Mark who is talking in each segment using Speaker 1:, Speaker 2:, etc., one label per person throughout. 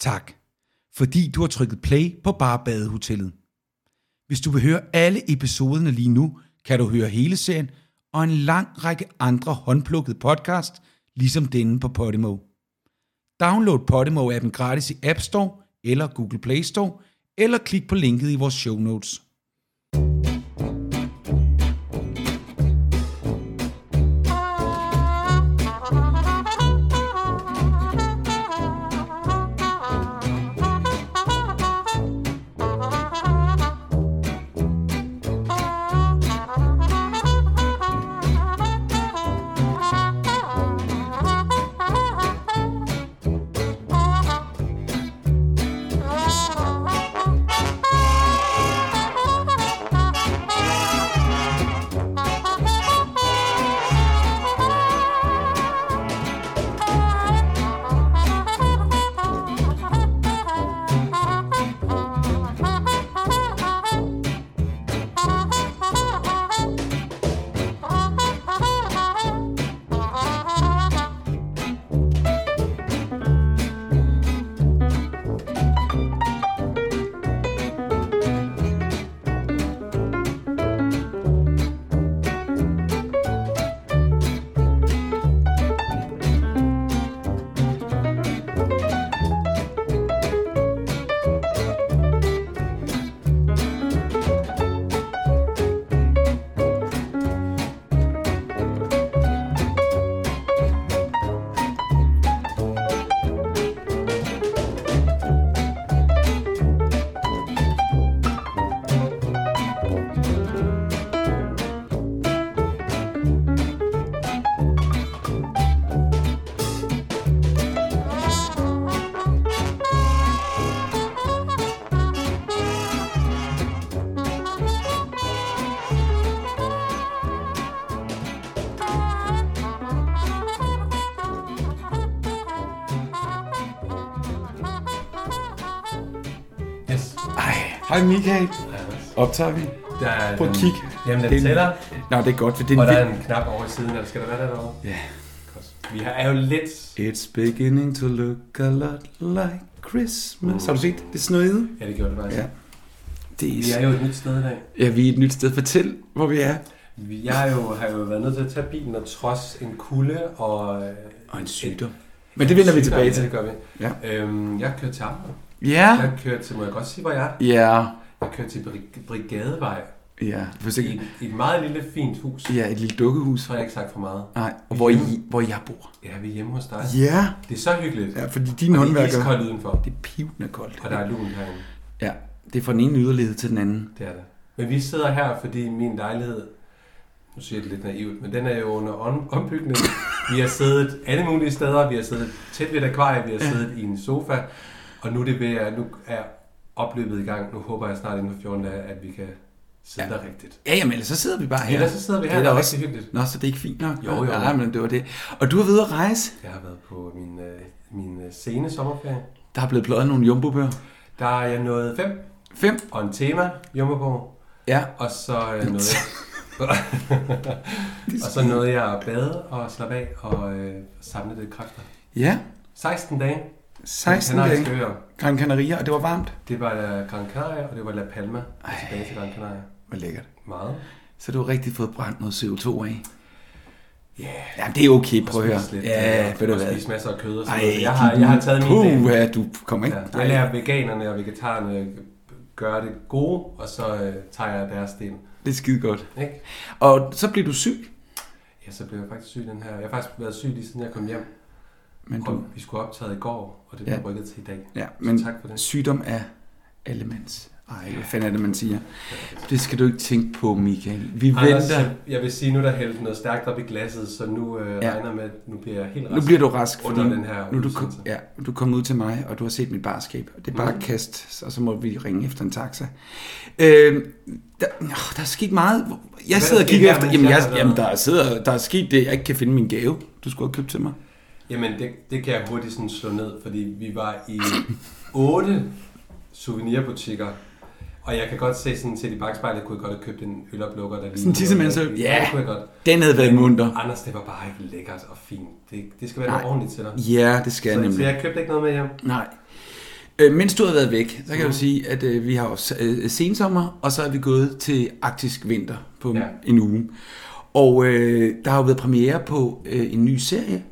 Speaker 1: Tak, fordi du har trykket play på Barbadehotellet. Hvis du vil høre alle episoderne lige nu, kan du høre hele serien og en lang række andre håndplukkede podcast, ligesom denne på Podimo. Download Podimo-appen gratis i App Store eller Google Play Store, eller klik på linket i vores show notes.
Speaker 2: Yes.
Speaker 3: Ej, hej Michael. Optager vi?
Speaker 2: Der er
Speaker 3: Prøv at
Speaker 2: den-
Speaker 3: kigge.
Speaker 2: Jamen, den
Speaker 3: Det er en-
Speaker 2: tæller,
Speaker 3: Nå, det er godt, for det er
Speaker 2: og
Speaker 3: en
Speaker 2: der
Speaker 3: vild...
Speaker 2: er en knap over i siden. Eller skal der være der derovre?
Speaker 3: Ja.
Speaker 2: Godt. Vi har- er jo lidt...
Speaker 3: It's beginning to look a lot like Christmas. Har du set det snøede?
Speaker 2: Ja, det gjorde det faktisk.
Speaker 3: Ja. Det
Speaker 2: Vi er
Speaker 3: er...
Speaker 2: jo et nyt sted i dag.
Speaker 3: Ja, vi er et nyt sted. Fortæl, hvor vi er.
Speaker 2: Vi- Jeg har jo, har jo været nødt til at tage bilen og trods en kulde og... øh,
Speaker 3: Og en
Speaker 2: sygdom.
Speaker 3: Men det vender vi
Speaker 2: sygdom,
Speaker 3: tilbage
Speaker 2: ja,
Speaker 3: til.
Speaker 2: Det gør vi.
Speaker 3: Ja.
Speaker 2: Øhm, jeg kører til Amager.
Speaker 3: Ja.
Speaker 2: Jeg kører til, må jeg godt sige, hvor jeg er?
Speaker 3: Ja.
Speaker 2: Jeg kører til Bri- Brigadevej.
Speaker 3: Ja. Hvis
Speaker 2: I,
Speaker 3: ikke...
Speaker 2: I et meget lille, fint hus.
Speaker 3: Ja, et lille dukkehus.
Speaker 2: Så har jeg ikke sagt for meget.
Speaker 3: Nej, og hvor, I, hvor jeg bor.
Speaker 2: Ja, vi er hjemme hos dig.
Speaker 3: Ja.
Speaker 2: Det er så hyggeligt.
Speaker 3: Ja, fordi dine
Speaker 2: og det er
Speaker 3: håndværker...
Speaker 2: iskoldt udenfor.
Speaker 3: Det er pivende koldt.
Speaker 2: Og der er lunt herinde.
Speaker 3: Ja, det er fra den ene yderlighed til den anden.
Speaker 2: Det er det. Men vi sidder her, fordi min lejlighed, nu siger jeg det lidt naivt, men den er jo under om- ombygning. Vi har siddet alle mulige steder, vi har siddet tæt ved et akvarie, vi har siddet i en sofa, og nu er, det ved, at- nu er opløbet i gang. Nu håber jeg snart inden for 14 dage, at vi kan sidde ja. der rigtigt.
Speaker 3: Ja, jamen, ellers så sidder vi bare her.
Speaker 2: Ellers så sidder vi her,
Speaker 3: det
Speaker 2: det
Speaker 3: er
Speaker 2: er
Speaker 3: da
Speaker 2: også hyggeligt.
Speaker 3: Nå, så det er ikke fint nok.
Speaker 2: Jo, jo, jo.
Speaker 3: Nej, men det var det. Og du har været ude at rejse.
Speaker 2: Jeg har været på min, øh, min øh, sene sommerferie.
Speaker 3: Der er blevet pløjet nogle jumbobøger.
Speaker 2: Der er jeg nået fem,
Speaker 3: Fem.
Speaker 2: og en tema, Jummerborg,
Speaker 3: Ja.
Speaker 2: og så øh, nåede jeg... og så nåede jeg at bade og slappe af og øh, samle lidt kræfter.
Speaker 3: Ja.
Speaker 2: 16 dage.
Speaker 3: 16
Speaker 2: Kanariske
Speaker 3: dage.
Speaker 2: Øer.
Speaker 3: Gran Canaria, og det var varmt.
Speaker 2: Det var La Gran Canaria, og det var La Palma. Og tilbage til Gran Canaria.
Speaker 3: Hvor lækkert.
Speaker 2: Meget.
Speaker 3: Så du har rigtig fået brændt noget CO2 af.
Speaker 2: Ja. Yeah.
Speaker 3: Ja, det er okay, prøv at høre. Ja, ved du hvad.
Speaker 2: øh, spise masser af kød og sådan
Speaker 3: Ej,
Speaker 2: noget. Jeg har, jeg har taget min
Speaker 3: Puh,
Speaker 2: del.
Speaker 3: ja, du kommer ikke.
Speaker 2: Ja, jeg lærer veganerne og vegetarerne gøre det gode, og så øh, tager jeg deres del.
Speaker 3: Det er skide godt.
Speaker 2: Ikke?
Speaker 3: Og så blev du syg.
Speaker 2: Ja, så blev jeg faktisk syg den her. Jeg har faktisk været syg lige siden jeg kom hjem.
Speaker 3: Men du,
Speaker 2: Og vi skulle optage i går, og det blev
Speaker 3: Ja.
Speaker 2: rykket til i dag.
Speaker 3: ja,
Speaker 2: Så
Speaker 3: men
Speaker 2: tak for det.
Speaker 3: sygdom er allemands. Ej, hvad fanden er det, man siger? Det skal du ikke tænke på, Michael. Vi
Speaker 2: Anders,
Speaker 3: venter.
Speaker 2: jeg vil sige, nu der hældt noget stærkt op i glasset, så nu øh,
Speaker 3: Ja.
Speaker 2: ja. regner jeg med, at nu bliver jeg helt
Speaker 3: Nu bliver du rask,
Speaker 2: under den her
Speaker 3: nu er du, kom,
Speaker 2: udsendelse.
Speaker 3: ja, du er kommet ud til mig, og du har set mit barskab. Det er bare mm.
Speaker 2: Mhm.
Speaker 3: kast, og så må vi ringe efter en taxa. Øh, der, åh, der er sket meget.
Speaker 2: er
Speaker 3: Jeg
Speaker 2: der
Speaker 3: sidder og
Speaker 2: sket
Speaker 3: kigger
Speaker 2: her,
Speaker 3: efter.
Speaker 2: mens
Speaker 3: Jamen,
Speaker 2: jeg
Speaker 3: jeg,
Speaker 2: har været-
Speaker 3: jamen der, er sidder, der er sket det, jeg ikke kan finde min gave, du skulle have købt til mig.
Speaker 2: Jamen, det, det kan jeg hurtigt sådan slå ned, fordi vi var i otte souvenirbutikker, og jeg kan godt se sådan til i bagspejlet, kunne jeg godt have købt en øloplukker, der lignede noget.
Speaker 3: tissemandsøl?
Speaker 2: Ja,
Speaker 3: Ja.
Speaker 2: det kunne jeg godt.
Speaker 3: Den havde været munter.
Speaker 2: Anders, det var bare ikke lækkert og fint. Det, det skal være
Speaker 3: Nej.
Speaker 2: noget ordentligt til dig.
Speaker 3: Ja, det skal jeg
Speaker 2: Så, så
Speaker 3: nemlig.
Speaker 2: jeg købte ikke noget med hjem.
Speaker 3: Nej. Øh, mens du har været væk, så kan
Speaker 2: Mm.
Speaker 3: jeg jo sige, at øh, vi har jo øh, sensommer, og så er vi gået til arktisk vinter på
Speaker 2: Ja.
Speaker 3: ja. en uge. Og øh, der har jo været premiere på øh, en ny serie,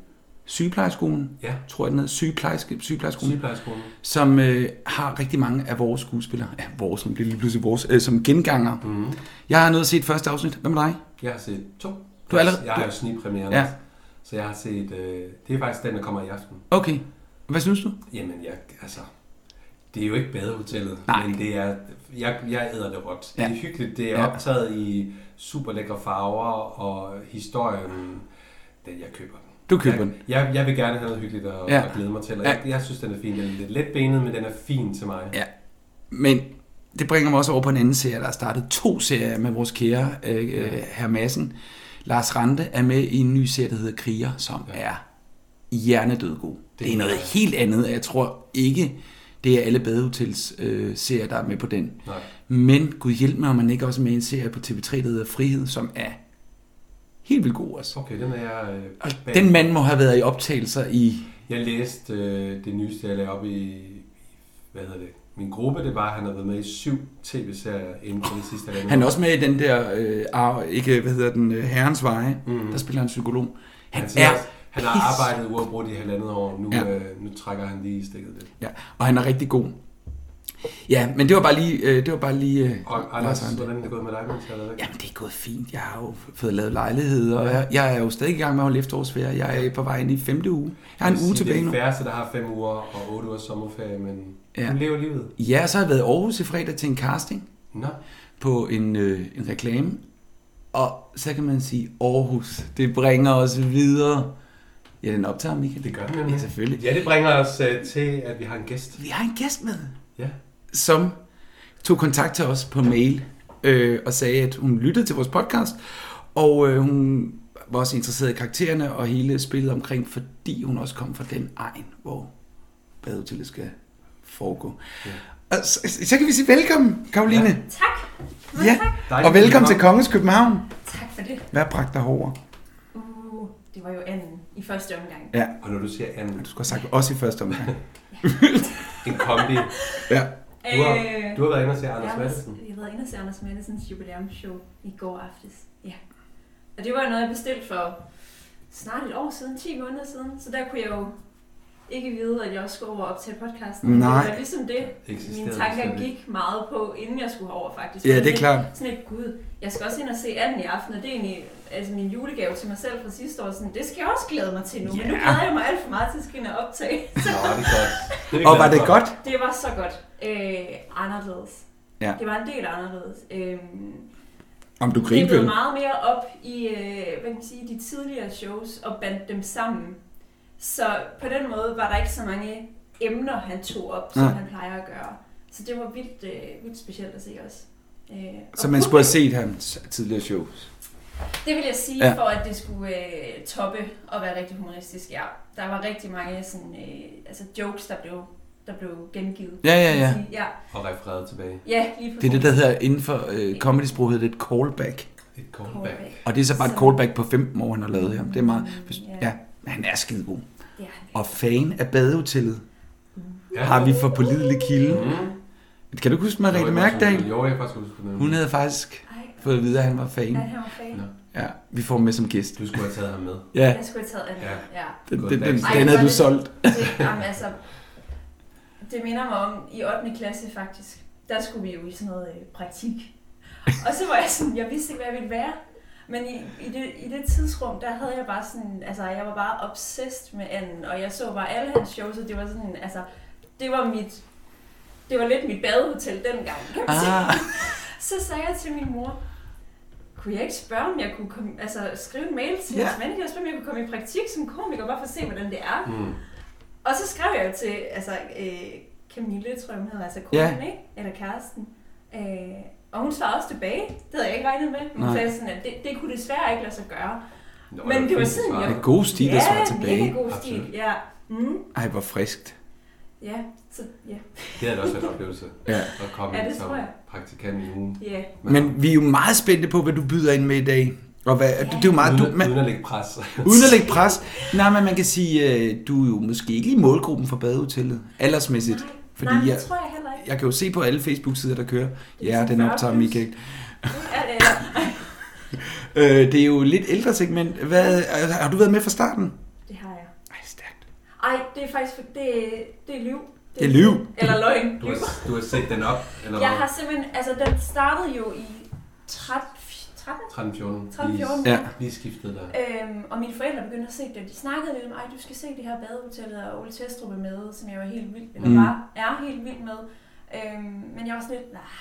Speaker 3: Sygeplejerskolen,
Speaker 2: Ja.
Speaker 3: tror jeg den hedder, Sygeplejerske, Sygeplejerskolen,
Speaker 2: Sygeplejerskolen.
Speaker 3: som øh, har rigtig mange af vores skuespillere, ja, vores, nu bliver det lige pludselig vores, øh, som genganger. Mm. Jeg har nået at se et første afsnit. Hvad med dig?
Speaker 2: Mhm. Jeg har set to.
Speaker 3: Du er allerede-
Speaker 2: Jeg har
Speaker 3: du-
Speaker 2: jo snigpremieren.
Speaker 3: Ja.
Speaker 2: Ja. Så jeg har set... Øh, det er faktisk den, der kommer i aften.
Speaker 3: Okay. Hvad synes du?
Speaker 2: Jamen, jeg, altså... Det er jo ikke badehotellet,
Speaker 3: Nej.
Speaker 2: men det er... Jeg, jeg æder det råt. Ja.
Speaker 3: Ja.
Speaker 2: Det er hyggeligt. Det er
Speaker 3: Ja.
Speaker 2: ja. optaget i super lækre farver, og historien... Den, jeg køber den.
Speaker 3: Du køber
Speaker 2: jeg,
Speaker 3: den.
Speaker 2: Jeg, jeg vil gerne have noget hyggeligt at,
Speaker 3: Ja.
Speaker 2: ja. at glæde mig til, og
Speaker 3: Ja.
Speaker 2: ja. jeg, jeg synes, den er fin. Den er lidt letbenet, men den er fin til mig.
Speaker 3: Ja, men det bringer mig også over på en anden serie. Der er startet to serier med vores kære øh, øh, herr Madsen. Lars Rante er med i en ny serie, der hedder Kriger, som ja. er hjernedød god. Det er noget helt andet, og jeg tror ikke, det er alle badehotels øh, serier, der er med på den.
Speaker 2: Nej.
Speaker 3: Men Gud hjælp mig, om man ikke også er med i en serie på TV3, der hedder Frihed, som er helt vildt god også.
Speaker 2: Okay, den er jeg... Øh,
Speaker 3: Og
Speaker 2: bag-
Speaker 3: den mand må have været i optagelser i...
Speaker 2: Jeg læste øh, det nyeste, jeg lavede op i, i- hvad hedder det, min gruppe, det var, at han har været med i syv tv-serier inden for det sidste halvandet
Speaker 3: Han er
Speaker 2: år.
Speaker 3: også med i den der, øh, arv, ikke, hvad hedder den, øh, Herrens Veje,
Speaker 2: Mm.
Speaker 3: mm-hmm. der spiller han psykolog. Han,
Speaker 2: han,
Speaker 3: er
Speaker 2: siger, også, Altså, han har
Speaker 3: pis-
Speaker 2: arbejdet uafbrudt i halvandet år, nu,
Speaker 3: Ja.
Speaker 2: ja. øh, nu trækker han lige i stikket lidt.
Speaker 3: Ja, og han er rigtig god. Ja, men det var bare lige... Øh, det var bare lige øh,
Speaker 2: Og
Speaker 3: Lars
Speaker 2: Anders,
Speaker 3: Ranthe.
Speaker 2: hvordan er det gået med dig, mens jeg har været væk?
Speaker 3: Jamen, det er gået fint. Jeg har jo fået lavet lejlighed, og jeg, jeg er jo stadig i gang med at holde efterårsferie. Jeg er på vej ind i femte uge. Jeg
Speaker 2: Jeg
Speaker 3: har en
Speaker 2: vil
Speaker 3: uge
Speaker 2: sige,
Speaker 3: tilbage
Speaker 2: Det er
Speaker 3: nu.
Speaker 2: de færreste, der har fem uger og otte ugers sommerferie, men
Speaker 3: Ja.
Speaker 2: ja. hun lever livet.
Speaker 3: Ja, så har jeg været i Aarhus i fredag til en casting
Speaker 2: Nå,
Speaker 3: på en, øh, en reklame. Og så kan man sige, Aarhus, det bringer os videre. Ja, den optager, Michael.
Speaker 2: det gør han jo.
Speaker 3: Ja, selvfølgelig.
Speaker 2: øh, Ja, det bringer os øh, til, at vi har en gæst.
Speaker 3: Vi har en gæst med.
Speaker 2: Ja.
Speaker 3: som tog kontakt til os på mail øh, og sagde, at hun lyttede til vores podcast, og øh, hun var også interesseret i karaktererne og hele spillet omkring, fordi hun også kom fra den egen, hvor badehotellet skal foregå. Ja. Og så, så kan vi sige velkommen, Karoline.
Speaker 4: Tak. Mange
Speaker 3: Ja,
Speaker 4: tak.
Speaker 3: ja. og velkommen til Kongens København.
Speaker 4: Tak for det.
Speaker 3: Hvad bragte dig over?
Speaker 4: Uh, det var jo anden i første omgang.
Speaker 3: Ja,
Speaker 2: Og når du siger anden,
Speaker 3: du skulle have sagt også i første omgang.
Speaker 2: en kombi.
Speaker 3: Ja.
Speaker 2: Du har,
Speaker 4: Øh,
Speaker 2: du har været inde og se Anders Madsen.
Speaker 4: Jeg har været inde og se Anders Mattesens jubilæumsshow i går aftes. Ja. Og det var noget, jeg bestilte for snart et år siden, 10 måneder siden. Så der kunne jeg jo ikke vide, at jeg også skulle over op til podcasten.
Speaker 3: Nej.
Speaker 4: Det var ligesom det,
Speaker 2: Eksisterede
Speaker 4: mine
Speaker 2: slet
Speaker 4: tanker
Speaker 2: ikke.
Speaker 4: gik meget på, inden jeg skulle over faktisk.
Speaker 3: Ja, det er klart.
Speaker 4: Sådan et, gud, jeg skal også ind og se anden i aften, og det er egentlig altså min julegave til mig selv fra sidste år. Sådan, det skal jeg også glæde mig til nu, men nu
Speaker 3: Ja.
Speaker 4: glæder jeg mig alt for meget til at skal ind og optage.
Speaker 2: Nå, det er godt. Det er vi
Speaker 3: Og
Speaker 2: glade
Speaker 3: var det
Speaker 2: for.
Speaker 3: godt?
Speaker 4: Det var så godt. Øh, anderledes.
Speaker 3: Ja.
Speaker 4: Det var en del anderledes. Øhm,
Speaker 3: Om du
Speaker 4: det er
Speaker 3: grinte
Speaker 4: blevet
Speaker 3: vel?
Speaker 4: meget mere op i øh, hvad kan man sige, de tidligere shows og bandt dem sammen. Så på den måde var der ikke så mange emner, han tog op, som
Speaker 3: Nej.
Speaker 4: han plejer at gøre. Så det var vildt, øh, vildt specielt at se også. Øh, og
Speaker 3: Så man skulle have
Speaker 4: publikum-
Speaker 3: set hans tidligere shows.
Speaker 4: Det vil jeg sige,
Speaker 3: Ja.
Speaker 4: ja. for at det skulle øh, toppe og være rigtig humoristisk. Ja, der var rigtig mange sådan, øh, altså jokes, der blev, der blev gengivet.
Speaker 3: Ja, ja,
Speaker 4: kan man
Speaker 3: ja.
Speaker 4: sige. ja.
Speaker 2: Og refereret tilbage.
Speaker 4: Ja, lige
Speaker 3: Det er det, der
Speaker 4: præcis.
Speaker 3: hedder inden for øh, comedy-sprog, hedder det et callback.
Speaker 2: Et callback.
Speaker 3: Og det er så bare et
Speaker 4: Så-
Speaker 3: callback på 15 år, han har lavet her. Det er meget... Hvis,
Speaker 4: Ja.
Speaker 3: ja, han er skidegod.
Speaker 4: Det er han
Speaker 3: Og fan af badehotellet
Speaker 2: Ja.
Speaker 3: har vi for pålidelig kilde.
Speaker 2: Mm.
Speaker 3: Kan du ikke
Speaker 2: Jo,
Speaker 3: huske Mariette
Speaker 2: jeg faktisk-
Speaker 3: Mærkdal?
Speaker 2: Jo, jeg faktisk huske den.
Speaker 3: Hun havde faktisk
Speaker 4: virkelig.
Speaker 3: fået at vide, at han var
Speaker 4: Ej,
Speaker 3: fan.
Speaker 4: at han var fan. Altså-
Speaker 2: Nå.
Speaker 3: Ja, vi får ham med som gæst.
Speaker 2: Du skulle have taget ham med.
Speaker 3: Ja,
Speaker 4: Jeg skulle have taget Anna.
Speaker 2: Ja.
Speaker 4: Ja. ja.
Speaker 3: den, den, den,
Speaker 4: Ej,
Speaker 3: den
Speaker 4: hvor
Speaker 3: havde
Speaker 4: er
Speaker 3: du
Speaker 4: det-
Speaker 3: solgt.
Speaker 4: Det, jamen, altså, det minder mig om i 8. klasse faktisk. Der skulle vi jo i sådan noget øh, praktik. Og så var jeg sådan, jeg vidste ikke, hvad jeg ville være. Men i, i, det, i det tidsrum, der havde jeg bare sådan, altså jeg var bare obsessed med anden, og jeg så bare alle hans shows, og det var sådan, altså, det var mit, det var lidt mit badehotel dengang, kan man sige.
Speaker 3: Ah,
Speaker 4: Så sagde jeg til min mor, kunne jeg ikke spørge, om jeg kunne komme, altså, skrive en mail til
Speaker 3: Ja.
Speaker 4: ja. hans manager og spørge, om jeg kunne komme i praktik som komiker, bare for at se, hvordan det er.
Speaker 2: Mm.
Speaker 4: Og så skrev jeg jo til altså, øh, Camille, tror jeg, hun hedder, altså
Speaker 3: Ja.
Speaker 4: konen, ikke? Eller kæresten. Øh, og hun svarede også tilbage. Det havde jeg ikke regnet med. Hun
Speaker 3: Nej.
Speaker 4: Nej. sagde sådan, at det, det kunne desværre ikke lade sig gøre.
Speaker 2: Nå,
Speaker 4: Men det var
Speaker 2: fint
Speaker 4: sådan,
Speaker 2: svar.
Speaker 4: jeg-
Speaker 3: det er god stil, der svarer tilbage.
Speaker 4: mega god stil.
Speaker 2: Absolut.
Speaker 4: Ja. Mm,
Speaker 3: Ej, hvor friskt.
Speaker 4: ja, så ja.
Speaker 2: Det havde da også været en oplevelse
Speaker 3: Ja.
Speaker 2: at komme
Speaker 4: Ja,
Speaker 2: ind
Speaker 4: det
Speaker 2: som
Speaker 4: tror jeg.
Speaker 2: praktikant i ugen.
Speaker 4: Yeah.
Speaker 3: Men vi er jo meget spændte på, hvad du byder ind med i dag. Og hvad, det er jo meget... Du,
Speaker 2: Uden,
Speaker 3: man,
Speaker 2: uden at lægge pres.
Speaker 3: Uden at lægge pres. Nej, men man kan sige, øh, du er jo måske ikke i målgruppen for badehotellet, aldersmæssigt.
Speaker 4: Nej,
Speaker 3: Fordi
Speaker 4: Nej,
Speaker 3: jeg,
Speaker 4: det tror jeg heller ikke.
Speaker 3: jeg kan jo se på alle Facebook-sider, der kører.
Speaker 4: er
Speaker 3: Ja,
Speaker 4: sådan
Speaker 3: den optager
Speaker 4: 40+.
Speaker 3: Michael.
Speaker 4: Er det, eller?
Speaker 3: Øh, det er jo lidt ældre segment. Hvad, altså, har du været med fra starten?
Speaker 4: det har jeg.
Speaker 3: Ej, stærkt.
Speaker 4: Ej, det er faktisk, for- det, det er liv.
Speaker 3: Det er liv.
Speaker 4: Eller løgn.
Speaker 2: Du
Speaker 4: Liv.
Speaker 2: har, du har set den op, eller
Speaker 4: Jeg har simpelthen, altså den startede jo i 13, 13 13, 14.
Speaker 2: 13-14.
Speaker 3: Ja.
Speaker 2: Lige skiftet der.
Speaker 4: Øhm, og mine forældre begyndte at se det, og de snakkede lidt om, ej, du skal se det her badehotel, og Ole Testrup er med, som jeg var helt vild med,
Speaker 3: Mm.
Speaker 4: mm. var, er helt vild med. Øhm, men jeg var sådan lidt, nej,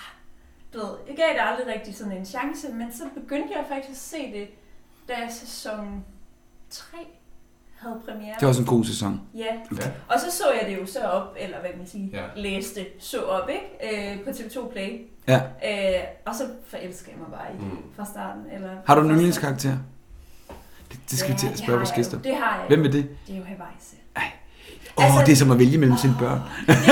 Speaker 4: du ved, jeg gav det aldrig rigtig sådan en chance, men så begyndte jeg faktisk at se det, da sæson 3 havde premiere.
Speaker 3: Det var også en god sæson.
Speaker 4: Ja,
Speaker 2: Ja.
Speaker 4: og så så jeg det jo så op, eller hvad kan man sige,
Speaker 2: Ja.
Speaker 4: ja. læste så op, ikke? Øh, på TV2 Play.
Speaker 3: Ja.
Speaker 4: Øh, og så forelskede jeg mig bare i det
Speaker 2: Mm.
Speaker 4: fra starten. Eller
Speaker 3: Har du en
Speaker 4: fra
Speaker 3: yndlingskarakter? Det, det skal vi til at
Speaker 4: det
Speaker 3: spørge
Speaker 4: har
Speaker 3: vores
Speaker 4: jeg
Speaker 3: gæster.
Speaker 4: jo. Det har jeg.
Speaker 3: Hvem er det?
Speaker 4: Det er jo Havajse.
Speaker 3: Åh, oh,
Speaker 4: Altså-
Speaker 3: det er som at vælge mellem sine børn.
Speaker 4: Det er det,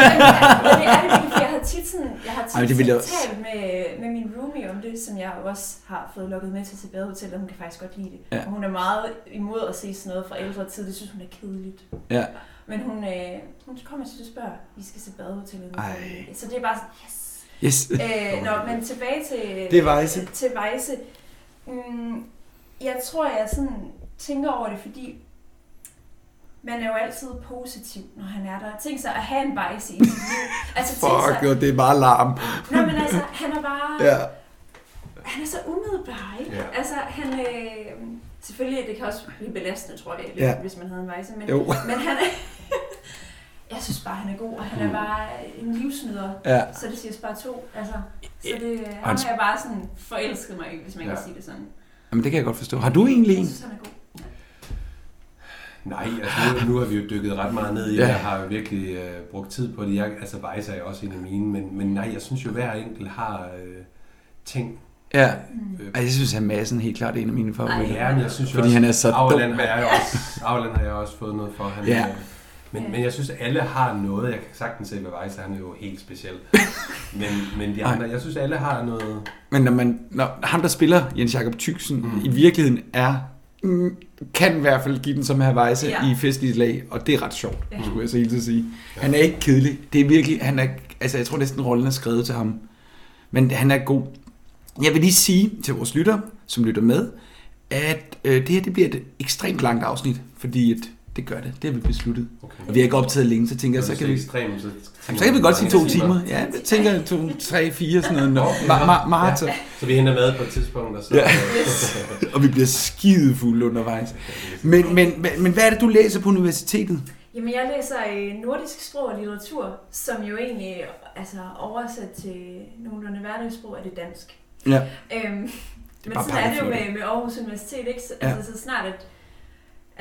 Speaker 4: men det er det, virkelig, for jeg har tit, sådan, jeg har tit
Speaker 3: Ej, men det ville jeg også-
Speaker 4: talt med, med min roomie om det, som jeg jo også har fået lukket med til til badehotellet, og hun kan faktisk godt lide det.
Speaker 3: Ja.
Speaker 4: Og hun er meget imod at se sådan noget fra ældre tid, det synes hun er kedeligt.
Speaker 3: Ja.
Speaker 4: Men hun, øh, hun kommer til at spørge, vi skal se badehotellet. nu."
Speaker 3: Ej.
Speaker 4: Så det er bare sådan, yes.
Speaker 3: Yes.
Speaker 4: Øh, nå, men tilbage til...
Speaker 3: Det er Vejse.
Speaker 4: Til Vejse. Mm, jeg tror, jeg sådan tænker over det, fordi man er jo altid positiv, når han er der. Tænk sig at have en Vejse i sit liv. Altså,
Speaker 3: Fuck,
Speaker 4: tænk sig,
Speaker 3: jo, det er bare larm.
Speaker 4: Nå, men altså, han er bare...
Speaker 3: Ja.
Speaker 4: Han er så umiddelbar, ikke?
Speaker 2: Ja.
Speaker 4: Altså, han... Øh, selvfølgelig, det kan også blive belastende, tror jeg, lidt,
Speaker 3: Ja.
Speaker 4: hvis man havde en Vejse. Men,
Speaker 3: Jo.
Speaker 4: men han er... jeg synes bare, han er god, og han er bare en livsnyder.
Speaker 3: Mm. Ja.
Speaker 4: Så det siger bare to. Altså, så
Speaker 3: Ja,
Speaker 4: det, ham
Speaker 3: hans-
Speaker 4: har jeg bare sådan forelsket mig i, hvis man ja.
Speaker 2: Ja.
Speaker 4: kan sige det sådan.
Speaker 3: Jamen, det kan jeg godt forstå. Har du egentlig
Speaker 4: Jeg
Speaker 3: en?
Speaker 4: synes, han er god.
Speaker 2: Nej, altså nu, nu har vi jo dykket ret meget ned i det.
Speaker 3: Ja.
Speaker 2: Jeg har jo virkelig øh, brugt tid på det. Jeg, altså Vejse er jo også en af mine, men, men nej, jeg synes jo, hver enkelt har øh, ting.
Speaker 3: Ja.
Speaker 2: Øh,
Speaker 3: Ej, jeg synes, at Madsen helt klart er en af mine favoritter.
Speaker 2: ja, men jeg synes jo
Speaker 3: Fordi
Speaker 2: også,
Speaker 3: han er så
Speaker 2: Auerland
Speaker 3: dum.
Speaker 2: har jeg jo også, Auerland har jeg også fået noget for. Han,
Speaker 3: Ja.
Speaker 2: øh, men, men jeg synes, alle har noget. Jeg kan sagtens se, hvad Vejse han er jo helt speciel. Men, men de
Speaker 3: Ej.
Speaker 2: andre, jeg synes, alle har noget.
Speaker 3: Men når, man, når ham, der spiller Jens Jakob Tyksen, mm. i virkeligheden er mm, kan i hvert fald give den som her vejse ja.
Speaker 4: Ja.
Speaker 3: i festlige lag, og det er ret sjovt, ja.
Speaker 4: Ja.
Speaker 3: skulle jeg så helt til at sige. Han er ikke kedelig. Det er virkelig, han er, altså jeg tror næsten rollen er skrevet til ham. Men han er god. Jeg vil lige sige til vores lytter, som lytter med, at øh, det her det bliver et ekstremt langt afsnit, fordi at det gør det. Det har vi besluttet.
Speaker 2: Okay.
Speaker 3: Og vi har ikke optaget længe, så tænker jeg, så
Speaker 2: Hvis
Speaker 3: kan
Speaker 2: det
Speaker 3: vi...
Speaker 2: er ekstremt, så,
Speaker 3: Jamen, så kan vi godt sige to
Speaker 2: mange
Speaker 3: timer. Ja, jeg tænker to, tre, fire, sådan noget.
Speaker 2: Okay.
Speaker 3: Ma- ma- maraton.
Speaker 2: Så vi henter mad på et tidspunkt, og så...
Speaker 3: Ja. og vi bliver skide fulde undervejs. Men, men, men, men hvad er det, du læser på universitetet?
Speaker 4: Jamen, jeg læser øh, nordisk sprog og litteratur, som jo egentlig altså, oversat til nogenlunde hverdagssprog er det dansk.
Speaker 3: Ja.
Speaker 4: Øhm, men
Speaker 3: bare
Speaker 4: sådan er det jo
Speaker 3: pakkeflot.
Speaker 4: med, med Aarhus Universitet, ikke? Så,
Speaker 3: Ja.
Speaker 4: ja. altså, så snart at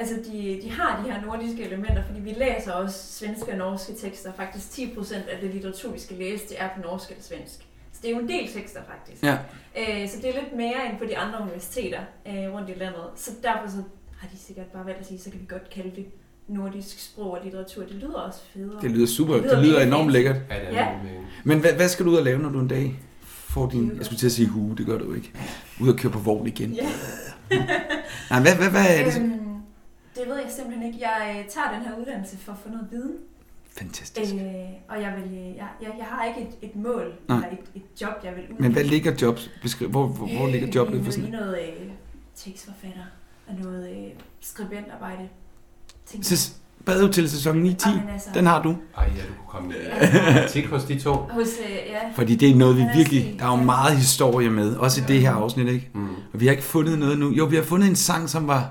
Speaker 4: altså, de, de har de her nordiske elementer, fordi vi læser også svenske og norske tekster. Faktisk 10% af det litteratur, vi skal læse, det er på norsk eller svensk. Så det er jo en del tekster, faktisk.
Speaker 3: Ja.
Speaker 4: Øh, så det er lidt mere end på de andre universiteter øh, rundt i landet. Så derfor så har de sikkert bare valgt at sige, så kan vi godt kalde det nordisk sprog og litteratur. Det lyder også federe.
Speaker 3: Det lyder super.
Speaker 4: Det lyder
Speaker 3: Det lyder
Speaker 4: mega
Speaker 3: enormt
Speaker 4: fedt.
Speaker 3: lækkert.
Speaker 2: Ja, det er
Speaker 4: Ja.
Speaker 2: ja.
Speaker 3: Men hvad, hvad skal du ud og lave, når du en dag får din...
Speaker 4: Hue.
Speaker 3: Jeg skulle til at sige hue, det gør du ikke. Ud og køre på vogn igen.
Speaker 4: Ja.
Speaker 3: Nej, hvad, hvad, hvad er det?
Speaker 4: Øhm, det ved jeg simpelthen ikke. Jeg øh, tager den her uddannelse for at få noget viden.
Speaker 3: Fantastisk.
Speaker 4: Øh, og jeg, vil, øh, jeg, jeg, jeg har ikke et, et mål
Speaker 3: Nej.
Speaker 4: eller et, et job, jeg vil ud
Speaker 3: Men
Speaker 4: i.
Speaker 3: hvad ligger jobs? Beskriv, hvor, hvor, hvor ligger jobbet
Speaker 4: Øh,
Speaker 3: for sådan
Speaker 4: I noget øh, tekstforfatter og noget øh, skribentarbejde. Tænker
Speaker 3: Så bad til sæson 9-10.
Speaker 4: jeg. Ah, men altså,
Speaker 3: Den har du.
Speaker 2: Ej, ja, du kunne komme med. Tik hos de to.
Speaker 4: Hos, øh, ja,
Speaker 3: Fordi det er noget, vi
Speaker 4: Den er
Speaker 3: virkelig...
Speaker 4: fin.
Speaker 3: Der er jo meget historie med. Også i det her afsnit, ikke?
Speaker 2: Mm.
Speaker 3: Og vi har ikke fundet noget nu. Jo, vi har fundet en sang, som var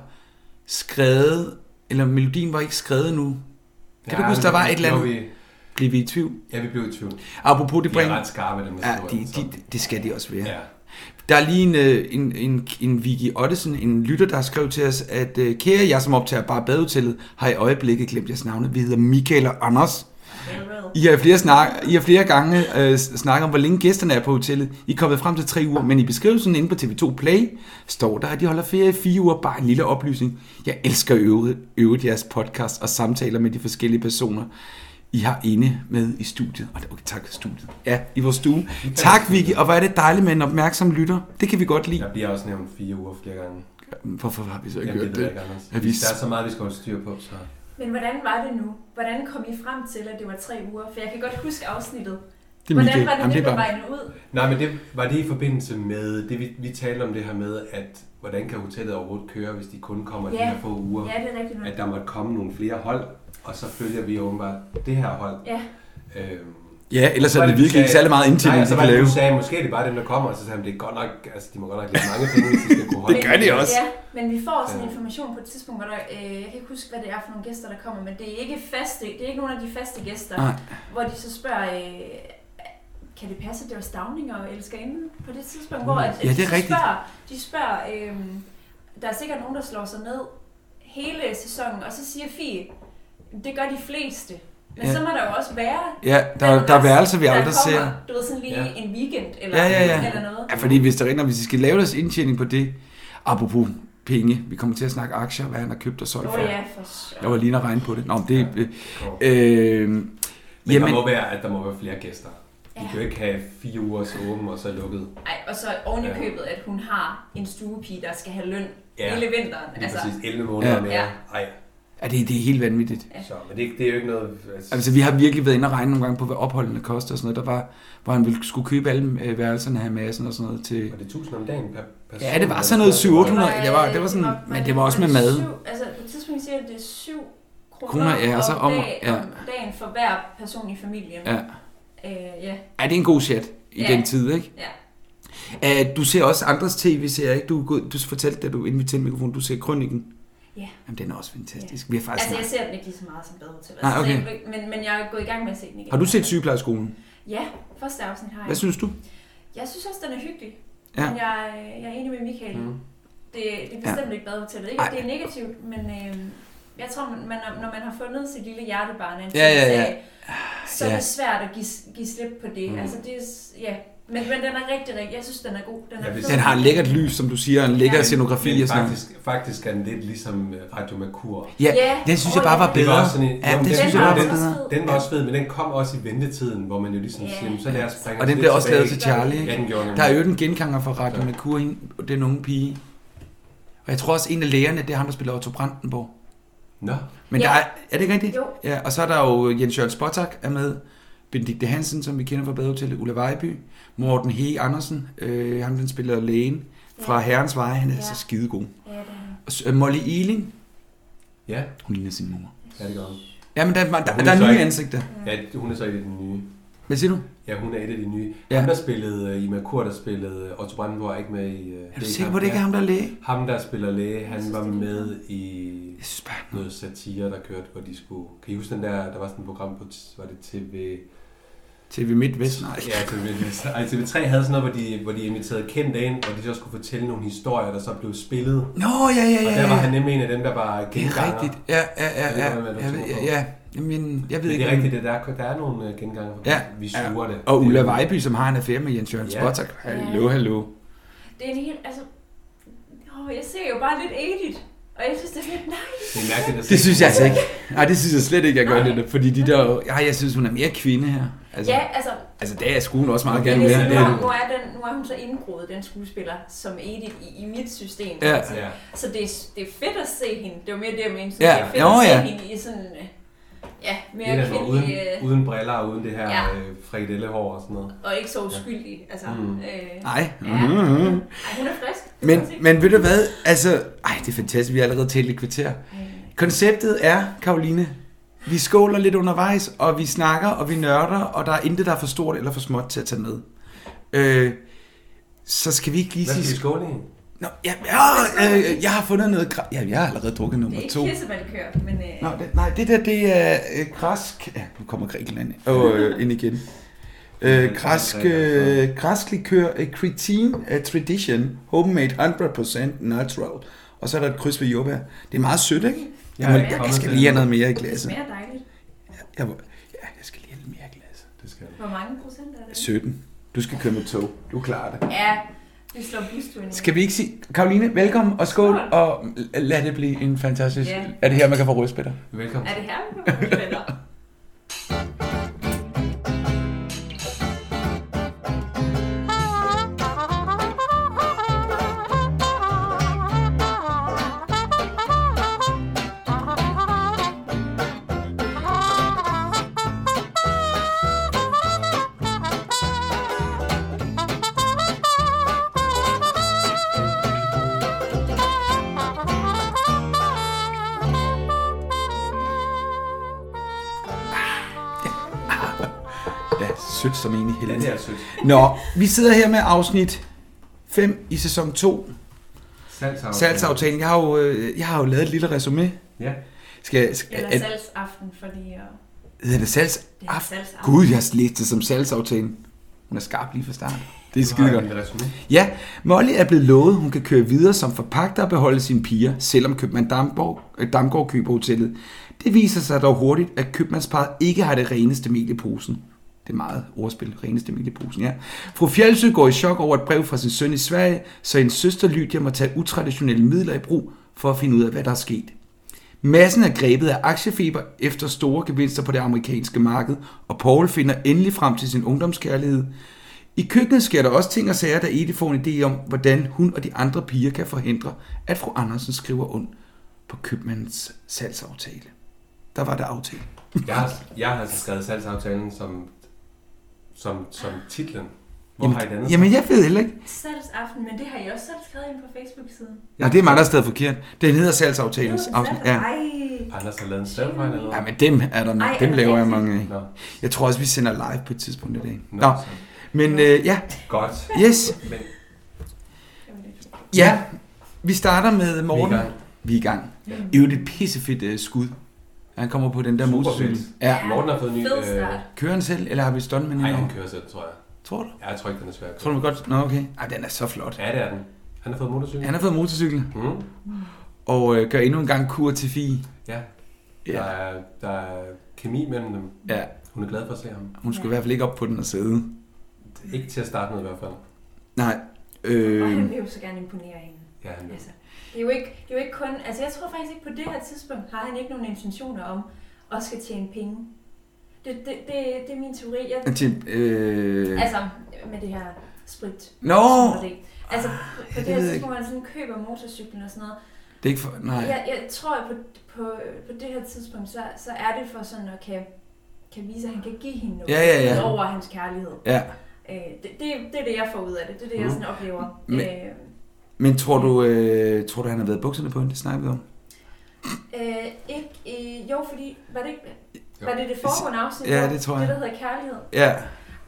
Speaker 3: skrevet, eller melodien var ikke skrevet nu. Kan du huske, der var et eller andet?
Speaker 2: Jo, Vi,
Speaker 3: Blev vi i tvivl?
Speaker 2: ja, vi blev i tvivl.
Speaker 3: Apropos det
Speaker 2: De er
Speaker 3: bringer...
Speaker 2: ret skarpe, dem der
Speaker 3: Ja,
Speaker 2: skriver
Speaker 3: de,
Speaker 2: den, så-
Speaker 3: de, det skal de også være.
Speaker 2: Ja.
Speaker 3: Der er lige en, øh, en, en, en Vicky Ottesen, en lytter, der har skrevet til os, at øh, kære jeg, som optager bare badehotellet, har i øjeblikket glemt jeres navne. Vi hedder Michael og Anders.
Speaker 4: farewell.
Speaker 3: I har i flere, snak, I har flere gange øh, s- snakket om, hvor længe gæsterne er på hotellet. I er kommet frem til tre uger, men i beskrivelsen inde på TV2 Play står der, at de holder ferie i fire uger. Bare en lille oplysning. Jeg elsker i øvrigt, øvrigt jeres podcast og samtaler med de forskellige personer, I har inde med i studiet. Og det- okay, tak, studiet. Ja, i vores stue. Tak, Vicky, og hvor er det dejligt med en opmærksom lytter. Det kan vi godt lide.
Speaker 2: Der bliver også nævnt fire uger flere gange.
Speaker 3: Hvorfor har vi så ikke
Speaker 2: Jamen, det
Speaker 3: hørt
Speaker 2: ved jeg
Speaker 3: det?
Speaker 2: ikke, Anders.
Speaker 3: Er vi
Speaker 2: Der er så meget, vi skal holde styr på, så...
Speaker 4: Men hvordan var det nu? Hvordan kom I frem til, at det var tre uger? For jeg kan godt huske afsnittet.
Speaker 3: Det er
Speaker 4: hvordan
Speaker 3: Michael.
Speaker 4: var det,
Speaker 3: Jamen,
Speaker 4: det
Speaker 3: det
Speaker 4: på
Speaker 3: var...
Speaker 4: vejen ud?
Speaker 2: Nej, men det, var det i forbindelse med det, vi, vi talte om det her med, at hvordan kan hotellet overhovedet køre, hvis de kun kommer de
Speaker 4: Ja.
Speaker 2: her få uger?
Speaker 4: Ja, det er rigtigt nok.
Speaker 2: At der måtte komme nogle flere hold, og så følger vi åbenbart det her hold.
Speaker 4: Ja,
Speaker 2: Øhm,
Speaker 3: Ja, ellers
Speaker 2: så
Speaker 3: er
Speaker 2: var
Speaker 3: det
Speaker 2: vi
Speaker 3: virkelig ikke
Speaker 2: sagde-
Speaker 3: særlig meget indtjening,
Speaker 2: Nej,
Speaker 3: de
Speaker 2: så var
Speaker 3: kan
Speaker 2: det,
Speaker 3: lave.
Speaker 2: du sagde, måske er det bare dem, der kommer, og så sagde han, det er godt nok, altså, de må godt nok lægge mange penge, hvis de skal kunne holde. Øh,
Speaker 3: Det gør de også.
Speaker 4: Ja, men vi får sådan
Speaker 2: Ja.
Speaker 4: information på et tidspunkt, hvor der, øh, jeg kan ikke huske, hvad det er for nogle gæster, der kommer, men det er ikke faste, det er ikke nogen af de faste gæster,
Speaker 3: Nej.
Speaker 4: hvor de så spørger, øh, kan det passe, at det var Stavning og Elskerinden på det tidspunkt, hvor at, at
Speaker 3: Ja, det er
Speaker 4: de, så
Speaker 3: rigtigt.
Speaker 4: spørger, de spørger, øh, der er sikkert nogen, der slår sig ned hele sæsonen, og så siger Fie, det gør de fleste. Men
Speaker 3: Ja.
Speaker 4: ja. så må der jo også være
Speaker 3: Ja, der, der er værelser, vi
Speaker 4: der
Speaker 3: aldrig
Speaker 4: kommer,
Speaker 3: ser.
Speaker 4: Du ved, sådan lige
Speaker 2: Ja.
Speaker 4: ja. en weekend eller,
Speaker 3: Ja, ja, ja.
Speaker 4: eller noget.
Speaker 3: Ja, fordi hvis der rent, hvis de skal lave deres indtjening på det, apropos penge, vi kommer til at snakke aktier, hvad han har købt og solgt
Speaker 4: Åh
Speaker 3: for.
Speaker 4: oh, ja, for søren.
Speaker 3: Jeg var lige at regne på det. Nå, men det er... Øh,
Speaker 2: Kom.
Speaker 3: øh,
Speaker 2: Men Jamen.
Speaker 3: jamen,
Speaker 2: der må være, at der må være flere gæster. Vi
Speaker 4: Ja.
Speaker 2: kan jo ikke have fire ugers åben og så lukket.
Speaker 4: Ej, og så oven i købet, at hun har en stuepige, der skal have løn
Speaker 2: Ja.
Speaker 4: ja. hele vinteren.
Speaker 2: Lige altså,
Speaker 4: altså,
Speaker 2: præcis 11 måneder
Speaker 3: Ja.
Speaker 2: mere.
Speaker 4: Ja.
Speaker 2: Ej,
Speaker 3: er det, det er helt vanvittigt.
Speaker 2: så, men det, det er jo ikke noget... Altså,
Speaker 3: Altså, vi har virkelig været inde og regne nogle gange på, hvad opholdene koster og sådan noget. Der var, hvor han ville skulle købe alle øh, værelserne her massen og sådan noget til...
Speaker 2: var det 1000 om dagen per person?
Speaker 3: Ja, det var sådan noget 700 det var- det var sådan- men det var også med mad.
Speaker 4: Syv, altså, på et tidspunkt siger jeg, det er 7 kroner,
Speaker 3: Kroner, ja, og så
Speaker 4: om,
Speaker 3: om-
Speaker 4: dag,
Speaker 3: ja.
Speaker 4: om dagen for hver person i familien.
Speaker 3: Ja.
Speaker 4: Øh, ja.
Speaker 3: Ja, det er en god chat i
Speaker 4: Ja.
Speaker 3: den tid, ikke?
Speaker 4: Ja.
Speaker 3: Uh, du ser også andres tv-serier, ikke? Du, er gået- du fortalte, da du inden vi tændte mikrofonen, du ser Krønningen.
Speaker 4: Ja.
Speaker 3: Jamen, den er også fantastisk. Vi har faktisk
Speaker 4: Altså, jeg
Speaker 3: snakket-
Speaker 4: ser den ikke lige så meget som bedre til.
Speaker 3: Nej, okay.
Speaker 4: men, men jeg er gået i gang med at se den igen.
Speaker 3: Har du set Sygeplejerskolen?
Speaker 4: Ja, første afsnit har jeg.
Speaker 3: Hvad synes du?
Speaker 4: Jeg synes også, den er hyggelig.
Speaker 3: Ja.
Speaker 4: Men jeg, jeg er enig med Michael.
Speaker 2: Mm.
Speaker 4: Mm. Det, det er bestemt ja. ikke badehotellet. Ikke,
Speaker 3: Ej.
Speaker 4: at det er negativt, men øh, jeg tror, man, man, når man har fundet sit lille hjertebarn af en
Speaker 3: Ja, ja, ja.
Speaker 4: tv-serie, så er
Speaker 3: Ja.
Speaker 4: det svært at give, give slip på det. Mm. Altså, det er, s- ja. men, men den er rigtig, rigtig, jeg synes, den er god. Den er
Speaker 2: Ja, hvis-
Speaker 4: fed.
Speaker 3: Den har en lækkert lys, som du siger, og en lækker
Speaker 4: Ja.
Speaker 3: scenografi
Speaker 2: Men
Speaker 3: og sådan noget.
Speaker 2: faktisk, faktisk er den lidt ligesom øh, Radio Mercur.
Speaker 3: Ja,
Speaker 4: Ja.
Speaker 3: den synes jeg bare var
Speaker 4: Det var
Speaker 3: bedre.
Speaker 2: også sådan en-
Speaker 3: ja,
Speaker 2: Nå, men
Speaker 3: den
Speaker 2: den
Speaker 3: synes jeg
Speaker 4: var
Speaker 3: bare var
Speaker 4: også
Speaker 3: bedre.
Speaker 4: fed.
Speaker 2: Den var også fed, men den kom også i ventetiden, hvor man jo ligesom
Speaker 4: Ja.
Speaker 2: yeah. siger, "Jamen, så lad os bringe
Speaker 3: Og
Speaker 2: os
Speaker 3: den
Speaker 2: lidt
Speaker 3: blev også lavet til
Speaker 2: tilbage."
Speaker 3: Charlie, ikke?
Speaker 2: Ja, den gjorde den.
Speaker 3: Der er jo den genganger fra Radio Mercur, hende- den unge pige. Og jeg tror også, en af lægerne, det er ham, der spiller Otto Brandenborg.
Speaker 2: Nå,
Speaker 3: Men
Speaker 4: Ja.
Speaker 3: der er, er det ikke rigtigt?
Speaker 4: Jo.
Speaker 3: Ja, og så er der jo Jens Jørgen Spottak er med, Benedikte Hansen, som vi kender fra Badehotellet, Ulla Vejby, Morten Hege Andersen, øh, ham den spiller lægen fra ja.
Speaker 4: Ja.
Speaker 3: Herrens Veje, han er ja.
Speaker 4: Ja.
Speaker 3: så skidegod.
Speaker 4: Ja, den er.
Speaker 3: Og så, øh, Molly Ealing,
Speaker 2: ja,
Speaker 3: hun ligner sin mor.
Speaker 2: ja det gør den.
Speaker 3: Ja, men der, der,
Speaker 2: Hun
Speaker 3: der,
Speaker 2: er
Speaker 3: der
Speaker 2: så
Speaker 3: er nye
Speaker 2: ikke-
Speaker 3: ansigter.
Speaker 2: Ja, hun er så et af de nye.
Speaker 3: Hvad siger du?
Speaker 2: Ja, hun er et af de nye.
Speaker 3: Ja.
Speaker 2: Ja. Ham, der spillede øh, i Mercur, der spillede øh, Otto Brandenborg, er ikke med i... øh,
Speaker 3: Er du sikker på, det ikke er ham, der er læge?
Speaker 2: Ham, der spiller læge, han
Speaker 4: synes,
Speaker 2: var
Speaker 4: det er
Speaker 2: med i
Speaker 3: Jeg synes bare, han er-
Speaker 2: noget satire, der kørte, hvor de skulle... Kan I huske den der, der var sådan et program på, var det TV...
Speaker 3: TV MidtVest, nej.
Speaker 2: Ja, TV3. Ej, TV3 havde sådan noget, hvor de, hvor de inviterede kendte ind, hvor de så skulle fortælle nogle historier, der så blev spillet.
Speaker 3: Nå, ja, ja, ja.
Speaker 2: Og der var
Speaker 3: ja.
Speaker 2: han nemlig en af dem, der var
Speaker 3: Det er
Speaker 2: genganger.
Speaker 3: rigtigt. Ja, ja, ja,
Speaker 2: Jeg ved
Speaker 3: ja.
Speaker 2: godt, hvad du
Speaker 3: Jeg ved,
Speaker 2: tror på.
Speaker 3: ja, ja. Jamen, jeg ved
Speaker 2: Men det
Speaker 3: ikke.
Speaker 2: er
Speaker 3: om-
Speaker 2: rigtigt, det der, der er nogle øh, genganger. for
Speaker 3: Ja,
Speaker 2: Vi suger det.
Speaker 3: Og
Speaker 2: Det
Speaker 3: Ulla
Speaker 2: er-
Speaker 3: Vejby, som har en affære med Jens Jørgen
Speaker 2: Ja.
Speaker 3: Spottak. Hallo,
Speaker 4: Ja.
Speaker 3: hallo.
Speaker 4: Det er en helt, altså, åh, jeg ser jo bare lidt edit, og jeg synes, det er lidt nej.
Speaker 2: Det er mærkeligt at se.
Speaker 3: Det synes jeg altså ikke. Nej, det synes jeg slet ikke, jeg gør
Speaker 4: Nej.
Speaker 3: det der, fordi de der... Ej, jeg synes, hun er mere kvinde her. Altså,
Speaker 4: Ja, altså,
Speaker 3: altså der er skuen også meget
Speaker 2: Ja,
Speaker 4: men
Speaker 3: gerne
Speaker 4: det er
Speaker 3: mere.
Speaker 4: sådan,
Speaker 3: Det
Speaker 4: nu,
Speaker 3: er
Speaker 4: er, nu,
Speaker 3: det.
Speaker 4: er den, nu er hun så indgroet, den skuespiller, som Edith i, i mit system.
Speaker 3: Ja.
Speaker 4: Altså,
Speaker 2: Ja.
Speaker 4: Så det er, det er fedt at se hende. Det var mere det, jeg mente. Så
Speaker 3: Ja.
Speaker 4: Det er fedt
Speaker 3: Nå,
Speaker 4: at se
Speaker 3: ja.
Speaker 4: hende i sådan... øh, Ja,
Speaker 2: Det er
Speaker 4: mere
Speaker 2: der, altså uden,
Speaker 4: kvindelig øh,
Speaker 2: uden briller og uden det her
Speaker 4: Ja.
Speaker 2: ja. øh, fredellehår og sådan noget.
Speaker 4: og ikke så uskyldig. Altså,
Speaker 2: Mm.
Speaker 4: øh,
Speaker 3: Nej.
Speaker 4: Ja.
Speaker 3: Mhm.
Speaker 4: Ej, hun er frisk. Det kan man se.
Speaker 3: Men, men ved du hvad? Altså, ej, det er fantastisk. Vi har allerede talt et kvarter. Konceptet er, Karoline, vi skåler lidt undervejs, og vi snakker, og vi nørder, og der er intet, der er for stort eller for småt til at tage med. Øh, så skal vi ikke lige
Speaker 2: Hvad skal
Speaker 3: sige...
Speaker 2: vi skåle i?
Speaker 3: Nå, ja, ja, øh, jeg har fundet noget... gra- Ja, jeg har allerede drukket
Speaker 4: Det
Speaker 3: nummer
Speaker 4: er ikke
Speaker 3: to.
Speaker 4: kirsebærlikør, men... Øh,
Speaker 3: Nå, det, nej, det der, det er øh, græsk... Ja, nu kommer Grækenland ind, og, øh, ind igen.
Speaker 2: altså
Speaker 3: Øh, græsk, øh, græsk likør, øh, cretin uh, tradition, homemade 100% natural. Og så er der et kryds ved jordbær. Det er meget sødt, ikke?
Speaker 2: Jeg er
Speaker 3: Jeg,
Speaker 2: ikke
Speaker 3: jeg,
Speaker 2: kommet
Speaker 3: skal
Speaker 2: til
Speaker 3: lige have
Speaker 2: det.
Speaker 3: noget mere i
Speaker 4: det
Speaker 3: glasset.
Speaker 4: smager dejligt.
Speaker 3: Jeg, må- ja, jeg skal lige have lidt mere i glasset.
Speaker 2: Det skal jeg.
Speaker 4: Hvor mange procent er det?
Speaker 3: 17. Du skal køre med tog. Du klarer det.
Speaker 4: Ja, vi slår busturen i.
Speaker 3: Skal vi ikke sige... Karoline, velkommen og skål,
Speaker 4: Skål.
Speaker 3: og l- lad det blive en fantastisk...
Speaker 4: Ja.
Speaker 3: Er det her, man kan få rødspætter?
Speaker 2: Velkommen.
Speaker 4: Er det her, vi kommer til at spille?
Speaker 5: Thank
Speaker 3: Ja,
Speaker 2: altså.
Speaker 3: sødt som en i
Speaker 2: Den
Speaker 3: helvede.
Speaker 2: her sødt.
Speaker 3: Nå, vi sidder her med afsnit 5 i sæson 2.
Speaker 2: Salgsaftale.
Speaker 3: Salgsaftalen. Jeg har jo, øh, jeg har jo lavet et lille resume.
Speaker 2: Ja.
Speaker 3: Skal, skal,
Speaker 4: Eller
Speaker 3: at,
Speaker 4: salgsaften, fordi og
Speaker 3: hedder det salgs?
Speaker 4: det er
Speaker 3: Ah,
Speaker 4: salgsaften.
Speaker 3: Gud, jeg har læst det som salgsaftalen. Hun er skarp lige fra start. Det er skide godt. Ja, Molly er blevet lovet, hun kan køre videre som forpagter og beholde sine piger, selvom købmand Damborg, øh, Damgaard køber hotellet. Det viser sig dog hurtigt, at købmandsparet ikke har det reneste mel i posen. Det er meget ordspil, reneste mel i posen, ja. Fru Fjeldsø går i chok over et brev fra sin søn i Sverige, så hendes søster Lydia må tage utraditionelle midler i brug for at finde ud af, hvad der er sket. Massen er grebet af aktiefeber efter store gevinster på det amerikanske marked, og Paul finder endelig frem til sin ungdomskærlighed. I køkkenet sker der også ting og sager, der Edith får en idé om, hvordan hun og de andre piger kan forhindre, at fru Andersen skriver ond på købmandens salgsaftale. Der var der aftale.
Speaker 2: Jeg har, jeg har altså skrevet salgsaftalen som, som, som titlen. Hvor har I
Speaker 3: Jamen,
Speaker 2: dannet?
Speaker 3: jamen, jeg ved heller ikke.
Speaker 4: Salgsaften, men det har I også selv skrevet ind på Facebook-siden.
Speaker 3: Nej, det er mig, der er stadig forkert. Den hedder salgsaftalens afsnit.
Speaker 4: Ja.
Speaker 3: Ja.
Speaker 4: Ej,
Speaker 2: Anders har lavet en stavefejl eller
Speaker 3: ja,
Speaker 2: noget?
Speaker 3: men dem er der
Speaker 4: Ej,
Speaker 3: nok. Dem
Speaker 4: er det
Speaker 3: laver jeg
Speaker 4: rigtigt?
Speaker 3: mange af.
Speaker 2: Nå,
Speaker 3: Jeg tror også, vi sender live på et tidspunkt i dag.
Speaker 2: nå,
Speaker 3: Nå,
Speaker 2: så.
Speaker 3: men øh, ja,
Speaker 2: Godt.
Speaker 3: yes.
Speaker 2: Men
Speaker 4: Jamen, det er-
Speaker 3: Ja, vi starter med
Speaker 2: Vi
Speaker 3: Morten.
Speaker 2: er i gang.
Speaker 3: Vi er i gang.
Speaker 4: Ja.
Speaker 3: I øvrigt et pissefedt øh, skud. Han kommer på den der
Speaker 2: Super
Speaker 3: motorcykel.
Speaker 2: fedt.
Speaker 3: Ja.
Speaker 2: Morten har fået en ny...
Speaker 4: Fed
Speaker 2: øh,
Speaker 4: start.
Speaker 3: Kører han selv, eller har vi stunt med
Speaker 2: nej, han
Speaker 3: hende?
Speaker 2: kører selv, tror jeg.
Speaker 3: Tror du?
Speaker 2: Ja, Jeg tror ikke, den er svær. at
Speaker 3: Tror
Speaker 2: køre.
Speaker 3: du godt? Nå, okay. Ej, den er så flot.
Speaker 2: Ja, det er den. Han har fået motorcykel.
Speaker 3: Han har fået motorcykel
Speaker 2: Mm.
Speaker 3: og øh, gør endnu en gang kur til Fie.
Speaker 2: Ja, der
Speaker 3: Ja.
Speaker 2: er, der er kemi mellem dem.
Speaker 3: ja.
Speaker 2: Hun er glad for at se ham.
Speaker 3: Hun skulle i hvert fald ikke op på den og sidde.
Speaker 2: Ikke til at starte med i hvert fald.
Speaker 3: Nej.
Speaker 4: Og han
Speaker 3: Øh,
Speaker 4: vil jo så gerne imponere hende.
Speaker 2: Ja, han vil.
Speaker 4: Altså, det er jo ikke, det er jo ikke kun... Altså, jeg tror faktisk ikke, på det her tidspunkt har han ikke nogen intentioner om at skal tjene penge. Det, det, det, det er min teori. Jeg,
Speaker 3: til, øh,
Speaker 4: altså, med det her sprit.
Speaker 3: Nå!
Speaker 4: sådan noget. Altså, på, på det
Speaker 3: jeg
Speaker 4: her
Speaker 3: ved ikke.
Speaker 4: tidspunkt, hvor han sådan køber motorcyklen og sådan noget.
Speaker 3: det er ikke for... Nej.
Speaker 4: Jeg, jeg tror, at på, på, på det her tidspunkt, så, så er det for sådan at kan, kan vise, at han kan give hende noget
Speaker 3: Ja, ja, ja.
Speaker 4: over hans kærlighed.
Speaker 3: Ja.
Speaker 4: Øh, det, det, det er det, jeg får ud af det. Det er det, jeg
Speaker 2: Mm.
Speaker 4: sådan oplever.
Speaker 3: Men-
Speaker 4: Øh,
Speaker 3: Men tror du, øh, tror du, han har været i bukserne på hende? Det snakker vi om.
Speaker 4: øh, ikke, øh, jo, fordi var det, ikke,
Speaker 2: Jo.
Speaker 4: var det det foregående afsnit?
Speaker 3: Ja,
Speaker 4: hvor-
Speaker 3: det tror
Speaker 4: Det,
Speaker 3: jeg.
Speaker 4: der hedder kærlighed.
Speaker 3: Ja.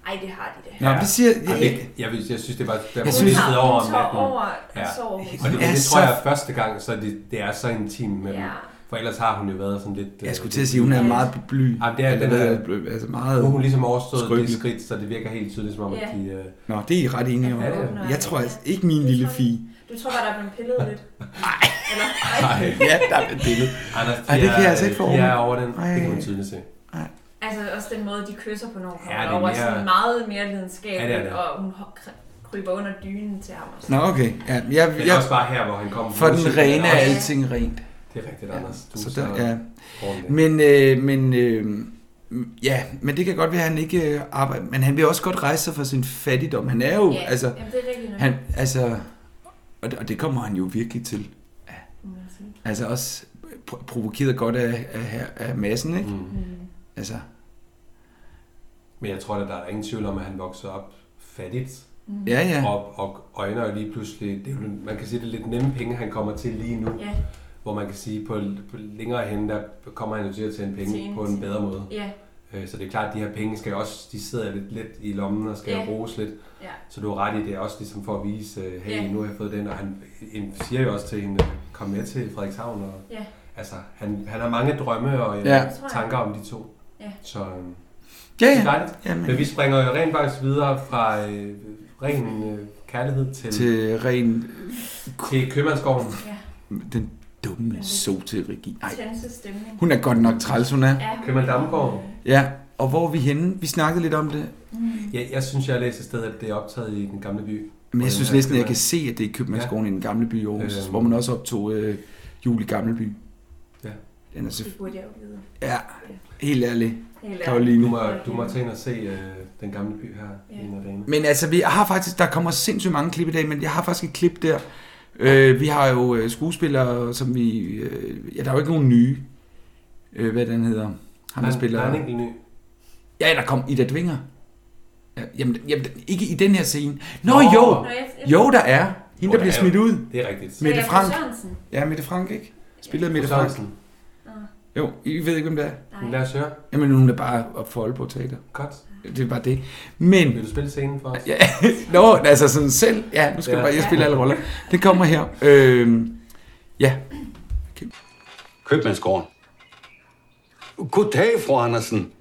Speaker 4: Ej, det har de det.
Speaker 3: Nå,
Speaker 2: Ja.
Speaker 3: vi siger...
Speaker 2: Jeg,
Speaker 3: Jeg,
Speaker 2: jeg, jeg, vil- jeg synes, det var der
Speaker 3: Jeg
Speaker 2: jeg
Speaker 3: synes-
Speaker 2: synes, over om
Speaker 4: hun tager
Speaker 2: natten.
Speaker 4: over
Speaker 2: Ja.
Speaker 4: ja. sover hos
Speaker 2: Og det,
Speaker 3: Hun er
Speaker 2: det
Speaker 3: så-
Speaker 2: tror jeg er første gang, så det, det er så intimt med
Speaker 4: Ja.
Speaker 2: ja. For ellers har hun jo været sådan lidt... øh,
Speaker 3: jeg skulle til at sige, hun er meget bly.
Speaker 2: Ja, det er-
Speaker 3: Eller
Speaker 2: den er-
Speaker 3: hvad er bly- Altså meget...
Speaker 2: Nu har hun ligesom overstået
Speaker 3: Skrøbelig.
Speaker 2: de skridt, så det virker helt tydeligt, som om, at
Speaker 4: Ja.
Speaker 2: de... Øh,
Speaker 3: Nå, det er I ret enige om.
Speaker 2: Ja, det
Speaker 4: er-
Speaker 3: Jeg tror altså ikke min lille fie.
Speaker 4: Du tror bare, der er blevet pillet lidt. Eller,
Speaker 2: nej,
Speaker 3: Ja, der er et billede.
Speaker 2: Anders, de
Speaker 3: Ej, det kan jeg
Speaker 2: er,
Speaker 3: altså
Speaker 2: øh,
Speaker 3: ikke få
Speaker 2: de
Speaker 3: over.
Speaker 2: er over den.
Speaker 3: Ej.
Speaker 2: Det kan man tydeligt se.
Speaker 4: Altså også den måde, de kysser på, når hun
Speaker 2: Ja,
Speaker 4: kommer
Speaker 2: det
Speaker 4: ja,
Speaker 2: er
Speaker 4: over,
Speaker 2: mere-
Speaker 4: sådan meget mere
Speaker 2: Ja,
Speaker 4: lidenskabeligt,
Speaker 2: det er
Speaker 4: ja,
Speaker 2: det.
Speaker 4: og hun ho- kry- kryber under dynen til ham. Og sådan.
Speaker 3: Nå, okay. Ja, jeg,
Speaker 2: Men
Speaker 3: jeg,
Speaker 2: også bare her, hvor han kommer...
Speaker 3: for den rene er alting rent.
Speaker 2: Det er rigtigt,
Speaker 3: Ja,
Speaker 2: Anders. Du
Speaker 3: så
Speaker 2: er
Speaker 3: der, ja.
Speaker 2: ordentlig.
Speaker 3: Men, øh, men, øh, ja, men det kan godt være, at han ikke øh, arbejder. Men han vil også godt rejse sig fra sin fattigdom. Han er jo,
Speaker 4: ja,
Speaker 3: altså,
Speaker 4: jamen, det er rigtigt nok.
Speaker 3: han, altså, og det, og det kommer han jo virkelig til.
Speaker 4: må man sige.
Speaker 3: Altså også pro- provokeret godt af, af, af massen, ikke?
Speaker 2: Mm.
Speaker 4: Mm.
Speaker 3: Altså,
Speaker 2: Men jeg tror, at der er ingen tvivl om, at han voksede op fattigt.
Speaker 4: Mm.
Speaker 3: ja, ja.
Speaker 2: Og, og øjner jo lige pludselig, det er jo, man kan sige, det er lidt nemme penge, han kommer til lige nu.
Speaker 4: Ja,
Speaker 2: Hvor man kan sige, på, på længere hen, der kommer han jo til at tjene penge
Speaker 4: Tjene-
Speaker 2: på en bedre måde.
Speaker 4: ja,
Speaker 2: Øh, Så det er klart, at de her penge skal også, de sidder lidt let i lommen og skal
Speaker 4: Ja.
Speaker 2: yeah. bruges lidt.
Speaker 4: ja.
Speaker 2: Så du har ret i, det er også ligesom for at vise, øh, hey,
Speaker 4: Ja.
Speaker 2: nu har jeg fået den. Og han en- siger jo også til hende, kom med til Frederikshavn. Og,
Speaker 4: Ja.
Speaker 2: Altså, han, han har mange drømme og
Speaker 3: Ja.
Speaker 2: ja.
Speaker 4: Det tror jeg.
Speaker 2: tanker om de to.
Speaker 4: Ja.
Speaker 2: Så øh,
Speaker 3: Ja,
Speaker 2: det er
Speaker 3: ja.
Speaker 2: dejligt. Men
Speaker 3: Jamen,
Speaker 2: vi springer jo rent faktisk videre fra øh, ren øh, kærlighed til, til,
Speaker 3: til ren
Speaker 2: til købmandsgården.
Speaker 3: Den dumme sote-regi. Nej,
Speaker 4: Tense stemning.
Speaker 3: hun er godt nok træls, hun er.
Speaker 4: Ja,
Speaker 2: Købmand Damgaard.
Speaker 3: Ja, og hvor er vi henne? Vi snakkede lidt om det.
Speaker 2: Ja, jeg synes, jeg har læst et sted, at det er optaget i den gamle by. Øh,
Speaker 3: Men jeg synes
Speaker 2: Ja,
Speaker 3: næsten, at jeg
Speaker 2: Købmand.
Speaker 3: kan se, at det er Købmandsgården i den gamle by i Aarhus,
Speaker 2: Øhm.
Speaker 3: hvor man også optog øh, jul i gamle by.
Speaker 2: Ja.
Speaker 3: Den er så...
Speaker 4: Det burde jeg jo vide.
Speaker 3: Ja, helt ærligt,
Speaker 4: Helt ærligt.
Speaker 2: Du
Speaker 3: Karoline.
Speaker 2: må, du må tage ind og se øh, den gamle by her,
Speaker 4: Ja.
Speaker 2: Lene og Dane.
Speaker 3: Men altså, vi har faktisk... Der kommer sindssygt mange klip i dag, men jeg har faktisk et klip der. Øh, vi har jo øh, skuespillere, som vi... Øh, ja, der er jo ikke nogen nye. Øh, hvad den hedder? Ham, der
Speaker 2: Der-
Speaker 3: spiller...
Speaker 2: Der er en enkelt ny.
Speaker 3: Ja, der kom Ida Dvinger. Ja, jamen, jamen, ikke i den her scene. Nå,
Speaker 2: Nå.
Speaker 4: Nå,
Speaker 3: jo!
Speaker 4: jeg, jeg,
Speaker 3: Jo, der er. Hende,
Speaker 2: Jo,
Speaker 3: der
Speaker 2: der
Speaker 3: bliver
Speaker 2: er
Speaker 3: smidt ud.
Speaker 2: Det er rigtigt.
Speaker 3: Mette
Speaker 4: Jacob
Speaker 3: Frank.
Speaker 4: Sørensen.
Speaker 3: Ja, Mette Frank, ikke? Spillede
Speaker 2: Fru
Speaker 3: Mette Frank.
Speaker 2: Sørensen.
Speaker 4: Nå.
Speaker 3: Jo, I ved ikke, hvem det er.
Speaker 2: Men
Speaker 4: Nej.
Speaker 2: lad os høre.
Speaker 3: Jamen, hun er bare op for Aalborg Teater.
Speaker 2: Godt.
Speaker 3: Det er bare det. Men
Speaker 2: Vil du spille scenen for os?
Speaker 3: Ja, nå, altså sådan selv. Ja, nu skal
Speaker 2: Ja.
Speaker 3: du bare, jeg spiller alle roller. Det kommer her. Øhm, ja,
Speaker 5: Købmandsgården. Goddag, fru Andersen.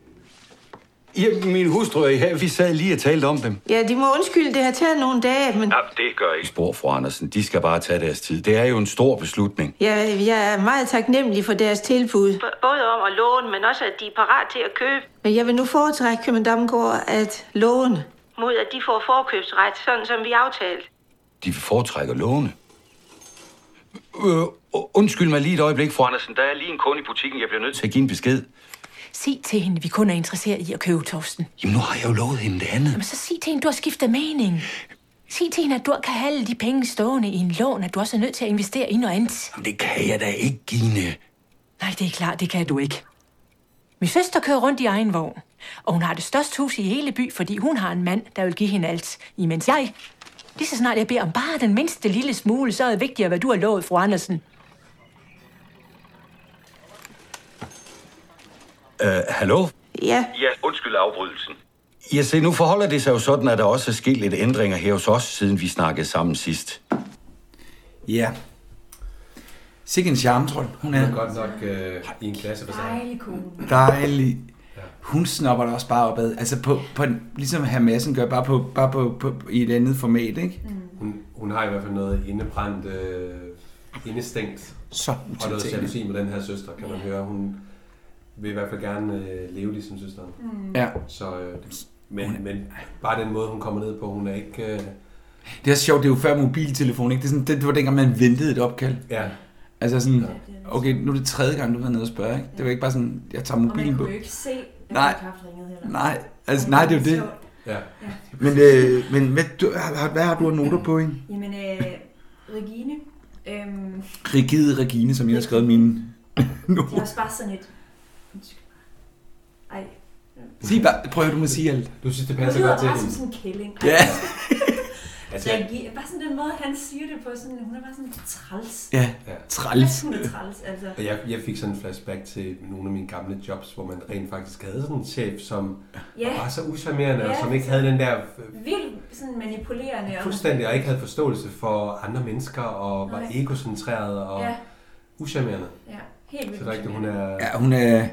Speaker 5: Ja, min hustru og jeg, vi sad lige og talte om dem.
Speaker 6: Ja, de må undskylde, det har taget nogle dage, men
Speaker 5: Ikke spor, fru Andersen. De skal bare tage deres tid. Det er jo en stor beslutning.
Speaker 6: jeg, jeg er meget taknemmelig for deres tilbud. Både om at låne, men også at de er parat til at købe. Men jeg vil nu foretrække København Damgaard at låne. Mod at de får forkøbsret, sådan som vi aftalte.
Speaker 5: De foretrækker låne. Øh, undskyld mig lige et øjeblik, fru Andersen. Der er lige en kunde i butikken. Jeg bliver nødt til at give en besked.
Speaker 7: Sig til hende, vi kun er interesseret i at købe Torsten.
Speaker 5: Jamen, nu har jeg jo lovet hende det andet.
Speaker 7: Jamen, så sig til hende, du har skiftet mening. Sig til hende, at du ikke kan have alle de penge stående i en lån, at du også er nødt til at investere i noget andet.
Speaker 5: Jamen, det kan jeg da ikke, Gine.
Speaker 7: Nej, det er klart, det kan du ikke. Min søster kører rundt i egen vogn, og hun har det største hus i hele by, fordi hun har en mand, der vil give hende alt, imens jeg... Lige så snart jeg beder om bare den mindste lille smule, så er det vigtigere, hvad du har lovet, fru Andersen.
Speaker 5: Øh, hallo?
Speaker 6: Ja,
Speaker 8: Ja, undskyld afbrydelsen.
Speaker 5: Jeg se, nu forholder det sig jo sådan, at der også er sket lidt ændringer her hos os, siden vi snakkede sammen sidst.
Speaker 3: ja. Sikke en charmetrol. Hun
Speaker 2: Det er
Speaker 3: er
Speaker 2: godt nok øh, i en klasse for sig.
Speaker 4: Dejlig kone.
Speaker 3: dejlig. Hun snopper det også bare opad. Altså på, på en- ligesom herr Madsen gør, bare, på, bare på, på, i et andet format, ikke?
Speaker 4: Mm.
Speaker 2: Hun, hun har i hvert fald noget indebrændt, øh, indestængt
Speaker 3: Så
Speaker 2: og noget
Speaker 3: utiltalende.
Speaker 2: jalousi med den her søster, kan man høre. Hun vil i hvert fald gerne øh, leve ligesom søsteren.
Speaker 4: Mm.
Speaker 3: Ja.
Speaker 2: Så, øh, men, men bare den måde, hun kommer ned på, hun er ikke... Øh,
Speaker 3: Det er også sjovt, det er jo før mobiltelefon, ikke? Det, er sådan, det var dengang, man ventede et opkald.
Speaker 2: ja,
Speaker 3: Altså sådan, okay, nu er det tredje gang, du har været nede og spørge, ikke? Det var ikke bare sådan, jeg tager
Speaker 4: Og man
Speaker 3: mobilen på.
Speaker 4: kunne jo ikke se, at
Speaker 3: Nej.
Speaker 4: hun haft ringet heller.
Speaker 3: Nej, altså nej, det er jo det.
Speaker 4: Sjovt.
Speaker 2: ja.
Speaker 3: Men, øh, men hvad, du, har- hvad har du af noter på hende?
Speaker 4: Jamen, øh, Regine, øhm,
Speaker 3: Rigide Regine, som jeg har skrevet mine
Speaker 4: det er
Speaker 3: noter.
Speaker 4: også bare sådan et... Undskyld. Ej,
Speaker 3: Sig bare, prøv at høre, du må sige alt.
Speaker 2: Du synes, det
Speaker 4: det
Speaker 2: passer godt
Speaker 4: lyder
Speaker 2: til
Speaker 4: bare som
Speaker 2: hende.
Speaker 4: sådan en kælling. Ej,
Speaker 3: Ja.
Speaker 2: Altså, jeg,
Speaker 4: Regine, bare sådan den måde, han siger det på, sådan, hun er bare sådan træls.
Speaker 3: Ja,
Speaker 2: Ja.
Speaker 3: træls.
Speaker 4: Hun er træls, altså.
Speaker 2: Og jeg, jeg fik sådan en flashback til nogle af mine gamle jobs, hvor man rent faktisk havde sådan en chef, som
Speaker 4: Ja,
Speaker 2: var så usammerende, og
Speaker 4: Ja.
Speaker 2: som ikke havde den der øh,
Speaker 4: vildt sådan manipulerende. og-
Speaker 2: fuldstændig, og ikke havde forståelse for andre mennesker, og var
Speaker 4: Nej.
Speaker 2: egocentreret og
Speaker 4: Ja,
Speaker 2: usammerende.
Speaker 4: ja. Helt vildt.
Speaker 2: Så der er ikke, hun er...
Speaker 3: Ja, hun er, hun er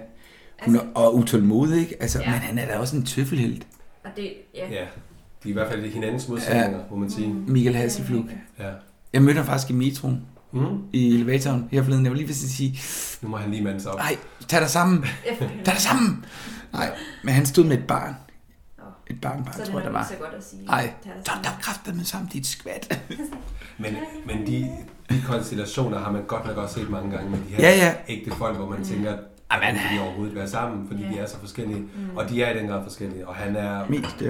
Speaker 4: Altså,
Speaker 3: og utålmodig, ikke? Altså,
Speaker 4: Ja.
Speaker 3: men han er da også en tøffelhelt.
Speaker 4: og det, ja.
Speaker 2: Ja, de er i hvert fald hinandens modsætninger, må man sige.
Speaker 3: Michael Hasselflug.
Speaker 2: Ja.
Speaker 3: Jeg mødte ham faktisk i metroen,
Speaker 2: Mm.
Speaker 3: i elevatoren her forleden. Jeg var lige ved at sige,
Speaker 2: Nu må han lige mande sig op.
Speaker 3: nej, tag dig sammen, tag dig sammen. Nej, men han stod med et barn. Et
Speaker 4: Så
Speaker 3: barnbarn,
Speaker 4: er det
Speaker 3: tror jeg, der
Speaker 4: nok ikke
Speaker 3: var.
Speaker 4: så godt at sige.
Speaker 3: Nej,
Speaker 4: Det er der
Speaker 3: der
Speaker 4: sådan-
Speaker 3: er kræfter med sammen, dit skvat.
Speaker 2: Men, men de, de konstellationer har man godt nok også set mange gange med de her
Speaker 3: Ja, ja. Ah,
Speaker 2: ægte folk, hvor man
Speaker 4: Mm.
Speaker 2: tænker, at man kan de overhovedet være sammen, fordi de er så forskellige.
Speaker 4: Mm.
Speaker 2: Og de er i den grad forskellige. Og han er,
Speaker 3: Mest, ja.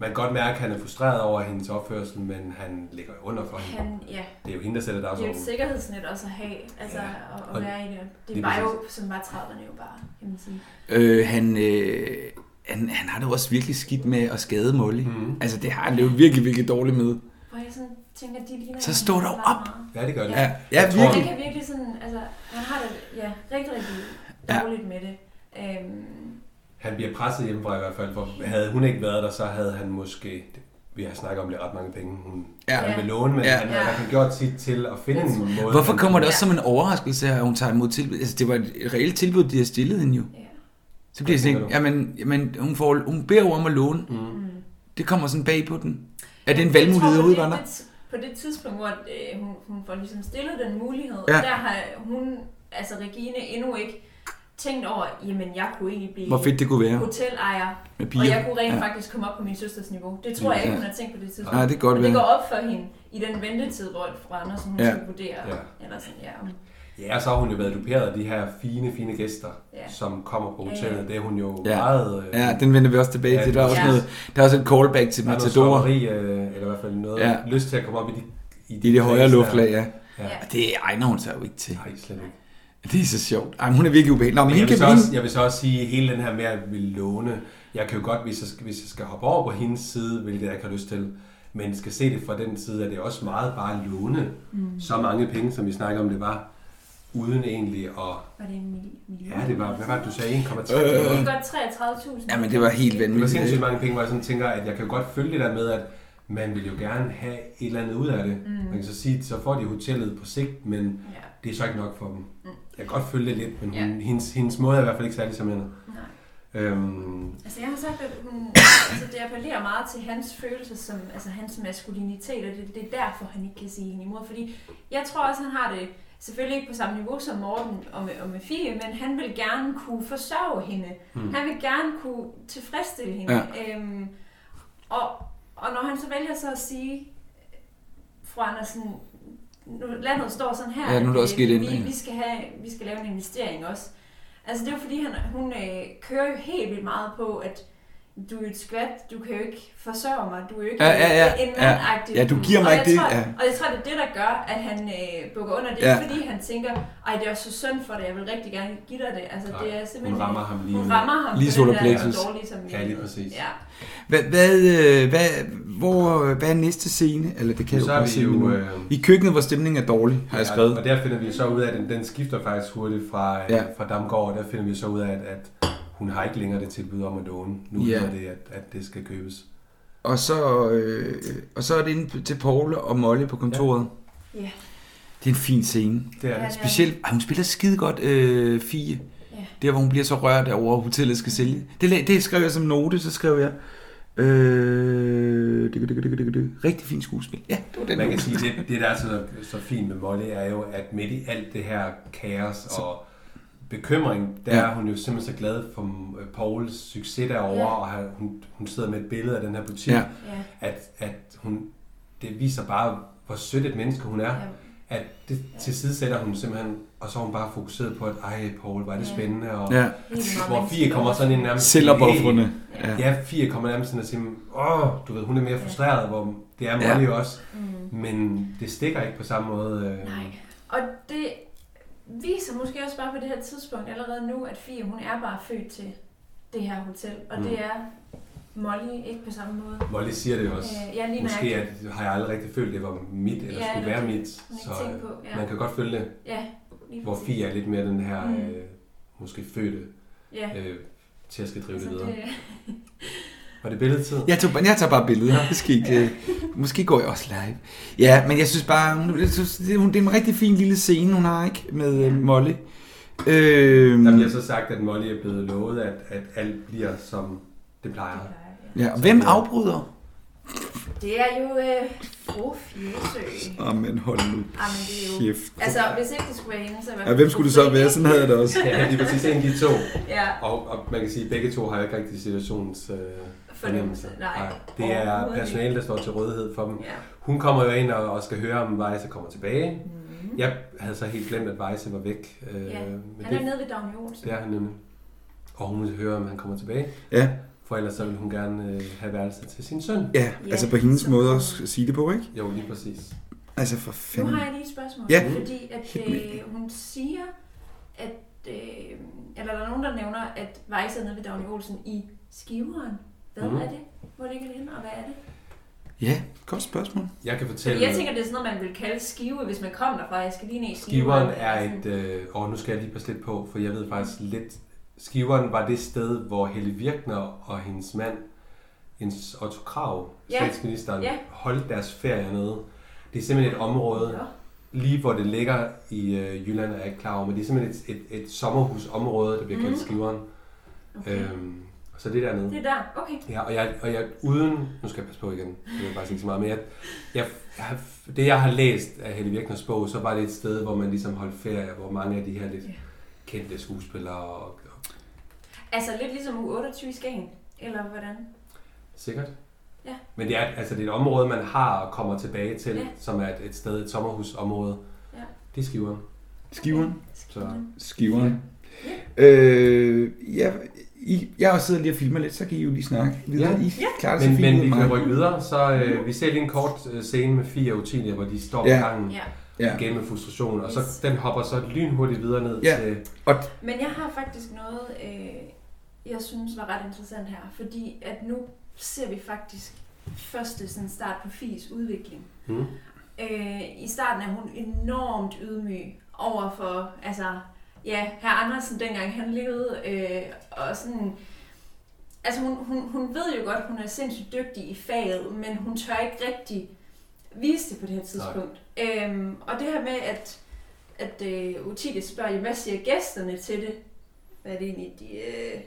Speaker 2: man kan godt mærke, at han er frustreret over hendes opførsel, men han ligger jo under for hende.
Speaker 4: Han, ja,
Speaker 2: Det er jo hende, der sætter
Speaker 4: det er jo et
Speaker 2: dagsordenen.
Speaker 4: sikkerhedsnet også at have, altså at,
Speaker 2: Og-
Speaker 4: at være i det. Det
Speaker 2: lige
Speaker 4: var jo, som var 30'erne jo bare, kan man sige.
Speaker 3: Øh, han, øh, han, han har det jo også virkelig skidt med at skade Molly. Mm. Altså, det har han det jo virkelig, virkelig dårligt med.
Speaker 4: Hvor jeg sådan tænker, de ligner...
Speaker 3: Så
Speaker 4: hinanden
Speaker 3: stå dog
Speaker 4: ret
Speaker 3: op!
Speaker 4: meget.
Speaker 2: Ja, det gør det.
Speaker 3: Ja, ja
Speaker 2: Jeg tror-
Speaker 4: Han
Speaker 3: virkelig.
Speaker 4: kan virkelig sådan, altså, han har det, ja, rigtig, rigtig
Speaker 3: Ja.
Speaker 4: dårligt med det. Øhm,
Speaker 2: Han bliver presset hjemmefra i hvert fald, for havde hun ikke været der, så havde han måske... Vi har snakket om det er ret mange penge, hun
Speaker 3: Ja.
Speaker 2: ja. gerne vil låne, men
Speaker 3: Ja.
Speaker 2: ja. han har i hvert fald gjort sit til at finde en måde.
Speaker 3: Hvorfor
Speaker 2: han-
Speaker 3: kommer det også som en overraskelse, at hun tager imod tilbud? Altså, det var et reelt tilbud, de har stillet hende jo.
Speaker 4: ja.
Speaker 3: Så bliver jeg
Speaker 2: Hvad
Speaker 3: sådan, jamen, jamen hun, får, hun beder jo om at låne. Mm. Det kommer sådan bag på den. Er det en valgmulighed
Speaker 4: Jeg tror,
Speaker 3: ude,
Speaker 4: på
Speaker 3: var
Speaker 4: det- På
Speaker 3: der?
Speaker 4: det tidspunkt, hvor øh, hun, hun får ligesom stillet den mulighed,
Speaker 3: Ja.
Speaker 4: ja. der har hun, altså Regine, endnu ikke tænkt over, jamen jeg kunne egentlig blive
Speaker 3: Hvor fedt det kunne være.
Speaker 4: hotelejer,
Speaker 3: Med
Speaker 4: og
Speaker 3: piger.
Speaker 4: jeg kunne rent
Speaker 3: Ja.
Speaker 4: ja. faktisk komme op på min søsters niveau. Det tror jeg ikke,
Speaker 3: Ja.
Speaker 4: hun har tænkt på det tidspunkt.
Speaker 3: Nej, det kan godt
Speaker 4: Og det
Speaker 3: være.
Speaker 4: går op for hende i den ventetid, hvor fru Andersen hun
Speaker 3: Ja.
Speaker 4: ja. skal vurdere.
Speaker 2: Ja.
Speaker 4: Ja. Eller sådan, ja. om-
Speaker 2: Ja, så har hun jo været duperet af de her fine, fine gæster,
Speaker 4: Ja.
Speaker 2: som kommer på hotellet. Det er hun jo
Speaker 3: Ja.
Speaker 2: ja. meget... Øh,
Speaker 3: Ja, den vender vi også tilbage
Speaker 2: Ja,
Speaker 3: til. Der er også,
Speaker 4: ja.
Speaker 3: noget, der er også et callback til altså,
Speaker 2: der er noget
Speaker 3: Matador i
Speaker 2: slammeri, øh, eller i hvert fald noget
Speaker 3: Ja.
Speaker 2: ja. lyst til at komme op i de, i
Speaker 3: det højere
Speaker 2: kredse der.
Speaker 3: luftlag, ja.
Speaker 4: Ja.
Speaker 3: Og det egner hun sig jo ikke til.
Speaker 2: Nej, slet ikke.
Speaker 3: Det er så sjovt. Ej, men hun er virkelig ubehagelig. Nå, men,
Speaker 2: Men
Speaker 3: hende
Speaker 2: jeg, vil så
Speaker 3: kan vi...
Speaker 2: også, jeg vil så også sige, hele den her med at ville låne, jeg kan jo godt, hvis jeg, skal, hvis jeg skal hoppe over på hendes side, hvilket jeg ikke har lyst til, men skal se det fra den side, at det er også meget bare at låne mm. så mange penge, som vi snakker om det var, uden egentlig at...
Speaker 4: Var det en mil- million?
Speaker 2: Ja, det var, hvad var det, du sagde? 1,3
Speaker 4: Det
Speaker 2: millioner.
Speaker 4: er godt 33.000.
Speaker 3: Øh, Jamen, det var helt
Speaker 2: Det var
Speaker 3: vanvittigt.
Speaker 2: sindssygt mange penge, hvor jeg sådan tænker, at jeg kan jo godt følge det der med, at man vil jo gerne have et eller andet ud af det. Mm. Man kan så sige, så får de hotellet på sigt, men
Speaker 4: Ja.
Speaker 2: det er så ikke nok for dem. Mm. Jeg kan godt følge det lidt, men hun,
Speaker 4: Ja.
Speaker 2: hendes, hendes måde er i hvert fald ikke særlig som hende.
Speaker 4: Nej.
Speaker 2: Øhm,
Speaker 4: Altså jeg har sagt, at hun, altså, det appellerer meget til hans følelser, som, altså hans maskulinitet, og det, det er derfor, han ikke kan sige hende imod. Fordi jeg tror også, han har det selvfølgelig ikke på samme niveau som Morten og med, og med Fie, men han vil gerne kunne forsørge hende. Mm. Han vil gerne kunne tilfredsstille hende. Ja. Øhm, og, og når han så vælger så at sige, fru Andersen, nu, landet står sådan her,
Speaker 3: Ja, nu er der
Speaker 4: at,
Speaker 3: også
Speaker 4: øh,
Speaker 3: sket
Speaker 4: vi,
Speaker 3: ændringer.
Speaker 4: vi, skal have, vi skal lave en investering også. Altså det er jo fordi, han, hun øh, kører jo helt vildt meget på, at du er jo et skvat, du kan jo ikke forsørge mig, du er jo ikke
Speaker 3: Ja, ja, ja.
Speaker 4: en mandagtig.
Speaker 3: Ja, ja, du giver mig
Speaker 4: Og jeg
Speaker 3: ikke det,
Speaker 4: Tror,
Speaker 3: ja.
Speaker 4: Og jeg tror, det er det, der gør, at han øh, bukker under det,
Speaker 3: Ja.
Speaker 4: ja. fordi han tænker, ej, det er også så synd for dig, jeg vil rigtig gerne give dig det. Altså,
Speaker 2: Nej,
Speaker 4: det er simpelthen,
Speaker 2: hun rammer ham lige
Speaker 4: Hun
Speaker 2: nu.
Speaker 4: rammer ham
Speaker 3: Lige
Speaker 4: på den
Speaker 3: solar plexus.
Speaker 4: der dårlige som
Speaker 2: Ja, lige præcis.
Speaker 4: Ja.
Speaker 3: Hvad, hvad, øh, hvad, hvor, øh, hvad er næste scene? Eller det kan
Speaker 2: Så
Speaker 3: jeg
Speaker 2: er
Speaker 3: jo
Speaker 2: vi
Speaker 3: godt se
Speaker 2: jo,
Speaker 3: nu.
Speaker 2: øh,
Speaker 3: I køkkenet, hvor stemningen er dårlig, har jeg skrevet.
Speaker 2: Og der finder vi så ud af, at den, den skifter faktisk hurtigt fra,
Speaker 3: Ja.
Speaker 2: ja. fra Damgaard, og der finder vi så ud af, at, at hun har ikke længere det tilbud om at låne. Nu
Speaker 3: Ja.
Speaker 2: ja. er det, at, at det skal købes.
Speaker 3: Og så, øh, og så er det inde til Paul og Molly på kontoret.
Speaker 4: Ja.
Speaker 3: Det er en fin scene.
Speaker 2: Det er
Speaker 4: Ja,
Speaker 2: det.
Speaker 4: det er-
Speaker 3: Specielt, ej, hun spiller skide godt, øh, Fie.
Speaker 4: Ja.
Speaker 3: Der, hvor hun bliver så rørt over, at hotellet skal sælge. Det, la- det skrev jeg som note, så skrev jeg... Øh, det, det, det, det, det. Rigtig fin skuespil. Ja, det var den
Speaker 2: Man kan
Speaker 3: note.
Speaker 2: sige, det, det der er så, så fint med Molly, er jo, at midt i alt det her kaos og bekymring, der
Speaker 3: Ja.
Speaker 2: ja. er hun jo simpelthen så glad for øh, Pauls succes derovre,
Speaker 4: Ja.
Speaker 2: ja. og han- hun, hun sidder med et billede af den her butik,
Speaker 3: Ja.
Speaker 2: ja.
Speaker 4: Ja.
Speaker 2: at, at hun, det viser bare, hvor sødt et menneske hun er.
Speaker 4: Ja.
Speaker 2: Ja. At det tilsidesætter hun simpelthen, og så er hun bare fokuseret på, at ej, Paul, var det
Speaker 4: Ja.
Speaker 2: spændende, og
Speaker 3: Ja,
Speaker 4: Helt meget
Speaker 2: hvor Fie
Speaker 4: menneskeligt.
Speaker 2: kommer sådan ind nærmest...
Speaker 3: selvopoffrende. Ja.
Speaker 2: Ja, Fie kommer nærmest sådan og siger, åh, du ved, hun er mere frustreret, hvor det er Molly ja. også. Mm. Men det stikker ikke på samme måde. Øh,
Speaker 4: Nej. Og det viser måske også bare på det her tidspunkt allerede nu, at Fie, hun er bare født til det her hotel. Og mm. det er Molly ikke på samme måde.
Speaker 2: Molly siger det jo også.
Speaker 4: Øh, ja, lige
Speaker 2: Måske
Speaker 4: nøjagtigt.
Speaker 2: at, har jeg aldrig rigtig følt, det var mit, eller
Speaker 4: Ja,
Speaker 2: ja, skulle
Speaker 4: det er
Speaker 2: være
Speaker 4: det.
Speaker 2: mit.
Speaker 4: Man
Speaker 2: Så øh,
Speaker 4: ikke tænkt på, ja.
Speaker 2: man kan godt følge det,
Speaker 4: Ja, lige
Speaker 2: hvor
Speaker 4: præcis.
Speaker 2: Fie er lidt mere den her,
Speaker 4: Mm.
Speaker 2: øh, måske fødte,
Speaker 4: Ja,
Speaker 2: øh, til at skal drive
Speaker 4: altså
Speaker 2: det videre.
Speaker 4: det,
Speaker 2: Var det billedtid?
Speaker 3: Jeg, tog, jeg tager bare billeder. Det skal ikke, øh, måske går jeg også live. Ja, men jeg synes bare, hun, jeg synes, det, hun, det er en rigtig fin lille scene, hun har, ikke? Med øh, Molly. Øh,
Speaker 2: Der bliver så sagt, at Molly er blevet lovet, at, at alt bliver, som det plejer.
Speaker 3: ja, og hvem afbryder?
Speaker 4: det er jo øh, fru Fjesø.
Speaker 3: Åh, men hold nu
Speaker 4: Ah, men det er jo...
Speaker 3: kæft.
Speaker 4: Altså, hvis ikke det skulle være hende, så var
Speaker 3: Ja, hvem skulle det så være? Sådan havde jeg det også.
Speaker 2: Ja, lige præcis en af de to.
Speaker 4: Ja,
Speaker 2: Og, og man kan sige, at begge to har jo ikke rigtig situationens øh, fornemmelse.
Speaker 4: Nej,
Speaker 2: Det er
Speaker 4: overhovedet
Speaker 2: personale, der står til rådighed for dem.
Speaker 4: Ja.
Speaker 2: Hun kommer jo ind og, og skal høre, om Weisse kommer tilbage. Mm. Jeg havde så helt glemt, at Weisse var væk. Øh,
Speaker 4: Mhm. ja.
Speaker 2: men
Speaker 4: Han er
Speaker 2: det,
Speaker 4: nede ved Dagny Olsen.
Speaker 2: det er han nemlig. Og hun vil høre, om han kommer tilbage.
Speaker 3: Ja,
Speaker 2: For ellers så vil hun gerne øh, have værelset til sin søn.
Speaker 3: ja, altså på hendes måde at s- sige det på, ikke?
Speaker 2: Jo, lige præcis.
Speaker 3: Altså for
Speaker 4: Nu
Speaker 3: fanden.
Speaker 4: har jeg lige et spørgsmål,
Speaker 3: Ja.
Speaker 4: fordi at,
Speaker 3: Helt vildt.
Speaker 4: øh, hun siger, at, øh, eller der er nogen, der nævner, at Vejse er nede ved Dagny Olsen i skiveren. Hvad
Speaker 2: Mhm.
Speaker 4: er det? Hvor ligger det henne, og hvad er det?
Speaker 3: Ja, godt spørgsmål.
Speaker 2: Jeg kan
Speaker 4: Fordi
Speaker 2: fortælle...
Speaker 4: jeg tænker, det er sådan noget, man vil kalde skive, hvis man kom derfra. Jeg skal lige ned i skiveren.
Speaker 2: Skiveren er et... Øh, og nu skal jeg lige passe lidt på, for jeg ved faktisk lidt... Skiveren var det sted, hvor Helle Virkner og hendes mand, Jens Otto Krav,
Speaker 4: Ja.
Speaker 2: statsministeren,
Speaker 4: Ja.
Speaker 2: holdt deres ferie nede. Det er simpelthen et område,
Speaker 4: Nå.
Speaker 2: lige hvor det ligger i øh, Jylland, er jeg ikke klar over, men det er simpelthen et, et, et sommerhusområde, der bliver kaldt Skiveren. Okay. Øhm, så det er dernede.
Speaker 4: Mhm. Det er der. Okay.
Speaker 2: Ja, og jeg, og jeg uden... Nu skal jeg passe på igen. Det er faktisk ikke så meget. Men jeg, jeg, jeg, det, jeg har læst af Helle Virkners bog, så var det et sted, hvor man ligesom holdt ferie, hvor mange af de her lidt kendte skuespillere og, og
Speaker 4: Altså lidt ligesom u 28 i Skagen. Eller hvordan?
Speaker 2: Sikkert.
Speaker 4: Ja.
Speaker 2: Men det er, altså, det er et område, man har og kommer tilbage til,
Speaker 4: Ja.
Speaker 2: ja. som er et, et sted, et sommerhusområde.
Speaker 4: Ja.
Speaker 2: Det er skiveren.
Speaker 3: Skiveren.
Speaker 2: Så
Speaker 3: Skiveren. Øh, ja, I, jeg har siddet lige og filmer lidt, så kan I jo lige snakke videre.
Speaker 2: Ja.
Speaker 3: I klarer det så
Speaker 2: men,
Speaker 3: fint
Speaker 2: men
Speaker 3: uden
Speaker 2: vi
Speaker 3: mig.
Speaker 2: kan rykke videre, så øh, vi ser lige en kort øh, scene med Fia og Utilia, hvor de står
Speaker 3: Ja.
Speaker 2: på gangen
Speaker 4: Ja.
Speaker 3: Ja.
Speaker 2: igen med frustration, og
Speaker 4: Yes.
Speaker 2: så den hopper så lynhurtigt videre ned
Speaker 3: Ja.
Speaker 2: til...
Speaker 3: Og,
Speaker 4: Men jeg har faktisk noget, øh, jeg synes var ret interessant her, fordi at nu ser vi faktisk første sådan start på Fies udvikling.
Speaker 2: Hmm.
Speaker 4: Øh, I starten er hun enormt ydmyg over for, altså, ja, herr Andersen dengang han levede, øh, og sådan, altså hun, hun, hun ved jo godt, hun er sindssygt dygtig i faget, men hun tør ikke rigtig vise det på det her tidspunkt. Øhm, og det her med, at, at øh, Utilia spørger, "Jamen, hvad siger gæsterne til det? Hvad er det egentlig, de... Øh,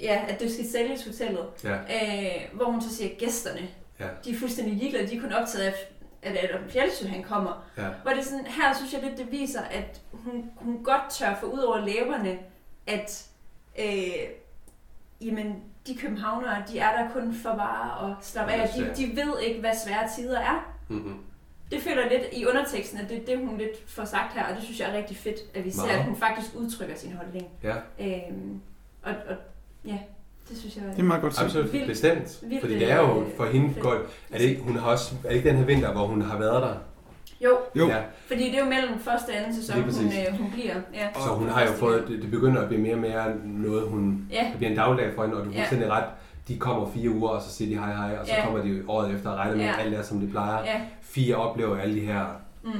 Speaker 4: ja, at det skal sælges hotellet.
Speaker 2: Ja,
Speaker 4: Øh, hvor hun så siger, gæsterne,
Speaker 2: ja,
Speaker 4: de er fuldstændig ligeglade, de er kun optaget af, at Adam Fjeldsø, han kommer.
Speaker 2: ja.
Speaker 4: Hvor det er sådan, her synes jeg lidt, det viser, at hun, hun godt tør få ud over læberne, at øh, jamen, de københavnere, de er der kun for bare at slappe af. De, de ved ikke, hvad svære tider er.
Speaker 2: Mm-hmm.
Speaker 4: Det føler jeg lidt i underteksten, at det er det, hun lidt får sagt her, og det synes jeg er rigtig fedt, at vi ser,
Speaker 2: Meget.
Speaker 4: at hun faktisk udtrykker sin holdning.
Speaker 2: Ja,
Speaker 4: Øh, og, og ja, det synes jeg
Speaker 3: Det er meget godt set.
Speaker 2: absolut
Speaker 4: Vildt-
Speaker 2: bestemt.
Speaker 4: vildt,
Speaker 2: Fordi det er jo
Speaker 4: øh,
Speaker 2: for hende
Speaker 4: fedt.
Speaker 2: godt. Er det ikke, hun har også, er det ikke den her vinter, hvor hun har været der?
Speaker 4: Jo,
Speaker 3: Jo.
Speaker 2: Ja,
Speaker 4: fordi det er jo mellem første og anden sæson,
Speaker 2: Lige
Speaker 4: hun,
Speaker 2: præcis.
Speaker 4: øh, hun bliver. Ja.
Speaker 2: så hun har jo fået, det, det begynder at blive mere og mere noget, hun
Speaker 4: Ja,
Speaker 2: Det bliver en dagligdag for hende, og du har
Speaker 4: Ja.
Speaker 2: fuldstændig ret. De kommer fire uger, og så siger de hej hej, og så
Speaker 4: Ja.
Speaker 2: kommer de året efter og regner med,
Speaker 4: Ja.
Speaker 2: at alt er, som det plejer.
Speaker 4: ja.
Speaker 2: Fire oplever alle de her,
Speaker 4: Mm.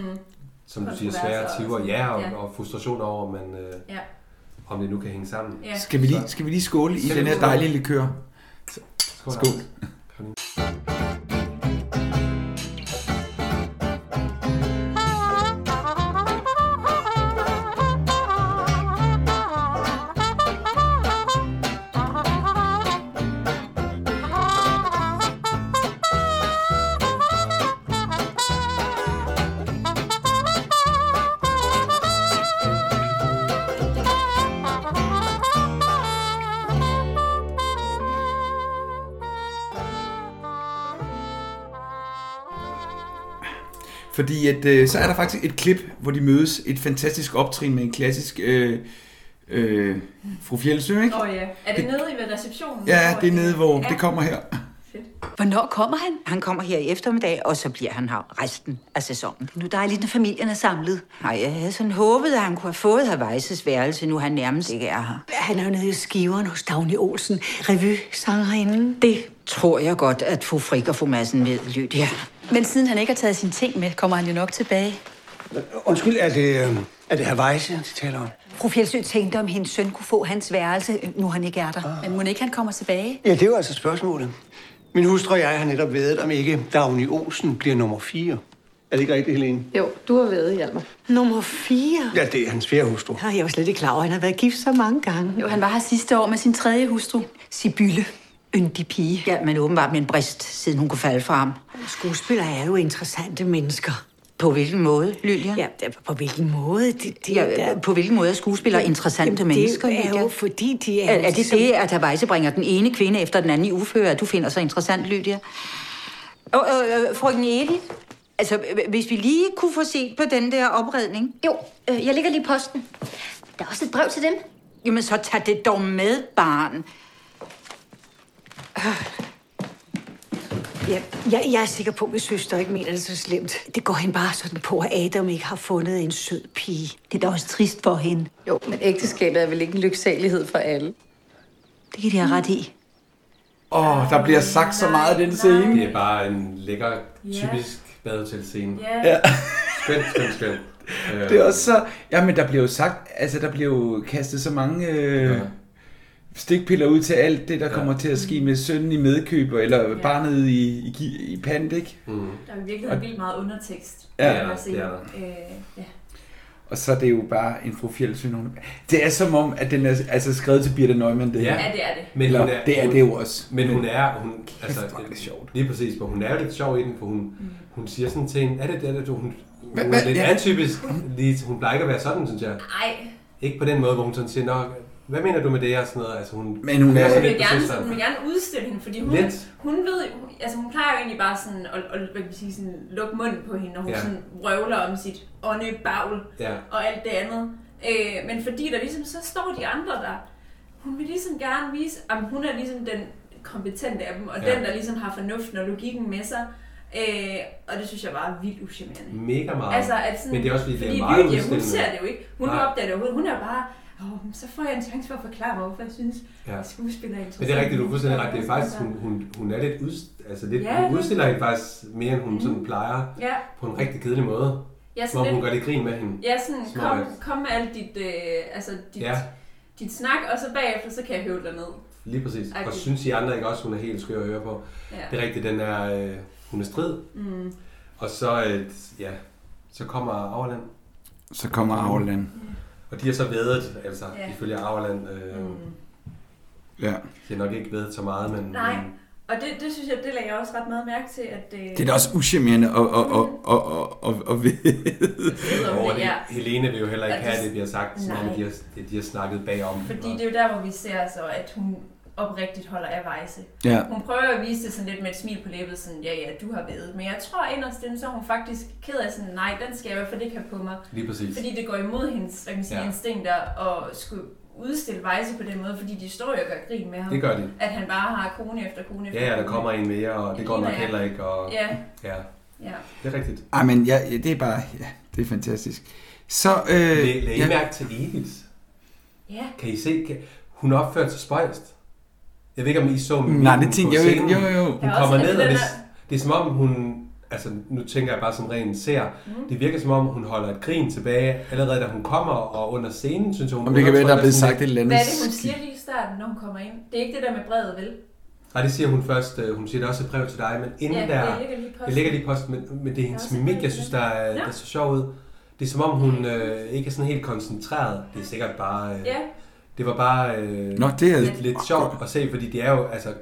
Speaker 2: som du siger,
Speaker 4: Kontroverser
Speaker 2: svære
Speaker 4: og
Speaker 2: tiver,
Speaker 4: sådan.
Speaker 2: ja, og,
Speaker 4: Ja.
Speaker 2: og frustration over, om man, øh,
Speaker 4: Ja.
Speaker 2: om det nu kan hænge sammen.
Speaker 4: Ja.
Speaker 3: Skal vi lige, skal vi lige skåle i
Speaker 2: Skal vi
Speaker 3: den her
Speaker 2: skåle?
Speaker 3: dejlige likør?
Speaker 2: Skål.
Speaker 3: Skål. Fordi at, øh, så er der faktisk et klip, hvor de mødes et fantastisk optrin med en klassisk øh, øh, fru Fjeldsø, ikke?
Speaker 4: Åh oh, ja. Er det nede i ved receptionen?
Speaker 3: Ja, det er nede, hvor
Speaker 4: ja.
Speaker 3: det kommer her.
Speaker 8: Hvornår kommer han?
Speaker 9: Han kommer her i eftermiddag, og så bliver han her resten af sæsonen.
Speaker 8: Nu er dejligt, når familien er samlet.
Speaker 9: Nej, jeg havde sådan håbet, at han kunne have fået Havajses værelse, nu han nærmest ikke er her.
Speaker 8: Han er jo nede i skiveren hos Dagny Olsen, revy-sangerinden. Det.
Speaker 9: Tror jeg godt, at fru Frik og fru Madsen ved, Lydia.
Speaker 10: Men siden han ikke har taget sine ting med, kommer han jo nok tilbage.
Speaker 11: Undskyld, er det, øh, er det Hawaii, de taler om?
Speaker 8: Fru Fjeldsø tænkte, om hendes søn kunne få hans værelse, nu han ikke er der.
Speaker 10: Men må ikke han kommer tilbage?
Speaker 11: Ja, det er jo altså spørgsmålet. Min hustru og jeg har netop vedet, om ikke Dagny Olsen bliver nummer 4. Er det ikke rigtigt, Helene?
Speaker 10: Jo, du har været, Hjalmar.
Speaker 8: Nummer 4.
Speaker 11: Ja, det er hans fjerde hustru.
Speaker 8: Ja. Jeg var slet ikke klar over, at han har været gift så mange gange.
Speaker 10: Jo, han var her sidste år med sin tredje hustru.
Speaker 8: Sibylle, yndig pige.
Speaker 9: Ja, men åbenbart med en brist, siden hun kunne falde fra ham.
Speaker 8: Skuespillere er jo interessante mennesker.
Speaker 9: På hvilken måde, Lydia?
Speaker 8: Ja, det- på hvilken måde? De, de,
Speaker 9: Ja,
Speaker 8: der-
Speaker 9: på hvilken måde er skuespillere interessante
Speaker 8: Jamen,
Speaker 9: mennesker,
Speaker 8: Det er
Speaker 9: Lydia?
Speaker 8: jo, fordi de er...
Speaker 9: Er,
Speaker 8: jo
Speaker 9: er det
Speaker 8: ligesom-
Speaker 9: det, at Havajse bringer den ene kvinde efter den anden i uføre, at du finder så interessant, Lydia? Og, øh, øh, frøken Edith? Altså, øh, hvis vi lige kunne få set på den der opredning.
Speaker 12: Jo, øh, jeg ligger lige i posten. Der er også et brev til dem.
Speaker 9: Jamen, så tag det dog med, barn.
Speaker 8: Ja, jeg, jeg er sikker på, at min søster ikke mener det så slemt. Det går hende bare sådan på, at Adam ikke har fundet en sød pige. Det er da også trist for hende.
Speaker 10: Jo, men ægteskabet er vel ikke en lyksalighed for alle.
Speaker 9: Det kan de have ret i.
Speaker 3: Åh, oh, der bliver sagt så meget i den
Speaker 4: Nej.
Speaker 3: scene.
Speaker 2: Det er bare en lækker, typisk badehotelscene.
Speaker 4: Ja.
Speaker 3: Ja.
Speaker 2: Skønt, skønt, skønt. Øh,
Speaker 3: Det er også så... Jamen, der bliver jo sagt... Altså, der bliver jo kastet så mange... Øh,
Speaker 2: Ja.
Speaker 3: stikpiller ud til alt det, der
Speaker 2: Ja.
Speaker 3: kommer til at ske med sønnen i medkøb, eller
Speaker 4: Mm. Ja.
Speaker 3: barnet i, i, gi- i pant, ikke?
Speaker 2: Mm.
Speaker 4: Der er i virkeligheden vildt meget undertekst.
Speaker 3: Ja,
Speaker 4: kan man se.
Speaker 2: det er der.
Speaker 4: Øh, ja.
Speaker 3: Og så er det jo bare en fru Fjeldsø. hun- Det er som om, at den er altså, skrevet til Birte Neumann, det
Speaker 2: Ja.
Speaker 3: her.
Speaker 4: ja, det er det.
Speaker 2: Øh, Men
Speaker 3: Eller,
Speaker 2: hun er,
Speaker 3: det er
Speaker 2: hun,
Speaker 3: det jo også.
Speaker 2: Men hun er, hun, altså,
Speaker 3: Kæft, hvor er det sjovt.
Speaker 2: lige præcis, men hun er jo lidt sjov i den, for hun,
Speaker 4: Mm.
Speaker 2: hun siger sådan ting, er det det, er det, du- hun, hun
Speaker 3: hvad?
Speaker 2: er lidt
Speaker 3: Ja.
Speaker 2: atypisk, lige, hun plejer ikke at være sådan, synes jeg.
Speaker 4: Ej,
Speaker 2: Ikke på den måde, hvor hun sådan siger, Nå, hvad mener du med det og sådan noget, altså hun...
Speaker 3: Men hun er-
Speaker 4: hun
Speaker 2: sådan
Speaker 4: vil,
Speaker 2: lidt
Speaker 4: gerne, hun
Speaker 2: besøgsom.
Speaker 4: vil gerne udstille hende, fordi hun,
Speaker 2: Lidt.
Speaker 4: hun ved hun, altså hun plejer jo egentlig bare sådan at, at hvad kan man sige, sådan, lukke munden på hende, når hun
Speaker 2: Ja.
Speaker 4: ja. sådan vrøvler om sit åndebagl
Speaker 2: Ja,
Speaker 4: og alt det andet. Øh, men fordi der ligesom, så står de andre der. Hun vil ligesom gerne vise, at hun er ligesom den kompetente af dem, og
Speaker 2: Ja.
Speaker 4: ja. den, der ligesom har fornuften og logikken med sig. Øh, og det synes jeg bare er vildt uschammerende.
Speaker 2: mega meget.
Speaker 4: Altså, at sådan,
Speaker 2: men det er også fordi, det er meget
Speaker 4: Lydia, hun
Speaker 2: udstillende.
Speaker 4: ser det jo ikke. Hun
Speaker 2: Nej.
Speaker 4: Nej. opdager det overhovedet. Hun er bare, oh, så får jeg en chance for at forklare mig, hvorfor jeg synes,
Speaker 2: Ja.
Speaker 4: at skuespiller er interessant.
Speaker 2: Men det er rigtigt, du er fuldstændig ret. Det er faktisk, hun, hun, hun er lidt, ud, altså lidt,
Speaker 4: Ja,
Speaker 2: hun
Speaker 4: det- Mhm.
Speaker 2: udstiller hende faktisk mere, end hun sådan plejer
Speaker 4: Ja,
Speaker 2: på en rigtig kedelig måde.
Speaker 4: Jeg er sådan
Speaker 2: Hvor hun
Speaker 4: lidt-
Speaker 2: gør det grin med hende.
Speaker 4: Ja, sådan,
Speaker 2: Smart
Speaker 4: kom,
Speaker 2: ass.
Speaker 4: kom med alt dit, øh, altså dit,
Speaker 2: Ja.
Speaker 4: ja. dit snak, og så bagefter, så kan jeg høve dig ned.
Speaker 2: Lige præcis. Og
Speaker 4: Agtigt.
Speaker 2: synes I andre ikke også, hun er helt skør at høre på?
Speaker 4: Ja.
Speaker 2: Det er rigtigt, den er, øh, hun er strid.
Speaker 4: Mm.
Speaker 2: Og så, øh, ja, så kommer Auerland.
Speaker 3: Så kommer Auerland.
Speaker 2: Og de er så vedet, altså
Speaker 4: Ja.
Speaker 2: ja. ifølge Auerland. Øh, mm.
Speaker 3: Ja.
Speaker 2: De har nok ikke vedet så meget, men...
Speaker 4: Nej, og det, det synes jeg, det lægger jeg også ret meget mærke til, at... Øh,
Speaker 3: Det er da også uschammerende at, at, at, at, at, at, at vide.
Speaker 4: om
Speaker 2: Og
Speaker 4: det, ja.
Speaker 2: Helene vil jo heller ikke
Speaker 4: Og
Speaker 2: have,
Speaker 4: det-
Speaker 2: at det bliver sagt, som om
Speaker 4: Nej.
Speaker 2: de har, de har snakket bagom.
Speaker 4: Fordi det er jo der, hvor vi ser så, at hun oprigtigt holder af Vejse.
Speaker 2: Ja.
Speaker 4: Hun prøver at vise det sådan lidt med et smil på læbet, sådan, ja, ja, du har været. Men jeg tror inderst inde, så er hun faktisk ked af sådan, nej, den skal jeg i hvert fald ikke have på mig.
Speaker 2: Lige præcis.
Speaker 4: Fordi det går imod hendes, hvad kan man sige,
Speaker 2: Ja.
Speaker 4: ja. instinkter at skulle udstille Vejse på den måde, fordi de står jo og gør grin med ham.
Speaker 2: Det gør de.
Speaker 4: At han bare har kone efter kone efter
Speaker 2: Ja, ja, der
Speaker 4: kone.
Speaker 2: kommer en mere, og det går nok
Speaker 4: ligner, ja.
Speaker 2: heller ikke. Og,
Speaker 4: Ja.
Speaker 2: ja.
Speaker 4: Ja.
Speaker 2: Det er rigtigt.
Speaker 3: Ej, men ja, ja, det er bare... Ja, det er fantastisk. Så... Øh,
Speaker 2: Læg, læg
Speaker 3: ja.
Speaker 2: mærke til Edith.
Speaker 4: Ja.
Speaker 2: Kan I se? Kan, hun opførte sig spøjst. Jeg ved ikke, om I så
Speaker 3: Nej, det tænkte jeg jo ikke.
Speaker 2: scenen.
Speaker 3: Jo, jo.
Speaker 2: Hun
Speaker 3: Der er
Speaker 2: kommer
Speaker 3: også
Speaker 2: ned,
Speaker 3: den
Speaker 2: og det,
Speaker 3: der-
Speaker 2: det er som om hun... Altså, nu tænker jeg bare som ren ser.
Speaker 3: Mm.
Speaker 2: Det virker som om, hun holder et grin tilbage, allerede da hun kommer, og under scenen, synes jeg, hun...
Speaker 3: Om det kan være, der er blevet
Speaker 2: sådan
Speaker 3: sagt et eller andet.
Speaker 4: Hvad er det, hun siger lige i starten, når hun kommer ind? Det er ikke det der med brevet, vel?
Speaker 2: Nej, det siger hun først. øh, Hun siger, der er også et brev til dig, men inden
Speaker 4: Ja, det
Speaker 2: der...
Speaker 4: ligger lige i posten.
Speaker 2: det ligger lige i posten, men, men det er hendes
Speaker 4: også et
Speaker 2: mimik,
Speaker 4: brev
Speaker 2: jeg
Speaker 4: til
Speaker 2: synes,
Speaker 4: dig.
Speaker 2: der er,
Speaker 4: Nå.
Speaker 2: der er så sjov ud. Det er som om, hun øh, ikke er sådan helt koncentreret. Det er sikkert bare... Øh,
Speaker 4: Ja.
Speaker 2: Det var bare øh,
Speaker 3: Nå, det er-
Speaker 2: lidt, lidt sjovt at se, fordi det er jo... Altså,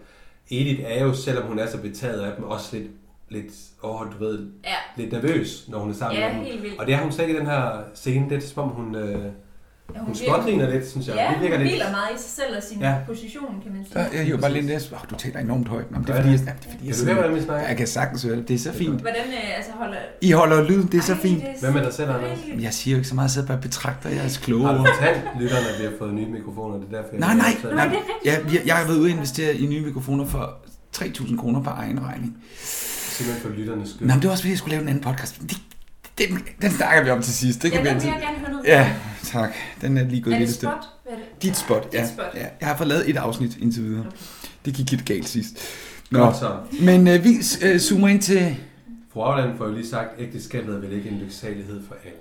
Speaker 2: Edith er jo, selvom hun er så betaget af dem, også lidt, lidt åh, du ved,
Speaker 4: Ja.
Speaker 2: lidt nervøs, når hun er sammen
Speaker 4: Ja,
Speaker 2: med dem.
Speaker 4: helt vildt.
Speaker 2: Og det er hun slet ikke i den her scene. Det er som om, hun, øh, ja, hun, hun
Speaker 4: virker-
Speaker 2: smågriner lidt, synes jeg.
Speaker 4: Ja,
Speaker 2: det virker
Speaker 4: hun
Speaker 2: lidt,
Speaker 4: hviler meget i sig selv og sin
Speaker 2: Ja.
Speaker 4: ja. position, kan man sige.
Speaker 3: Jeg hiver bare lidt næst. Oh, du taler enormt højt. Nå, men det er
Speaker 2: Gør
Speaker 3: fordi, jeg,
Speaker 2: jeg?
Speaker 3: ja, det er, fordi,
Speaker 2: Kan
Speaker 3: jeg,
Speaker 2: du høre,
Speaker 3: sidder-
Speaker 2: hvordan vi snakker?
Speaker 3: jeg kan sagtens høre det. Det er så fint.
Speaker 4: Hvordan øh, altså holder...
Speaker 3: I holder lyden, det er så
Speaker 4: Ej,
Speaker 3: fint.
Speaker 4: det er
Speaker 2: Hvad med dig selv, Anders?
Speaker 3: Jamen, Jeg siger jo ikke så meget, jeg sidder bare og betragter jeres kloge.
Speaker 2: Har du fortalt lytterne, at vi har fået nye mikrofoner? Det er derfor, jeg
Speaker 3: Nej,
Speaker 2: er
Speaker 3: nej,
Speaker 2: optaget.
Speaker 3: nej. Jeg, jeg, jeg har været ude og investere i nye mikrofoner for 3.000 kroner på egen regning.
Speaker 2: Simpelthen for lytternes skyld.
Speaker 3: Nå, men det var også fordi, jeg skulle lave en anden podcast. Men Det, den, den snakker vi om til sidst. Det
Speaker 4: Ja,
Speaker 3: kan vi
Speaker 4: den
Speaker 3: altid-
Speaker 4: vil jeg gerne høre noget
Speaker 3: Ja,
Speaker 4: mere
Speaker 3: tak. Den er lige gået
Speaker 4: Er det
Speaker 3: lidt
Speaker 4: spot? Hvad er det?
Speaker 3: Dit spot, ja.
Speaker 4: Dit spot.
Speaker 3: ja. Jeg har fået lavet et afsnit indtil videre. Det gik lidt galt sidst.
Speaker 2: Godt så.
Speaker 3: Men øh, vi øh, zoomer ind til...
Speaker 2: Fru Auland får jo lige sagt, at ægteskabet er vel ikke en lyksalighed for alle.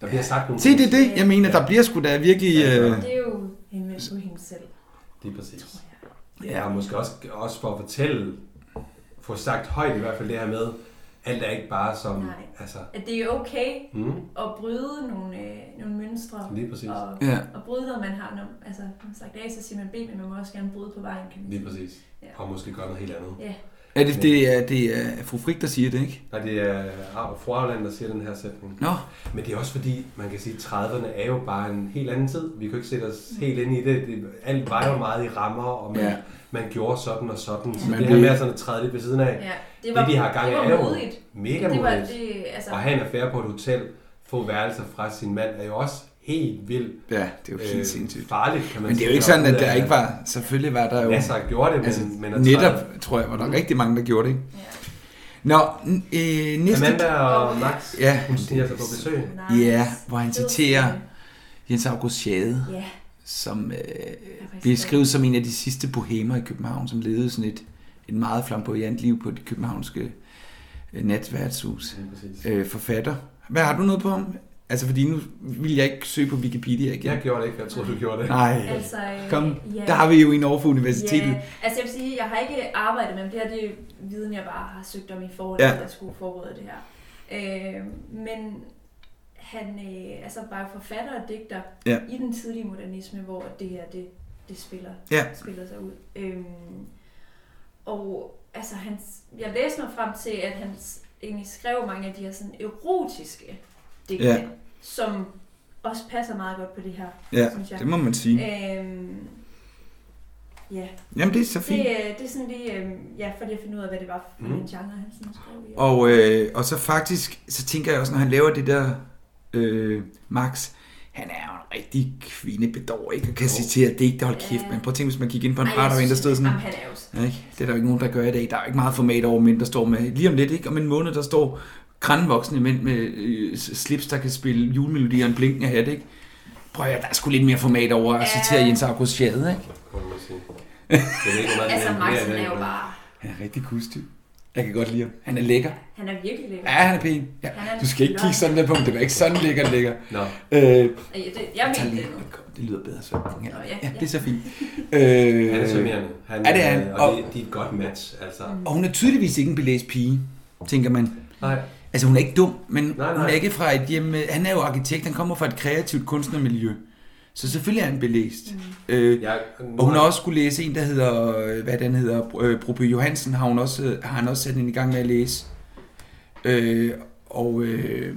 Speaker 2: Der bliver sagt nogle
Speaker 3: Se, det er det, jeg mener. Der bliver sgu da virkelig... Øh,
Speaker 4: Det er jo henvendt på hende selv.
Speaker 2: Det er præcis. Ja, og måske også, også for at fortælle, få sagt højt i hvert fald det her med, alt er ikke bare som,
Speaker 4: Nej.
Speaker 2: altså,
Speaker 4: At det er okay
Speaker 2: Mm.
Speaker 4: at bryde nogle, øh, nogle mønstre.
Speaker 2: Lige præcis.
Speaker 4: Og,
Speaker 2: Ja.
Speaker 4: og bryde, når man har når- altså, når man sagt A, så siger man B, men man må også gerne bryde på vejen. Kan man
Speaker 2: lige
Speaker 4: sige.
Speaker 2: præcis.
Speaker 4: Ja.
Speaker 2: Og måske gøre noget helt andet.
Speaker 4: Ja.
Speaker 3: er det, det, er, det er fru Frik, der siger det, ikke?
Speaker 2: Nej, det er Ar- fru Auland, der siger den her sætning.
Speaker 3: Nå.
Speaker 2: Men det er også fordi, man kan sige, at 30'erne er jo bare en helt anden tid. Vi kunne ikke sætte os helt ind i det. det alt var jo meget i rammer, og man,
Speaker 3: Ja.
Speaker 2: ja. man gjorde sådan og sådan. Så
Speaker 3: Man
Speaker 2: det her
Speaker 3: blev-
Speaker 2: med at sådan at træde lidt ved siden af,
Speaker 4: Ja, det var-
Speaker 2: de har gang i,
Speaker 4: det var
Speaker 2: er jo
Speaker 4: modigt.
Speaker 2: mega
Speaker 4: Det var-
Speaker 2: modigt.
Speaker 4: det- altså-
Speaker 2: Og have en affære på et hotel, få værelser fra sin mand, er jo også helt vildt
Speaker 3: Ja, det er jo helt
Speaker 2: sindssygt. Øh, farligt, kan man
Speaker 3: Men det er jo
Speaker 2: sige,
Speaker 3: ikke sådan, at
Speaker 2: derude
Speaker 3: der
Speaker 2: af-
Speaker 3: ikke var... Selvfølgelig var der jo... Altså,
Speaker 2: Masser, der gjorde det, men- men at Mm.
Speaker 3: netop,
Speaker 2: træde-
Speaker 3: tror jeg, var der rigtig mange, der gjorde det, ikke? Nå, n- øh, næste...
Speaker 2: Amanda og Max,
Speaker 3: ja,
Speaker 2: hun sniger sig på besøg.
Speaker 3: Ja, hvor han citerer Jens August Schade,
Speaker 4: Ja.
Speaker 3: som øh, bliver skrevet som en af de sidste bohemer i København, som levede sådan et, et meget flamboyant liv på det københavnske øh, natværtshus. Øh, forfatter. Hvad har du noget på ham? Altså, fordi nu vil jeg ikke søge på Wikipedia igen.
Speaker 2: Jeg gjorde det ikke, jeg troede, du gjorde det.
Speaker 3: Nej,
Speaker 4: Altså, øh,
Speaker 3: kom.
Speaker 4: ja.
Speaker 3: Der har vi jo en over for universitetet.
Speaker 4: Ja, altså jeg vil sige, jeg har ikke arbejdet med dem. det her, det er viden, jeg bare har søgt om i forhold
Speaker 3: Ja.
Speaker 4: til, ja. der skulle forberede det her. Øh, men han øh, altså bare forfatter og digter
Speaker 3: Ja.
Speaker 4: i den tidlige modernisme, hvor det her, det, det spiller,
Speaker 3: Ja.
Speaker 4: spiller sig ud. Øh, og altså hans, jeg læste mig frem til, at han s- egentlig skrev mange af de her sådan erotiske digte,
Speaker 3: Ja.
Speaker 4: som også passer meget godt på det her,
Speaker 3: Ja,
Speaker 4: synes jeg.
Speaker 3: det må man sige.
Speaker 4: Øhm, Ja.
Speaker 3: Jamen, det er så fint.
Speaker 4: Det, øh, det er sådan lige, øh, ja, fordi jeg finder ud af, hvad det var for mm.
Speaker 3: Mhm.
Speaker 4: en genre, han sådan skrev i.
Speaker 3: Og, øh, og så faktisk, så tænker jeg også, når han laver det der øh, Max, han er jo en rigtig kvindebedår, ikke? Og kan citere digte, hold kæft, men prøv at tænke, hvis man gik ind på en
Speaker 4: Ej,
Speaker 3: bar,
Speaker 4: jeg
Speaker 3: der var en, der
Speaker 4: synes,
Speaker 3: stod sådan...
Speaker 4: jamen, han er jo sådan-
Speaker 3: Ja, Ikke? Det er der jo ikke nogen, der gør i dag. Der er jo ikke meget format over mænd, der står med... Lige om lidt, ikke? Om en måned, der står grænvoksne mænd med øh, slips, der kan spille julemelodier og en blinkende hat, ikke? Prøv at høre, der er sgu lidt mere format over at citere Jens August Schade, ikke?
Speaker 2: Må man sige. Jeg ved ikke, hvor meget den
Speaker 4: Altså,
Speaker 2: imponerer
Speaker 4: Maxen
Speaker 2: i dag,
Speaker 4: er jo
Speaker 2: men-
Speaker 4: bare...
Speaker 3: Han er rigtig kunstig. Jeg kan godt lide ham. Han er lækker.
Speaker 4: Han er virkelig lækker.
Speaker 3: Ja, han er pæn. Ja.
Speaker 4: Han er
Speaker 3: Du skal
Speaker 4: flot.
Speaker 3: ikke kigge sådan der på ham. Det var ikke sådan lækker, den ligger. Nå. Øh,
Speaker 4: Ja, det- jeg
Speaker 3: tag
Speaker 4: mente
Speaker 3: lige-
Speaker 4: det.
Speaker 3: det lyder bedre, så. Ja,
Speaker 4: Nå, ja,
Speaker 3: ja, det er så fint. Øh,
Speaker 2: Han er charmerende. Han,
Speaker 3: er det han?
Speaker 2: Og,
Speaker 3: Og,
Speaker 2: og det, de er et godt match, altså.
Speaker 3: og hun er tydeligvis ikke en belæst pige, tænker man.
Speaker 2: Nej.
Speaker 3: Altså, hun er ikke dum, men
Speaker 2: Nej,
Speaker 3: hun
Speaker 2: nej.
Speaker 3: er ikke fra et hjem... med- Han er jo arkitekt, han kommer fra et kreativt kunstnermiljø. Så selvfølgelig er han belæst. Mm. Øh,
Speaker 2: jeg,
Speaker 3: og hun har også skulle læse en, der hedder... øh, Hvad den hedder? Øh, Broby Johansen har, hun også, øh, har han også sat hende i gang med at læse. Øh, og... Øh,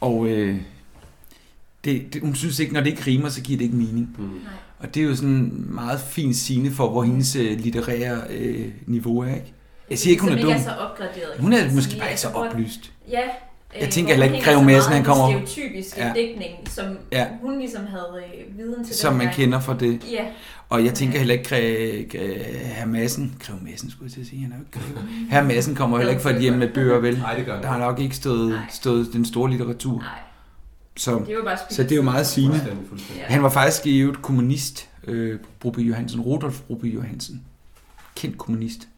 Speaker 3: og... Øh, det, det, hun synes ikke, når det ikke rimer, så giver det ikke mening. Mm. Og det er jo sådan meget fint sigende for, hvor hendes øh, litterære øh, niveau er, ikke? Jeg siger ikke, hun
Speaker 4: Som
Speaker 3: er dum.
Speaker 4: er så opgraderet. kan
Speaker 3: Hun er
Speaker 4: man
Speaker 3: måske
Speaker 4: sige.
Speaker 3: bare ikke så
Speaker 4: Altså, hvor-
Speaker 3: oplyst.
Speaker 4: Ja.
Speaker 3: Jeg
Speaker 4: øh,
Speaker 3: tænker
Speaker 4: hvor
Speaker 3: heller
Speaker 4: hun
Speaker 3: ikke,
Speaker 4: hænger
Speaker 3: Grev
Speaker 4: så meget
Speaker 3: Madsen, han
Speaker 4: i den
Speaker 3: kommer-
Speaker 4: stereotypiske
Speaker 3: Ja.
Speaker 4: dækning, som
Speaker 3: Ja.
Speaker 4: hun ligesom havde øh, viden til
Speaker 3: Som
Speaker 4: den
Speaker 3: man
Speaker 4: gang.
Speaker 3: kender fra det.
Speaker 4: Ja.
Speaker 3: Og jeg tænker heller ikke, at herr Madsen, Grev Madsen skulle jeg til at sige, han er jo ikke grev. Herr Madsen kommer heller ikke fra et hjem med bøger, vel? Nej, det gør Der har nok ikke stået, stået den store litteratur. Så
Speaker 4: Det er jo bare spild
Speaker 3: så det er jo meget
Speaker 4: af tid.
Speaker 3: sigende.
Speaker 4: Fuldstændig, fuldstændig.
Speaker 3: Han var faktisk i øvrigt kommunist, øh, Broby Johansen, Rudolf Broby Johansen. Kendt kommunist.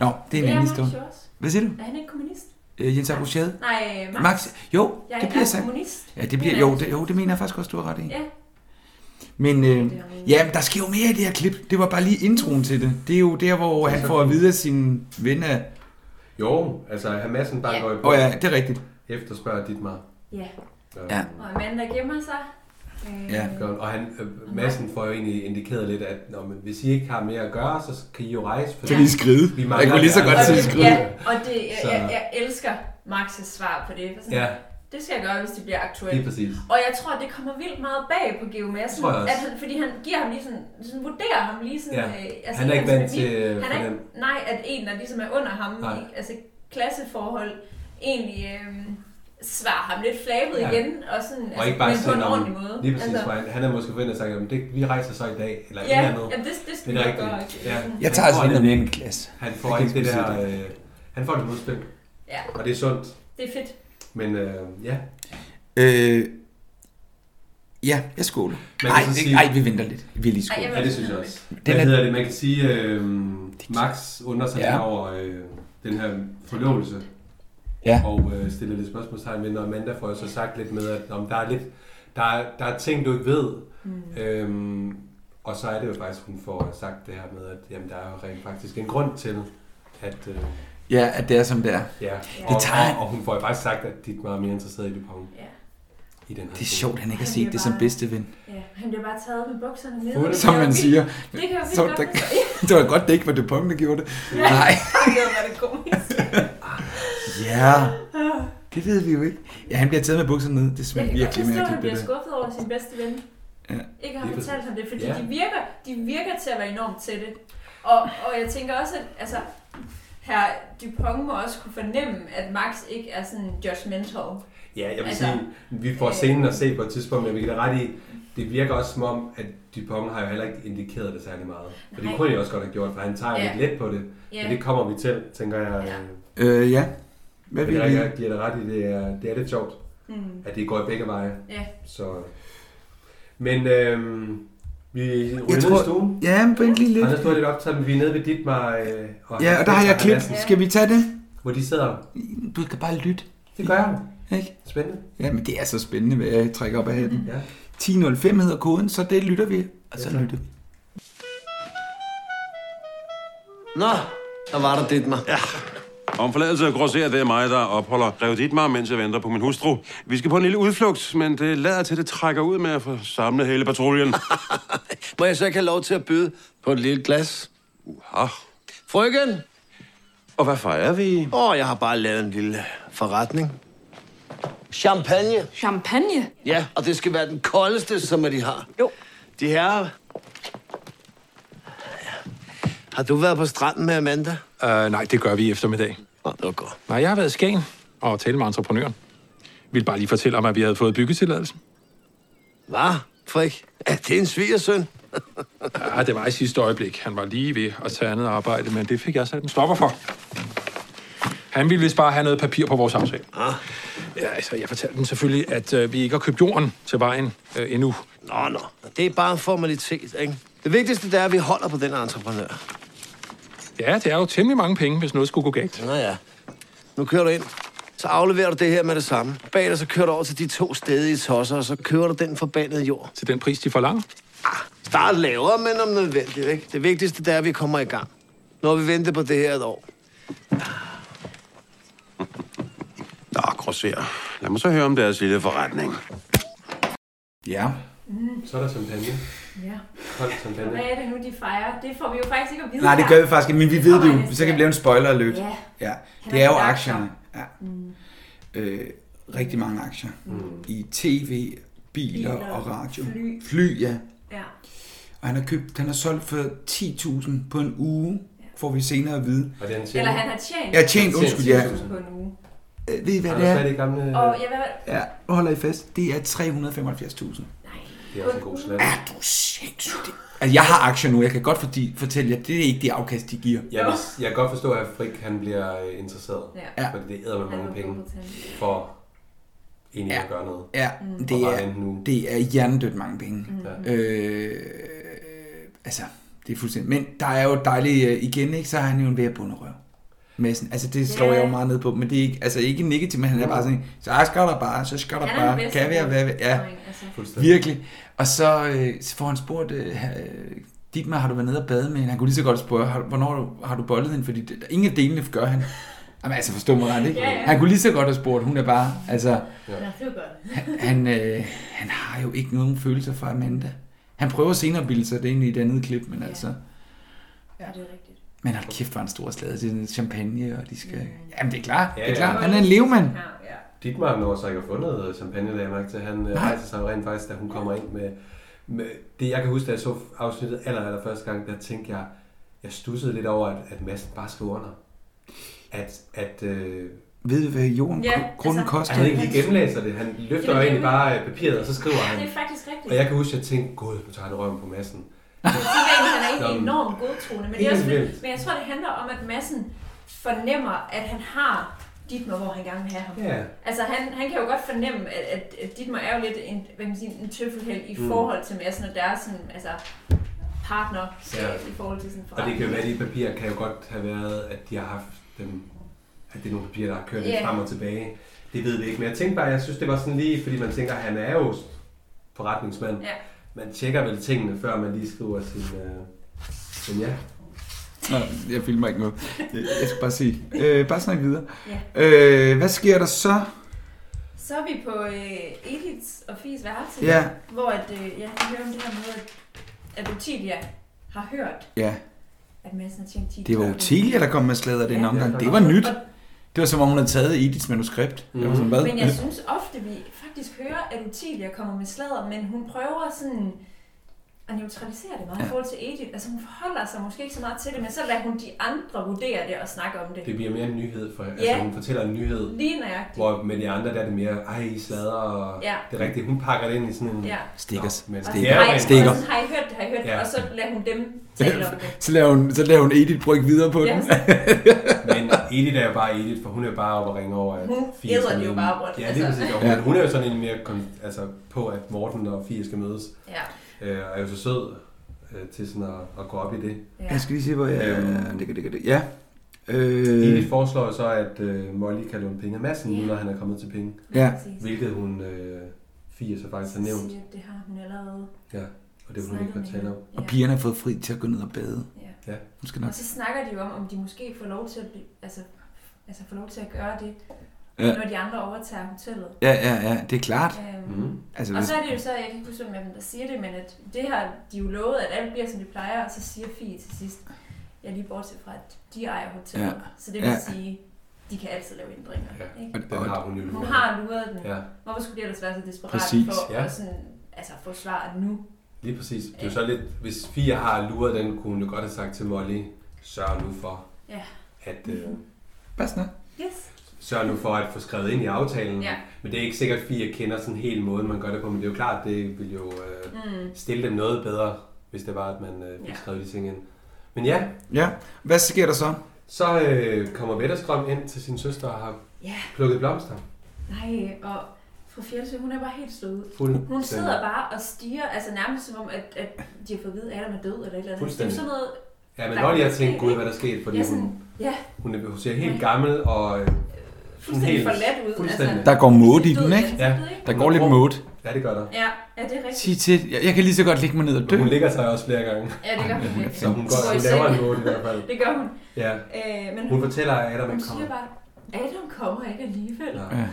Speaker 3: Nå, det er en
Speaker 4: Ja,
Speaker 3: anden
Speaker 4: Max
Speaker 3: historie.
Speaker 4: jo også.
Speaker 3: Hvad siger du?
Speaker 4: Er han ikke kommunist?
Speaker 3: Øh, Jens Abouchade?
Speaker 4: Nej, øh, Max.
Speaker 3: Max. Jo,
Speaker 4: Jeg
Speaker 3: det
Speaker 4: er
Speaker 3: bliver sagt.
Speaker 4: kommunist.
Speaker 3: Ja, det bliver,
Speaker 4: Han er
Speaker 3: jo, det, jo, det mener jeg faktisk også, du har ret i.
Speaker 4: Ja.
Speaker 3: Men øh, ja, men der sker jo mere i det her klip. Det var bare lige introen til det. Det er jo der, hvor han får at vide af sin ven af...
Speaker 2: Jo, altså Hamassen bare går i
Speaker 3: Åh ja, det er rigtigt.
Speaker 2: Efterspørger dit meget.
Speaker 4: Ja.
Speaker 3: Ja.
Speaker 4: Og Amanda gemmer sig. Øh,
Speaker 2: Gør han. Og han, øh, Madsen får jo egentlig indikeret lidt, at når, men hvis I ikke har mere at gøre, så kan I jo rejse.
Speaker 3: Så kan I skride. Jeg
Speaker 2: mangler
Speaker 3: kunne lige så
Speaker 2: jer.
Speaker 3: godt
Speaker 4: Og
Speaker 3: sige
Speaker 4: det-
Speaker 3: skride.
Speaker 4: Ja, og det, jeg,
Speaker 2: Så-
Speaker 4: jeg, jeg elsker Max' svar på det. For sådan,
Speaker 2: Ja.
Speaker 4: Det skal jeg gøre, hvis det bliver aktuelt.
Speaker 2: Lige præcis.
Speaker 4: Og jeg tror, det kommer vildt meget bag på Geo Madsen,
Speaker 2: Tror jeg også.
Speaker 4: at han, fordi han giver ham lige sådan, sådan vurderer ham lige sådan... øh,
Speaker 2: Ja. Han
Speaker 4: i
Speaker 2: er
Speaker 4: hans
Speaker 2: ikke vant
Speaker 4: mimik.
Speaker 2: til, øh,
Speaker 4: han er ikke,
Speaker 2: hvordan-
Speaker 4: Nej, at en, der ligesom er under ham
Speaker 2: Nej.
Speaker 4: i altså, klasseforhold, egentlig øh, svarer ham lidt flabet
Speaker 2: Ja.
Speaker 4: ja. igen, og sådan, altså,
Speaker 2: Og ikke
Speaker 4: men
Speaker 2: bare
Speaker 4: på
Speaker 2: sige,
Speaker 4: en
Speaker 2: "Nå,
Speaker 4: ordentlig
Speaker 2: men-
Speaker 4: måde.
Speaker 2: lige præcis, altså, han, han er måske forventet sagt, at det, vi rejser så i dag, eller
Speaker 4: Ja,
Speaker 2: et eller andet.
Speaker 4: ja, det- det skal vi nok gøre, ikke?
Speaker 2: Ja.
Speaker 4: Jeg
Speaker 2: Han
Speaker 3: tager altså
Speaker 2: får
Speaker 3: ikke
Speaker 2: det-
Speaker 3: noget mere end glas.
Speaker 2: Han
Speaker 3: Jeg
Speaker 2: får
Speaker 3: kan
Speaker 2: ikke det
Speaker 3: ikke
Speaker 2: der,
Speaker 3: sige
Speaker 2: øh, han får det modspil.
Speaker 4: Ja.
Speaker 2: Og det er sundt.
Speaker 4: Det er fedt.
Speaker 2: Men øh, ja,
Speaker 3: Øh, ja, jeg skåler.
Speaker 2: Man kan
Speaker 3: Nej,
Speaker 2: så
Speaker 3: det-
Speaker 2: sige-
Speaker 3: nej, vi venter lidt. Vi er lige skålet.
Speaker 4: Ej, jeg vil
Speaker 2: Ja, det
Speaker 4: også
Speaker 2: synes jeg
Speaker 4: have
Speaker 2: også.
Speaker 3: lidt.
Speaker 2: Hvad
Speaker 3: Den er-
Speaker 2: hedder det? Man kan sige, øh, Max undrer sig
Speaker 3: Ja.
Speaker 2: ja. over øh, den her forlovelse.
Speaker 3: Ja.
Speaker 2: Og øh, stiller lidt spørgsmålstegn ved, når Amanda får jo så sagt lidt med, at om der er lidt, der er, der er ting, du ikke ved.
Speaker 4: Mm.
Speaker 2: Øhm, og så er det jo faktisk, hun får sagt det her med, at jamen, der er jo rent faktisk en grund til, at... Øh,
Speaker 3: Ja, at det er, som det er.
Speaker 2: ja.
Speaker 3: Det
Speaker 2: Og,
Speaker 3: tager han.
Speaker 2: og, og, hun får jo faktisk sagt, at dit var mere interesseret i Dupont. Ja. I den her
Speaker 3: Det er
Speaker 2: scene.
Speaker 3: sjovt, han ikke
Speaker 4: Han
Speaker 3: har set
Speaker 4: bliver
Speaker 3: det som
Speaker 4: bare-
Speaker 3: bedste ven.
Speaker 4: Ja, han bliver bare taget med bukserne ned.
Speaker 3: Som man siger.
Speaker 4: Det kan jeg
Speaker 3: Som
Speaker 4: jo
Speaker 3: der,
Speaker 4: vildt godt forstå.
Speaker 3: det var godt, det ikke var Dupont, der gjorde det. Nej.
Speaker 4: Det var det komisk.
Speaker 3: Ja, det ved vi jo ikke. Ja, han bliver taget med bukserne ned. Det
Speaker 4: Jeg
Speaker 3: smager
Speaker 4: kan godt
Speaker 3: virkelig
Speaker 4: forstå, at han
Speaker 3: mærkeligt, det
Speaker 4: bliver
Speaker 3: der.
Speaker 4: skuffet over sin bedste ven.
Speaker 3: Ja.
Speaker 4: Ikke har
Speaker 3: Lige
Speaker 4: fortalt
Speaker 3: præcis.
Speaker 4: ham det, fordi
Speaker 3: Ja.
Speaker 4: ja. de, virker, de virker til at være enormt tætte. Og, og jeg tænker også, at altså, her Dupont må også kunne fornemme, at Max ikke er sådan judgmental.
Speaker 2: Ja, jeg vil
Speaker 4: Altså,
Speaker 2: altså, sige, vi får scenen at se på et tidspunkt, men vi kan da ret i, det virker også som om, at Dupont har jo heller ikke indikeret det særlig meget. Og det
Speaker 4: Nej.
Speaker 2: kunne jeg også godt have gjort, for han tager
Speaker 4: Ja.
Speaker 2: ja. lidt let på det.
Speaker 4: Ja.
Speaker 2: Ja. Men det kommer vi til, tænker jeg. Ja.
Speaker 3: Øh, ja. Hvad vil
Speaker 2: jeg,
Speaker 3: vi?
Speaker 2: jeg giver dig ret i, det er, det er lidt sjovt,
Speaker 4: Mm.
Speaker 2: at det går i begge veje.
Speaker 4: Ja.
Speaker 2: Så. øh. Men øhm, vi
Speaker 3: Jeg
Speaker 2: ruller ned i
Speaker 3: tror-
Speaker 2: stuen.
Speaker 3: Ja, men vent lige lidt.
Speaker 2: Anders, du har lidt optaget, men vi er nede ved Ditmar. Øh,
Speaker 3: Ja, og der har jeg klip. Skal vi tage det?
Speaker 2: Hvor de sidder.
Speaker 3: Du kan bare lytte.
Speaker 2: Det gør jeg.
Speaker 3: Ikke?
Speaker 2: Spændende.
Speaker 3: Ja, men det er så spændende, hvad jeg trækker op af hatten.
Speaker 2: Ja.
Speaker 3: 10.05 hedder koden, så det lytter vi. Og så lytter vi.
Speaker 11: Nå, der var der dit mig. Ja.
Speaker 13: Om forladelse af grosser, det er mig, der opholder Grev Ditmar, mens jeg venter på min hustru. Vi skal på en lille udflugt, men det lader til, det trækker ud med at få samlet hele patruljen.
Speaker 11: Må jeg så ikke have lov til at byde på et lille glas?
Speaker 13: Uha.
Speaker 11: Frøken?
Speaker 13: Og hvad fejrer vi?
Speaker 11: Åh, oh, jeg har bare lavet en lille forretning. Champagne.
Speaker 10: Champagne?
Speaker 11: Ja, og det skal være den koldeste, som de har. Jo. De her... Har du været på stranden med Amanda?
Speaker 14: Uh, nej, det gør vi i eftermiddag.
Speaker 11: Nå, det var godt.
Speaker 14: Nej, jeg har været i Skagen og talt med entreprenøren. Vi vil bare lige fortælle om, at vi havde fået byggetilladelsen.
Speaker 11: Hvad, Frik? Er det en svigersøn?
Speaker 14: Ja, det var i sidste øjeblik. Han var lige ved at tage andet arbejde, men det fik jeg sat en stopper for. Han ville vist bare have noget papir på vores aftale.
Speaker 11: Ah.
Speaker 14: Ja, altså, jeg fortalte dem selvfølgelig, at øh, vi ikke har købt jorden til vejen øh, endnu.
Speaker 11: Nå, nå. Det er bare en formalitet, ikke? Det vigtigste det er, at vi holder på den entreprenør.
Speaker 14: Ja, det er jo temmelig mange penge, hvis noget skulle gå galt.
Speaker 15: Nå ja. Nu kører du ind. Så afleverer du det her med det samme. Bag dig så kører du over til de to stedige tosser, og så kører du den forbandede jord.
Speaker 14: Til den pris, de forlanger?
Speaker 15: Start lavere, men om nødvendigt, ikke? Det vigtigste det er, at vi kommer i gang. Nu har vi ventet på det her et år.
Speaker 13: Nå, grosser. Lad mig så høre om deres lille forretning.
Speaker 3: Ja.
Speaker 4: Mm.
Speaker 2: Så er der champagne.
Speaker 4: Ja.
Speaker 2: Hold
Speaker 4: Og
Speaker 2: champagne.
Speaker 4: hvad er det nu, de fejrer? Det får vi jo faktisk ikke at vide
Speaker 3: Nej, det
Speaker 4: her.
Speaker 3: gør vi faktisk ikke, men vi ved det
Speaker 4: kommer
Speaker 3: jo. Så kan vi lave en spoiler alert.
Speaker 4: Ja.
Speaker 3: ja.
Speaker 4: Kan
Speaker 3: Det er
Speaker 4: man
Speaker 3: jo
Speaker 4: lave
Speaker 3: aktierne. Ja.
Speaker 4: Mm.
Speaker 3: Øh, rigtig mange aktier.
Speaker 2: Mm.
Speaker 3: I tv, biler
Speaker 4: Biler,
Speaker 3: og radio.
Speaker 4: fly.
Speaker 3: Fly, ja.
Speaker 4: Ja.
Speaker 3: Og han har købt, han har solgt for 10.000 på en uge, får vi senere at vide.
Speaker 2: Og det er en
Speaker 4: Eller han har tjent.
Speaker 3: Ja, tjent, undskyld, ja.
Speaker 4: 10.000 på en uge.
Speaker 3: Øh, Ved I, hvad
Speaker 2: Han
Speaker 3: det
Speaker 2: er
Speaker 3: er?
Speaker 2: sat i gamle-
Speaker 4: Og ja, hvad-
Speaker 3: Ja, nu holder I fast. Det er 375.000.
Speaker 2: Det er også en god slat.
Speaker 3: Er du sindssygt? Altså, jeg har aktier nu. Jeg kan godt fordi, fortælle jer, det er ikke det afkast, de giver.
Speaker 2: Jeg, vil, jeg kan godt forstå, at Frik han bliver øh, interesseret.
Speaker 3: Ja.
Speaker 2: Fordi det æder med mange penge for egentlig at gøre noget.
Speaker 3: Ja,
Speaker 4: Mm.
Speaker 2: Og
Speaker 3: det
Speaker 2: bare
Speaker 3: er,
Speaker 2: vente nu.
Speaker 3: det er hjernedødt mange penge.
Speaker 2: Mm.
Speaker 3: Mm. Øh, altså, det er fuldstændig. Men der er jo dejligt øh, igen, ikke? Så har han jo en ved at bunderøv. Madsen. Altså, det slår
Speaker 4: Ja.
Speaker 3: jeg jo meget ned på. Men det er ikke, altså, ikke negativt, men han er bare sådan, en, så skal der bare, så skal der
Speaker 4: Han er den
Speaker 3: bare.
Speaker 4: bedste
Speaker 3: Kan være, hvad, hvad, ja.
Speaker 4: Altså.
Speaker 2: Fuldstændig.
Speaker 3: Virkelig. Og så, øh, så får han spurgt, øh, Dietmar, har du været nede og bade med hende? Han kunne lige så godt spørge, har, du- hvornår har du- har du bollet hende? Fordi det, ingen af delene gør han. Jamen altså, forstå mig ret, ikke?
Speaker 4: Ja, ja.
Speaker 3: Han kunne lige så godt have spurgt, hun er bare, altså...
Speaker 4: Ja. Nå, det var godt.
Speaker 3: Han, øh, han har jo ikke nogen følelser for Amanda. Han prøver senere at bilde sig det ind i et andet klip, men altså...
Speaker 4: Ja, det er rigtigt.
Speaker 3: Men hold kæft, hvor er en stor slade. Det er sådan champagne, og de skal...
Speaker 4: Mm.
Speaker 3: Jamen, det er klart.
Speaker 2: Ja,
Speaker 3: det er
Speaker 2: ja.
Speaker 3: klart. Han er en levemand.
Speaker 2: Ditmar når sig ikke har fundet øh, champagne, lagde jeg mærke til. Han øh,
Speaker 3: Nej.
Speaker 2: rejser sig jo rent faktisk, da hun kommer ind med, med... Det jeg kan huske, da jeg så afsnittet aller, aller første gang, der tænkte jeg, jeg stussede lidt over, at, at Madsen bare skrev under. At, at øh,
Speaker 3: Ved I, hvad jorden
Speaker 4: Ja,
Speaker 3: ja, grunden
Speaker 4: altså-
Speaker 3: altså, koster?
Speaker 2: han ikke lige gennemlæser det. Han løfter
Speaker 4: Jamen,
Speaker 2: jo egentlig
Speaker 4: det-
Speaker 2: bare øh, papiret, og så skriver han.
Speaker 4: Det er faktisk rigtigt.
Speaker 2: Og jeg kan huske, at jeg tænkte, gud, nu tager han røven på Madsen.
Speaker 4: Jeg tænker egentlig, han er
Speaker 2: Nå,
Speaker 4: ikke
Speaker 2: men-
Speaker 4: enormt godtroende, men, det er
Speaker 2: Helt
Speaker 4: også,
Speaker 2: vildt.
Speaker 4: fordi- men jeg tror, det handler om, at massen fornemmer, at han har Dietmar, hvor han gerne vil have ham.
Speaker 2: Ja.
Speaker 4: Altså, han, han kan jo godt fornemme, at, at, at Dietmar er jo lidt en, hvad kan man sige, en tøffelhæld i
Speaker 2: Mm.
Speaker 4: forhold til massen, og deres sådan, altså, partner
Speaker 2: Ja.
Speaker 4: i forhold til sådan
Speaker 2: Og det kan jo være, at de papirer kan jo godt have været, at de har haft dem, at det er nogle papirer, der har kørt yeah.
Speaker 4: Ja.
Speaker 2: lidt frem og tilbage. Det ved vi ikke, men jeg tænkte bare, jeg synes, det var sådan lige, fordi man tænker, han er jo forretningsmand.
Speaker 4: Ja.
Speaker 2: Man tjekker vel tingene, før man lige skriver sin... Øh, sin ja.
Speaker 3: Nå, jeg filmer ikke noget. Jeg skal bare sige. Øh, bare snak videre.
Speaker 4: Ja.
Speaker 3: Øh, hvad sker der så?
Speaker 4: Så er vi på øh, Ediths og Fies værelse,
Speaker 3: Ja.
Speaker 4: hvor at, øh, jeg kan høre om det her med, at, at Utilia har hørt,
Speaker 3: Ja,
Speaker 4: at massen har tjent 10
Speaker 3: det var Otelia, der kom med sladder den
Speaker 4: Ja.
Speaker 3: omgang.
Speaker 4: Ja.
Speaker 3: Det var nyt. Det var som om, hun havde taget Ediths manuskript. Mm. Sådan, hvad?
Speaker 4: Men jeg synes ofte, vi faktisk hører, at Utilia kommer med sladder, men hun prøver sådan at neutralisere det meget ja. i forhold til Edith. Altså hun forholder sig måske ikke så meget til det, men så lader hun de andre vurdere det og snakke om det.
Speaker 2: Det bliver mere en nyhed, for altså,
Speaker 4: Ja.
Speaker 2: hun fortæller en nyhed,
Speaker 4: Lige nøjagtigt.
Speaker 2: hvor med de andre, der er det mere, ej, I slader, og
Speaker 4: Ja.
Speaker 2: det er rigtigt. Hun pakker det ind i sådan en...
Speaker 4: Ja.
Speaker 3: Stikkers.
Speaker 2: Nå, Mm. men-
Speaker 3: Stikker.
Speaker 2: Ja,
Speaker 4: Ej,
Speaker 2: men-
Speaker 3: Stikker.
Speaker 4: og sådan, har I hørt det, har I hørt det,
Speaker 2: Ja.
Speaker 4: og så lader hun dem tale om det.
Speaker 3: så, laver hun, så laver hun Edith brygge videre på
Speaker 4: Ja.
Speaker 3: den.
Speaker 2: Men Edith er jo bare Edith, for hun er jo bare oppe og ringe over, at
Speaker 4: Hun
Speaker 2: Fie
Speaker 4: æder
Speaker 2: skal
Speaker 4: det jo
Speaker 2: møde
Speaker 4: bare
Speaker 2: dem.
Speaker 4: rundt,
Speaker 2: Ja, det
Speaker 4: altså.
Speaker 2: er præcis. Og
Speaker 4: Ja.
Speaker 2: Hun, hun er jo sådan en mere kon- altså, på, at Morten og Fie skal mødes.
Speaker 4: Ja.
Speaker 2: Øh, og er jo så sød øh, til sådan at, at gå op i det. Øhm.
Speaker 4: Ja.
Speaker 3: Jeg skal lige se, hvor jeg er. Det, det, det. Ja. Øh,
Speaker 2: Edith foreslår jo så, at øh, Molly kan låne penge af massen, nu når han er kommet til penge.
Speaker 3: Ja.
Speaker 2: Hvilket hun, øh, Fie så faktisk har nævnt.
Speaker 4: Siger, at det har hun allerede.
Speaker 2: Ja, og det vil hun ikke
Speaker 4: snakket
Speaker 2: godt tale
Speaker 4: med
Speaker 2: om.
Speaker 4: hende.
Speaker 3: og pigerne har fået fri til at gå ned og bade.
Speaker 2: Ja. Ja.
Speaker 3: Hun skal nok.
Speaker 4: Og så snakker de jo om, om de måske får lov til at blive, altså, altså får lov til at gøre det,
Speaker 3: Ja.
Speaker 4: når de andre overtager hotellet.
Speaker 3: Ja, ja, ja, det er klart.
Speaker 4: Øhm,
Speaker 3: Mhm.
Speaker 4: altså,
Speaker 3: Altså,
Speaker 4: og
Speaker 3: hvis-
Speaker 4: så er det jo så, jeg kan ikke huske, hvem der siger det, men at det har de jo lovet, at alt bliver, som det plejer, og så siger Fie til sidst, ja, lige bortset fra, at de ejer hotellet.
Speaker 3: Ja.
Speaker 4: Så det vil
Speaker 3: Ja.
Speaker 4: sige, de kan altid lave ændringer. Ja. Ikke?
Speaker 2: Den har hun jo
Speaker 4: Hun
Speaker 2: luret.
Speaker 4: har luret den.
Speaker 2: Ja.
Speaker 4: Hvorfor skulle de ellers være så desperat
Speaker 2: Præcis.
Speaker 4: for
Speaker 2: Ja.
Speaker 4: at sådan, altså, få svaret nu?
Speaker 2: Lige præcis. Det er jo så lidt, hvis Fie har luret den, kunne hun jo godt have sagt til Molly, sørg nu for,
Speaker 4: Ja.
Speaker 2: at... Øh,
Speaker 3: Mhm. Pas nu.
Speaker 4: Yes.
Speaker 2: sørg nu for at få skrevet ind i aftalen.
Speaker 4: Ja.
Speaker 2: Men det er ikke sikkert, at Fie kender sådan en hel måde, man gør det på. Men det er jo klart, det vil jo øh,
Speaker 4: Mm.
Speaker 2: mm. stille dem noget bedre, hvis det var, at man øh, fik
Speaker 4: Ja.
Speaker 2: ja. skrevet de ting ind. Men ja,
Speaker 3: Ja. Hvad sker der så?
Speaker 2: så øh, kommer Vetterstrøm ind til sin søster og har
Speaker 4: Ja.
Speaker 2: plukket blomster.
Speaker 4: Nej, og fru Fjeldsø, hun er bare helt slået ud.
Speaker 2: Fuldstændig.
Speaker 4: Hun sidder bare og stiger, altså nærmest som om, at, at de har fået at vide, at Adam er død eller et eller andet. Det er jo
Speaker 2: Fuldstændig.
Speaker 4: sådan noget
Speaker 2: Ja, men
Speaker 4: Der
Speaker 2: Lolly
Speaker 4: er
Speaker 2: har
Speaker 4: sket,
Speaker 2: tænkt, gud,
Speaker 4: ikke?
Speaker 2: hvad der skete, fordi
Speaker 4: Ja,
Speaker 2: hun,
Speaker 4: sådan, ja,
Speaker 2: hun, er, hun ser helt gammel og... øh,
Speaker 4: fuldstændig
Speaker 2: helt-
Speaker 4: forladt ud,
Speaker 2: Fuldstændig.
Speaker 4: altså. Der går måde i den, ikke?
Speaker 2: Ja.
Speaker 3: Der går lidt måde.
Speaker 2: Ja, det gør der.
Speaker 4: ja, ja, det er rigtigt.
Speaker 3: Sig til, jeg, jeg kan lige så godt ligge mig ned og dø.
Speaker 2: Hun ligger sig også flere gange.
Speaker 4: Ja, det gør hun virkelig.
Speaker 2: Så hun,
Speaker 4: Går
Speaker 2: går,
Speaker 4: i
Speaker 2: hun laver en
Speaker 4: seng.
Speaker 2: måde i hvert fald.
Speaker 4: Det gør hun.
Speaker 2: Ja.
Speaker 4: Øh, men
Speaker 2: Hun fortæller, at Adam
Speaker 4: hun
Speaker 2: ikke kommer.
Speaker 4: siger bare, Adam kommer ikke alligevel.
Speaker 2: Ja.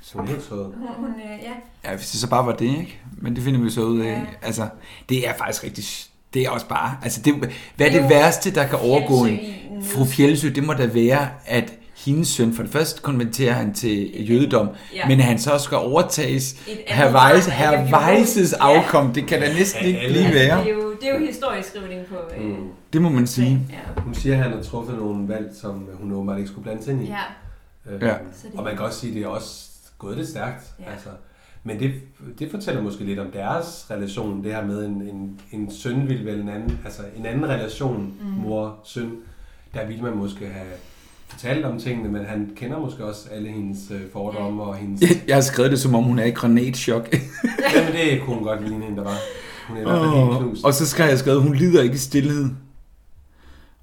Speaker 2: Så hun er helt sød.
Speaker 4: Hun, hun øh, ja,
Speaker 3: Ja, hvis det så bare var det, ikke? Men det finder vi så ud af. Altså, det er faktisk rigtig... s- Det er også bare... Altså, det, hvad er
Speaker 4: Det er
Speaker 3: det,
Speaker 4: jo
Speaker 3: værste, der kan overgå en
Speaker 4: Fjeldsø.
Speaker 3: fru Fjeldsø? Det må da være, at hendes søn, for det første konverterer han til jødedom,
Speaker 4: Ja.
Speaker 3: men at han så også skal overtages
Speaker 4: Et andet
Speaker 3: Hervejs,
Speaker 4: barn af religion.
Speaker 3: Hervejs afkom. Det kan da næsten ikke blive
Speaker 4: altså, det,
Speaker 3: værre.
Speaker 4: er jo, det er jo historieskrivning på... Øh, mm.
Speaker 3: Det må man sige.
Speaker 2: Hun siger, at han har truffet nogle valg, som hun åbenbart ikke skulle blandes ind i.
Speaker 4: Ja.
Speaker 2: Øh,
Speaker 3: Ja.
Speaker 4: Så det-
Speaker 2: Og man kan også sige, at det er også gået lidt stærkt. Ja. Altså. Men det, det fortæller måske lidt om deres relation, det her med en, en, en søn vil vel en anden, altså en anden relation,
Speaker 13: Mm.
Speaker 2: mm. mor-søn. Der ville man måske have fortalt om tingene, men han kender måske også alle hendes øh, fordomme og hendes...
Speaker 3: Jeg har skrevet det, som om hun er i granatschok.
Speaker 2: Jamen det kunne hun godt ligne hende, der var. Hun er i hvert fald helt
Speaker 3: Oh,
Speaker 2: knust.
Speaker 3: og så skal jeg skrevet, hun lider ikke i stillhed.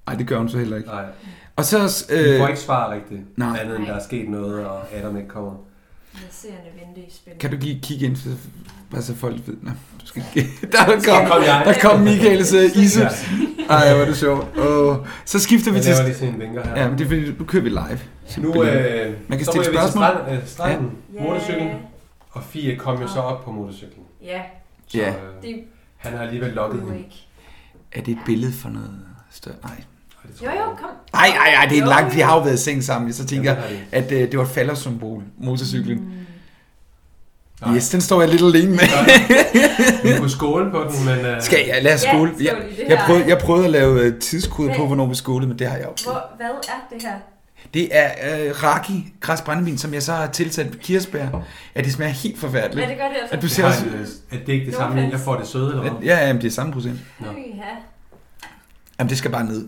Speaker 3: Nej, det gør hun så heller ikke.
Speaker 2: Nej.
Speaker 3: Og så... også,
Speaker 2: Øh,
Speaker 3: Øh,
Speaker 2: får ikke svar rigtigt,
Speaker 3: nej.
Speaker 2: andet end der er sket noget, og Adam ikke kommer.
Speaker 4: Jeg ser hende vente i spænding.
Speaker 3: Kan du give et kig ind, så, bare så folk ved? Nå, du skal ikke. Der kom,
Speaker 2: Der kom jeg.
Speaker 3: der kom Michaels uh, iseps.
Speaker 2: Ja.
Speaker 3: Ej, hvor er det sjovt. Oh. Så skifter vi
Speaker 2: Jeg
Speaker 3: til...
Speaker 2: laver lige sådan en vinker her.
Speaker 3: Ja, men det er fordi, nu kører vi live. Så
Speaker 2: Nu,
Speaker 3: bliver-
Speaker 2: øh,
Speaker 3: Man kan
Speaker 2: så
Speaker 3: stille
Speaker 2: ryger vi til
Speaker 3: spørgsmål.
Speaker 2: Strand, øh, stranden, ja. motorcyklen, og Fie kom jo så op på motorcyklen.
Speaker 4: Ja.
Speaker 2: Så,
Speaker 3: Ja.
Speaker 2: øh,
Speaker 4: Det-
Speaker 2: han har alligevel lokket hende.
Speaker 3: Er det et billede for noget større? Nej.
Speaker 4: Jo, jo, kom.
Speaker 3: Nej, nej, nej, det er en
Speaker 4: Jo,
Speaker 3: lang...
Speaker 4: jo.
Speaker 3: Vi har jo været i seng sammen, så tænker
Speaker 2: Ja, det
Speaker 3: jeg, at øh, det var et faldersymbol, motorcyklen. Yes, den står jeg lidt alene med.
Speaker 2: Mm. Vi kunne skåle på den, men... Øh,
Speaker 3: Skal jeg? Lad os
Speaker 4: Ja,
Speaker 3: skåle.
Speaker 4: skål i
Speaker 3: Jeg,
Speaker 4: det her.
Speaker 3: jeg, prøvede, jeg prøvede at lave øh, tidskoder på,
Speaker 4: Hvad-
Speaker 3: hvornår vi skålede, men det har jeg også.
Speaker 4: Hvor, hvad er det her?
Speaker 3: Det er øh, raki, græsbrændevin, som jeg så har tilsat kirsebær. Ja, det smager helt forfærdeligt.
Speaker 4: Ja, det gør det altså.
Speaker 3: At du
Speaker 4: Det
Speaker 3: ser
Speaker 2: har
Speaker 3: også...
Speaker 2: en, øh, at det ikke det No samme, offense. jeg får det søde, eller hvad?
Speaker 3: Ja, ja, men det er samme procent.
Speaker 4: Nå. Ja.
Speaker 3: Jamen, det skal bare ned.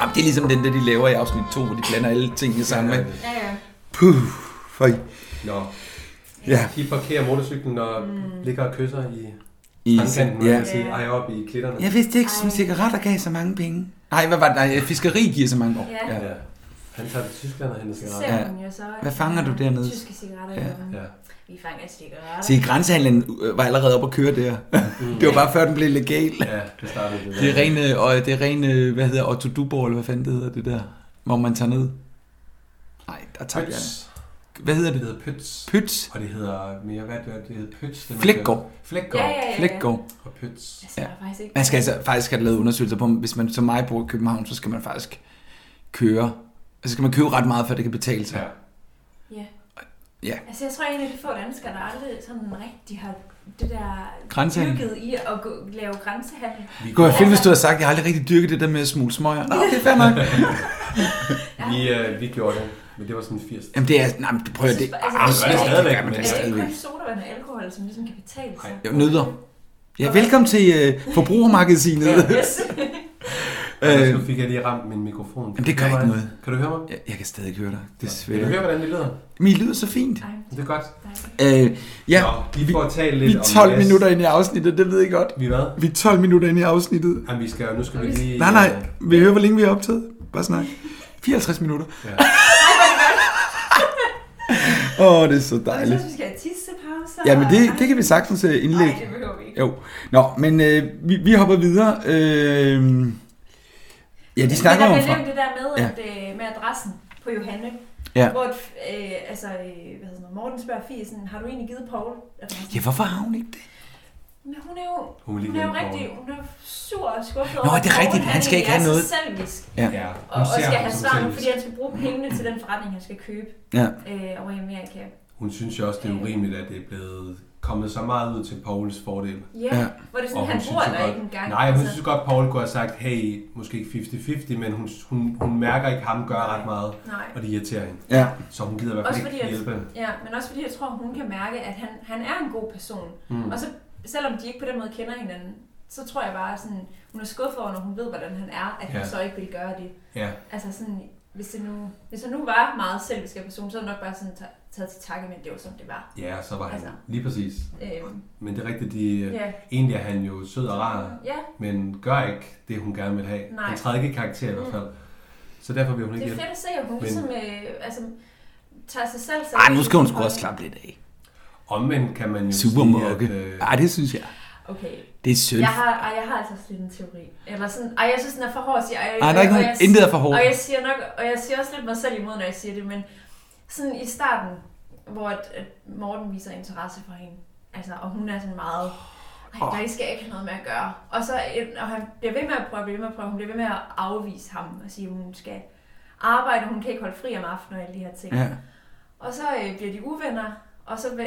Speaker 3: Jamen, det er ligesom den der, de laver i afsnit 2, hvor de blander alle tingene sammen. ikke?
Speaker 4: Ja, ja.
Speaker 3: Puh, for...
Speaker 2: Nå.
Speaker 3: Ja.
Speaker 2: De parkerer motorcyklen og mm. ligger og kysser i...
Speaker 3: I-
Speaker 2: I strandkanten,
Speaker 3: ja.
Speaker 2: ja. sige, ej op i klitterne.
Speaker 3: Jeg vidste ikke, som cigaretter gav så mange penge. Nej, hvad var det? Nej, fiskeri giver så mange år.
Speaker 4: Ja.
Speaker 2: Ja. Han tager til Tyskland og henter cigaretter.
Speaker 4: Ser hun jo så, øh,
Speaker 3: Hvad fanger du dernede?
Speaker 4: Tyske cigaretter.
Speaker 3: Ja.
Speaker 4: Ja. ja. Vi fanger cigaretter.
Speaker 3: Se, grænsehandlen øh, var allerede oppe at køre der. det var bare før den blev legal.
Speaker 2: Mm. Ja, det startede det.
Speaker 3: Det er rene, og det er rene, hvad hedder Otto Duborg, eller hvad fanden det hedder det der, hvor man tager ned. Nej, der tager jeg.
Speaker 2: Pøts.
Speaker 3: Hvad hedder det?
Speaker 2: Det hedder Pøts.
Speaker 3: Pøts.
Speaker 2: Og det hedder mere, hvad det, er, det hedder Pøts. det man
Speaker 3: Flækgaard.
Speaker 2: kalder- Flækgaard.
Speaker 4: Ja, ja, ja, ja.
Speaker 3: Flækgaard.
Speaker 2: Og Pøts.
Speaker 4: Ja. Faktisk ikke.
Speaker 3: Man skal altså faktisk have lavet undersøgelser på, hvis man som mig bor i København, så skal man faktisk køre. Altså skal man købe ret meget, for det kan betale sig.
Speaker 4: Ja.
Speaker 3: Ja.
Speaker 4: Altså, jeg tror egentlig, at de få danskere, der aldrig sådan rigtig har det der
Speaker 3: Grænsehandel.
Speaker 4: dyrket i at gå, lave grænsehandel.
Speaker 3: Det kunne være fedt, hvis du havde sagt, jeg har aldrig rigtig dyrket det der med at smule smøger. Nå, det er fair nok.
Speaker 2: Vi, øh, vi gjorde det, men det var sådan 80.
Speaker 3: Jamen det er, nej, men du prøver det.
Speaker 4: Altså,
Speaker 3: Ah,
Speaker 2: det gør det stadigvæk,
Speaker 3: men det er
Speaker 4: Altså, det er
Speaker 3: stadigvæk.
Speaker 4: kun sodavand og alkohol, som ligesom kan betale sig.
Speaker 3: Jeg nødder. Ja, velkommen til øh, Forbrugermagasinet.
Speaker 4: Yes.
Speaker 2: Øh, nu fik jeg lige ramt min mikrofon.
Speaker 3: Jamen, det gør
Speaker 2: Kan du
Speaker 3: ikke
Speaker 2: høre mig?
Speaker 3: noget.
Speaker 2: Kan du høre mig?
Speaker 3: Jeg, jeg kan stadig høre dig, desværre.
Speaker 2: Kan du høre, hvordan det lyder?
Speaker 3: Men I lyder så fint.
Speaker 2: Det er godt.
Speaker 3: Øh, ja,
Speaker 2: Nå, vi får talt lidt
Speaker 3: vi er 12
Speaker 2: om
Speaker 3: yes. minutter inde i afsnittet, det ved jeg godt.
Speaker 2: Vi hvad?
Speaker 3: Vi er 12 minutter inde i afsnittet.
Speaker 2: Jamen, vi skal jo, nu skal vi lige... øh,
Speaker 3: Nej, nej, vi hører, hvor længe vi har optaget. Bare snak. 54 minutter.
Speaker 2: Ja.
Speaker 3: Åh, oh, det er så
Speaker 4: Jeg
Speaker 3: dejligt.
Speaker 4: synes, vi skal have tissepauser.
Speaker 3: Ja, men det, det kan vi sagtens øh, indlægge.
Speaker 4: Nej, det behøver vi ikke.
Speaker 3: Jo. Nå, men øh, vi, vi hopper videre. Øh, ja, de snakker
Speaker 4: men
Speaker 3: om
Speaker 4: der
Speaker 3: fra.
Speaker 4: bliver nævnt det der med,
Speaker 3: Ja.
Speaker 4: ja. at, øh, med adressen på Johanne.
Speaker 3: Ja.
Speaker 4: Hvor øh, altså, øh, hvad hedder sådan, noget, Morten spørger Fie, sådan, har du egentlig givet Paul adressen?
Speaker 3: Ja, hvorfor har hun ikke det?
Speaker 4: Men hun er jo,
Speaker 3: Hun vil
Speaker 4: hun
Speaker 3: ikke
Speaker 4: er jo
Speaker 3: hjælpe
Speaker 4: rigtig hun er jo sur og skuffet
Speaker 3: Nå,
Speaker 4: over,
Speaker 3: det er
Speaker 4: at Paul,
Speaker 3: rigtigt. Han skal ikke have
Speaker 4: egentlig
Speaker 3: noget.
Speaker 4: er så selvisk.
Speaker 3: Ja. Ja, hun
Speaker 4: og, og
Speaker 2: ser
Speaker 4: skal
Speaker 2: ham
Speaker 4: have
Speaker 2: som
Speaker 4: svar nu,
Speaker 2: selvisk.
Speaker 4: fordi han skal bruge pengene til den forretning, han skal købe
Speaker 2: Ja.
Speaker 4: øh, over i Amerika.
Speaker 2: Hun synes jo også, det er urimeligt, at det er blevet kommet så meget ud til Pauls fordel.
Speaker 4: Ja, Ja. hvor det er sådan,
Speaker 2: Og
Speaker 4: han
Speaker 2: hun
Speaker 4: bor
Speaker 2: synes jo
Speaker 4: der
Speaker 2: godt-
Speaker 4: ikke engang,
Speaker 2: Nej, hun
Speaker 4: altså.
Speaker 2: synes jo godt, Paul kunne have sagt, hey, måske ikke 50-50, men hun, hun, hun mærker ikke ham gøre ret meget,
Speaker 4: Nej.
Speaker 2: og det irriterer hende.
Speaker 3: Ja.
Speaker 2: Så hun gider i hvert
Speaker 4: Også
Speaker 2: fald
Speaker 4: fordi,
Speaker 2: ikke hjælpe.
Speaker 4: at, ja, men også fordi jeg tror, hun kan mærke, at han, han er en god person.
Speaker 2: Mm.
Speaker 4: Og så, selvom de ikke på den måde kender hinanden, så tror jeg bare, sådan, hun er skuffet over, når hun ved, hvordan han er, at ja.
Speaker 2: Ja.
Speaker 4: hun så ikke vil gøre det.
Speaker 2: Ja.
Speaker 4: Altså sådan, hvis det nu, hvis det nu var meget selvisk af person, så havde hun nok bare sådan ta- taget til takke, men det var som det var.
Speaker 2: Ja, så var han
Speaker 4: Altså,
Speaker 2: lige præcis.
Speaker 4: Øhm.
Speaker 2: Men det er rigtigt, de, øh,
Speaker 4: Ja.
Speaker 2: egentlig er han jo sød og rar,
Speaker 4: Ja.
Speaker 2: men gør ikke det, hun gerne vil have.
Speaker 4: Nej. Mm.
Speaker 2: Han træder ikke i karakter i hvert fald. Så derfor vil hun
Speaker 4: det
Speaker 2: ikke
Speaker 4: er fedt at se, at hun
Speaker 2: Men-
Speaker 4: ligesom, øh, altså, tager sig selv
Speaker 2: Ej, nu skal hun
Speaker 3: sgu også slappe lidt af.
Speaker 2: Omvendt kan man jo
Speaker 3: Supermukke.
Speaker 2: sige, at... Øh,
Speaker 3: Ej, det synes jeg.
Speaker 4: Okay.
Speaker 3: Det er synd.
Speaker 4: Jeg har, ej, jeg har altså også lidt en teori. Eller sådan, ej, jeg synes, den er for hård at sige. Ej,
Speaker 3: Ej, der er ikke
Speaker 4: og
Speaker 3: nogen-
Speaker 4: jeg-
Speaker 3: intet er for hårdt.
Speaker 4: Og jeg, siger nok, og jeg siger også lidt mig selv imod, når jeg siger det, men sådan i starten, hvor at, at Morten viser interesse for hende, altså, og hun er sådan meget, ej, der skal jeg ikke have noget med at gøre. Og så en- og han bliver ved med at prøve, bliver ved med at prøve, hun bliver ved med at afvise ham og sige, at hun skal arbejde, hun kan ikke holde fri om aftenen og alle de her ting.
Speaker 3: Ja.
Speaker 4: Og så øh, bliver de uvenner, og så hvad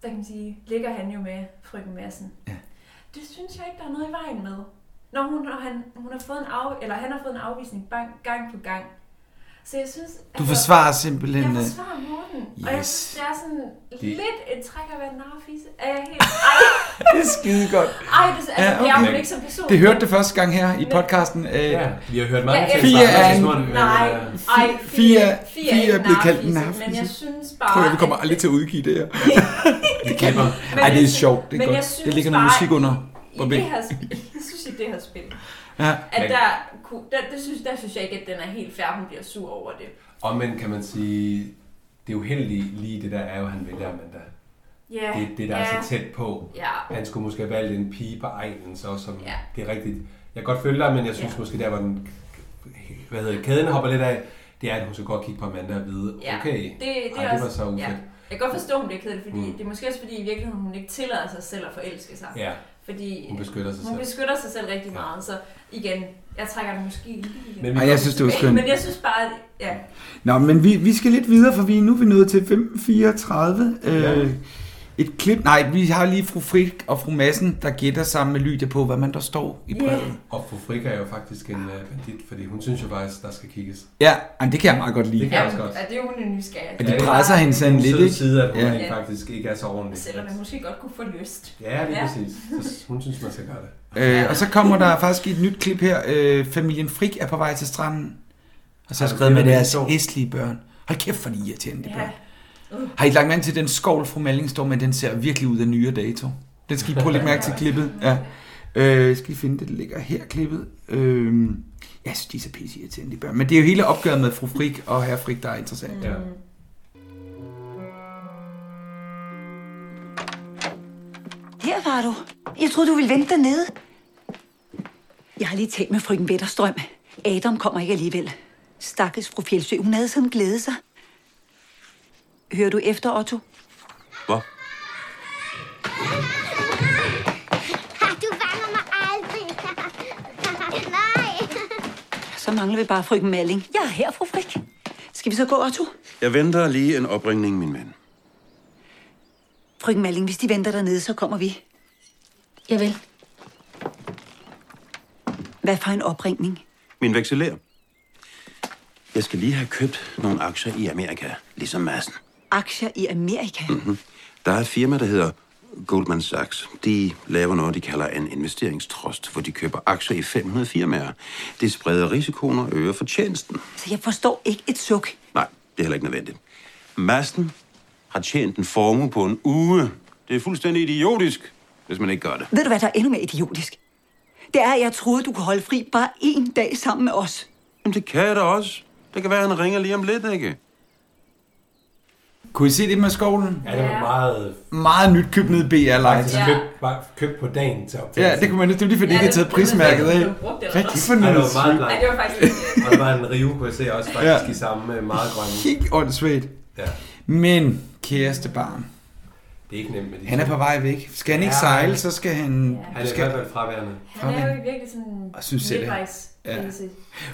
Speaker 4: hvad kan man sige, ligger han jo med frøken Madsen. Ja. Det synes jeg ikke, der er noget i vejen med. Når hun, og han, hun har fået en af, eller han har fået en afvisning bang, gang på gang. Så jeg synes... altså,
Speaker 3: Du forsvarer simpelthen,
Speaker 4: Jeg
Speaker 3: øh,
Speaker 4: forsvarer Morten. Yes. Og jeg
Speaker 3: yes.
Speaker 4: synes, det er sådan
Speaker 3: Det-
Speaker 4: lidt et træk at være en narfisse. Er jeg helt... Ej,
Speaker 3: Det er skide godt.
Speaker 4: Ej, det- altså, det er hun ikke som person.
Speaker 3: Det hørte det første gang her i podcasten. Ja,
Speaker 2: vi har hørt
Speaker 4: jeg elsker-
Speaker 3: Fia er en...
Speaker 4: Nej, ej,
Speaker 3: Fia,
Speaker 4: Fia, Fia, er
Speaker 3: Fia
Speaker 4: ikke
Speaker 3: blev kaldt
Speaker 4: narfisse,
Speaker 3: en narfisse.
Speaker 4: Men jeg synes
Speaker 3: Prøv at
Speaker 4: bare,
Speaker 3: vi kommer aldrig til at udgive det her. det kan man.
Speaker 4: Men
Speaker 3: Ej, det er
Speaker 4: jeg-
Speaker 3: sjovt. Det
Speaker 4: men
Speaker 3: er
Speaker 4: jeg
Speaker 3: godt.
Speaker 4: synes
Speaker 3: Der ligger noget
Speaker 4: bare,
Speaker 3: musik under.
Speaker 4: i
Speaker 3: Hvor
Speaker 4: det
Speaker 3: væk.
Speaker 4: her spil, jeg synes i det her spil,
Speaker 3: Ja.
Speaker 4: at der, kunne- der, det synes, der synes jeg ikke, at den er helt fair, hun bliver sur over det.
Speaker 2: Omvendt kan man sige, det uheldige lige det der er jo, at han vælger Amanda.
Speaker 4: Ja.
Speaker 2: Det, det der
Speaker 4: Ja.
Speaker 2: er så tæt på.
Speaker 4: Ja.
Speaker 2: Han skulle måske have valgt en pige på egnen, så som det er rigtigt. Jeg kan godt følge dig, men jeg synes
Speaker 4: Ja.
Speaker 2: måske der, hvor den, hvad hedder, det, kæden hopper lidt af, det er, at hun skal godt kigge på Amanda og vide,
Speaker 4: Ja,
Speaker 2: okay,
Speaker 4: det, det,
Speaker 2: ej,
Speaker 4: er
Speaker 2: det var
Speaker 4: også-
Speaker 2: så ufedt.
Speaker 4: Ja. Jeg kan godt forstå, hun bliver ked af det, fordi
Speaker 2: Mm.
Speaker 4: mm. det er måske også fordi, i virkeligheden hun ikke tillader sig selv at forelske sig.
Speaker 2: Ja.
Speaker 4: Fordi
Speaker 2: Hun beskytter sig
Speaker 4: hun
Speaker 2: selv.
Speaker 4: beskytter sig selv rigtig meget, så igen, jeg trækker det måske lige igen.
Speaker 3: Men vi Ej, jeg synes, det var
Speaker 4: Men-
Speaker 3: skønt.
Speaker 4: Men jeg synes bare, at, ja,
Speaker 3: Nå, men vi, vi skal lidt videre, for vi, nu er vi nået til 5.34. Øh, et klip. Nej, vi har lige fru Frik og fru Massen, der gætter sammen med Lydia på, hvad man der står i
Speaker 2: Ja.
Speaker 3: brevet.
Speaker 2: Og fru Frika er jo faktisk en øh, bandit, fordi hun synes jo faktisk, der skal kigges.
Speaker 3: Ja, jamen, det kan jeg meget godt lide.
Speaker 2: Det kan jeg også
Speaker 4: ja,
Speaker 2: godt.
Speaker 4: ja, det er jo hun er nysgerrig.
Speaker 3: Ja, de presser hende sådan
Speaker 2: Hun
Speaker 3: lidt,
Speaker 2: sidder
Speaker 3: ikke?
Speaker 2: side, at hun
Speaker 3: Ja.
Speaker 2: rent faktisk ikke er så ordentlig.
Speaker 4: Selvom man måske godt kunne få lyst. Mm.
Speaker 2: Ja, lige præcis. Så hun synes, man skal gøre det.
Speaker 3: Øh, og så kommer der faktisk et nyt klip her. Øh, familien Frik er på vej til stranden. Og så har jeg skrevet med deres æstlige børn. Hold kæft, for de er irriterende, de
Speaker 4: Ja.
Speaker 3: børn.
Speaker 4: Uh.
Speaker 3: Har I lagt mærke til den skovl fra Malling står med? Den ser virkelig ud af nyere dato. Den skal I prøve at lægge mærke til klippet. Ja. Øh, skal I finde det, det ligger her klippet. Øh, jeg synes, de er så pisse irriterende, de børn. Men det er jo hele opgøret med fru Frik og herre Frik, der er interessant.
Speaker 2: Ja.
Speaker 8: Her var du. Jeg troede, du ville vente dernede.
Speaker 9: Jeg har lige talt med frøken Vetterstrøm. Adam kommer ikke alligevel. Stakkels fru Fjeldsø, hun havde sådan glædet sig. Hører du efter, Otto?
Speaker 12: Du fanger mig aldrig. Nej.
Speaker 9: Så mangler vi bare frøken Malling. Jeg er her, fru Frik. Skal vi så gå, Otto?
Speaker 13: Jeg venter lige en opringning, min ven.
Speaker 9: Frøken Malling, hvis de venter dernede, så kommer vi. Jeg vil. Hvad for en opringning?
Speaker 13: Min vekseler. Jeg skal lige have købt nogle aktier i Amerika, ligesom massen.
Speaker 9: Aktier i Amerika?
Speaker 13: Mm-hmm. Der er et firma, der hedder Goldman Sachs. De laver noget, de kalder en investeringstrust, hvor de køber aktier i 500 firmaer. Det spreder risikoen og øger fortjenesten.
Speaker 9: Så jeg forstår ikke et suk.
Speaker 13: Nej, det er heller ikke nødvendigt. Masten har tjent en formue på en uge. Det er fuldstændig idiotisk, hvis man ikke gør det.
Speaker 9: Ved du, hvad der er endnu mere idiotisk? Det er, at jeg troede, du kunne holde fri bare én dag sammen med os.
Speaker 13: Jamen, det kan jeg da også. Det kan være, at han ringer lige om lidt, ikke?
Speaker 3: Kunne I se det med skovlen?
Speaker 2: Ja, det var meget...
Speaker 3: Meget nyt købt ned BR Light.
Speaker 2: Faktisk købt, bare købt på dagen til optagelsen.
Speaker 3: Ja, det kunne man det er lige fordi, de ikke har taget prismærket af. Rigtig
Speaker 2: Ej, det
Speaker 3: fornøjelse.
Speaker 2: var meget langt.
Speaker 4: Ej, det var faktisk-
Speaker 2: Og der var en rive, kunne jeg se også faktisk
Speaker 3: Ja.
Speaker 2: ja. i samme øh, meget grønne.
Speaker 3: Helt åndssvagt.
Speaker 2: Ja.
Speaker 3: Men, kæreste barn,
Speaker 2: Det er ikke nemt med de
Speaker 3: han er
Speaker 2: to.
Speaker 3: på vej væk. Skal han ikke
Speaker 2: Ja.
Speaker 3: sejle, så skal han...
Speaker 2: Han er i
Speaker 3: skal...
Speaker 2: hvert fald fraværende.
Speaker 4: Han er jo virkelig sådan
Speaker 3: Og synes selv, han- ja.
Speaker 4: midtvejskrise.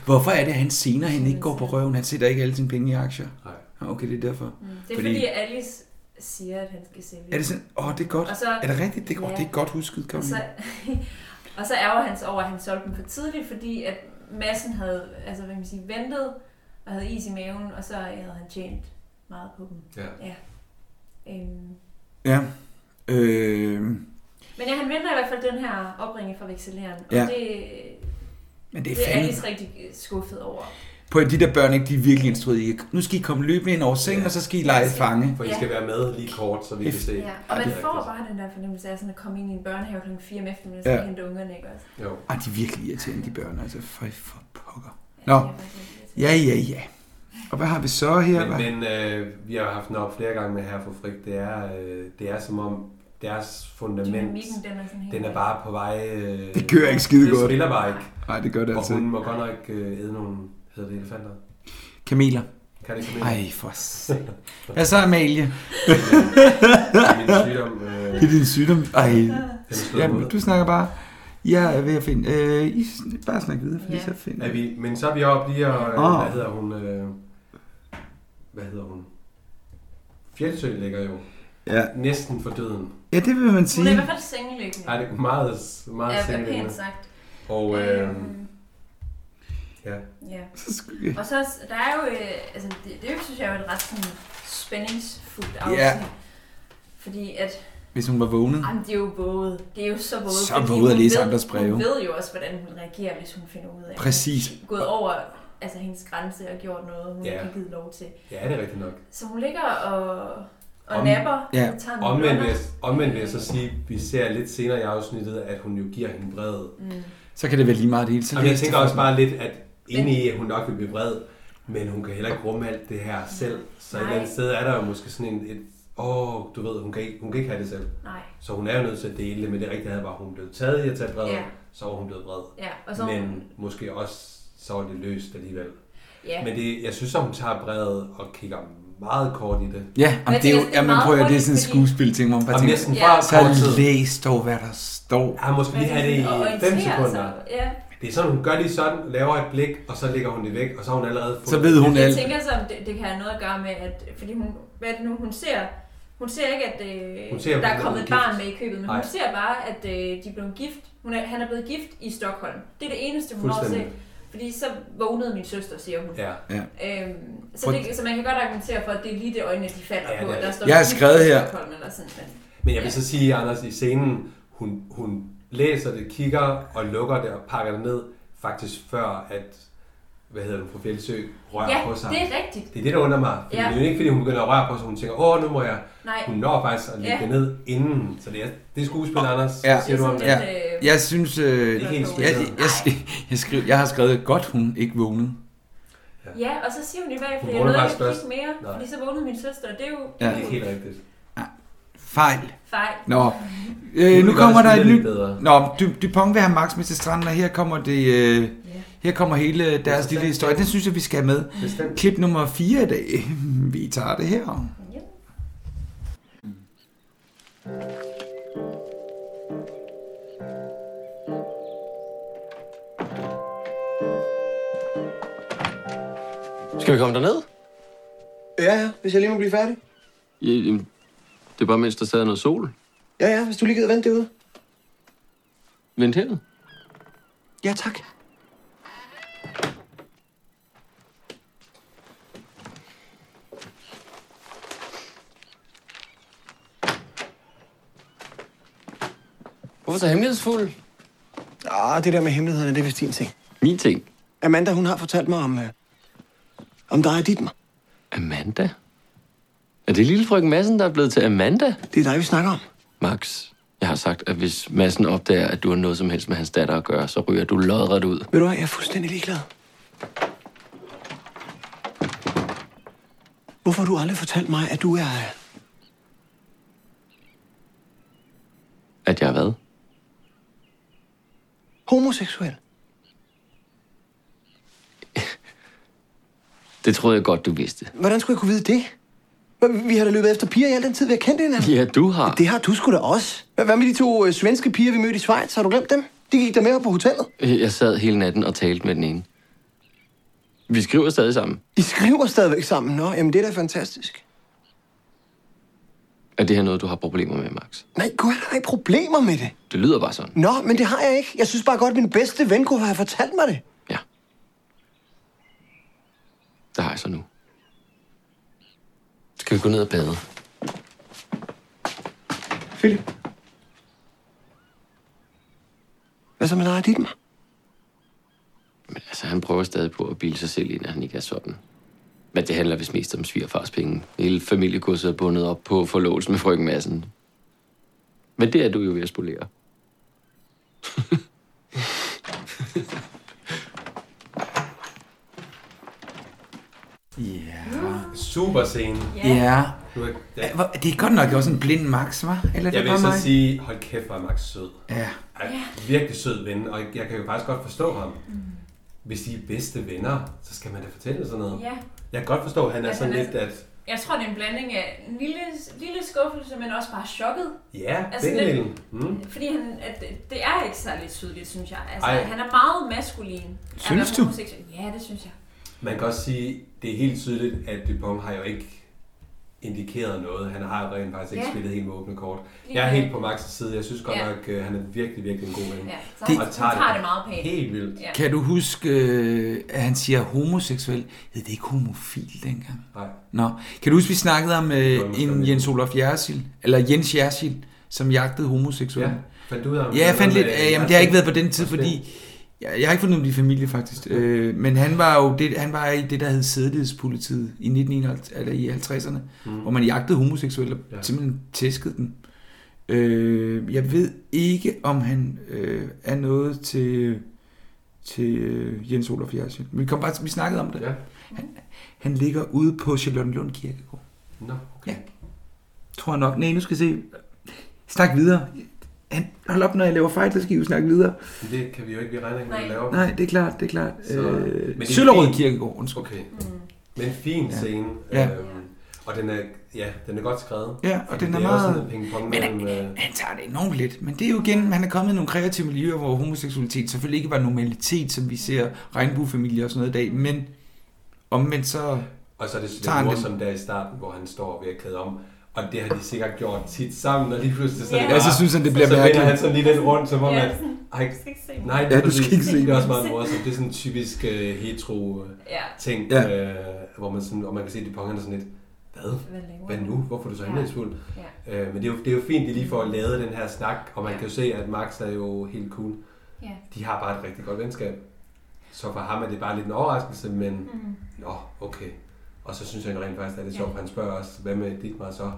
Speaker 3: Hvorfor er det, at han senere hen ikke går på røven? Han sætter ikke alle sine penge i aktier.
Speaker 2: Nej.
Speaker 3: Okay, det er derfor.
Speaker 4: Det er Mm, fordi, fordi Alice siger, at han skal sælge.
Speaker 3: Er det sådan? Åh, oh, det er godt.
Speaker 4: Og så-
Speaker 3: er det rigtigt? Det, ja. det er godt husket,
Speaker 4: Og
Speaker 3: Karoline.
Speaker 4: så, og så ærger han sig over, at han solgte dem for tidligt, fordi at massen havde altså, hvad kan man sige, ventet og havde is i maven, og så øh, havde han tjent meget på dem.
Speaker 2: Ja.
Speaker 4: ja. Øhm.
Speaker 3: Ja. Øh,
Speaker 4: Men ja, han venter i hvert fald den her opringning fra vekselæren,
Speaker 3: Ja.
Speaker 4: og det,
Speaker 3: Men det er
Speaker 4: det er
Speaker 3: fandme-
Speaker 4: Alice rigtig øh, skuffet over.
Speaker 3: på de der børn, ikke, de er virkelig instrueret. i, Nu skal I komme løbende ind over sengen, og så skal I lege fange.
Speaker 4: For I skal Ja. være
Speaker 2: med lige kort, så vi kan se.
Speaker 4: Ja, og man får bare den der fornemmelse af sådan at komme ind i en børnehave kl. 4 om eftermiddagen, og
Speaker 3: Ja.
Speaker 4: ja. hente ungerne, ikke også?
Speaker 2: Jo.
Speaker 3: Ej, de er virkelig irriterende, de børn. Altså, for, for pokker. Nå. Ja, ja, ja. Og hvad har vi så her? Hvad-
Speaker 2: Men, men øh, vi har haft den op flere gange med her for Frik. Det er, øh, det er som om deres fundament,
Speaker 4: Dynamikken, den er sådan helt-
Speaker 2: den er bare på vej... Øh,
Speaker 3: Det kører ikke skide godt.
Speaker 2: Det spiller bare ikke.
Speaker 3: Nej, det gør det
Speaker 2: Og
Speaker 3: altså
Speaker 2: hun må godt nok øh, æde nogle, hedder det elefanter?
Speaker 3: Kameler.
Speaker 2: Kan det kameler?
Speaker 3: Ej, for satan. Hvad så, Amalie?
Speaker 2: Ja. Det er min sygdom, øh.
Speaker 3: Det er din sygdom. Ej.
Speaker 2: slået
Speaker 3: Jamen,
Speaker 2: ud.
Speaker 3: du snakker bare. Jeg er ved at finde... Øh, I sn- bare snak videre, fordi så finder
Speaker 2: Er vi, men så er vi oppe lige og... Øh,
Speaker 3: Åh.
Speaker 2: Hvad hedder hun? Øh, hvad hedder hun? Fjeldsø ligger jo
Speaker 3: Ja.
Speaker 2: næsten for døden.
Speaker 3: Ja, det vil man
Speaker 4: Hun er i
Speaker 3: sige.
Speaker 4: hvert fald sengeliggende.
Speaker 2: Nej, det er meget, meget
Speaker 4: Ja,
Speaker 2: sengeliggende.
Speaker 4: pænt sagt.
Speaker 2: Og øh, ja.
Speaker 4: Ja.
Speaker 2: skal-
Speaker 4: Og så er- der er jo, øh, altså det, det synes jeg er jo et ret sådan spændingsfuldt afsnit.
Speaker 3: Ja.
Speaker 4: Fordi at,
Speaker 3: Hvis hun var vågnet.
Speaker 4: jamen, det er jo våget. Det er jo så våget.
Speaker 3: Så
Speaker 4: fordi
Speaker 3: våget
Speaker 4: hun
Speaker 3: at læse
Speaker 4: ved-
Speaker 3: andres breve.
Speaker 4: Hun ved jo også, hvordan hun reagerer, hvis hun finder ud af, at hun
Speaker 3: Præcis.
Speaker 4: er gået over altså, hendes grænse og gjort noget, hun
Speaker 2: Ja.
Speaker 4: ikke har givet lov til.
Speaker 2: Ja, det er rigtigt nok.
Speaker 4: Så hun ligger og, og napper. og tager nogle
Speaker 2: omvendt, vil jeg,
Speaker 4: lunder.
Speaker 2: omvendt vil jeg så sige, vi ser lidt senere i afsnittet, at hun jo giver hende brevet.
Speaker 4: Mm.
Speaker 3: Så kan det være lige meget det hele. Så
Speaker 2: Jamen, jeg
Speaker 3: læs det
Speaker 2: tænker
Speaker 3: for
Speaker 2: også
Speaker 3: mig.
Speaker 2: bare lidt, at inde i, at hun nok vil blive vred, men hun kan heller ikke rumme alt det her selv. Så et
Speaker 4: Mm. Nej.
Speaker 2: eller andet sted er der jo måske sådan en, et, åh, du ved, hun kan, ikke, hun kan ikke have det selv.
Speaker 4: Nej.
Speaker 2: Så hun er jo nødt til at dele det, men det rigtige havde bare, hun blev taget i at tage brevet,
Speaker 4: Ja.
Speaker 2: så var hun blevet vred.
Speaker 4: Ja, og så-
Speaker 2: Men måske også, så var det løst alligevel.
Speaker 4: Ja.
Speaker 2: Men det, jeg synes, at hun tager brevet og kigger meget kort i det.
Speaker 3: Ja, om det er jo, ja, man prøver, det er sådan en skuespil ting, hvor man bare
Speaker 2: Om
Speaker 3: tænker,
Speaker 2: næsten bare kort
Speaker 3: så
Speaker 2: tid.
Speaker 3: læs dog, hvad der står.
Speaker 2: Ja, måske lige have det
Speaker 4: Og
Speaker 2: i 5
Speaker 4: orientere sig,
Speaker 2: sekunder.
Speaker 4: ja.
Speaker 2: Det er sådan, hun gør lige sådan, laver et blik, og så lægger hun det væk, og så har hun allerede fået
Speaker 3: Så ved hun
Speaker 4: jeg
Speaker 3: alt.
Speaker 4: tænker så, om det, det kan have noget at gøre med, at fordi hun, hvad er det nu, hun ser, hun ser ikke, at øh,
Speaker 2: Hun ser, at
Speaker 4: der
Speaker 2: hun
Speaker 4: er
Speaker 2: er
Speaker 4: kommet
Speaker 2: blevet
Speaker 4: et barn
Speaker 2: gift.
Speaker 4: med i købet, men
Speaker 2: Nej.
Speaker 4: hun ser bare, at øh, de er blevet gift. Hun er, han er blevet gift i Stockholm. Det er det eneste, hun når at se.
Speaker 2: Fuldstændig.
Speaker 4: Fordi så vågnede min søster, siger hun.
Speaker 2: Ja.
Speaker 4: ja. Øhm, så,
Speaker 2: Prøv-
Speaker 4: det, så man kan godt argumentere for, at det er lige det øjne, de falder
Speaker 2: Ja,
Speaker 4: på.
Speaker 2: det er
Speaker 4: at Der
Speaker 2: det.
Speaker 4: står
Speaker 2: Jeg har
Speaker 4: gift i
Speaker 2: skrevet her.
Speaker 4: Stockholm eller sådan noget.
Speaker 2: Men jeg vil så sige, Anders, i scenen, hun, hun læser det, kigger og lukker det og pakker det ned, faktisk før, at hvad hedder det, fru Fjeldsø rører
Speaker 4: Ja,
Speaker 2: på sig.
Speaker 4: det er rigtigt.
Speaker 2: Det er det, der under mig. Fordi
Speaker 4: Ja.
Speaker 2: Det er jo ikke, fordi hun begynder at røre på sig, hun tænker, åh, nu må jeg.
Speaker 4: Nej.
Speaker 2: Hun når faktisk at lægge
Speaker 4: Ja.
Speaker 2: det ned inden. Så det er, det er skuespil, Anders.
Speaker 3: Ja,
Speaker 2: Hvad siger du om det?
Speaker 3: ja. Jeg synes, øh,
Speaker 2: Ikke
Speaker 3: jeg,
Speaker 2: helt
Speaker 3: jeg,
Speaker 2: spillet.
Speaker 3: jeg, jeg, skriver, jeg har skrevet, godt hun ikke vågnede.
Speaker 4: Ja, og så siger hun i hvert
Speaker 3: Hun
Speaker 4: fald, at jeg
Speaker 3: vågnede
Speaker 4: nåede
Speaker 3: faktisk
Speaker 4: ikke at kigge
Speaker 3: først.
Speaker 4: mere,
Speaker 3: Nej.
Speaker 4: fordi så vågnede min søster, og det er jo...
Speaker 3: Ja, det er
Speaker 2: Helt rigtigt.
Speaker 3: Fejl.
Speaker 4: Fejl.
Speaker 3: Nå,
Speaker 2: Nu
Speaker 3: øh,
Speaker 2: vil
Speaker 3: nu
Speaker 2: vi
Speaker 3: kommer
Speaker 2: godt
Speaker 3: der et
Speaker 2: spille
Speaker 3: nyt...
Speaker 2: lidt bedre.
Speaker 3: Nå, Du- Dupont vil have Max med til stranden, og her kommer, det, øh, her kommer hele deres lille historie. Den synes jeg, vi skal have med.
Speaker 2: Bestemt.
Speaker 3: Klip nummer 4 i dag. Vi tager det her.
Speaker 16: Skal vi komme derned?
Speaker 15: Ja, ja, hvis jeg lige må blive færdig.
Speaker 16: Ja, jamen, det er bare, mens der stadig er noget sol.
Speaker 15: Ja, ja, hvis du lige gider vente derude.
Speaker 16: Vent her.
Speaker 15: Ja, tak.
Speaker 16: Hvorfor så hemmelighedsfuld?
Speaker 15: Ah, det der med hemmelighederne, det er vist din ting.
Speaker 16: Min ting?
Speaker 15: Amanda, hun har fortalt mig om, øh, om dig og dit mig.
Speaker 16: Amanda? Er det lille frøken Madsen, der er blevet til Amanda?
Speaker 15: Det er dig, vi snakker om.
Speaker 16: Max, jeg har sagt, at hvis Madsen opdager, at du har noget som helst med hans datter at gøre, så ryger du lodret ud.
Speaker 15: Ved du hvad, jeg er fuldstændig ligeglad. Hvorfor har du aldrig fortalt mig, at du er... øh,
Speaker 16: At jeg er hvad?
Speaker 15: homoseksuel?
Speaker 16: Det troede jeg godt, du vidste.
Speaker 15: Hvordan skulle jeg kunne vide det? Hva- Vi har da løbet efter piger i al den tid, vi har kendt hinanden.
Speaker 16: Ja, du har.
Speaker 15: Det har du sgu da også. Hva- Hvad med de to øh, svenske piger, vi mødte i Schweiz? Har du glemt dem? De gik der med op på hotellet.
Speaker 11: Øh,
Speaker 16: Jeg sad hele natten og talte med den ene. Vi skriver stadig sammen.
Speaker 15: I skriver stadigvæk sammen. Nå, jamen det er da fantastisk.
Speaker 16: Er det her noget, du har problemer med, Max?
Speaker 15: Nej, gud, jeg har ikke problemer med det.
Speaker 16: Det lyder bare sådan.
Speaker 15: Nå, men det har jeg ikke. Jeg synes bare godt, at min bedste ven kunne have fortalt mig det.
Speaker 16: Det har jeg så nu. Skal vi gå ned og bade?
Speaker 15: Philip. Hvad så med dig, dit mig?
Speaker 16: Men altså, han prøver stadig på at bilde sig selv ind, at han ikke er sådan. Men det handler vist mest om svigerfars penge. Hele familiekurset er bundet op på forlovelsen med frøken Madsen. Men det er du jo ved at spolere.
Speaker 2: Yeah. Super scene.
Speaker 3: Ja.
Speaker 2: Nu er-
Speaker 3: Ja. Hvor- Det er godt nok også en blind Max, var? Eller er det
Speaker 2: jeg vil
Speaker 3: bare
Speaker 2: så
Speaker 3: mig?
Speaker 2: sige, hold kæft, hvor er Max sød.
Speaker 3: Ja.
Speaker 2: Han er virkelig sød ven, og jeg kan jo faktisk godt forstå ham.
Speaker 4: Mm.
Speaker 2: Hvis de er bedste venner, så skal man da fortælle sådan noget.
Speaker 4: Ja. Altså,
Speaker 2: Jeg kan godt forstå, at han er
Speaker 4: At
Speaker 2: sådan
Speaker 4: han er
Speaker 2: lidt, at
Speaker 4: Jeg tror, det er en blanding af en lille, lille skuffelse, men også bare chokket.
Speaker 2: ja,
Speaker 4: Altså
Speaker 2: begge
Speaker 4: lidt-
Speaker 2: delen. Mm.
Speaker 4: Fordi han, at det- det er ikke særlig tydeligt, synes jeg. Altså,
Speaker 2: Ej.
Speaker 4: Ej. han er meget maskulin. at
Speaker 2: Synes
Speaker 4: være
Speaker 2: du?
Speaker 4: homoseksuel. Ja, det synes jeg.
Speaker 2: Man kan også sige, det er helt tydeligt, at Dupont har jo ikke indikeret noget. Han har jo rent faktisk ikke
Speaker 4: Ja.
Speaker 2: spillet helt med åbne kort.
Speaker 4: Lige
Speaker 2: Jeg er
Speaker 4: nu.
Speaker 2: helt på Max' side. Jeg synes godt
Speaker 4: Ja.
Speaker 2: nok, øh, han er virkelig, virkelig en god ven.
Speaker 4: Ja, så han- han tager det meget pænt.
Speaker 2: Helt vildt.
Speaker 4: Ja.
Speaker 3: Kan du huske, øh, at han siger homoseksuel? Hed det ikke homofil dengang?
Speaker 2: Nej.
Speaker 3: Nå. Kan du huske, vi snakkede om øh, en Jens Olof Jersil, eller Jens Jersil, som jagtede homoseksuelle?
Speaker 2: Ja, fandt du ud af, om
Speaker 3: Ja, jeg
Speaker 2: det
Speaker 3: fandt
Speaker 2: var
Speaker 3: lidt.
Speaker 2: noget,
Speaker 3: Øh, jamen, det har ikke været på den tid, fordi... Jeg, jeg har ikke fundet ud af de familie, faktisk. Øh, men han var jo det, han var i det, der hed sædelighedspolitiet i 1951, eller i 50'erne, mm.
Speaker 2: Mhm.
Speaker 3: hvor man jagtede homoseksuelle og
Speaker 2: Ja.
Speaker 3: ja. simpelthen tæskede dem. Øh, jeg ved ikke, om han øh, er noget til, til øh, Jens Olof Jersild. Vi, kom bare, vi snakkede om det.
Speaker 2: Ja.
Speaker 3: Han, han ligger ude på Charlottenlund Kirkegård.
Speaker 2: Nå, okay.
Speaker 3: Ja. Tror jeg nok. Nej, nu skal jeg se. Snak videre. Han, hold op, når jeg laver fejl, så skal I jo snakke videre.
Speaker 2: Men det kan vi jo ikke, vi regner ikke, hvad vi laver.
Speaker 3: Nej, det er klart, det er klart.
Speaker 2: Så- Men det
Speaker 3: Øh,
Speaker 2: er
Speaker 3: Søllerød
Speaker 2: fint.
Speaker 3: Kirkegård, undskyld.
Speaker 2: Okay.
Speaker 3: Mm.
Speaker 2: Men en fin
Speaker 3: Ja.
Speaker 2: scene.
Speaker 3: Ja.
Speaker 2: Øhm, og den er, ja, den er godt skrevet.
Speaker 3: Ja, og
Speaker 2: Fordi
Speaker 3: den er
Speaker 2: det også
Speaker 3: meget-
Speaker 2: sådan en pingpong
Speaker 3: Men
Speaker 2: mellem... øh,
Speaker 3: Han tager det enormt lidt, men det er jo igen, han er kommet i nogle kreative miljøer, hvor homoseksualitet selvfølgelig ikke var normalitet, som vi ser regnbuefamilier og sådan noget i dag, men omvendt så...
Speaker 2: Og så er det
Speaker 3: Tager
Speaker 2: sådan
Speaker 3: han
Speaker 2: lidt morsomt der i starten, hvor han står ved at klæde om. Og det har de sikkert gjort tit sammen, og lige pludselig så er det
Speaker 3: Ja. Ja, så
Speaker 2: bare-
Speaker 3: synes han, det bliver
Speaker 2: Så vender
Speaker 3: mærkeligt.
Speaker 2: han sådan lige lidt rundt, som om
Speaker 4: Ja,
Speaker 2: at...
Speaker 4: sådan,
Speaker 2: Ej,
Speaker 4: du skal ikke se mig.
Speaker 2: nej,
Speaker 3: Ja, du skal
Speaker 2: præcis.
Speaker 3: ikke se
Speaker 2: Det er
Speaker 3: mig.
Speaker 2: også meget morsomt. Det er sådan en typisk uh, hetero øh,
Speaker 4: Ja.
Speaker 2: ting,
Speaker 3: Ja.
Speaker 2: øh, hvor man sådan, og man kan se, at de ponger er sådan lidt, hvad?
Speaker 4: Hvad laver
Speaker 2: Hvad
Speaker 4: han?"
Speaker 2: nu? Hvorfor er du så
Speaker 4: Ja.
Speaker 2: hemmelighedsfuld? Ja. Øh, men det er, jo, det er jo fint, de lige får lavet den her snak, og man kan jo se, at Max er jo helt cool.
Speaker 4: Ja.
Speaker 2: De har bare et rigtig godt venskab. Så for ham er det bare lidt en overraskelse, men
Speaker 4: Mm.
Speaker 2: Nå, okay. Og så synes han rent faktisk, at det er sjovt, for han spørger også, hvad med dit mig så?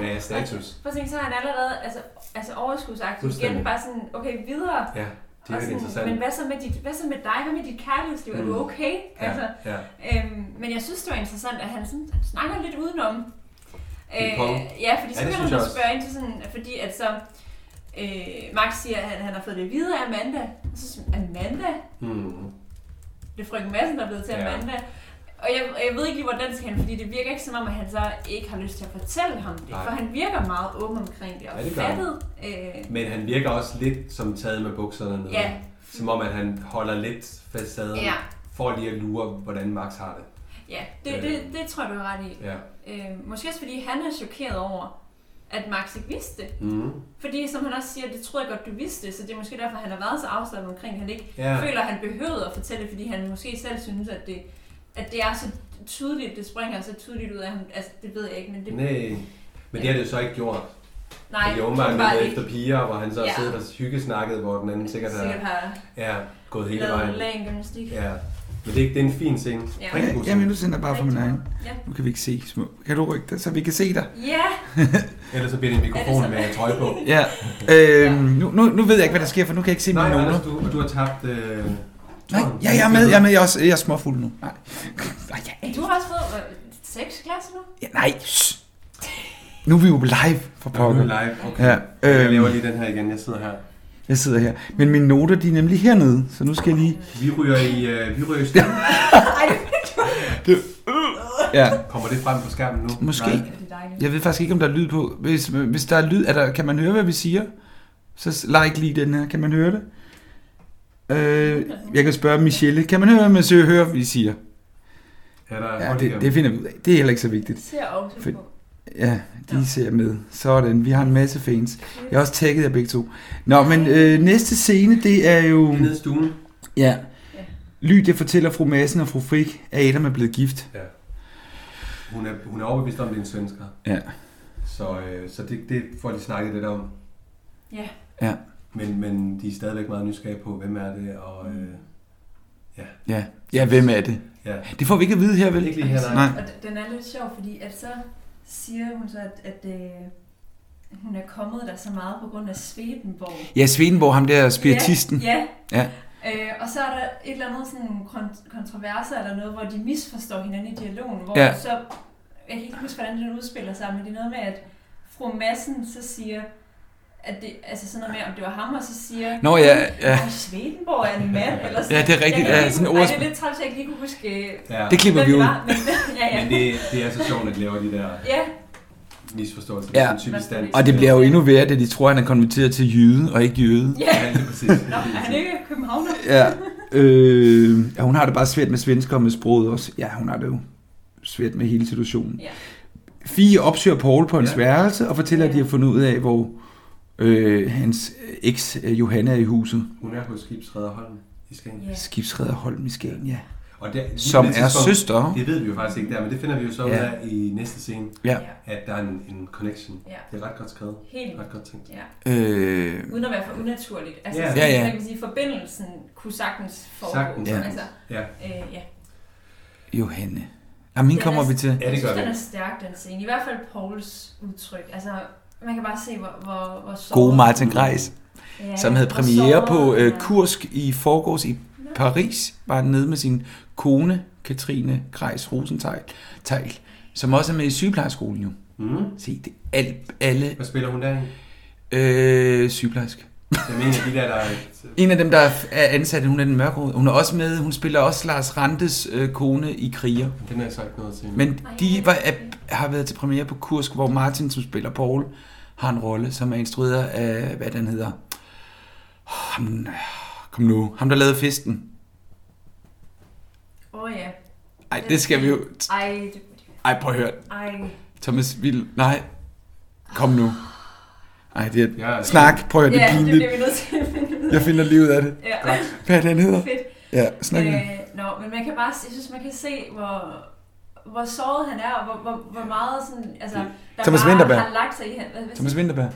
Speaker 2: Hvad er status?
Speaker 4: Og, altså, prøv at tænke, så er han allerede altså, altså overskudsagtig igen,
Speaker 2: Fuldstændig.
Speaker 4: bare sådan, okay, videre.
Speaker 2: Ja, det er
Speaker 4: Og
Speaker 2: virkelig
Speaker 4: sådan, Men
Speaker 2: interessant.
Speaker 4: hvad så med dit, hvad så med dig? Hvad med dit kærlighedsliv? Mm. Er
Speaker 2: Mm.
Speaker 4: du okay? Altså,
Speaker 2: Ja, ja.
Speaker 4: Øhm, men jeg synes, det var interessant, at han, sådan, han snakker lidt udenom. Øh,
Speaker 2: Ping pong.
Speaker 4: ja, fordi
Speaker 2: Ja,
Speaker 4: så ja,
Speaker 2: det synes
Speaker 4: kan
Speaker 2: jeg
Speaker 4: man
Speaker 2: også.
Speaker 4: spørge ind til sådan, fordi at så øh, Max siger, at han, han har fået det videre af Amanda. Og så siger han, Amanda?
Speaker 2: Mm.
Speaker 4: det er frøken Madsen, der er blevet til
Speaker 2: Ja.
Speaker 4: ja. Amanda. Og jeg, og jeg ved ikke lige, hvor den skal hen, fordi det virker ikke som om, at han så ikke har lyst til at fortælle ham det.
Speaker 2: Nej.
Speaker 4: For han virker meget åben omkring det, og
Speaker 2: Ja, det gør han.
Speaker 4: fattet. Øh,
Speaker 2: Men han virker også lidt som taget med bukserne nede.
Speaker 4: Ja.
Speaker 2: Som om, at han holder lidt facaden
Speaker 4: Ja.
Speaker 2: for lige at lure, hvordan Max har det.
Speaker 4: ja, det, det, det tror jeg, du har ret i.
Speaker 2: Ja.
Speaker 4: Øh, måske også fordi han er chokeret over, at Max ikke vidste det.
Speaker 2: Mhm.
Speaker 4: Fordi som han også siger, det troede jeg godt, du vidste, så det er måske derfor, han har været så afslappet omkring, at han ikke
Speaker 2: Ja.
Speaker 4: ja. føler, at han behøvede at fortælle, fordi han måske selv synes, at det, at det er så tydeligt, det springer så tydeligt ud af ham. Altså, det ved jeg ikke, men det...
Speaker 2: Nej. Men det har det jo så ikke gjort.
Speaker 4: Nej,
Speaker 2: Fordi åbenbart
Speaker 4: åbenbart
Speaker 2: lidt
Speaker 4: ikke.
Speaker 2: efter piger, hvor han så ja.
Speaker 4: Ja.
Speaker 2: sidder og hyggesnakket, hvor den anden sikkert,
Speaker 4: Sikkert har
Speaker 2: ja, gået hele
Speaker 4: lavet
Speaker 2: vejen.
Speaker 4: lagen gymnastik.
Speaker 2: Ja. Men det, er ikke- det er en fin scene.
Speaker 4: Ja.
Speaker 2: Rigtig god
Speaker 3: Ja, jamen nu sender jeg bare for min egen.
Speaker 4: Ja.
Speaker 3: Nu kan vi ikke se små. Kan du rykke dig, så vi kan se dig?
Speaker 4: Ja.
Speaker 2: Ellers så bliver det en mikrofon med trøje på.
Speaker 3: ja. Øhm, nu, nu, nu ved jeg ikke, hvad der sker, for nu kan jeg ikke se mine
Speaker 2: Nej,
Speaker 3: noter.
Speaker 2: Anders, du, du har tabt... Øh,
Speaker 3: Nej, ja, jeg er med. Jeg er, med. Jeg er, også, jeg er småfuld nu. Nej,
Speaker 4: Du har også fået øh, seks klasser nu?
Speaker 3: ja, nej. shh. Nu er vi jo live for
Speaker 2: Nå, nu
Speaker 3: pokker.
Speaker 2: er vi live, okay.
Speaker 3: Ja,
Speaker 2: Jeg laver
Speaker 3: øhm,
Speaker 2: lige den her igen, jeg sidder her.
Speaker 3: jeg sidder her. Men mine noter, de er nemlig hernede, så nu skal jeg lige...
Speaker 2: Vi ryger i... Øh, vi ryger i stemmen.
Speaker 3: Det, ja.
Speaker 2: Kommer det frem på skærmen nu?
Speaker 3: Måske.
Speaker 2: Nej.
Speaker 3: Jeg ved faktisk ikke, om der er lyd på. Hvis, hvis der er lyd, er der, kan man høre, hvad vi siger? Så s- like lige den her. Kan man høre det? Øh, jeg kan spørge Michelle. Kan man høre, hvad Monsieur hører, hvad vi siger?
Speaker 2: Ja, der
Speaker 3: Ja, det, det finder vi ud af. Det er heller ikke så vigtigt.
Speaker 4: Ser også
Speaker 3: For,
Speaker 4: på.
Speaker 3: Ja, de ja. ser med. Sådan, vi har en masse fans. Jeg er også tagget af begge to. Nå, men øh, næste scene, det er jo...
Speaker 2: Nede i stuen.
Speaker 3: Ja. Lydia fortæller fru Madsen og fru Frik, at Adam er blevet gift.
Speaker 2: Ja. Hun er, hun er overbevist om, at det er en svensker.
Speaker 3: Ja.
Speaker 2: Så, øh, så det, det får de snakket lidt om.
Speaker 4: Ja.
Speaker 3: Ja.
Speaker 2: Men, men de er stadigvæk meget nysgerrige på, hvem er det, og...
Speaker 4: Mm.
Speaker 2: Øh, ja.
Speaker 3: Ja, ja hvem er det?
Speaker 2: Ja.
Speaker 3: Det får vi ikke at vide her, vel?
Speaker 2: Ikke lige her, nej.
Speaker 3: nej.
Speaker 4: Og d- den er lidt sjov, fordi at så siger hun så, at, at øh, hun er kommet der så meget på grund af Svedenborg.
Speaker 3: Ja, Svenborg, ham der spiritisten.
Speaker 4: Ja,
Speaker 3: ja.
Speaker 4: Øh, og så er der et eller andet sådan kont- kontroverser eller noget, hvor de misforstår hinanden i dialogen, hvor
Speaker 3: Ja.
Speaker 4: ja. så, jeg kan ikke huske, hvordan den udspiller sig, men det er noget med, at fru Madsen så siger, at det, altså sådan noget med, om det var ham, og så siger,
Speaker 3: Nå ja, ja.
Speaker 4: "Ej, Swedenborg er en mand, eller sådan.
Speaker 3: Ja, det er rigtigt,
Speaker 4: Jeg kan
Speaker 3: ja,
Speaker 4: ikke-
Speaker 3: sådan
Speaker 4: Ej, det
Speaker 3: ordspil.
Speaker 4: er lidt træls, jeg ikke lige kunne huske, øh,
Speaker 2: Ja.
Speaker 3: Det klipper
Speaker 4: hvem
Speaker 3: vi ud.
Speaker 4: var, Men, ja, ja.
Speaker 2: Men det, det er så sjovt, at de laver de der
Speaker 4: Ja,
Speaker 2: misforståelser. Det er
Speaker 3: Ja,
Speaker 2: sådan typisk dansk.
Speaker 3: og det bliver jo endnu værre, da de tror, at han er konverteret til jøde og ikke jøde.
Speaker 4: ja.
Speaker 2: lige præcis.
Speaker 4: Nå, er han ikke københavner?
Speaker 3: Ja. Øh, ja, hun har det bare svært med svensker og med sproget også. Ja, hun har det jo svært med hele situationen.
Speaker 4: Ja.
Speaker 3: Fie opsøger Paul på hans ja. værelse og fortæller, at de har fundet ud af, hvor øh, hans eks øh, Johanna er i huset.
Speaker 2: Hun er på Skibsrederholm i Skagen.
Speaker 4: Yeah.
Speaker 3: Skibsredder Holm i Skagen, ja.
Speaker 2: Og der, lige
Speaker 3: Som
Speaker 2: på det
Speaker 3: er
Speaker 2: tidspunkt-
Speaker 3: søster.
Speaker 2: Det ved vi jo faktisk ikke der, men det finder vi jo så ud
Speaker 3: Ja.
Speaker 2: af i næste scene,
Speaker 3: Ja.
Speaker 2: at der er en, en connection. Det er ret godt skrevet.
Speaker 4: Helt.
Speaker 2: Ret godt tænkt.
Speaker 4: Ja.
Speaker 3: Øh,
Speaker 4: Uden at være for unaturligt. Altså,
Speaker 2: Ja.
Speaker 4: ja, ja.
Speaker 2: Ja, ja.
Speaker 4: Sådan, man kan sige, forbindelsen kunne sagtens foregå.
Speaker 2: Sagtens,
Speaker 3: Ja.
Speaker 4: Altså,
Speaker 2: ja.
Speaker 4: Øh, ja.
Speaker 3: Johanne. Jamen, hende
Speaker 4: Den
Speaker 3: kommer
Speaker 4: er-
Speaker 3: vi til.
Speaker 4: jeg synes, den er stærk, den scene. I hvert fald Pauls udtryk. Altså, man kan bare se, hvor, hvor, hvor såret-
Speaker 3: Gode Martin Greis,
Speaker 4: Ja,
Speaker 3: som havde
Speaker 4: hvor
Speaker 3: premiere
Speaker 4: såret
Speaker 3: på
Speaker 4: han
Speaker 3: øh,
Speaker 4: er.
Speaker 3: Kursk i forgårs i Paris, var han nede med sin kone, Katrine Greis Rosenthal, Tejl, som også er med i sygeplejerskolen jo.
Speaker 2: Mm.
Speaker 3: Se, det er al, alle...
Speaker 2: Hvad spiller hun der i?
Speaker 3: Øh, sygeplejerske.
Speaker 2: Jeg mener, de der, der er...
Speaker 3: En af dem, der er ansat, hun er den mørkehårede. Hun er også med, hun spiller også Lars Rantes øh, kone i Kriger.
Speaker 2: Den har jeg sagt noget til.
Speaker 3: Men de var, er, har været til premiere på Kursk, hvor Martin, som spiller Paul, har en rolle, som er instrueret af, hvad den hedder. Ham, kom nu. Ham, der lavede festen.
Speaker 4: Åh oh, ja.
Speaker 3: Ej, det skal vi jo...
Speaker 4: Ej, det,
Speaker 3: Ej, prøv at høre.
Speaker 4: ej.
Speaker 3: Thomas Vild. Nej. Kom nu. Ej, det er...
Speaker 2: Ja,
Speaker 3: snak. Prøv at høre, det er
Speaker 4: ja,
Speaker 3: pinligt.
Speaker 4: det bliver vi nødt til at finde ud af.
Speaker 3: Jeg finder lige ud af det.
Speaker 4: Ja.
Speaker 3: Hvad er det, han hedder?
Speaker 4: Fedt.
Speaker 3: Ja, snak med.
Speaker 4: Øh, nå, men man kan bare, jeg synes, man kan se, hvor, hvor såret han er, og hvor, hvor, hvor meget sådan, altså, der
Speaker 3: Thomas
Speaker 4: bare
Speaker 3: Vinterberg.
Speaker 4: har lagt sig i han. Hvad, hvad
Speaker 3: Thomas
Speaker 4: siger-
Speaker 3: Vinterberg.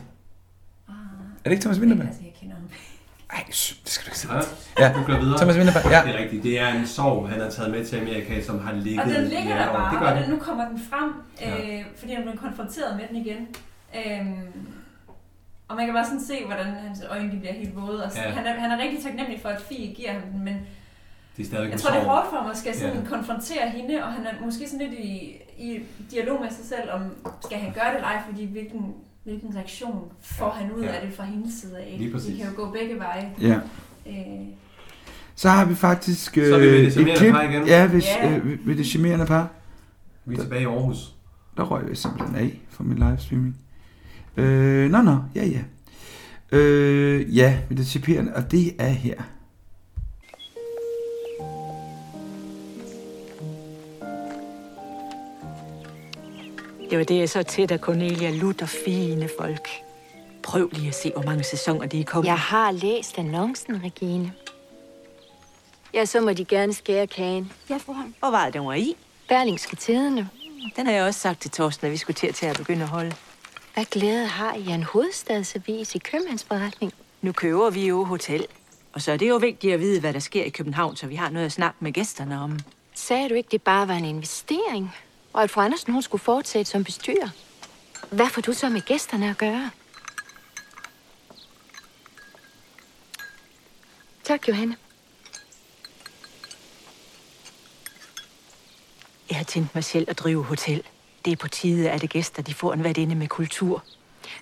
Speaker 4: Ah.
Speaker 3: Er det ikke Thomas Vinterberg?
Speaker 4: Altså, jeg kender ham.
Speaker 3: Ej, sh- det skal du ikke sige.
Speaker 2: Ja,
Speaker 3: Ja.
Speaker 2: du går videre.
Speaker 3: Thomas Vinterberg, ja.
Speaker 2: Det er rigtigt. Det er en sorg, han har taget med til Amerika, som har ligget...
Speaker 4: Og den
Speaker 2: i
Speaker 4: ligger
Speaker 2: flere
Speaker 4: der
Speaker 2: år.
Speaker 4: bare,
Speaker 2: Det gør
Speaker 4: og
Speaker 2: den.
Speaker 4: den, nu kommer den frem, øh, fordi han blev konfronteret med den igen. Øhm, og man kan bare sådan se, hvordan hans øjne de bliver helt våde. Og
Speaker 2: Ja.
Speaker 4: ja. han, er, han er rigtig taknemmelig for, at Fie giver ham den, men
Speaker 2: Det er stadigvæk
Speaker 4: jeg
Speaker 2: en
Speaker 4: tror, det er
Speaker 2: sorg.
Speaker 4: hårdt for ham at skal sådan
Speaker 2: Ja.
Speaker 4: ja. konfrontere hende, og han er måske sådan lidt i, i dialog med sig selv, om skal han gøre det eller ej, fordi hvilken, hvilken reaktion får han ud
Speaker 2: Ja.
Speaker 4: af det fra hendes side af.
Speaker 2: Lige
Speaker 4: Ikke?
Speaker 2: præcis.
Speaker 4: Det kan jo gå begge veje.
Speaker 3: Ja.
Speaker 4: Øh,
Speaker 3: Så har vi faktisk øh,
Speaker 2: Så er vi ved det
Speaker 3: et
Speaker 2: charmerende
Speaker 3: klip.
Speaker 2: par igen.
Speaker 3: Ja, hvis,
Speaker 2: Ja.
Speaker 3: yeah. øh, ved- ved det charmerende par.
Speaker 2: Vi er tilbage i Aarhus.
Speaker 3: Der røg jeg simpelthen af for min livestreaming. Øh, nå, nå, ja, ja. Øh, ja, ved det charmerende, og det er her.
Speaker 7: Det var det, jeg så tæt af Cornelia Lutter fine folk. Prøv lige at se, hvor mange sæsoner de er kommet.
Speaker 17: Jeg har læst annoncen, Regine. Ja, så må de gerne skære kagen. Ja, forhånd.
Speaker 7: Hvor var det, den var i?
Speaker 17: Berlingske Tidene.
Speaker 7: Den har jeg også sagt til Torsten, at vi skulle til at, til at begynde at holde.
Speaker 17: Hvad glæde har I af en hovedstadsavis i købmandsforretning?
Speaker 7: Nu køber vi jo hotel. Og så er det jo vigtigt at vide, hvad der sker i København, så vi har noget at snakke med gæsterne om.
Speaker 17: Sagde du ikke, det bare var en investering? Og at fru Andersen, hun skulle fortsætte som bestyrer? Hvad får du så med gæsterne at gøre? Tak, Johanne.
Speaker 7: Jeg har tænkt mig selv at drive hotel. Det er på tide, at det gæster de får en værtinde med kultur.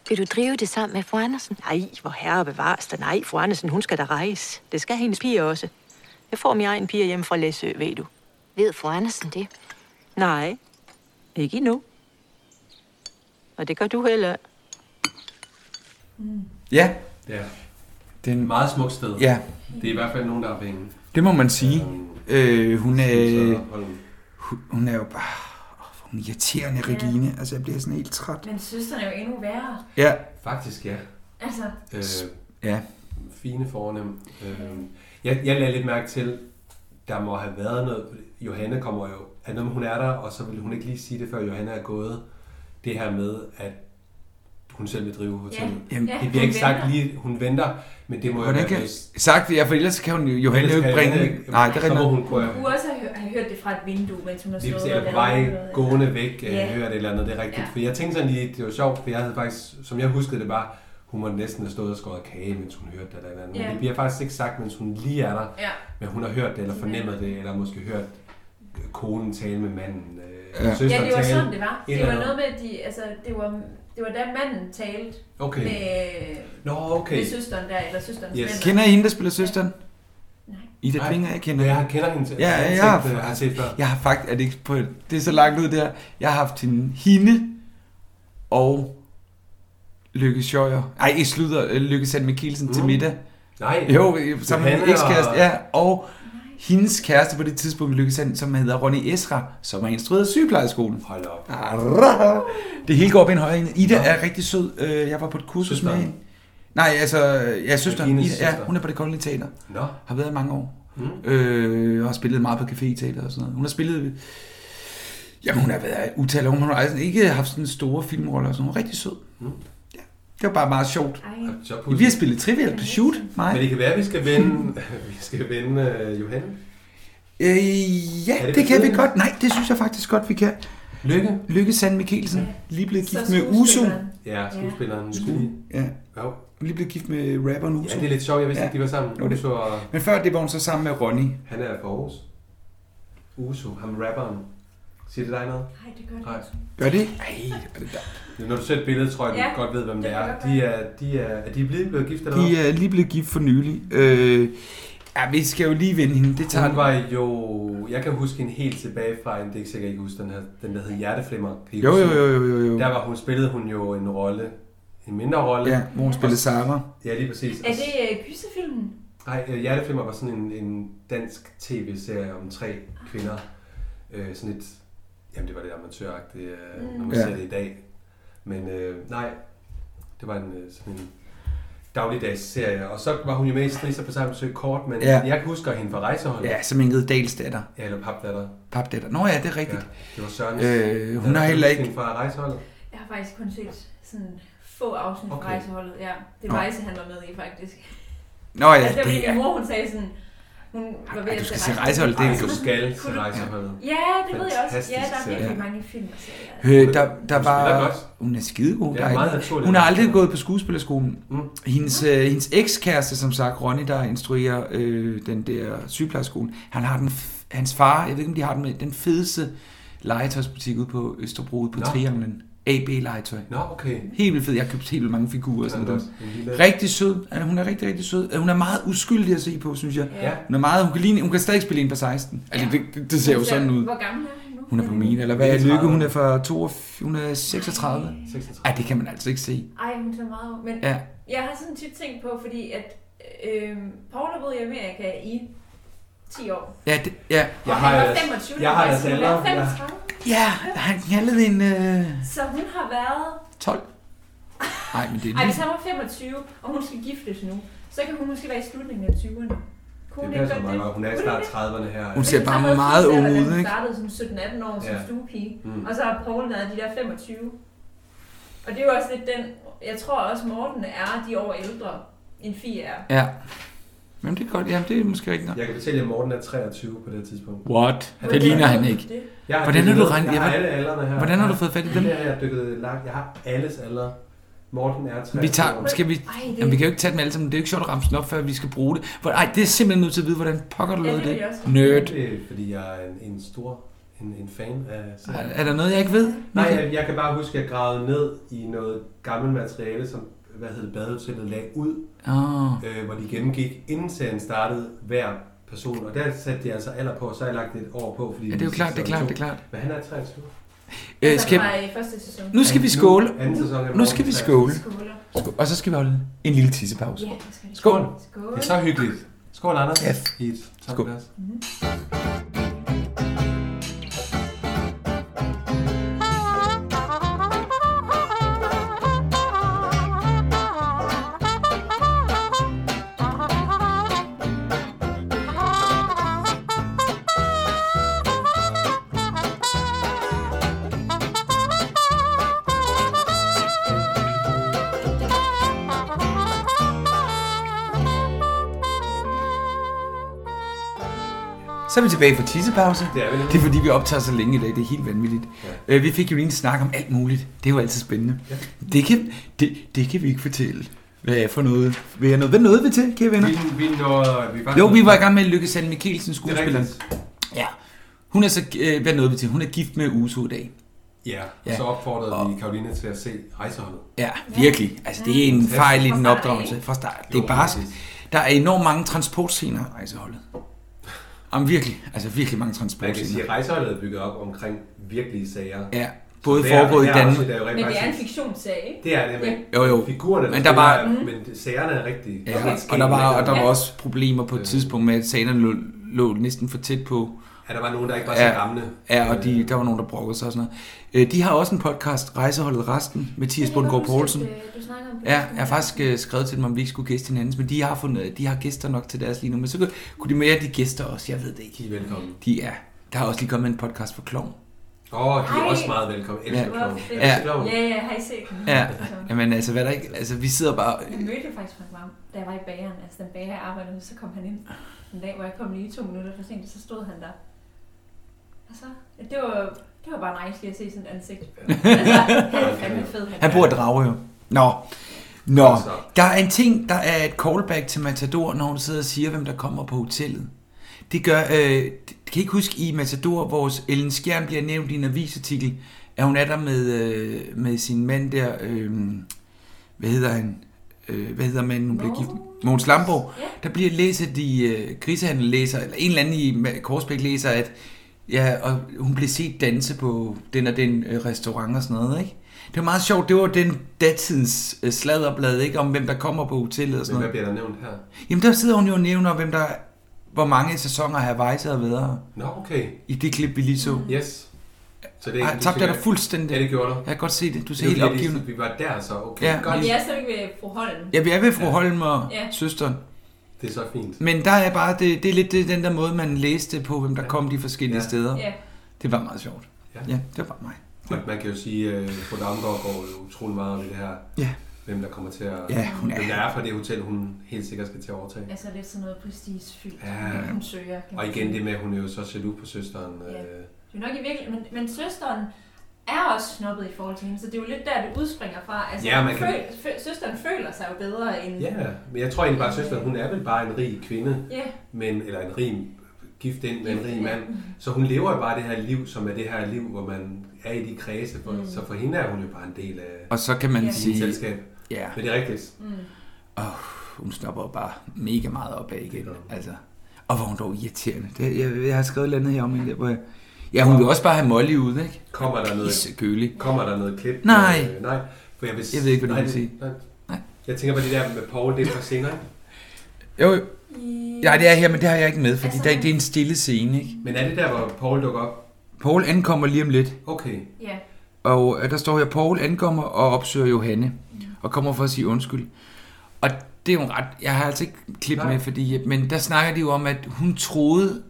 Speaker 17: Vil du drive det sammen med fru Andersen?
Speaker 7: Nej, hvor herre bevares dig. Nej, fru Andersen, hun skal da rejse. Det skal hendes piger også. Jeg får min egen piger hjemme fra Læsø, ved du.
Speaker 17: Ved fru Andersen det?
Speaker 7: Nej, ikke endnu. Og det gør du heller.
Speaker 3: Ja,
Speaker 2: Ja.
Speaker 3: Det er en
Speaker 2: meget smukt sted.
Speaker 3: Ja.
Speaker 2: Det er i hvert fald nogen, der er penge.
Speaker 3: det må man sige. Øh, hun er...
Speaker 2: Holm.
Speaker 3: Hun, hun er jo bare... åh, hvor Hun er irriterende,
Speaker 4: Ja.
Speaker 3: Regine. Altså, jeg bliver sådan helt træt.
Speaker 4: Men søsteren er jo endnu værre.
Speaker 3: Ja.
Speaker 2: Faktisk, ja.
Speaker 4: Altså,
Speaker 2: Øh,
Speaker 3: ja.
Speaker 2: Fine fornem. Øh, jeg, jeg lagde lidt mærke til, der må have været noget... Johanne kommer jo... At når hun er der, og så vil hun ikke lige sige det, før Johanne er gået. Det her med, at hun selv vil drive hotellet.
Speaker 3: Ja. Jamen,
Speaker 2: det
Speaker 3: hun
Speaker 2: bliver ikke sagt
Speaker 3: venter.
Speaker 2: lige, hun venter, men det må jo
Speaker 3: Hvordan
Speaker 2: være...
Speaker 3: kan sagt det? Ja, for ellers kan hun jo Johanne
Speaker 2: Ellers
Speaker 3: jo ikke
Speaker 2: kan
Speaker 3: bringe...
Speaker 2: Johanne ikke-
Speaker 3: Nej, det er
Speaker 2: Så må
Speaker 3: rigtigt.
Speaker 2: hun gå
Speaker 4: du også har, hø- har hørt det fra et vindue, mens hun har
Speaker 2: Lige
Speaker 4: stået
Speaker 2: præcis, eller på
Speaker 4: lavet
Speaker 2: vej
Speaker 4: noget.
Speaker 2: gående væk, yeah.
Speaker 4: Ja.
Speaker 2: jeg hører det eller andet, det er rigtigt.
Speaker 4: Ja.
Speaker 2: For jeg tænkte sådan lige, det var sjovt, for jeg havde faktisk, som jeg huskede det bare, hun måtte næsten have stået og skåret kage, mens hun hørte det eller et eller andet.
Speaker 4: Ja.
Speaker 2: Men det bliver faktisk ikke sagt, mens hun lige er der.
Speaker 4: Ja.
Speaker 2: Men hun har hørt det, eller fornemmet det, eller måske hørt konen tale med manden. Øh,
Speaker 4: Ja,
Speaker 2: søsteren
Speaker 4: det var
Speaker 2: tale,
Speaker 4: sådan, det var.
Speaker 2: et
Speaker 4: Det
Speaker 2: eller
Speaker 4: var
Speaker 2: andet.
Speaker 4: noget med, at de, altså, det var, det var da manden talte
Speaker 2: Okay.
Speaker 4: med,
Speaker 2: Nå, okay.
Speaker 4: med søsteren der, eller søsterens yes.
Speaker 3: Kender I hende, der spiller søsteren?
Speaker 4: Nej.
Speaker 3: Ida
Speaker 2: Nej.
Speaker 3: Klinger, jeg kender.
Speaker 2: Ja, jeg kender hende til-
Speaker 3: Ja,
Speaker 2: jeg har
Speaker 3: ja,
Speaker 2: ikke
Speaker 3: jeg har,
Speaker 2: set, øh, jeg har set før.
Speaker 3: jeg har faktisk, er det ikke på, det er så langt ud der. Jeg har haft hende, hende og Lykke Sjøjer. Ej, ikke slutter, øh, Lykke Sand Mikkelsen mm. til
Speaker 2: Mm.
Speaker 3: middag.
Speaker 2: Nej.
Speaker 3: Jo, øh, sammen med
Speaker 2: Johanne
Speaker 3: min ekskæreste,
Speaker 2: og-
Speaker 3: ja. Og hendes kæreste på det tidspunkt, Lykke Sand, som hedder Ronny Esra, som er instrueret af sygeplejeskolen.
Speaker 2: Hold op.
Speaker 3: Det hele går op i en højere enhed. Ida er rigtig sød. Øh, Jeg var på et kursus med hende. Nej, altså, ja, søsteren.
Speaker 2: Regines
Speaker 3: Ida, ja,
Speaker 2: søster.
Speaker 3: hun er på det kongelige teater.
Speaker 2: Nå.
Speaker 3: Har været i mange år.
Speaker 2: Mm.
Speaker 3: Øh, har spillet meget på café-teater og sådan noget. Hun har spillet... Jamen, hun har været i utal. af- Hun har altså ikke haft sådan store filmroller og sådan noget. Rigtig sød.
Speaker 2: Mm.
Speaker 3: Ja, det var bare meget sjovt.
Speaker 2: Så pudsigt.
Speaker 3: Vi har spillet Trivial Pursuit. Mig.
Speaker 2: Men det kan være, at vi skal vende, vi skal vende øh, Johanne.
Speaker 3: Øh, ja,
Speaker 2: Er det
Speaker 3: det, det kan vi
Speaker 2: betydeligt?
Speaker 3: godt. Nej, det synes jeg faktisk godt, vi kan.
Speaker 2: Lykke.
Speaker 3: Lykke Sand Mikkelsen. Ja. Lige blevet
Speaker 2: Så
Speaker 3: gift med Uso.
Speaker 2: skuespilleren. Ja, skuespilleren.
Speaker 3: Skue. Ja.
Speaker 2: Jo.
Speaker 3: Hun lige blevet gift med rapperen Uso.
Speaker 2: Ja, det er lidt sjovt. Jeg vidste ikke, de var sammen.
Speaker 3: Nu er det.
Speaker 2: Uso og-
Speaker 3: Men før det var hun så sammen med Ronny.
Speaker 2: Han er fra Aarhus. Uso, ham rapperen. Siger det dig noget?
Speaker 4: Nej, det gør det
Speaker 2: Nej.
Speaker 3: Gør det? Ej, det er
Speaker 2: det Når du ser et billede, tror jeg, du
Speaker 4: Ja,
Speaker 2: ja, godt ved, hvem det
Speaker 4: det
Speaker 2: er.
Speaker 4: kan
Speaker 2: De er, de er, er de blevet, blevet gift eller
Speaker 3: De
Speaker 2: hvad?
Speaker 3: er lige blevet gift for nylig. Øh, ja, vi skal jo lige vende hende. Det tager
Speaker 2: Hun var jo... Jeg kan huske hende helt tilbage fra en, det er ikke sikkert, I kan huske den her, den der hed Hjerteflimmer. Kan I
Speaker 3: Jo,
Speaker 2: huske
Speaker 3: jo, jo,
Speaker 2: den?
Speaker 3: jo, jo, jo.
Speaker 2: Der var hun, spillede hun jo en rolle, en mindre rolle.
Speaker 3: Ja, hvor hun spillede Sarah.
Speaker 2: Ja, lige præcis.
Speaker 4: Er det øh, gyserfilmen?
Speaker 2: Nej, øh, Hjerteflimmer var sådan en, en dansk tv-serie om tre kvinder. Øh, sådan et, jamen det var lidt amatøragtigt, øh,
Speaker 4: Mm.
Speaker 2: når man
Speaker 3: Ja.
Speaker 2: ja. ser det i dag. Men øh, nej, det var en, øh, sådan en dagligdags serie. Og så var hun jo med i Strisser på samme besøg kort, men
Speaker 3: Ja.
Speaker 2: ja. jeg husker hende fra rejseholdet.
Speaker 3: Ja, som Ingrid Dahls datter.
Speaker 2: Ja, eller papdatter.
Speaker 3: Papdatter. Nå ja, det er rigtigt.
Speaker 2: Ja, det var Sørens.
Speaker 3: Øh, hun
Speaker 2: Ja, kan
Speaker 3: har
Speaker 2: du
Speaker 3: heller
Speaker 2: huske
Speaker 3: ikke...
Speaker 2: Hende fra rejseholdet.
Speaker 4: Jeg har faktisk kun set sådan få afsnit okay.
Speaker 2: Okay.
Speaker 4: fra rejseholdet. Ja, det
Speaker 3: Nå.
Speaker 4: er rejse, han var med i, faktisk.
Speaker 3: Nå ja,
Speaker 4: altså, det,
Speaker 3: det
Speaker 4: det
Speaker 3: er-
Speaker 4: Min mor, hun sagde sådan, hun var ved
Speaker 3: Ej, du
Speaker 4: at
Speaker 3: skal
Speaker 4: se
Speaker 3: se rejseholdet. Det er
Speaker 2: Ej, du skal se
Speaker 4: Kunne du-
Speaker 2: rejseholdet.
Speaker 4: Ja, det ved jeg også. Ja, der er
Speaker 2: Fantastisk
Speaker 4: virkelig
Speaker 2: serie.
Speaker 4: mange film og serier.
Speaker 3: Øh, der, der
Speaker 2: Hun spiller
Speaker 3: var,
Speaker 2: godt.
Speaker 3: hun er skidegod.
Speaker 2: Ja,
Speaker 3: Der er ikke-
Speaker 2: meget naturlig.
Speaker 3: hun har aldrig gået på skuespillerskolen.
Speaker 2: Mm.
Speaker 3: Hendes, øh, hendes ekskæreste, som sagt, Ronny, der instruerer øh, den der sygeplejerskolen, han har den, f- hans far, jeg ved ikke, om de har den med, den fedeste legetøjsbutik ude på Østerbro, ude på
Speaker 2: Nå.
Speaker 3: Trianglen. AB Legetøj.
Speaker 2: Nå, okay.
Speaker 3: Helt vildt fed. Jeg har købt helt vildt mange figurer og sådan
Speaker 2: Ja,
Speaker 3: noget.
Speaker 2: det er også en lille-
Speaker 3: Rigtig sød. Ja, Hun er rigtig, rigtig sød. Ja, Hun er meget uskyldig at se på, synes jeg.
Speaker 2: Ja.
Speaker 3: Hun, er meget, hun, kan ligne, hun kan stadig spille en på 16. Altså, det, det, det ser jo
Speaker 4: Hun
Speaker 3: sådan ud.
Speaker 4: Hvor gammel er hun nu?
Speaker 3: Hun er på min, eller hvad er Lykke?
Speaker 2: 39.
Speaker 3: Hun er fra 42, hun er 36.
Speaker 2: 36.
Speaker 3: Ej, det kan man altså ikke se.
Speaker 4: Ej, hun ser meget ung. Men
Speaker 3: Ja.
Speaker 4: ja. jeg har sådan tit tænkt på, fordi at øh, Paul har boet i Amerika i 10 år.
Speaker 3: Ja, det, ja.
Speaker 4: Jeg har Han var jeres- 25, jeg har jeres hun er alder. 35.
Speaker 3: Ja, han knaldede en øh,
Speaker 4: Så hun har været...
Speaker 3: 12. Nej, men det er
Speaker 4: Ej, hvis
Speaker 3: lige...
Speaker 4: han var 25, og hun skal giftes nu, så kan hun måske være i slutningen af 20'erne. Kunne
Speaker 2: Det
Speaker 4: hun
Speaker 2: passer
Speaker 4: godt
Speaker 2: meget godt. Hun er i
Speaker 4: Kunne
Speaker 2: snart
Speaker 4: det?
Speaker 2: 30'erne her.
Speaker 3: Hun ser
Speaker 4: Men
Speaker 3: bare
Speaker 4: så havde
Speaker 3: meget
Speaker 4: Christian,
Speaker 3: ung
Speaker 4: da
Speaker 3: ud,
Speaker 4: Han
Speaker 3: ikke?
Speaker 4: startede som 17-18 år som
Speaker 2: Ja.
Speaker 4: stuepige,
Speaker 2: Mm.
Speaker 4: og så har Paul været de der 25. Og det er jo også lidt den... Jeg tror også, Morten er de år ældre, end Fie er.
Speaker 3: Ja. Jamen, det er godt. Jamen, det er måske rigtigt nok.
Speaker 2: Jeg kan fortælle jer, at Morten er 23 på det her tidspunkt.
Speaker 3: What?
Speaker 2: Han
Speaker 3: Det
Speaker 2: er-
Speaker 3: ligner han ikke.
Speaker 2: Jeg
Speaker 3: Hvordan har
Speaker 2: dykket
Speaker 3: du
Speaker 2: ned.
Speaker 3: regnet-
Speaker 2: Jeg har
Speaker 3: Jamen,
Speaker 2: alle alderne her.
Speaker 3: hvordan har du fået fat i dem?
Speaker 2: Jeg har dykket langt. Jeg har alles alder. Morten er 23.
Speaker 3: Vi tager, skal vi,
Speaker 2: Ej, det-
Speaker 3: jamen, vi kan jo ikke tage dem alle sammen. Det er jo ikke sjovt at ramse den op, før vi skal bruge det. For, ej, det er simpelthen nødt til at vide, hvordan pokker du
Speaker 2: Ja,
Speaker 3: lavede
Speaker 2: det
Speaker 3: det.
Speaker 2: vil jeg også.
Speaker 3: Nerd.
Speaker 2: Det er, fordi jeg er en, en stor en, en fan af serien.
Speaker 3: Er- er der noget, jeg ikke ved?
Speaker 2: Nej,
Speaker 3: Michael?
Speaker 2: jeg, jeg kan bare huske, at jeg gravede ned i noget gammelt materiale, som hvad hedder det, badehotellet lagde ud,
Speaker 3: Åh.
Speaker 2: øh, hvor de gennemgik, inden serien startede, hver person. Og der satte de altså alder på, og så har jeg lagt et år på. Fordi
Speaker 3: Ja, det er jo
Speaker 2: vi
Speaker 3: klart, det er
Speaker 2: sæson
Speaker 3: klart,
Speaker 2: to.
Speaker 3: det er klart.
Speaker 2: Men han er 23.
Speaker 3: Øh,
Speaker 2: Altså,
Speaker 3: skal, nu skal vi skåle. Nu skal vi skåle. Skål. Og så skal vi holde en lille tissepause.
Speaker 2: Ja,
Speaker 4: det skal vi.
Speaker 3: Skål.
Speaker 4: Skål.
Speaker 2: Det er så hyggeligt. Skål, Anders.
Speaker 3: Ja.
Speaker 2: I et tomt
Speaker 3: Skål.
Speaker 2: glas.
Speaker 4: Mhm.
Speaker 3: Så er vi tilbage fra tissepause.
Speaker 2: Det er vi nemlig.
Speaker 3: det er fordi, vi optager så længe i dag. Det er helt vanvittigt. Ja. Vi fik jo lige en snak om alt muligt. Det er jo altid spændende. Ja. Det, kan, det, det kan vi ikke fortælle. Hvad er for noget? Hvad er noget? Hvad nåede vi til, kære venner?
Speaker 2: Vi, vi nåede... Vi
Speaker 3: Jo, vi var i gang med Lykke Sand Mikkelsen, skuespilleren. Ja. Hun er så... Øh, hvad nåede vi til? Hun er gift med Uso i dag.
Speaker 2: Ja,
Speaker 3: Ja.
Speaker 2: ja. så opfordrede vi Karoline til at se rejseholdet.
Speaker 3: Ja, virkelig. Altså, det er en
Speaker 2: Fantastisk.
Speaker 3: fejl i den
Speaker 2: Fra start
Speaker 3: opdragelse
Speaker 2: af.
Speaker 3: fra start. Det er
Speaker 2: Mm. Jo,
Speaker 3: bare...
Speaker 2: præcis.
Speaker 3: Der er enormt mange transportscener i rejseholdet. Jamen virkelig, altså virkelig mange
Speaker 2: Man kan sige,
Speaker 3: transportscener.
Speaker 2: at rejseholdet er bygget op omkring virkelige sager.
Speaker 3: Ja,
Speaker 2: Så
Speaker 3: både
Speaker 2: hver-
Speaker 3: foregået i
Speaker 2: hver
Speaker 3: Danmark-
Speaker 2: afsnit er jo rent
Speaker 4: Men det er en
Speaker 2: faktisk-
Speaker 4: fiktionssag, ikke?
Speaker 2: Det er det, men
Speaker 4: Ja.
Speaker 3: Jo, jo.
Speaker 2: figurerne,
Speaker 3: Men der var-
Speaker 4: Mhm.
Speaker 2: spiller, men sagerne er rigtige.
Speaker 3: Ja,
Speaker 2: er helt
Speaker 3: og der var,
Speaker 2: skægt.
Speaker 3: og der var også problemer
Speaker 2: Øh.
Speaker 3: på et tidspunkt med, at scenerne lå, lå næsten for tæt på.
Speaker 2: Ja, der var nogen, der ikke var så
Speaker 3: ja,
Speaker 2: gamle.
Speaker 3: Ja, og de, der var nogen, der brokkede sig og sådan noget. Øh, De har også en podcast, Rejseholdet Resten, Mathias Bundgaard Poulsen.
Speaker 4: øh, Du snakker om
Speaker 3: Ja, jeg har faktisk øh, skrevet til dem, om vi ikke skulle gæste hinanden, men de har, fundet, de har gæster nok til deres lige nu. Men så kunne, kunne de mere, de gæster også, jeg ved det ikke.
Speaker 2: De er velkommen.
Speaker 3: De er. Der har også lige kommet en podcast for Klovn.
Speaker 2: Åh, oh, de er også meget velkommen. Elsker
Speaker 3: Ja.
Speaker 2: Klovn.
Speaker 3: Ja.
Speaker 2: Elsker Klovn.
Speaker 4: Ja, ja, har I set den?
Speaker 3: Ja,
Speaker 4: Så-
Speaker 3: men altså, hvad der ikke, altså vi sidder bare...
Speaker 4: Jeg mødte faktisk Frank Vam, da jeg var i bageren. Altså, den bager, jeg arbejdede med, så kom han ind en dag, hvor jeg kom lige to minutter for sent, og så stod han der. Og så, det var, det var bare nice lige at se sådan et ansigt. altså, han er fandme fed.
Speaker 3: Han bor i Drage, jo. Nå. Nå, der er en ting, der er et callback til Matador, når hun sidder og siger, hvem der kommer på hotellet. Det gør, øh, det- kan I ikke huske i Matador, hvor Ellen Skjern bliver nævnt i en avisartikel, at hun er der med, øh, med sin mand der, øh, hvad hedder han, øh, hvad hedder manden, hun bliver gift med? Mogens Lamborg. Der bliver læset de øh, grisehandel læser, eller en eller anden i Ma- Korsbæk læser, at ja, og hun blev set danse på den og den øh, restaurant og sådan noget, ikke? Det var meget sjovt, det var den datidens øh, sladderblad, ikke? Om hvem der kommer på hotellet og sådan
Speaker 2: Men hvad
Speaker 3: noget.
Speaker 2: bliver der nævnt her?
Speaker 3: Jamen der sidder hun jo og nævner, hvem der, hvor mange sæsoner Hawaii har været.
Speaker 2: Nå, okay.
Speaker 3: I det klip, vi lige så.
Speaker 2: Yes. Så det
Speaker 3: Ej,
Speaker 2: ikke-
Speaker 3: tabte jeg
Speaker 2: det-
Speaker 3: dig fuldstændig.
Speaker 2: Ja, det gjorde du. Jeg
Speaker 3: kan godt se det. Du ser
Speaker 2: jo
Speaker 3: helt
Speaker 2: det, vi-
Speaker 3: opgivende.
Speaker 2: Vi var der så, okay.
Speaker 3: Ja.
Speaker 4: Men vi er stadigvæk ved fru Holm.
Speaker 3: Ja, vi er ved fru Holm og
Speaker 4: Ja.
Speaker 3: søsteren.
Speaker 2: Det er så fint.
Speaker 3: Men der er bare, det, det er lidt det, den der måde, man læste på, hvem der kom de forskellige ja. steder.
Speaker 4: Ja.
Speaker 3: Det var meget sjovt.
Speaker 2: Ja.
Speaker 3: ja det var bare mig.
Speaker 2: Og man kan jo sige, at fru Damgaard går jo utrolig meget om i det her.
Speaker 3: Ja.
Speaker 2: Hvem der kommer til at...
Speaker 3: Ja, hun er-
Speaker 2: Hvem der er fra det hotel, hun helt sikkert skal til at overtage.
Speaker 4: Altså lidt sådan noget prestigefyldt,
Speaker 2: Ja.
Speaker 4: hun søger. kan
Speaker 2: Og
Speaker 4: man
Speaker 2: igen
Speaker 4: sige.
Speaker 2: det med, at hun er jo så jaloux på søsteren. Øh,
Speaker 4: Det er nok i virkeligheden, men, men søsteren er også snobbet i forhold til hende, så det er jo lidt der, det udspringer fra. Altså,
Speaker 2: Ja,
Speaker 4: ja,
Speaker 2: man
Speaker 4: man
Speaker 2: kan-
Speaker 4: føl, føl, søsteren føler sig jo bedre end...
Speaker 2: Ja, men jeg tror egentlig bare, at søsteren, hun er vel bare en rig kvinde,
Speaker 4: Ja.
Speaker 2: men, eller en rig gift ind med en rig
Speaker 4: ja.
Speaker 2: mand. Så hun lever jo bare det her liv, som er det her liv, hvor man er i de kredse. For,
Speaker 4: Mm.
Speaker 2: Så for hende er hun jo bare en del af
Speaker 3: Og så kan man
Speaker 2: af hendes
Speaker 3: sige-
Speaker 2: selskab.
Speaker 3: Ja.
Speaker 2: Men det er rigtigt.
Speaker 4: Mm.
Speaker 3: Og hun snapper jo bare mega meget op af igen. Altså. Og hvor hun dog irriterende. Det, jeg, jeg har skrevet et eller andet her om hende, der, hvor jeg, Ja, hun vil også bare have Molly ud, ikke?
Speaker 2: Kommer der noget,
Speaker 3: Isegølig.
Speaker 2: kommer der noget klip?
Speaker 3: Nej.
Speaker 2: Øh, nej. For jeg, vil,
Speaker 3: Jeg ved ikke, hvad du
Speaker 2: nej,
Speaker 3: vil sige.
Speaker 2: Nej. Jeg tænker på det der med Paul, det er fra senere. ikke?
Speaker 3: Jo, jo. Ja, det er her, men det har jeg ikke med, fordi
Speaker 4: Altså-
Speaker 3: der, det er en stille scene, ikke?
Speaker 2: Men er det der, hvor Paul dukker op?
Speaker 3: Paul ankommer lige om lidt.
Speaker 2: Okay.
Speaker 4: Ja.
Speaker 3: Og øh, der står her, Paul ankommer og opsøger Johanne, og kommer for at sige undskyld. Og det er jo ret, jeg har altså ikke klip
Speaker 2: Nej.
Speaker 3: med, fordi, men der snakker de jo om, at hun troede,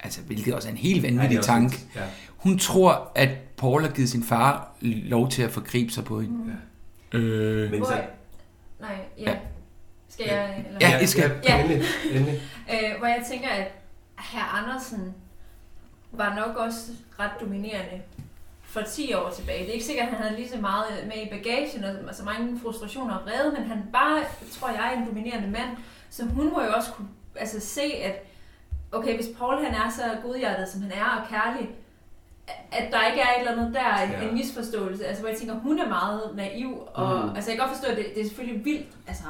Speaker 3: altså hvilket også er en
Speaker 2: Ja,
Speaker 3: helt
Speaker 2: det
Speaker 3: vanvittig
Speaker 2: er også
Speaker 3: tanke,
Speaker 2: lidt- ja.
Speaker 3: hun tror, at Paul har givet sin far lov til at forgribe sig på hende. Ja. Øh.
Speaker 4: Hvor, nej, ja. Skal jeg... Eller?
Speaker 3: Ja, I skal.
Speaker 4: Ja.
Speaker 2: Endelig, endelig.
Speaker 4: øh, hvor jeg tænker, at herr Andersen var nok også ret dominerende for 10 år tilbage. Det er ikke sikkert, at han havde lige så meget med i bagagen og så mange frustrationer og vrede, men han var, tror jeg, en dominerende mand, så hun må jo også kunne altså, se, at okay, hvis Paul han er så godhjertet, som han er, og kærlig, at der ikke er et eller andet der, en,
Speaker 10: Ja.
Speaker 4: ja. en misforståelse. Altså, hvor jeg tænker, hun er meget naiv, og
Speaker 10: Mm.
Speaker 4: mm. altså, jeg kan godt forstå, at det, det er selvfølgelig vildt, altså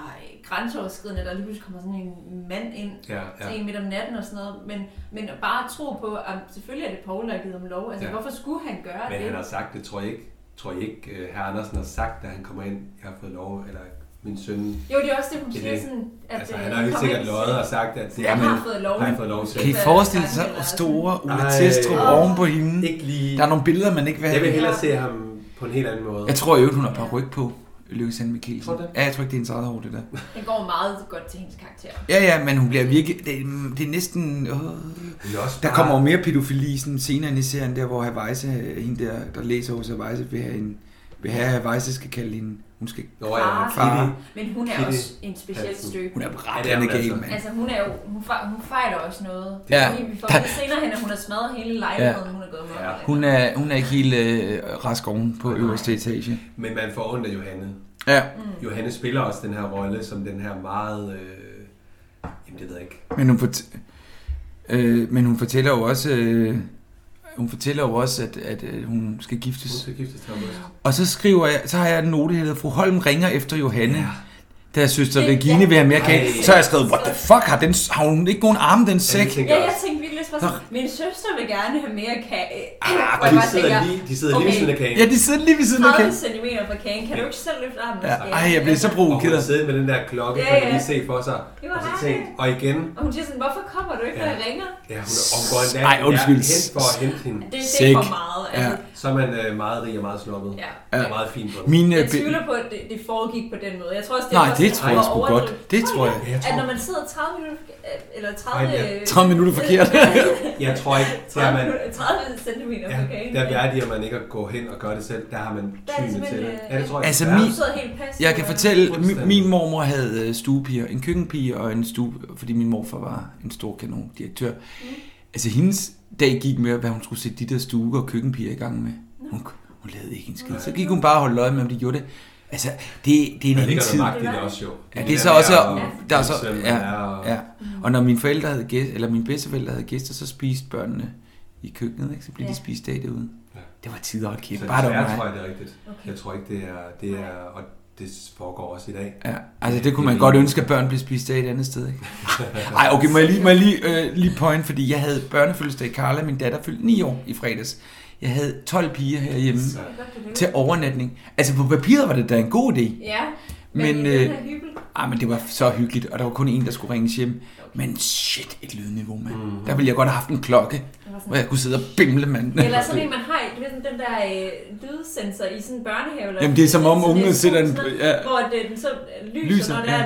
Speaker 4: grænseoverskridende, at der lige pludselig kommer sådan en mand ind
Speaker 10: Ja, ja.
Speaker 4: til en midt om natten og sådan noget, men, men at bare tro på, at selvfølgelig er det Paul, der har givet ham lov. Altså,
Speaker 2: Ja.
Speaker 4: ja. hvorfor skulle han gøre
Speaker 2: Men
Speaker 4: det?
Speaker 2: han har sagt det, tror jeg ikke. Tror jeg ikke, uh, herr Andersen har sagt, da han kommer ind, jeg har fået lov, eller min søn...
Speaker 4: Jo, det er også det, hun
Speaker 2: er
Speaker 4: siger sådan, at,
Speaker 2: altså,
Speaker 4: øh,
Speaker 2: han har jo
Speaker 4: kom
Speaker 2: sikkert
Speaker 4: ind.
Speaker 2: løjet og sagt, at det
Speaker 4: Jeg
Speaker 2: men-
Speaker 4: har fået lov.
Speaker 2: Har jeg fået lov til.
Speaker 3: Kan I forestille sig at store Ulla
Speaker 2: Ej.
Speaker 3: Testrup
Speaker 2: Åh.
Speaker 3: oven på hende?
Speaker 2: Ikke lige.
Speaker 3: Der er nogle billeder, man ikke vil
Speaker 2: Jeg vil
Speaker 3: have.
Speaker 2: hellere se ham på en helt anden måde.
Speaker 3: Jeg tror jo, hun har par ryg på, Lykke Sand Mikkelsen.
Speaker 2: Tror du det?
Speaker 3: Ja, jeg tror ikke, det er hendes eget hår, det der.
Speaker 4: Den går meget godt til hendes karakter.
Speaker 3: Ja, ja, men hun bliver virkelig... Det, er- det er næsten... Øh.
Speaker 2: også
Speaker 3: Der
Speaker 2: bare-
Speaker 3: kommer jo mere pædofili sådan, senere ind i serien, der hvor Havajse, hende der, der læser hos Havajse, vil have en vil have, at Weisse skal kalde hende. Hun skal
Speaker 2: Nå
Speaker 4: Far. Men hun er også en speciel støbe.
Speaker 3: Hun er brændende gal, mand.
Speaker 4: Altså, hun, er jo, hun, fra, hun fejler også noget.
Speaker 3: Ja.
Speaker 4: Fordi vi får lidt senere hen, at hun har smadret hele lejligheden, hun er gået med. Ja.
Speaker 3: Hun er, hun er ikke helt øh, rask oven på øverste etage.
Speaker 2: Men man får ondt af Johanne.
Speaker 3: Ja.
Speaker 2: Mm. Johanne spiller også den her rolle som den her meget... Øh, jamen, det ved jeg ikke.
Speaker 3: Men hun, fort- øh, men hun fortæller jo også, øh, hun fortæller jo også at, at øh, hun skal giftes. Hun
Speaker 2: skal giftes til august.
Speaker 3: Og så skriver jeg, så har jeg en note, der hedder, fru Holm ringer efter Johanne. Ja. Da søster Regine vil have mere kage,
Speaker 4: Ej.
Speaker 3: så har jeg skrevet, what the fuck, har, den, har hun ikke nogen arme, den sæk?
Speaker 4: Ja, jeg tænkte virkelig også bare sådan, min søster vil gerne have mere kage. Hvor jeg
Speaker 3: Ah, de
Speaker 4: bare
Speaker 3: sidder
Speaker 4: tænker,
Speaker 3: lige- de sidder lige ved siden af kagen.
Speaker 4: okay,
Speaker 3: Ja, de sidder lige ved siden af kagen.
Speaker 4: 30 centimeter fra kagen. Kan du ikke selv løfte armen?
Speaker 3: Ja, ej, jeg blev så
Speaker 2: Og
Speaker 3: provokeret.
Speaker 2: hun sidder med den der klokke,
Speaker 4: Ja,
Speaker 2: ja, ja. kan
Speaker 4: ja.
Speaker 2: lige se for sig.
Speaker 4: Det var
Speaker 2: Og så
Speaker 4: hej.
Speaker 2: tænkte, og igen,
Speaker 4: Og hun siger sådan, hvorfor kommer du ikke, når
Speaker 2: Ja.
Speaker 4: jeg ringer?
Speaker 2: Ja, hun er omgår endda.
Speaker 3: Ej, undskyld.
Speaker 2: Ja, hen for at hente hende.
Speaker 4: Det- det er Sick. for meget, altså.
Speaker 2: Ja. Så er man øh, meget rig og meget snobbet.
Speaker 4: Ja.
Speaker 2: Og meget fin på
Speaker 3: Min, øh,
Speaker 4: Jeg tvivler på, at det, det foregik på den måde. Jeg tror også, det
Speaker 3: Nej,
Speaker 4: var
Speaker 3: det
Speaker 4: sådan,
Speaker 3: tror jeg
Speaker 4: at
Speaker 3: sgu
Speaker 4: overdrive-
Speaker 3: godt. Det tror jeg.
Speaker 4: At når man sidder 30 minutter, eller 30...
Speaker 2: Ej, ja.
Speaker 3: 30 minutter forkert.
Speaker 2: jeg tror ikke, der
Speaker 4: 30,
Speaker 2: man,
Speaker 4: minutter- 30 centimeter fra kagen.
Speaker 2: der værdig, at man ikke går hen og gør det selv. Der har man
Speaker 4: Der er det
Speaker 2: tynet til
Speaker 4: simpelthen,
Speaker 2: det.
Speaker 4: øh,
Speaker 2: Ja, det tror jeg.
Speaker 3: Altså,
Speaker 2: Ja.
Speaker 3: min,
Speaker 4: helt passivt.
Speaker 3: jeg kan fortælle, min, min mormor havde øh, stuepiger, en køkkenpige og en stue, fordi min morfar var en stor kanondirektør. Altså, hendes dag gik med, hvad hun skulle sætte de der stue- og køkkenpiger i gang med. Hun, hun lavede ikke en skid. Så gik hun bare og holdt øje med, om de gjorde det. Altså, det, det er en
Speaker 2: Der
Speaker 3: anden
Speaker 2: ligger noget
Speaker 3: tid.
Speaker 2: magt i det også, jo.
Speaker 3: Ja,
Speaker 2: Det
Speaker 3: det
Speaker 2: der
Speaker 3: er så
Speaker 2: med
Speaker 3: også...
Speaker 2: at-
Speaker 3: Der er så,
Speaker 2: selv
Speaker 3: ja,
Speaker 2: være og-
Speaker 3: ja. Og når mine forældre havde gæster, eller mine bedsteforældre havde gæster, så spiste børnene i køkkenet, ikke? Så blev de
Speaker 2: Ja.
Speaker 3: spist af derude. Det var tider, hold kæft.
Speaker 2: Så
Speaker 3: Bare det var
Speaker 2: desværre
Speaker 3: mig.
Speaker 2: tror jeg, det er rigtigt. Jeg tror ikke, det er... Det er og det foregår også i dag.
Speaker 3: Ja, altså det kunne
Speaker 4: Øh.
Speaker 3: man godt ønske, at børn blev spist af et andet sted, ikke? Ej, okay, må jeg lige, må jeg lige, øh, lige point, fordi jeg havde børnefødselsdag. Carla, min datter, fyldte 9 år i fredags. Jeg havde 12 piger herhjemme til overnatning. Altså på papiret var det da en god idé.
Speaker 4: Ja, men,
Speaker 3: Men,
Speaker 4: men
Speaker 3: øh,
Speaker 4: øh, hyppel,
Speaker 3: Ej, men det var så hyggeligt, og der var kun en, der skulle ringes hjem. Men shit, et lydniveau, mand.
Speaker 4: Mhm.
Speaker 3: Mm. Der ville jeg godt have haft en klokke, hvor jeg kunne sidde og bimle, mand.
Speaker 4: Eller sådan en, man har i, du ved, sådan den der øh, lydsensor i sådan en børnehave. Eller
Speaker 3: Jamen, det er som om
Speaker 4: sådan
Speaker 3: ungene
Speaker 4: en
Speaker 3: sætter en-
Speaker 4: sådan noget,
Speaker 3: ja.
Speaker 4: Hvor det, den så øh, lyser, lyser
Speaker 3: Lyser,
Speaker 4: når der
Speaker 3: ja.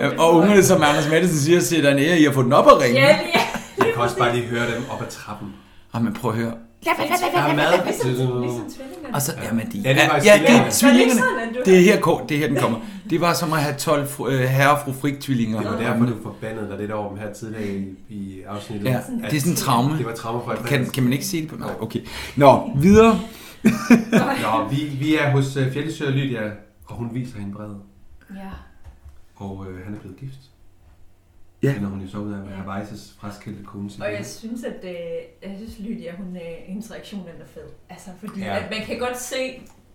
Speaker 4: er en
Speaker 3: Ja, Og ungerne, som Anders Madsen siger, sætter en ære i at få den op og ringe.
Speaker 4: Ja, det er.
Speaker 2: Jeg kan også bare lige høre dem op ad trappen.
Speaker 3: Ej, men prøv at høre.
Speaker 2: Der er mad.
Speaker 3: Altså, Og så, Altså, jamen, de,
Speaker 2: Ja, det var
Speaker 3: ja, det
Speaker 2: tvillingerne.
Speaker 3: er tvillingerne.
Speaker 4: Var det ikke sådan, at du-
Speaker 3: Det er her, kort- det er her, den kommer. Det var som at have 12 fru, øh, herre- og fru Frik-tvillinger.
Speaker 2: Det var derfor, du forbandede dig lidt over dem her tidligere i, i afsnittet.
Speaker 3: Ja,
Speaker 2: At
Speaker 3: det er sådan en traume.
Speaker 2: Det var traume for
Speaker 3: kan, kan man ikke se det på? Nej, okay. Nå, videre.
Speaker 2: Nå, vi, vi er hos uh, Fjeldesø Lydia, og hun viser hende brevet.
Speaker 4: Ja.
Speaker 2: Og øh, han er blevet gift.
Speaker 3: Ja.
Speaker 2: Finder hun jo så ud af, at have Weisses fraskilte kone.
Speaker 4: Og jeg synes, at øh, jeg synes, Lydia, hun, øh, hendes reaktion den er fed. Altså, fordi
Speaker 2: Ja.
Speaker 4: ja. at man kan godt se,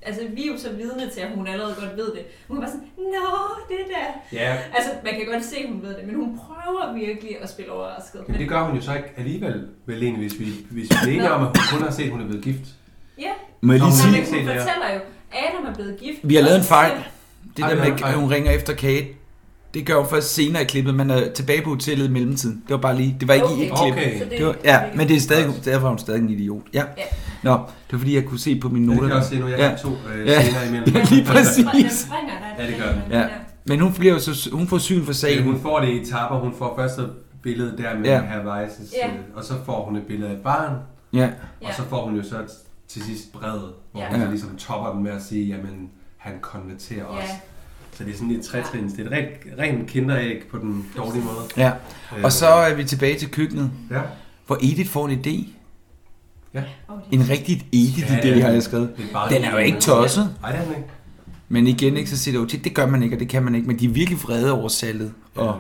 Speaker 4: altså vi er jo så vidne til, at hun allerede godt ved det. Hun er bare sådan, nå, det der.
Speaker 2: Ja.
Speaker 4: Altså, man kan godt se, at hun ved det, men hun prøver virkelig at spille overrasket.
Speaker 2: Jamen, det gør hun jo så ikke alligevel, vel egentlig, hvis vi, hvis vi er enige
Speaker 4: Nå.
Speaker 2: om, at hun kun har set, at hun er blevet gift.
Speaker 4: Ja.
Speaker 3: Må jeg lige
Speaker 2: Så
Speaker 3: sige-
Speaker 2: hun
Speaker 4: Men
Speaker 2: ikke set
Speaker 4: hun
Speaker 2: det her.
Speaker 4: fortæller jo, Adam er blevet gift.
Speaker 3: Vi har lavet en fejl. Det
Speaker 2: Ej,
Speaker 3: der
Speaker 2: vi
Speaker 3: med,
Speaker 2: har en fejl.
Speaker 3: at hun ringer efter Kate, det gør hun først senere i klippet. Man er tilbage på hotellet i mellemtiden. Det var bare lige, det var ikke i et
Speaker 2: Okay.
Speaker 3: klip.
Speaker 2: Okay. Så det-
Speaker 3: Det var, ja, men det er stadig, derfor er hun stadig en idiot. Ja. Nå, det var fordi, jeg kunne se på mine
Speaker 2: Ja, det
Speaker 3: noter.
Speaker 2: kan jeg også se nu. Jeg har to, øh, scener imellem.
Speaker 3: Ja, lige præcis.
Speaker 2: Ja, det gør den.
Speaker 3: Ja. Men hun, bliver jo så, hun får syn for
Speaker 2: Ja,
Speaker 3: sagen.
Speaker 2: hun får det i etapper. Hun får først et billede der med
Speaker 3: Ja.
Speaker 2: ja. herr Weisses,
Speaker 4: Ja.
Speaker 2: ja. og så får hun et billede af et barn.
Speaker 3: Ja.
Speaker 2: Og så får hun jo så et- til sidst brevet, hvor
Speaker 4: Ja.
Speaker 2: ja. hun
Speaker 4: Ja.
Speaker 2: så ligesom topper den med at sige, jamen han konverterer
Speaker 4: Ja.
Speaker 2: os. Så det er sådan et trætrins. Det er et rent, rent kinderæg på den dårlige måde.
Speaker 3: Ja,
Speaker 2: Øh,
Speaker 3: og så er vi tilbage til køkkenet,
Speaker 2: Ja.
Speaker 3: hvor Edith får en idé.
Speaker 2: Ja.
Speaker 3: En rigtig Edith-idé,
Speaker 2: Ja,
Speaker 3: ja,
Speaker 2: ja.
Speaker 3: har jeg skrevet.
Speaker 2: Det er bare
Speaker 3: Den er jo ikke tosset.
Speaker 2: Nej, det er den ikke.
Speaker 3: Men igen, ikke, så siger det jo tit, det gør man ikke, og det kan man ikke. Men de er virkelig vrede over salget og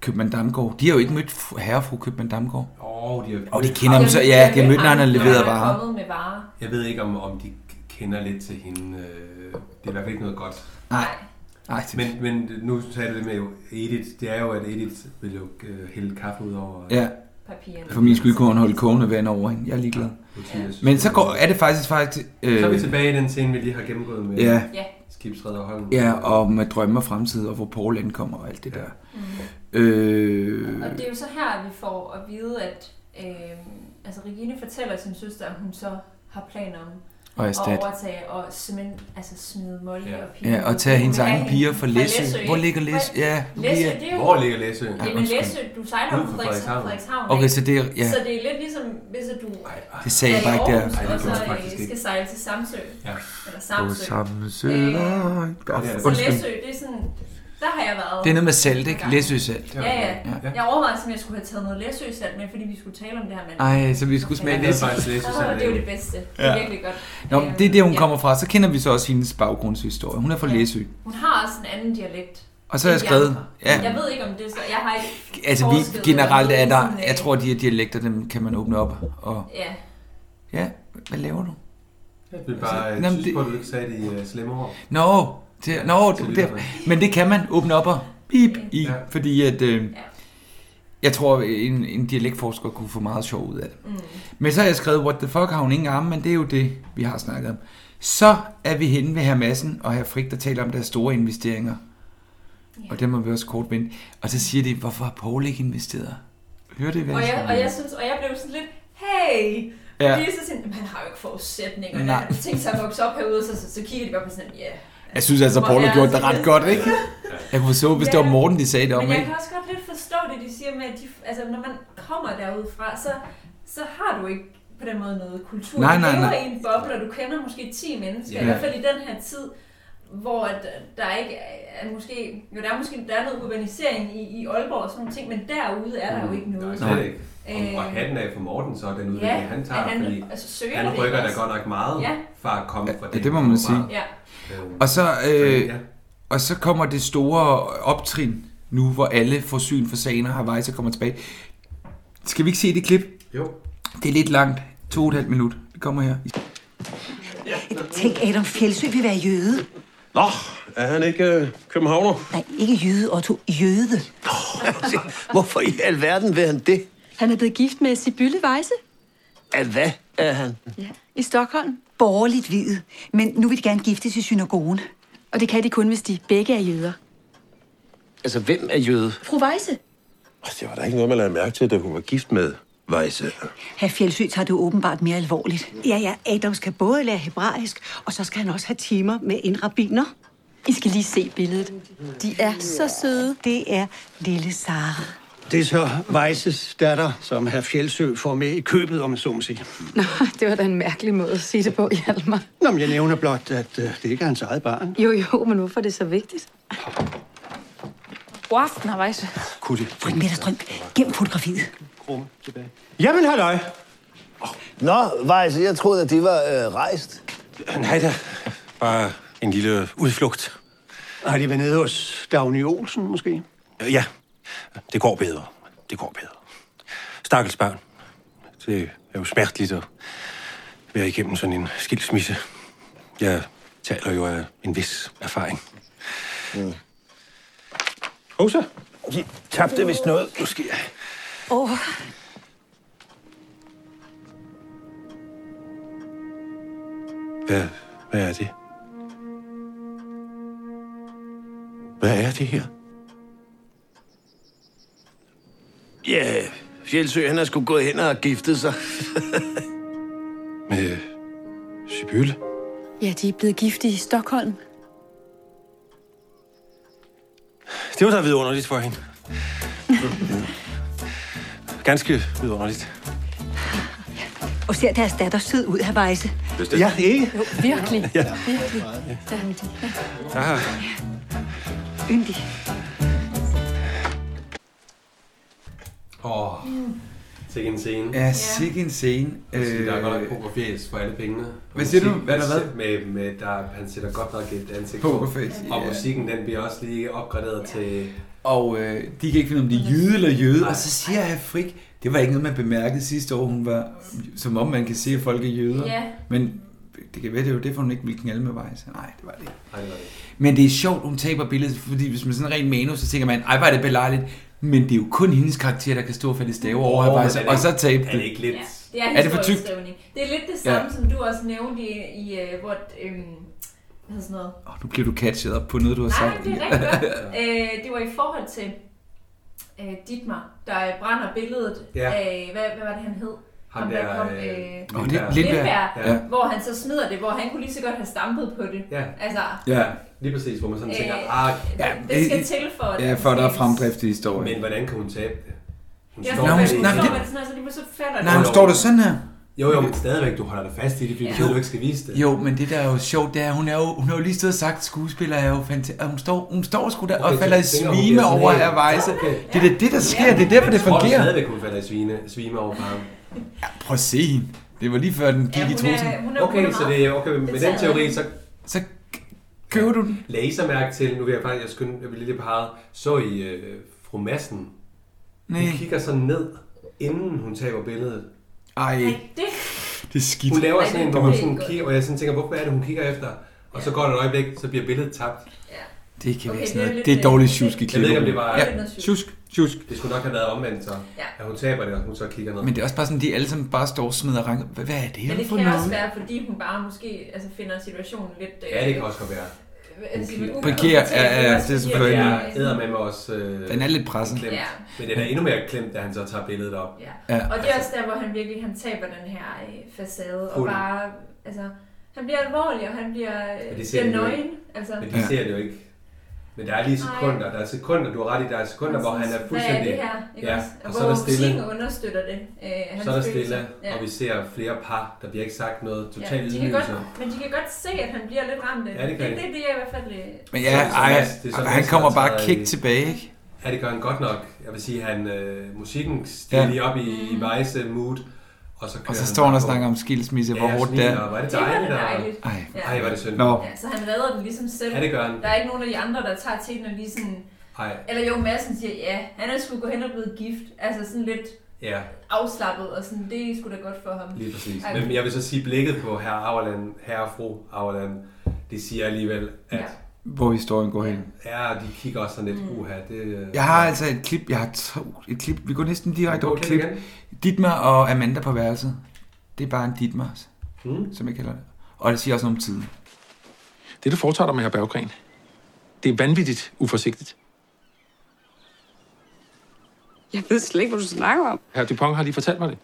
Speaker 3: Købmann Damgaard. De har jo ikke mødt fru- herre og fru Købmann Damgaard.
Speaker 2: Åh, de har-
Speaker 3: Og de kender ham så, ja, de har mødt, når han har leveret
Speaker 4: Han er
Speaker 3: varer.
Speaker 4: kommet med varer.
Speaker 2: Jeg ved ikke, om, om de kender lidt til hende. øh, Det er i hvert fald ikke noget godt.
Speaker 3: Nej. Nej,
Speaker 2: men, men nu sagde du det med jo Edith. Det er jo, at Edith vil jo øh, hælde kaffe ud over... øh,
Speaker 3: Ja. For min skyld kunne hun holde kogende vand over hende. Jeg er ligeglad. Men så går, er det faktisk faktisk...
Speaker 2: Øh, så er vi tilbage i den scene, vi lige har gennemgået med
Speaker 3: Ja.
Speaker 2: ja. skibsredder Holm.
Speaker 3: Ja, og med drømme og fremtid, og hvor Paul ankommer og alt det der.
Speaker 4: Mhm.
Speaker 3: Øh,
Speaker 4: Og det er jo så her, at vi får at vide, at øh, altså Regine fortæller sin søster, at hun så har planer om
Speaker 3: Og erstatte.
Speaker 4: overtage og simpelthen altså, smide Molly ja. og piger.
Speaker 3: Ja, og tage hendes
Speaker 4: Men
Speaker 3: egne
Speaker 4: han-
Speaker 3: piger
Speaker 4: fra
Speaker 3: fra Læsø.
Speaker 4: Læsø.
Speaker 3: Hvor ligger Læsø? Ja, nu
Speaker 4: Læsø,
Speaker 3: bliver-
Speaker 4: det er jo...
Speaker 2: Hvor ligger Læsø? Ja,
Speaker 4: Jamen
Speaker 3: undskyld.
Speaker 4: Læsø, du sejler jo
Speaker 3: Uden for
Speaker 4: fra Frederikshavn.
Speaker 3: Frederikshavn.
Speaker 4: Frederikshavn
Speaker 3: Okay,
Speaker 4: ikke?
Speaker 3: så det er- ja.
Speaker 4: så det er lidt ligesom, hvis at du
Speaker 3: Det sagde
Speaker 4: er
Speaker 3: jeg bare
Speaker 4: i
Speaker 3: ikke der.
Speaker 4: Aarhus,
Speaker 3: Ej, det
Speaker 4: Og så
Speaker 3: gjorde jeg
Speaker 4: øh,
Speaker 3: faktisk ikke.
Speaker 4: skal sejle til Samsø.
Speaker 3: Ja.
Speaker 4: Eller
Speaker 3: På
Speaker 4: Samsø.
Speaker 3: samme
Speaker 4: Øh,
Speaker 3: søvej. Godt,
Speaker 4: Så
Speaker 3: undskyld.
Speaker 4: Læsø, det er sådan... Der har jeg været.
Speaker 3: Det er noget med salt, ikke?
Speaker 4: nogle gange.
Speaker 3: Læsø salt.
Speaker 4: Ja, ja. Jeg overvejede, om jeg skulle have taget noget Læsø salt med, fordi vi skulle tale om det her mand.
Speaker 3: Ej, så vi skulle smage
Speaker 4: Ja.
Speaker 3: Læsø.
Speaker 4: Åh, Det er jo det bedste. Det er virkelig godt.
Speaker 3: Nå,
Speaker 4: Øhm,
Speaker 3: det er der, hun
Speaker 4: ja.
Speaker 3: kommer fra. Så kender vi så også hendes baggrundshistorie. Hun er fra Læsø.
Speaker 4: Hun har også en anden dialekt.
Speaker 3: Og så har
Speaker 4: end
Speaker 3: jeg
Speaker 4: de
Speaker 3: skrevet-
Speaker 4: andre.
Speaker 3: ja.
Speaker 4: Jeg ved ikke, om det er så... Jeg har ikke
Speaker 3: Altså, vi
Speaker 4: forsket
Speaker 3: generelt er
Speaker 4: eller
Speaker 3: der...
Speaker 4: sådan, øh,
Speaker 3: Jeg tror, de her dialekter, dem kan man åbne op. Og,
Speaker 4: Ja.
Speaker 3: ja, hvad laver du?
Speaker 2: Jeg vil bare
Speaker 3: Altså,
Speaker 2: altså,
Speaker 3: jamen,
Speaker 2: synes på, at du ikke sagde det i uh, slemme ord.
Speaker 3: Nå, det, nå det, det, men det kan man åbne op og bip i, ja. fordi at... Øh, jeg tror, en, en dialektforsker kunne få meget sjov ud af det.
Speaker 4: Mm.
Speaker 3: Men så har jeg skrevet, what the fuck, har hun ingen arme, men det er jo det, vi har snakket om. Så er vi henne ved herr Madsen og herr Frik, der taler om deres store investeringer. Og dem har vi også kort vendt. Og så siger de, hvorfor har Paul ikke investeret? Hører det, hvad
Speaker 4: Og
Speaker 3: jeg
Speaker 4: jeg,
Speaker 3: siger?
Speaker 4: og jeg synes, og jeg blev sådan lidt, hey!
Speaker 3: Ja.
Speaker 4: Ja. Fordi så sådan, "Jamen, han har jo ikke forudsætninger.
Speaker 3: Nej.
Speaker 4: Nej. Han tænkte sig at vokse op herude, så, så, så kigger de bare på sådan, ja. Yeah.
Speaker 3: Jeg synes altså,
Speaker 4: Hvor
Speaker 3: Paul har
Speaker 4: er
Speaker 3: gjort det
Speaker 4: det
Speaker 3: ret
Speaker 4: lidt-
Speaker 3: godt, ikke? Jeg kunne forstå, hvis
Speaker 4: Ja.
Speaker 3: det var Morten, de sagde det om,
Speaker 4: Men jeg
Speaker 3: ikke?
Speaker 4: kan også godt lidt forstå det, de siger med, at de, altså, når man kommer derudefra, så, så har du ikke på den måde noget kultur.
Speaker 3: Nej, nej,
Speaker 4: du lever
Speaker 3: nej.
Speaker 4: i en boble, og du kender måske 10 mennesker,
Speaker 3: Ja.
Speaker 4: i hvert fald i den her tid, hvor at øh, der ikke er, er måske, jo der er måske der er noget urbanisering i, i Aalborg og sådan nogle ting, men derude er der jo ikke noget.
Speaker 2: Nej, slet ikke.
Speaker 4: Øh,
Speaker 2: Og, og hatten af for Morten, så er den udvikling,
Speaker 4: Ja,
Speaker 2: han tager,
Speaker 4: at han-
Speaker 2: fordi
Speaker 4: altså, søger
Speaker 2: han
Speaker 4: det
Speaker 2: rykker da
Speaker 4: også.
Speaker 2: godt nok meget
Speaker 4: Ja.
Speaker 2: fra at komme fra
Speaker 3: Ja, det må man sige.
Speaker 4: Ja.
Speaker 3: Og så, øh,
Speaker 2: ja.
Speaker 3: og så kommer det store optrin nu, hvor alle får syn for sagen og Hawaii så kommer tilbage. Skal vi ikke se det klip?
Speaker 2: Jo.
Speaker 3: Det er lidt langt. To og et halvt minut. Det kommer her.
Speaker 8: Tænk, Adam Fjeldsø vil være jøde.
Speaker 13: Nå, er han ikke øh, københavner?
Speaker 8: Nej, ikke jøde, Otto. Jøde.
Speaker 15: Hvorfor i alverden vil han det?
Speaker 10: Han er blevet gift med Sibylle Weisse
Speaker 15: At hvad er han?
Speaker 10: i Stockholm.
Speaker 8: Borgerligt videt. Men nu vil de gerne giftes i synagogen.
Speaker 10: Og det kan de kun, hvis de begge er jøder.
Speaker 13: Altså, hvem er jøde?
Speaker 10: Fru Weisse.
Speaker 13: Det var da ikke noget, man lagde mærke til, da hun var gift med Weisse.
Speaker 8: Herr Fjeldsø tager det åbenbart mere alvorligt. Ja, ja. Adam skal både lære hebraisk, og så skal han også have timer med en rabiner. I skal lige se billedet. De er så søde. Det er lille Sara.
Speaker 11: Det er så Weisses datter, som herr Fjeldsø får med i købet, om man så må sige.
Speaker 10: Nå, det var da en mærkelig måde at sige det på, Hjalmar.
Speaker 11: Nå, men jeg nævner blot, at øh, det ikke er hans eget barn.
Speaker 10: Jo, jo, men hvorfor er det så vigtigt? God aften, herr Weisse.
Speaker 11: Kunne det?
Speaker 8: Frit Peter Strømp, gem fotografiet.
Speaker 11: Krumme tilbage.
Speaker 15: Jamen, halløj. Nå, Vejs, jeg troede, at det var øh, rejst.
Speaker 13: Nej da, bare en lille udflugt.
Speaker 11: Har de været nede hos Dagny Olsen, måske?
Speaker 13: Øh, Ja, det går bedre. Det går bedre. Stakkels børn. Det er jo smerteligt at være igennem sådan en skilsmisse. Jeg taler jo af en vis erfaring. Mm. Rosa?
Speaker 15: De tabte vist noget.
Speaker 13: Nu skal jeg...
Speaker 8: Åh,
Speaker 13: Hvad, hvad er det? Hvad er det her?
Speaker 15: Ja, yeah. Fjeldsø, han er sgu gået hen og giftet sig.
Speaker 13: Med Sibylle?
Speaker 10: Ja, de er blevet gift i Stockholm.
Speaker 13: Det var da vidunderligt for hende. Ganske vidunderligt.
Speaker 8: og ser deres datter sød ud, herr Weisse.
Speaker 13: Bestemt. Ja,
Speaker 15: ikke?
Speaker 8: Jo, virkelig.
Speaker 13: Ja.
Speaker 8: Virkelig.
Speaker 13: Ah,
Speaker 8: Yndig.
Speaker 2: Åh,
Speaker 4: Mm.
Speaker 2: sikke en scene.
Speaker 3: Ja, sikke en scene.
Speaker 2: Jeg synes, der er godt nok
Speaker 3: Øh,
Speaker 2: pokerface for alle pengene. Og
Speaker 3: Hvad siger du?
Speaker 2: musik-
Speaker 3: Hvad er der hvad?
Speaker 2: Med, med, der, han sætter godt nok et ansigt
Speaker 3: Pokerface,
Speaker 2: på. Og
Speaker 3: ja.
Speaker 2: musikken, den bliver også lige opgraderet til...
Speaker 3: Og øh, de kan ikke finde, om de er jøde eller jøde. Og så siger jeg, Frik, det var ikke noget, man bemærkede sidste år, hun var, som om man kan se, at folk er jøder.
Speaker 4: Ja.
Speaker 3: Men det kan være, det er jo derfor, hun ikke ville knalde med vejs. Nej, det var det ikke.
Speaker 2: Nej, det var det
Speaker 3: Men det er sjovt, hun taber billedet, fordi hvis man sådan rent manus, så tænker man, ej, var det belejligt. Men det er jo kun hendes karakter, der kan stå for det stave over
Speaker 2: Åh,
Speaker 3: oh,
Speaker 2: men
Speaker 3: Weiss,
Speaker 2: er det
Speaker 3: og så
Speaker 2: ikke-
Speaker 3: tabe
Speaker 2: er det ikke lidt-
Speaker 4: Det er,
Speaker 3: er det for tykt?
Speaker 4: historieskrivning. Det er lidt det
Speaker 3: Ja.
Speaker 4: samme, som du også nævnte i, i øh, hvor... Øhm, hvad hedder sådan noget?
Speaker 3: Nu bliver du catchet op på noget, du har
Speaker 4: Nej,
Speaker 3: sagt.
Speaker 4: det er rigtig godt. øh, det var i forhold til øh, Dietmar, der øh, brænder billedet
Speaker 3: Ja.
Speaker 4: af... Hvad, hvad var det, han hed?
Speaker 2: Ham
Speaker 4: der
Speaker 2: der,
Speaker 4: kom,
Speaker 2: øh,
Speaker 4: øh,
Speaker 2: Nå,
Speaker 4: Lindberg,
Speaker 2: det- Lindberg, ja.
Speaker 4: hvor han så smider det, hvor han kunne lige så godt have stampet på det.
Speaker 2: Ja.
Speaker 4: Altså,
Speaker 2: Ja, lige præcis, hvor man sådan
Speaker 4: Øh,
Speaker 2: tænker, ah,
Speaker 4: ja, det skal til for, at
Speaker 3: Ja,
Speaker 4: den
Speaker 3: for der er
Speaker 4: skabes.
Speaker 3: fremdrift i historien.
Speaker 2: Men hvordan kan hun tabe det? Hun
Speaker 4: Jeg
Speaker 2: står
Speaker 4: tror,
Speaker 2: der
Speaker 4: man
Speaker 2: i-
Speaker 4: står man sådan, altså lige så falder
Speaker 3: Nej,
Speaker 4: det.
Speaker 3: hun står der sådan her.
Speaker 2: Jo, jo, men stadigvæk, du holder dig fast i Altså, det, fordi du ved, du ikke skal vise det.
Speaker 3: Jo, men det der er jo sjovt, det er, hun, er jo, hun har jo lige stået og sagt, at skuespiller er jo fantastisk. Hun står, hun står sgu der og
Speaker 2: Okay,
Speaker 3: falder i
Speaker 2: så tænker hun,
Speaker 3: svime
Speaker 2: det er sådan
Speaker 3: over
Speaker 2: helt-
Speaker 3: af Weisse.
Speaker 2: Okay.
Speaker 3: Det er da det, der sker. Det er derfor, det
Speaker 2: Jeg tror
Speaker 3: fungerer.
Speaker 2: stadigvæk, hun falder i svine, svime over på ham.
Speaker 3: Prøv at se hende. Det var lige før, den gik i trussen.
Speaker 2: Okay, så det er okay. Med den teori, så...
Speaker 3: Så køber du den?
Speaker 2: Lasermærke til, nu vil jeg faktisk, jeg skynde, jeg bliver lidt parret. Så I øh, fru Madsen. Hun
Speaker 3: Nej.
Speaker 2: kigger sådan ned, inden hun taber billedet.
Speaker 3: Ej.
Speaker 4: det...
Speaker 3: Det er skidt.
Speaker 2: Hun laver sådan
Speaker 4: Ej,
Speaker 2: en,
Speaker 4: det
Speaker 2: hvor hun
Speaker 4: er
Speaker 2: sådan
Speaker 4: godt.
Speaker 2: kigger, og jeg sådan tænker, hvorfor er det, hun kigger efter? Og så går der et øjeblik, så bliver billedet tabt.
Speaker 3: Det kan
Speaker 2: Okay,
Speaker 3: være
Speaker 2: det er
Speaker 3: sådan noget.
Speaker 2: lidt- øh,
Speaker 3: Det er dårligt tjusk i
Speaker 2: Jeg ved ikke, om det
Speaker 3: klipperummet.
Speaker 2: var...
Speaker 3: Ja, tjusk, tjusk.
Speaker 2: Det skulle nok have været omvendt, så at hun taber det, og hun så kigger ned.
Speaker 3: Men det er også bare sådan, de alle sammen bare står og smider ranker. Hvad hvad er det
Speaker 4: Men
Speaker 3: her
Speaker 4: det
Speaker 3: for
Speaker 4: kan også
Speaker 3: noget?
Speaker 4: være, fordi hun bare måske altså, finder situationen lidt... Øh,
Speaker 2: Ja, det kan også godt være.
Speaker 4: Altså,
Speaker 3: Parkerer, ja, ja, det er selvfølgelig.
Speaker 2: Jeg æder med mig også... Øh,
Speaker 3: Den er lidt presset.
Speaker 2: Klemt.
Speaker 4: Ja.
Speaker 2: Men den er endnu mere klemt, da han så tager billedet op.
Speaker 4: Ja. Og det er også der, hvor han virkelig han taber den her øh, facade, og
Speaker 2: Hunden.
Speaker 4: bare, altså, han bliver alvorlig, og han bliver, øh,
Speaker 2: Men det ser
Speaker 4: bliver
Speaker 2: de jo
Speaker 4: nøgen.
Speaker 2: ikke.
Speaker 4: Altså,
Speaker 2: Men de ser det jo ikke. Men der er lige sekunder, der er sekunder, du har ret i, der er sekunder, hvor han er
Speaker 4: Hvad er
Speaker 2: fuldstændig...
Speaker 4: det her? Ikke
Speaker 2: Ja,
Speaker 4: også?
Speaker 2: og
Speaker 4: og
Speaker 2: så er der
Speaker 4: hvor musikken
Speaker 2: stille,
Speaker 4: understøtter det. Øh, hans
Speaker 2: så er der
Speaker 4: følelser.
Speaker 2: stille, og vi ser flere par, der bliver ikke sagt noget,
Speaker 4: Ja,
Speaker 2: totalt
Speaker 4: de kan godt,
Speaker 2: ydmygelser.
Speaker 4: men de kan godt se, at han bliver lidt ramt af
Speaker 2: Ja, det kan
Speaker 4: det,
Speaker 2: de.
Speaker 4: det, det er i hvert fald... øh,
Speaker 3: Men
Speaker 2: Så er
Speaker 3: ja,
Speaker 2: det så
Speaker 3: ej,
Speaker 2: Mads- det er så
Speaker 3: han
Speaker 2: Mads,
Speaker 3: kommer
Speaker 2: der
Speaker 3: bare
Speaker 2: træder
Speaker 3: kæk
Speaker 2: i-
Speaker 3: tilbage, ikke?
Speaker 2: Ja, det gør han godt nok. Jeg vil sige, han øh, musikken stiger
Speaker 3: Ja.
Speaker 2: lige op
Speaker 4: Mm.
Speaker 2: i, i vejse mood, og så kører
Speaker 3: Og så står han
Speaker 2: bare
Speaker 3: og
Speaker 2: på.
Speaker 3: snakker om skilsmisse, hvor
Speaker 2: Ja,
Speaker 3: hårdt det
Speaker 2: smiler,
Speaker 3: er.
Speaker 2: og Var det
Speaker 4: Det var
Speaker 2: dejligt?
Speaker 4: da
Speaker 2: og-
Speaker 4: dejligt.
Speaker 3: Ej,
Speaker 4: Ja.
Speaker 2: Ej, var det synd.
Speaker 3: Nå.
Speaker 4: Ja, så han redder den ligesom selv.
Speaker 2: Ja, det gør han.
Speaker 4: Der er ikke nogen af de andre, der tager teten og lige sådan...
Speaker 2: Ej.
Speaker 4: Eller jo, Madsen siger, ja, han er sgu gået hen og blevet gift. Altså sådan lidt
Speaker 2: Ja,
Speaker 4: afslappet, og sådan, det er sgu da godt for ham.
Speaker 2: lige præcis.
Speaker 4: Ej.
Speaker 2: Men jeg vil så sige, blikket på herre Auerland, herre og fru Auerland, det siger alligevel, at ja.
Speaker 3: Hvor historien går hen.
Speaker 2: Ja, de kigger også sådan
Speaker 4: Mm.
Speaker 2: lidt, uha, det... øh,
Speaker 3: Jeg har altså et klip, jeg har to, et klip, vi går næsten direkte over et
Speaker 2: Okay,
Speaker 3: klip.
Speaker 2: igen.
Speaker 3: Ditmar og Amanda på værelset. Det er bare en Ditmar,
Speaker 2: Mm.
Speaker 3: som jeg kalder det. Og det siger også noget om tiden.
Speaker 14: Det, du foretager dig med her Berggren, det er vanvittigt uforsigtigt.
Speaker 10: Jeg ved slet ikke, hvad du snakker om.
Speaker 14: Herr Dupont har lige fortalt mig det.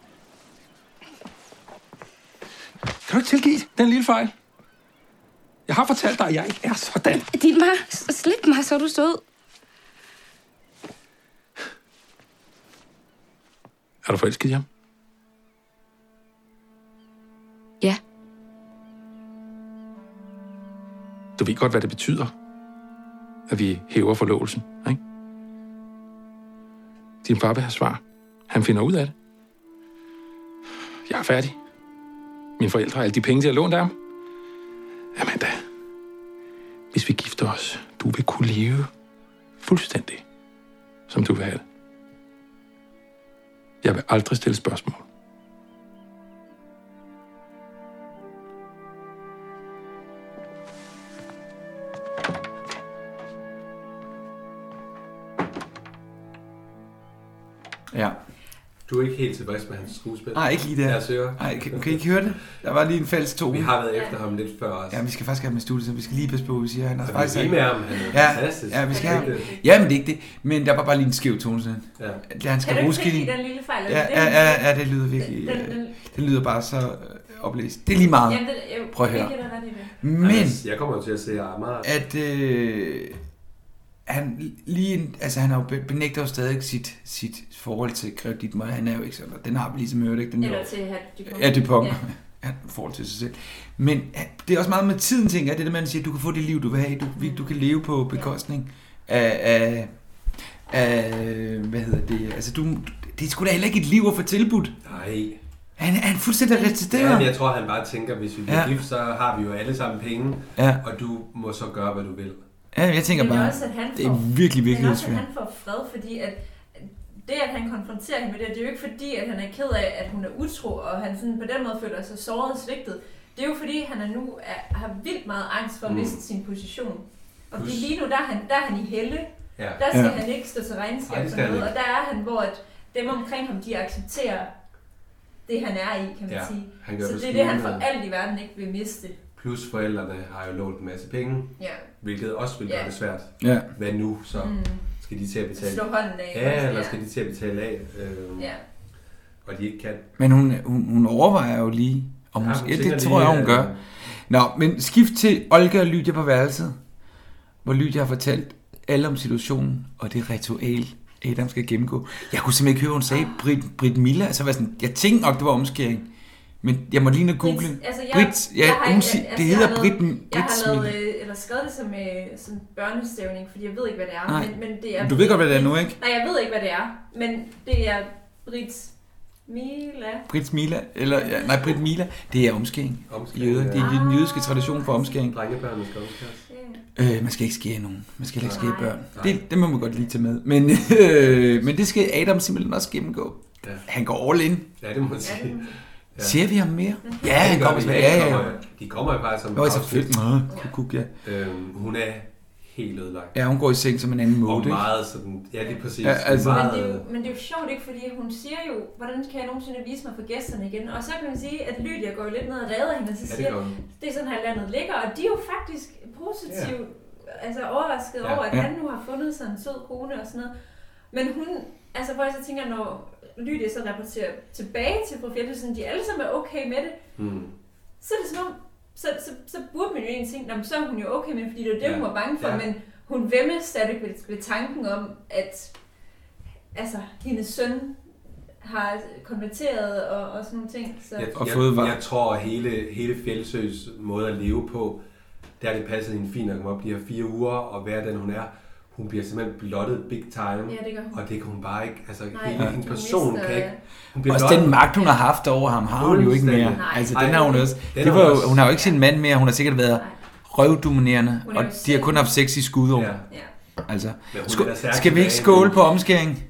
Speaker 14: Kan du ikke tilgive den lille fejl? Jeg har fortalt dig, at jeg ikke er sådan.
Speaker 17: Din mig. S- Slip mig, så er du sød.
Speaker 14: Er du forelsket i ham?
Speaker 17: Ja.
Speaker 14: Du ved godt, hvad det betyder, at vi hæver forlovelsen, ikke? Din far vil have svar. Han finder ud af det. Jeg er færdig. Mine forældre har alle de penge, de har lånt af ham. Amanda, hvis vi gifter os, du vil kunne leve fuldstændig, som du vil have det. Jeg vil aldrig stille spørgsmål.
Speaker 3: Ja.
Speaker 2: Du er ikke helt tilfreds med hans skuespil.
Speaker 3: Nej, ikke lige der.
Speaker 2: Lad os høre.
Speaker 3: Nej, kan, kan I ikke høre det? Der var lige en falsk tone.
Speaker 2: Vi har været efter ham lidt før også.
Speaker 3: Ja, vi skal faktisk have ham i studiet, så vi skal lige passe på, hvad vi siger. Han er
Speaker 2: Og vi er
Speaker 3: faktisk
Speaker 2: lige med ham. Han er
Speaker 3: ja,
Speaker 2: fantastisk.
Speaker 3: Ja, vi skal
Speaker 2: Han
Speaker 3: have
Speaker 2: er
Speaker 3: ham.
Speaker 2: dygtig.
Speaker 3: Ja, men det er ikke det. Men der var bare lige en skæv tone sådan.
Speaker 2: Ja.
Speaker 3: Ja.
Speaker 4: Kan
Speaker 3: Han skal
Speaker 4: du ikke
Speaker 3: ruske
Speaker 4: tilgive
Speaker 3: i-
Speaker 4: den lille fejl? Er
Speaker 3: Ja,
Speaker 4: det
Speaker 3: ja,
Speaker 4: det,
Speaker 3: ja,
Speaker 4: han siger?
Speaker 3: ja, det lyder virkelig...
Speaker 4: Den-
Speaker 3: øh,
Speaker 4: den-
Speaker 3: Det lyder bare så øh, oplæst. Det er lige meget.
Speaker 4: Jamen, det- jeg-
Speaker 3: Prøv at høre.
Speaker 4: jeg giver dig ret i det.
Speaker 3: Men...
Speaker 2: Jeg kommer jo til at se Amager.
Speaker 3: at øh, han lige, altså han har jo be- benægter jo stadig sit, sit forhold til Grev Dietmar. Han er jo ikke sådan, og den har vi ligesom hørt, ikke? Den er jo-
Speaker 4: Eller til Hat Dupont.
Speaker 3: Ja, Dupont.
Speaker 4: Ja.
Speaker 3: Ja. Han har forhold til sig selv. Men øh, det er også meget med tiden, tænker jeg. Det er det, man siger, du kan få det liv, du vil have. Du, vi- du kan leve på bekostning af, af, af hvad hedder det? Altså, du, det er sgu da heller ikke et liv at få tilbudt.
Speaker 2: Nej.
Speaker 3: Han, han er fuldstændig retarderet.
Speaker 2: Ja, men jeg tror, han bare tænker, hvis vi bliver
Speaker 3: Ja.
Speaker 2: ja. gift, så har vi jo alle sammen penge,
Speaker 3: Ja.
Speaker 2: og du må så gøre, hvad du vil.
Speaker 3: Ja, jeg tænker
Speaker 4: Men
Speaker 3: bare,
Speaker 4: også, at han
Speaker 3: det er
Speaker 4: får-
Speaker 3: virkelig, virkelig
Speaker 4: Men også, at
Speaker 3: svært.
Speaker 4: han får fred, fordi at det, at han konfronterer hende med det, det er jo ikke fordi, at han er ked af, at hun er utro, og han sådan på den måde føler sig såret og svigtet. Det er jo fordi, han er nu er, har vildt meget angst for at
Speaker 2: Mm.
Speaker 4: miste sin position. Og
Speaker 2: Plus-
Speaker 4: Plus. lige nu, der er han, der er han i helle.
Speaker 2: Ja.
Speaker 4: Der skal
Speaker 2: Ja.
Speaker 4: han ikke stå til
Speaker 2: Nej,
Speaker 4: regnskab
Speaker 2: det
Speaker 4: for
Speaker 2: skal han
Speaker 4: noget,
Speaker 2: ikke.
Speaker 4: og der er han, hvor at dem omkring ham, de accepterer det, han er i, kan man
Speaker 2: Ja,
Speaker 4: sige.
Speaker 2: han gør
Speaker 4: Så
Speaker 2: det øh,
Speaker 4: det er det, han for
Speaker 2: smilende.
Speaker 4: alt i verden ikke vil miste.
Speaker 2: Plus forældrene har jo lånt en masse penge,
Speaker 4: Ja.
Speaker 2: hvilket også vil gøre
Speaker 4: Ja.
Speaker 2: det svært.
Speaker 3: Ja.
Speaker 2: Hvad nu så?
Speaker 4: Mm.
Speaker 2: Skal de til at betale?
Speaker 4: Slå hånden af,
Speaker 2: Ja,
Speaker 4: også,
Speaker 2: eller
Speaker 4: ja.
Speaker 2: skal de til at betale af? Øhm,
Speaker 4: Ja.
Speaker 2: og de ikke kan.
Speaker 3: Men hun, hun, hun overvejer jo lige, om hun,
Speaker 2: Ja, hun
Speaker 3: ja,
Speaker 2: tænker
Speaker 3: det tror jeg,
Speaker 2: lige,
Speaker 3: hun
Speaker 2: øh,
Speaker 3: gør. Nå, men skift til Olga og Lydia på værelset, hvor Lydia har fortalt alle om situationen og det ritual, Adam skal gennemgå. Jeg kunne simpelthen ikke høre, hun sagde Brit, Brit Milla. Altså, var sådan, jeg tænkte nok, det var omskæring. Men jeg måtte lige ned og google.
Speaker 4: Altså, jeg,
Speaker 3: Brit, ja,
Speaker 4: jeg har
Speaker 3: hun
Speaker 4: ikke- altså,
Speaker 3: siger, det
Speaker 4: jeg
Speaker 3: hedder
Speaker 4: har
Speaker 3: Brit,
Speaker 4: lavet- Jeg
Speaker 3: Brits
Speaker 4: har lavet,
Speaker 3: Milla.
Speaker 4: øh, eller skrevet det som, øh, som børnestævning, fordi jeg ved ikke, hvad det er.
Speaker 3: Nej.
Speaker 4: Men, men det er
Speaker 3: Men du ved godt, hvad det er nu, ikke?
Speaker 4: Nej, jeg ved ikke, hvad det er. Men det er Brits Mila.
Speaker 3: Brits Mila, eller, ja, nej, Brit Mila, det er omskæring. omskæring Jøder, Det er den jødiske tradition for omskæring.
Speaker 2: Drengebørnene skal omskæres.
Speaker 3: Øh, man skal ikke skære nogen. Man skal heller ikke skære børn.
Speaker 2: Nej.
Speaker 3: Det, det må man godt lige tage med. Men, øh, men det skal Adam simpelthen også gennemgå.
Speaker 2: Ja.
Speaker 3: Han går all in.
Speaker 2: Ja, det må man sige.
Speaker 3: Ja. Ser vi ham mere?
Speaker 4: Mhm.
Speaker 3: Ja,
Speaker 2: det
Speaker 3: han
Speaker 2: gør
Speaker 3: kommer
Speaker 2: vi.
Speaker 3: tilbage. Ja,
Speaker 2: De
Speaker 3: ja.
Speaker 2: kommer, de kommer jo bare som
Speaker 3: Nå,
Speaker 2: et
Speaker 3: selvfølgelig. Nå,
Speaker 2: afsnit.
Speaker 3: kuk, kuk, ja.
Speaker 2: Øhm, hun er helt ødelagt.
Speaker 3: ja, hun går i seng som en anden måde.
Speaker 2: Og
Speaker 3: ikke?
Speaker 2: meget sådan, ja, det er præcis.
Speaker 3: Ja, altså-
Speaker 2: meget,
Speaker 4: Men det, er jo, men det er jo sjovt, ikke? Fordi hun siger jo, hvordan kan jeg nogensinde vise mig for gæsterne igen? Og så kan man sige, at Lydia går jo lidt ned og redder hende, og så
Speaker 2: Ja, det
Speaker 4: siger,
Speaker 2: gør hun.
Speaker 4: det er sådan her landet ligger. Og de er jo faktisk positivt altså overrasket
Speaker 2: Ja.
Speaker 4: over, at
Speaker 2: Ja.
Speaker 4: han nu har fundet sig en sød kone og sådan noget. Men hun, altså hvor jeg så tænker, når Lydia så rapporterer tilbage til profeten, sådan de alle sammen er okay med det,
Speaker 2: Mm.
Speaker 4: så er det som om, så, så, så burde man jo egentlig tænke, "Nå, men så er hun jo okay med, det," fordi det er jo det,
Speaker 2: Ja.
Speaker 4: hun var bange for,
Speaker 2: Ja.
Speaker 4: ja. men hun væmmes stadig ved, ved tanken om, at altså, hendes søn har konverteret og, og sådan nogle ting. Så.
Speaker 2: Jeg, jeg, jeg tror, at hele, hele Fjeldsøs måde at leve på, der har det passet hende fint at komme op de her fire uger og være den, hun er. Hun bliver simpelthen blottet big time,
Speaker 4: Ja, det gør hun.
Speaker 2: og det kan hun bare ikke. Altså,
Speaker 4: Nej,
Speaker 2: Nej, hele
Speaker 4: hun
Speaker 2: hendes
Speaker 4: mister- øh,
Speaker 2: person kan ikke. Hun
Speaker 3: Også
Speaker 2: blottet.
Speaker 3: den magt, hun har haft over ham, har hun jo ikke mere.
Speaker 2: Fuldstændig.
Speaker 3: Altså,
Speaker 2: Nej.
Speaker 3: den har hun også.
Speaker 2: Den
Speaker 3: Det
Speaker 2: har
Speaker 3: var
Speaker 2: hun
Speaker 3: jo,
Speaker 2: også.
Speaker 3: hun har jo ikke sin mand mere. Hun har sikkert været røvdominerende,
Speaker 4: Hun er
Speaker 3: og
Speaker 4: jo
Speaker 3: de har
Speaker 4: selv-
Speaker 3: kun haft sex i skudår. Altså,
Speaker 2: Men hun er da
Speaker 3: sko-
Speaker 2: stærk
Speaker 3: skal vi ikke
Speaker 2: tilbage.
Speaker 3: skåle på omskæring?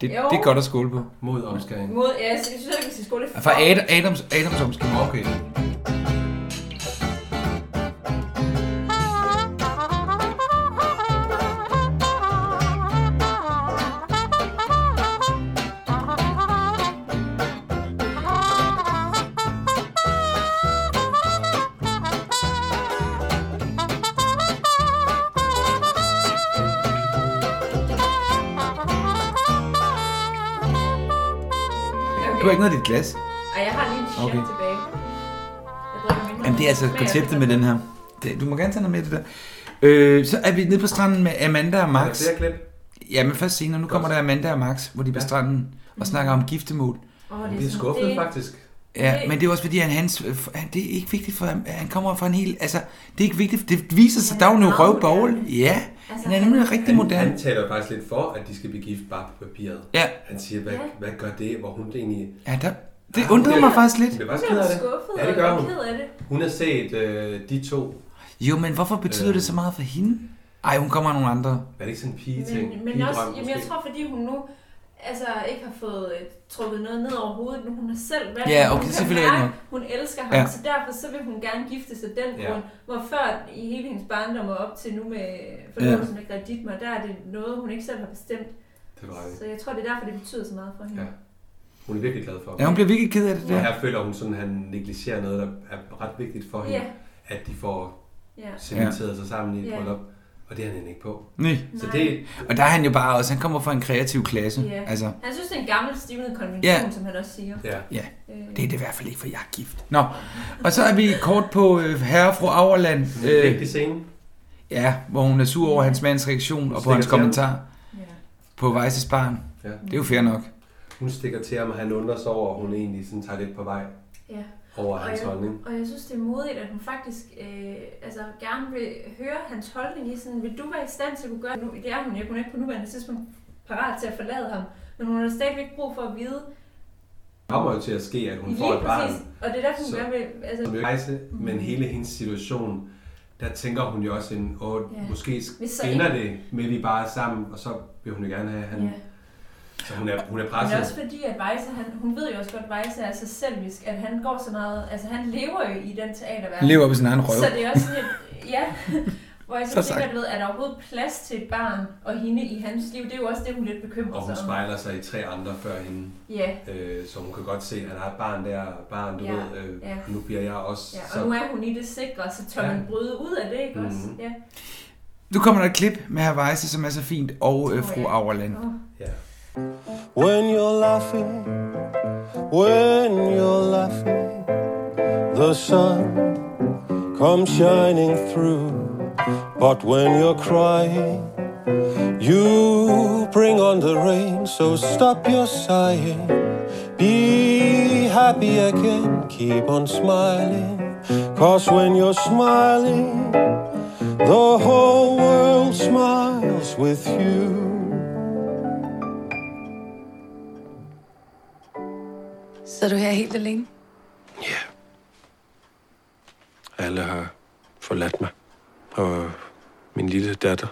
Speaker 3: Det,
Speaker 4: Jo.
Speaker 3: det er godt at skåle på.
Speaker 2: Mod omskæring.
Speaker 4: Mod, ja, jeg synes, at vi skal skåle
Speaker 3: For Adam, Adams, Adams omskæring.
Speaker 2: Okay.
Speaker 3: Du har ikke noget af dit glas.
Speaker 4: Ej, jeg har lige en shot
Speaker 3: Okay.
Speaker 4: okay. tilbage. Jeg drikker mindre.
Speaker 3: Jamen, det er altså
Speaker 4: Smager
Speaker 3: konceptet med den her. Det, du må gerne tage noget med det der. Øh, så er vi nede på stranden med Amanda og Max.
Speaker 2: Er der flere klip?
Speaker 3: Ja, men først senere. Nu kommer der Amanda og Max, hvor de er på stranden og snakker om giftemål.
Speaker 4: Mm. Åh,
Speaker 2: Hun bliver
Speaker 4: sådan-
Speaker 2: skuffet,
Speaker 4: det-
Speaker 2: faktisk.
Speaker 3: Ja, men det er også fordi, han, hans, øh, han, det er ikke vigtigt for ham. Han kommer fra en hel... Altså, det er ikke vigtigt. Det viser sig, der er jo noget røvbogle. Ja, han er nemlig rigtig moderne.
Speaker 2: Han taler jo faktisk lidt for, at de skal blive gift bare på papiret.
Speaker 3: Ja.
Speaker 2: Han siger, hvad,
Speaker 4: Ja.
Speaker 2: hvad gør det, hvor hun egentlig...
Speaker 3: Ja, der, det undrede mig faktisk lidt.
Speaker 2: Hun bliver faktisk
Speaker 4: Hun
Speaker 2: ked
Speaker 4: er
Speaker 2: af det.
Speaker 4: skuffet
Speaker 2: Ja, det
Speaker 4: og
Speaker 2: gør hun.
Speaker 4: ked af det.
Speaker 2: Hun har set øh, de to. Øh.
Speaker 3: Jo, men hvorfor betyder det så meget for hende? Ej, hun kommer af nogle andre.
Speaker 2: Er det ikke sådan en pige-ting?
Speaker 4: Men, men også, jamen, jeg tror, fordi hun nu altså, ikke har fået øh, trukket noget ned over hovedet, men hun har selv valgt,
Speaker 3: Ja,
Speaker 4: det.
Speaker 3: okay,
Speaker 4: hun kan
Speaker 3: selvfølgelig er det
Speaker 4: mærke,
Speaker 3: nok.
Speaker 4: hun elsker ham,
Speaker 3: Ja.
Speaker 4: ja. så derfor så vil hun gerne gifte sig den
Speaker 3: Ja.
Speaker 4: ja. grund, hvor før i hele hendes barndom og op til nu med forlovelsen ja. med Graditma, der er det noget, hun ikke selv har bestemt.
Speaker 2: Det var det.
Speaker 4: Så jeg tror, det er derfor, det betyder så meget for hende.
Speaker 2: Ja. Hun er virkelig glad for
Speaker 3: Ja, hun bliver virkelig ked af det der.
Speaker 2: Og her føler hun sådan, at han negligerer noget, der er ret vigtigt for hende.
Speaker 4: Ja.
Speaker 2: At de får
Speaker 4: Ja.
Speaker 2: cementeret sig sammen i et
Speaker 4: Ja.
Speaker 2: bryllup. Og det er han egentlig ikke på.
Speaker 3: Nej.
Speaker 2: Så det,
Speaker 3: Og der er han jo bare også, han kommer fra en kreativ klasse.
Speaker 4: Ja.
Speaker 3: Altså,
Speaker 4: Han synes, det er en gammel, stivnet konvention,
Speaker 3: Ja.
Speaker 4: som han også siger.
Speaker 2: Ja.
Speaker 3: ja.
Speaker 4: Øh.
Speaker 3: Det er det i hvert fald ikke, for jeg er gift. Nå, og så er vi kort på øh, herre og fru Auerland. øh,
Speaker 2: det er en vigtig scene.
Speaker 3: Ja, hvor hun er sur over hans mands reaktion og på
Speaker 2: Stikker
Speaker 3: hans
Speaker 2: til ham.
Speaker 3: kommentar. På Weisses barn.
Speaker 2: Ja.
Speaker 3: Det er jo fair nok.
Speaker 2: hun stikker til ham, og han undrer sig over, at hun egentlig sådan tager lidt på vej
Speaker 4: Ja.
Speaker 2: over
Speaker 4: Og
Speaker 2: hans
Speaker 4: jeg,
Speaker 2: holdning.
Speaker 4: Og jeg synes, det er modigt, at hun faktisk øh, altså, gerne vil høre hans holdning i sådan, vil du være i stand til at kunne gøre det nu? Det er hun ikke. Hun er ikke på nuværende tidspunkt parat til at forlade ham. Men hun har stadigvæk brug for at vide,
Speaker 2: Det kommer jo til at ske, at hun
Speaker 4: Lige
Speaker 2: får et barn.
Speaker 4: præcis. Og det er derfor, hun
Speaker 2: Så-
Speaker 4: gerne vil- altså-
Speaker 2: som jo ikke rejse, men
Speaker 4: Mhm.
Speaker 2: hele hendes situation, der tænker hun jo også, en, åh,
Speaker 4: Ja.
Speaker 2: måske
Speaker 4: Hvis så
Speaker 2: ender
Speaker 4: ikke-
Speaker 2: det med, at vi bare er sammen, og så vil hun jo gerne have, at han...
Speaker 4: Ja.
Speaker 2: Så hun er, hun er
Speaker 4: men
Speaker 2: presset.
Speaker 4: også fordi, at Weisse, han, hun ved jo også godt, at Weisse er så selvisk, at han går så meget, altså han lever jo i den teaterverden.
Speaker 3: Lever op i sin egen røv.
Speaker 4: Så det er også sådan lidt, ja, hvor jeg så,
Speaker 3: Så
Speaker 4: tænker,
Speaker 3: sagt.
Speaker 4: at ved, er der overhovedet plads til et barn og hende i hans liv? Det er jo også det, hun lidt bekymrer
Speaker 2: Og hun
Speaker 4: sig om.
Speaker 2: spejler sig i tre andre før hende.
Speaker 4: Ja.
Speaker 2: Øh, så hun kan godt se, at der er et barn der, og et barn, du
Speaker 4: Ja,
Speaker 2: ved, øh,
Speaker 4: ja.
Speaker 2: nu bliver jeg også...
Speaker 4: Ja, og
Speaker 2: så,
Speaker 4: nu er hun i det sikre, så tør
Speaker 2: Ja.
Speaker 4: ja. man bryde ud af det, ikke mm-hmm. også?
Speaker 2: Mhm.
Speaker 4: Ja.
Speaker 3: Nu kommer der et klip med herr Weisse, som er så fint, og øh,
Speaker 4: Åh,
Speaker 3: fru
Speaker 4: ja.
Speaker 3: Auerland.
Speaker 4: Åh.
Speaker 2: Ja.
Speaker 18: When you're laughing, when you're laughing, the sun comes shining through. But when you're crying, you bring on the rain. So stop your sighing, be happy again, keep on smiling. Cause when you're smiling, the whole world smiles with you.
Speaker 19: Så er du her helt alene?
Speaker 13: Alle har forladt mig. Og min lille datter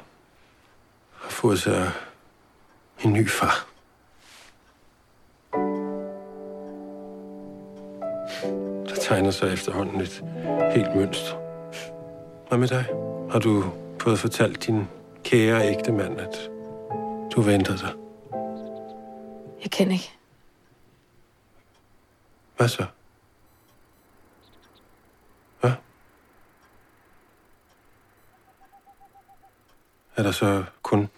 Speaker 13: har fået sig en ny far. Der tegner sig efterhånden et helt mønster. Hvad med dig? Har du fået fortalt din kære ægte mand, at du ventede dig?
Speaker 19: Jeg kan ikke.
Speaker 13: Hvad så? Hvad? Er der så kun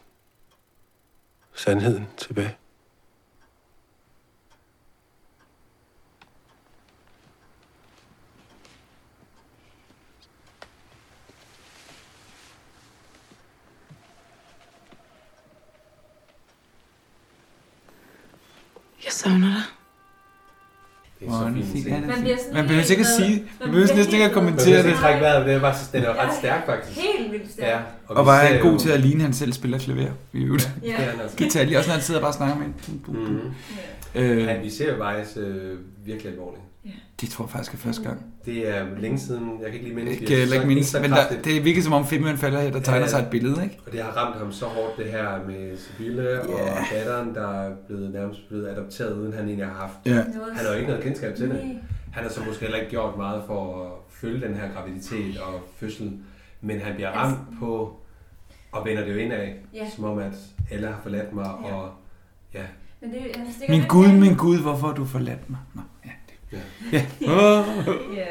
Speaker 13: sandheden tilbage?
Speaker 19: Jeg savner dig.
Speaker 2: Det er så fint.
Speaker 3: Man
Speaker 4: Man bliver sådan
Speaker 3: Man behøver ikke at
Speaker 4: helt
Speaker 3: sige,
Speaker 4: med-
Speaker 3: man behøver næsten ikke at kommentere det.
Speaker 2: Man trække vejret, det er bare så, den er ret stærk faktisk.
Speaker 4: Helt vildt stærk.
Speaker 2: Ja,
Speaker 3: Og,
Speaker 2: vi
Speaker 3: og var
Speaker 2: ser
Speaker 3: han
Speaker 2: jo-
Speaker 3: god til at ligne, at han selv spiller klaver. I øvrigt.
Speaker 4: Ja.
Speaker 3: Ja.
Speaker 2: altså.
Speaker 3: Gitarlig, også når han sidder og bare snakker med en. Mm-hmm.
Speaker 2: Øh, ja, vi ser jo Vejs øh, virkelig alvorligt.
Speaker 3: Det tror jeg faktisk er første gang.
Speaker 2: Det er længe siden, jeg kan ikke lige mindes,
Speaker 3: Jeg
Speaker 2: vi
Speaker 3: kan
Speaker 2: har
Speaker 3: heller ikke
Speaker 2: sagt
Speaker 3: mindes,
Speaker 2: så
Speaker 3: men der,
Speaker 2: kraftigt.
Speaker 3: det er virkelig som om filmen falder her, der tegner sig et billede, ikke?
Speaker 2: Og det har ramt ham så hårdt, det her med Sibylle yeah. og datteren, der er blevet, nærmest blevet adopteret, uden han egentlig har haft.
Speaker 3: Ja.
Speaker 2: Han har jo ikke noget kendskab til det.
Speaker 4: Nej.
Speaker 2: Han har så måske heller ikke gjort meget for at følge den her graviditet og fødsel, men han bliver
Speaker 4: Altså-
Speaker 2: ramt på, og vender det jo indad,
Speaker 4: Ja.
Speaker 2: som om at Ella har forladt mig,
Speaker 4: Ja.
Speaker 2: og ja.
Speaker 4: Men det, han stikker
Speaker 3: Min
Speaker 4: lidt
Speaker 3: Gud,
Speaker 4: af.
Speaker 3: min Gud, hvorfor har du forladt mig? Nå, ja. Det. Ja.
Speaker 4: Ja.
Speaker 3: Åh.
Speaker 4: Ja.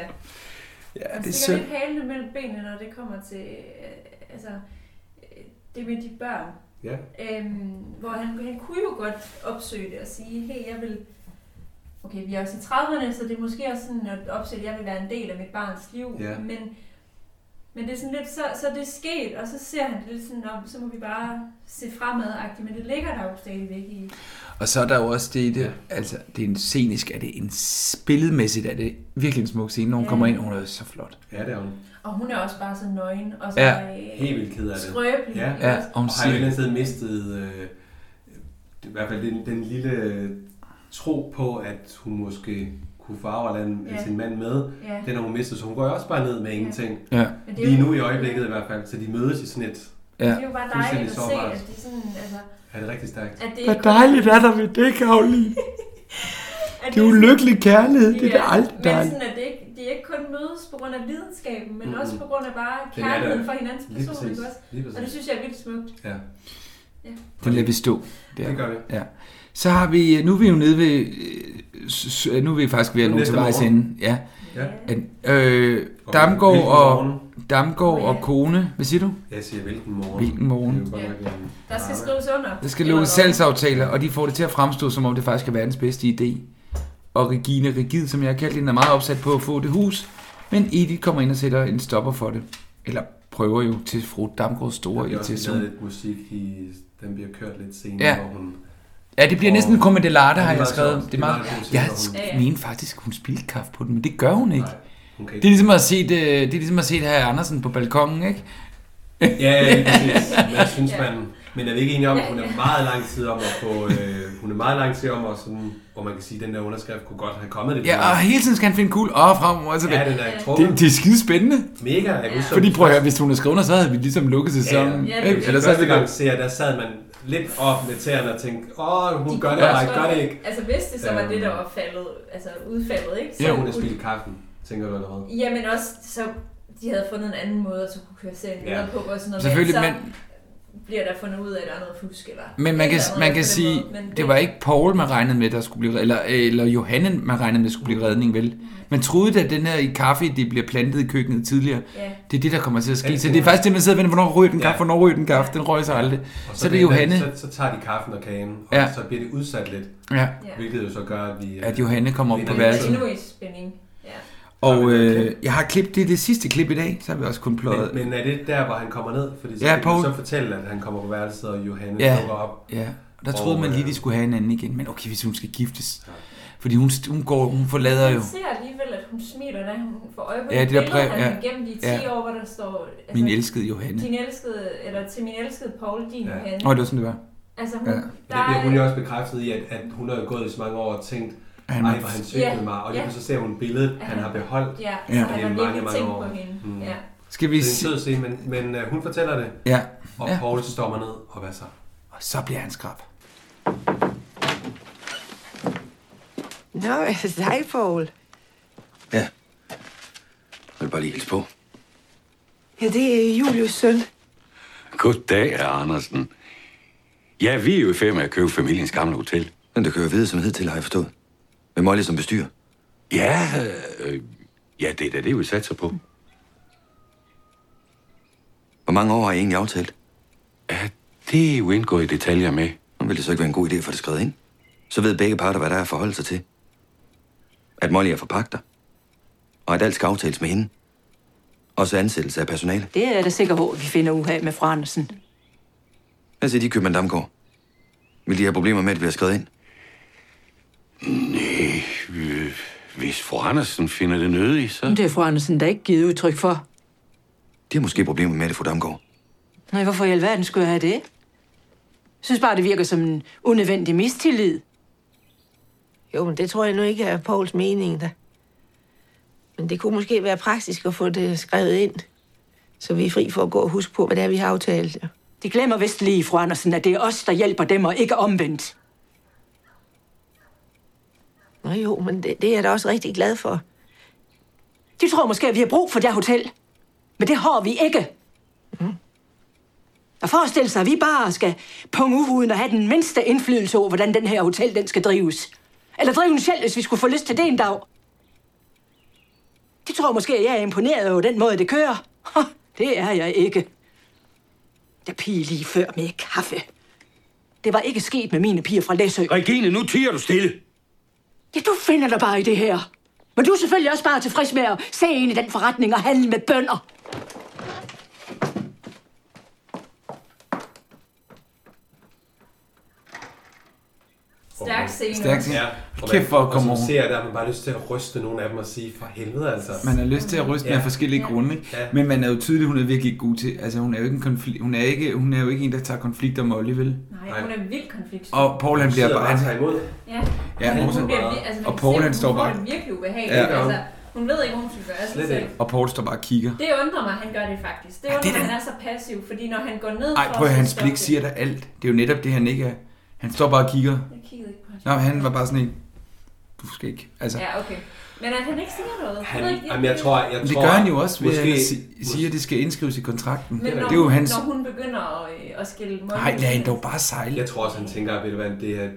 Speaker 3: ja,
Speaker 4: Han
Speaker 3: det
Speaker 4: stikker
Speaker 3: er synd.
Speaker 4: lidt halen mellem benene, når det kommer til... Øh, altså, øh, det med de børn.
Speaker 2: Ja.
Speaker 4: Øhm, hvor han, han kunne jo godt opsøge det og sige, hey, jeg vil... Okay, vi er også i 30'erne, så det er måske også sådan at opsøge, at jeg vil være en del af mit barns liv.
Speaker 2: Ja.
Speaker 4: Men, men det er sådan lidt, så, så er det er sket, og så ser han det lidt sådan om, så må vi bare se fremad men det ligger der jo stadigvæk i.
Speaker 3: Og så er der jo også det i det, altså det er en scenisk, er det en spillemæssigt, er det virkelig en smuk scene, når hun
Speaker 4: Ja.
Speaker 3: kommer ind, og hun er så flot.
Speaker 2: Ja, det er hun.
Speaker 4: Og hun er også bare så nøgen, og så
Speaker 3: Ja.
Speaker 4: øh,
Speaker 2: Helt vildt ked af det.
Speaker 4: skrøbelig. Altså,
Speaker 2: Ja,
Speaker 3: Ja,
Speaker 2: ja.
Speaker 3: og hun
Speaker 2: og har jo
Speaker 3: siger-
Speaker 2: et eller andet sted mistet, øh, i hvert fald den, den lille øh, tro på, at hun måske kunne farve eller
Speaker 4: Ja.
Speaker 2: ja. sin mand med.
Speaker 4: Ja.
Speaker 2: Den har hun mistet, så hun går jo også bare ned med ingenting.
Speaker 3: Ja.
Speaker 4: Men det er
Speaker 2: Lige
Speaker 4: jo-
Speaker 2: nu i øjeblikket i hvert fald, så de mødes i sådan et
Speaker 3: Ja.
Speaker 4: Det er jo bare dejligt
Speaker 2: fuldstændig
Speaker 4: at se,
Speaker 2: sårbart.
Speaker 4: at det er sådan, altså,
Speaker 2: Ja, det er rigtig stærkt.
Speaker 4: at det
Speaker 3: Hvad dejligt er der ved det, Karoline? Det er ulykkelig kærlighed, det er da aldrig
Speaker 4: Men
Speaker 3: dejligt.
Speaker 4: sådan, at det ikke, de ikke kun mødes på grund af videnskaben, men
Speaker 2: Mm.
Speaker 4: mm. også på grund af bare
Speaker 2: Den er der.
Speaker 4: kærligheden for hinandens
Speaker 2: Lige
Speaker 4: person,
Speaker 2: præcis.
Speaker 4: ikke også?
Speaker 2: Lige præcis.
Speaker 4: Og det synes jeg er vildt smukt.
Speaker 2: Ja.
Speaker 4: Ja.
Speaker 3: Den lader vi stå.
Speaker 2: Det gør vi.
Speaker 3: Ja. Så har vi, nu er vi jo nede ved, øh, s- s- nu er vi faktisk ved at
Speaker 2: Nu
Speaker 3: nå
Speaker 2: næste
Speaker 3: til vejs
Speaker 2: morgen.
Speaker 3: ende. Ja.
Speaker 2: Ja.
Speaker 3: En- Øh,
Speaker 2: Og
Speaker 3: Damgaard
Speaker 2: hvilken
Speaker 3: og,
Speaker 2: morgen?
Speaker 3: Damgaard og kone, hvad siger du?
Speaker 2: Jeg siger, hvilken morgen.
Speaker 3: Hvilken morgen?
Speaker 2: Det er jo godt nok en-
Speaker 4: Der skal skrives under.
Speaker 3: Der skal lukkes salgsaftaler, og de får det til at fremstå, som om det faktisk er verdens bedste idé. Og Regina Rigid, som jeg har kaldt hende, er meget opsat på at få det hus, men Edith kommer ind og sætter en stopper for det. Eller prøver jo til fru Damgaards
Speaker 2: Der
Speaker 3: store
Speaker 2: bliver også lavet
Speaker 3: irritation.
Speaker 2: lidt musik i... Den bliver kørt lidt senere,
Speaker 3: Ja.
Speaker 2: hvor hun...
Speaker 3: Ja, det bliver næsten en kommedelata,
Speaker 2: Ja, det
Speaker 3: har
Speaker 2: er
Speaker 3: jeg
Speaker 2: meget
Speaker 3: skrevet.
Speaker 2: sjovt.
Speaker 3: Det
Speaker 2: Det
Speaker 3: er
Speaker 2: er
Speaker 3: meget...
Speaker 2: meget sjovt.
Speaker 3: Jeg
Speaker 2: Ja,
Speaker 3: sk- mente faktisk, at hun spildte kaffe på den, men det gør hun ikke.
Speaker 2: hun kan
Speaker 3: Det er
Speaker 2: ikke.
Speaker 3: ligesom at se, det, det er ligesom at se det her Andersen på balkongen, ikke?
Speaker 2: Ja, ja, lige præcis. Men jeg synes, man... Men er vi ikke enige om, at hun er meget lang tid om at få... Øh, hun er meget lang tid om at sådan... Hvor man kan sige, at den der underskrift kunne godt have kommet lidt.
Speaker 3: Ja, og
Speaker 2: længere.
Speaker 3: hele tiden skal han finde kul og frem og tilbage.
Speaker 2: Ja, den er trukket.
Speaker 3: det, det er skide spændende.
Speaker 2: Mega, jeg husker-
Speaker 3: Fordi prøv at høre, hvis hun havde skrevet under, så havde vi ligesom lukket sæsonen.
Speaker 2: Ja, ja.
Speaker 3: ikke?
Speaker 2: Eller
Speaker 3: så havde
Speaker 2: første
Speaker 3: vi
Speaker 2: gang ser, jeg, der sad man lidt op med tæerne og tænkte, åh, hun gør det,
Speaker 3: kunne
Speaker 2: eller
Speaker 3: også
Speaker 2: ikke, gør det ikke.
Speaker 4: Altså hvis det så var
Speaker 2: Øhm.
Speaker 4: det, der var faldet, altså udfaldet, ikke?
Speaker 2: Ja, hun har spildt kaffen, tænker du allerede.
Speaker 4: Jamen også, så de havde fundet en anden måde at så kunne køre serien
Speaker 2: Ja.
Speaker 4: videre på og sådan noget.
Speaker 3: Selvfølgelig,
Speaker 4: så
Speaker 3: men-
Speaker 4: bliver der fundet ud af, at der er noget fusk. Eller
Speaker 3: Men man
Speaker 4: et
Speaker 3: kan,
Speaker 4: eller andet
Speaker 3: man
Speaker 4: på
Speaker 3: kan
Speaker 4: den
Speaker 3: sige,
Speaker 4: måde. Men
Speaker 3: det var ikke Paul, man regnede med, der skulle blive eller, eller Johanne, man regnede med, skulle blive redning,
Speaker 4: Mhm.
Speaker 3: vel? Man troede, da den her i kaffe, det bliver plantet i køkkenet tidligere.
Speaker 4: Ja.
Speaker 3: Det er det, der kommer til at ske. Så det er faktisk det, man sidder og venter, hvornår ryger den kaffe, hvornår ryger den kaffe, den røg sig aldrig.
Speaker 2: Og
Speaker 3: Så er det
Speaker 2: venter-
Speaker 3: Johanne.
Speaker 2: Så, så tager de kaffen og kagen, og
Speaker 3: Ja.
Speaker 2: ja. så bliver det udsat lidt.
Speaker 3: Ja.
Speaker 2: Hvilket jo så gør, at vi...
Speaker 3: At Johanne kommer op
Speaker 2: vi
Speaker 3: på
Speaker 2: vinder
Speaker 3: værelset.
Speaker 2: tiden.
Speaker 4: endnu i spænding. Ja.
Speaker 3: Og øh, jeg har klippet, det er det sidste klip i dag, så har vi også kun pløjet.
Speaker 2: Men, men er det der, hvor han kommer ned? Fordi så
Speaker 3: Ja,
Speaker 2: ja, kan
Speaker 3: Poul.
Speaker 2: du så fortælle, at han kommer på værelset, og Johanne
Speaker 3: Ja,
Speaker 2: dukker op.
Speaker 3: ja. Og der troede
Speaker 2: Og, øh,
Speaker 3: man lige, de skulle have hinanden igen, men okay, hvis hun skal giftes. Fordi hun, hun, går, hun forlader jo.
Speaker 4: Man ser alligevel, at hun smiler, da hun får øje på de
Speaker 3: Ja, det der
Speaker 4: billeder,
Speaker 3: brev,
Speaker 4: han
Speaker 3: ja.
Speaker 4: gennem de 10
Speaker 3: Ja.
Speaker 4: år, hvor der står... Altså,
Speaker 3: Min elskede Johanne.
Speaker 4: Din elskede, eller til min elskede Paul, din
Speaker 2: Ja.
Speaker 4: Johanne.
Speaker 3: Nå, det var sådan, det var.
Speaker 4: Altså, hun,
Speaker 3: Ja.
Speaker 4: ja.
Speaker 3: Men
Speaker 2: Men øh, det bliver hun jo også bekræftet i, at, at hun har jo gået i så mange år og tænkt, ej,
Speaker 3: Han-
Speaker 2: hvor han svigtede
Speaker 4: Ja,
Speaker 2: mig. Og
Speaker 4: ja.
Speaker 2: lige pludselig ser hun billedet,
Speaker 4: At
Speaker 2: han
Speaker 4: han-
Speaker 2: har beholdt.
Speaker 4: Ja,
Speaker 3: Ja.
Speaker 2: og det
Speaker 3: han
Speaker 2: er
Speaker 3: har
Speaker 2: mange,
Speaker 4: virkelig
Speaker 2: mange
Speaker 4: tænkt
Speaker 2: år.
Speaker 4: på hende, ja.
Speaker 3: Skal vi
Speaker 2: se? Det er en sød scene, men, men øh, hun fortæller det.
Speaker 3: Ja.
Speaker 2: Og
Speaker 3: Ja.
Speaker 2: Paul stormer ned, og hvad så?
Speaker 3: Og så bliver han skrab.
Speaker 6: Nå, dig, Paul.
Speaker 5: Jeg vil bare lige hilse på.
Speaker 6: Ja, det er Julius søn.
Speaker 20: Goddag, Andersen. Ja, vi er jo i færd med at købe familiens gamle hotel. Men det kører videre som hed til, har jeg forstået. Med Molly som bestyrer. Ja, øh, ja, det er da det, vi satser på. Hvor mange år har I egentlig aftalt? Ja, det er jo indgået i detaljer med. Men vil det så ikke være en god idé at få det skrevet ind? Så ved begge parter, hvad der er at forholde sig til. At Molly er forpagter. Og at alt skal aftales med hende. Også ansættelse af personale.
Speaker 7: Det er da sikkert, hvor vi finder ud af med fru Andersen.
Speaker 20: Hvad siger de, Købmann Damgaard? Vil de have problemer med, at vi har skrevet ind?
Speaker 5: Nej, øh, hvis fru Andersen finder det nødigt, så...
Speaker 17: Det er fru Andersen, der ikke givet udtryk for.
Speaker 20: De har måske problemer med det, fru Damgaard.
Speaker 17: Nej, hvorfor i alverden skulle jeg have det? Jeg synes bare, det virker som en unødvendig mistillid.
Speaker 6: Jo, men det tror jeg nu ikke er Pauls mening, da. Men det kunne måske være praktisk at få det skrevet ind, så vi er fri for at gå og huske på, hvad det er, vi har aftalt.
Speaker 7: De glemmer vist lige, fru Andersen, at det er os, der hjælper dem, og ikke omvendt.
Speaker 6: Nå jo, men det, det er jeg da også rigtig glad for.
Speaker 7: De tror måske, at vi har brug for det her hotel. Men det har vi ikke.
Speaker 6: Mm.
Speaker 7: Og forestil sig, at vi bare skal punge ud uden at have den mindste indflydelse over, hvordan den her hotel den skal drives. Eller drive den selv, hvis vi skulle få lyst til det en dag. De tror måske, at jeg er imponeret over den måde, det kører. Ha, det er jeg ikke. Der pige lige før med kaffe. Det var ikke sket med mine piger fra Læsø.
Speaker 5: Regine, nu tiger du stille.
Speaker 7: Ja, du finder dig bare i det her. Men du er selvfølgelig også bare tilfreds med at se ind i den forretning og handle med bønder.
Speaker 4: Stærk scene.
Speaker 3: Stærk scene. Ja.
Speaker 2: Og
Speaker 3: Kæft, hvor
Speaker 2: man- og
Speaker 3: kommer
Speaker 2: som
Speaker 3: hun.
Speaker 2: ser, der har man bare lyst til at ryste nogle af dem og sige, for helvede altså.
Speaker 3: Man har lyst til at ryste ja. af forskellige grunde, ikke?
Speaker 2: Ja.
Speaker 3: Men man er jo tydeligt, hun er virkelig god til. Altså, hun er jo ikke en, konflikt, hun er ikke, hun er jo ikke en der tager konflikter med Molly, vel?
Speaker 4: Nej, hun er vildt konflikt.
Speaker 3: Og Paul, han
Speaker 2: Hun
Speaker 3: bliver
Speaker 2: sidder
Speaker 3: bare...
Speaker 2: bare og tager imod.
Speaker 4: Ja,
Speaker 3: Ja,
Speaker 4: Men
Speaker 3: hun
Speaker 4: hun
Speaker 3: sidder
Speaker 4: bliver,
Speaker 3: bare-
Speaker 4: vir- altså, man
Speaker 3: og
Speaker 4: kan
Speaker 3: Paul,
Speaker 4: se,
Speaker 3: han
Speaker 4: hun
Speaker 3: står
Speaker 4: får
Speaker 3: bare-
Speaker 4: det virkelig ubehageligt.
Speaker 3: Ja.
Speaker 4: Altså, hun ved ikke, hvad hun skal gøre sig selv.
Speaker 3: Og Paul står bare og kigger.
Speaker 4: Det undrer mig, at han gør det faktisk. Det undrer mig, at han er så passiv, fordi når han går ned
Speaker 3: Ej,
Speaker 4: for
Speaker 3: prøv at
Speaker 4: at
Speaker 3: hans
Speaker 4: stoppe
Speaker 3: blik
Speaker 4: det-
Speaker 3: siger der alt. Det er jo netop det, han ikke er. Han står bare og kigger.
Speaker 4: Jeg kiggede ikke på hans
Speaker 3: Nå, han var bare sådan en... Du skal ikke... Altså,
Speaker 4: Ja, okay. Men at han ikke siger noget.
Speaker 2: Han-
Speaker 4: ved ikke,
Speaker 2: jamen, jeg tror- jeg-
Speaker 3: Men det
Speaker 2: tror,
Speaker 3: gør han jo også ved
Speaker 2: måske-
Speaker 3: at si- sige, at det skal indskrives i kontrakten.
Speaker 4: Men når,
Speaker 3: det er jo
Speaker 4: hun,
Speaker 3: hans...
Speaker 4: når hun begynder at, øh, at skille mål.
Speaker 3: Nej, lad hende dog bare sejle.
Speaker 2: Jeg tror også, han tænker, ved du hvad, det er...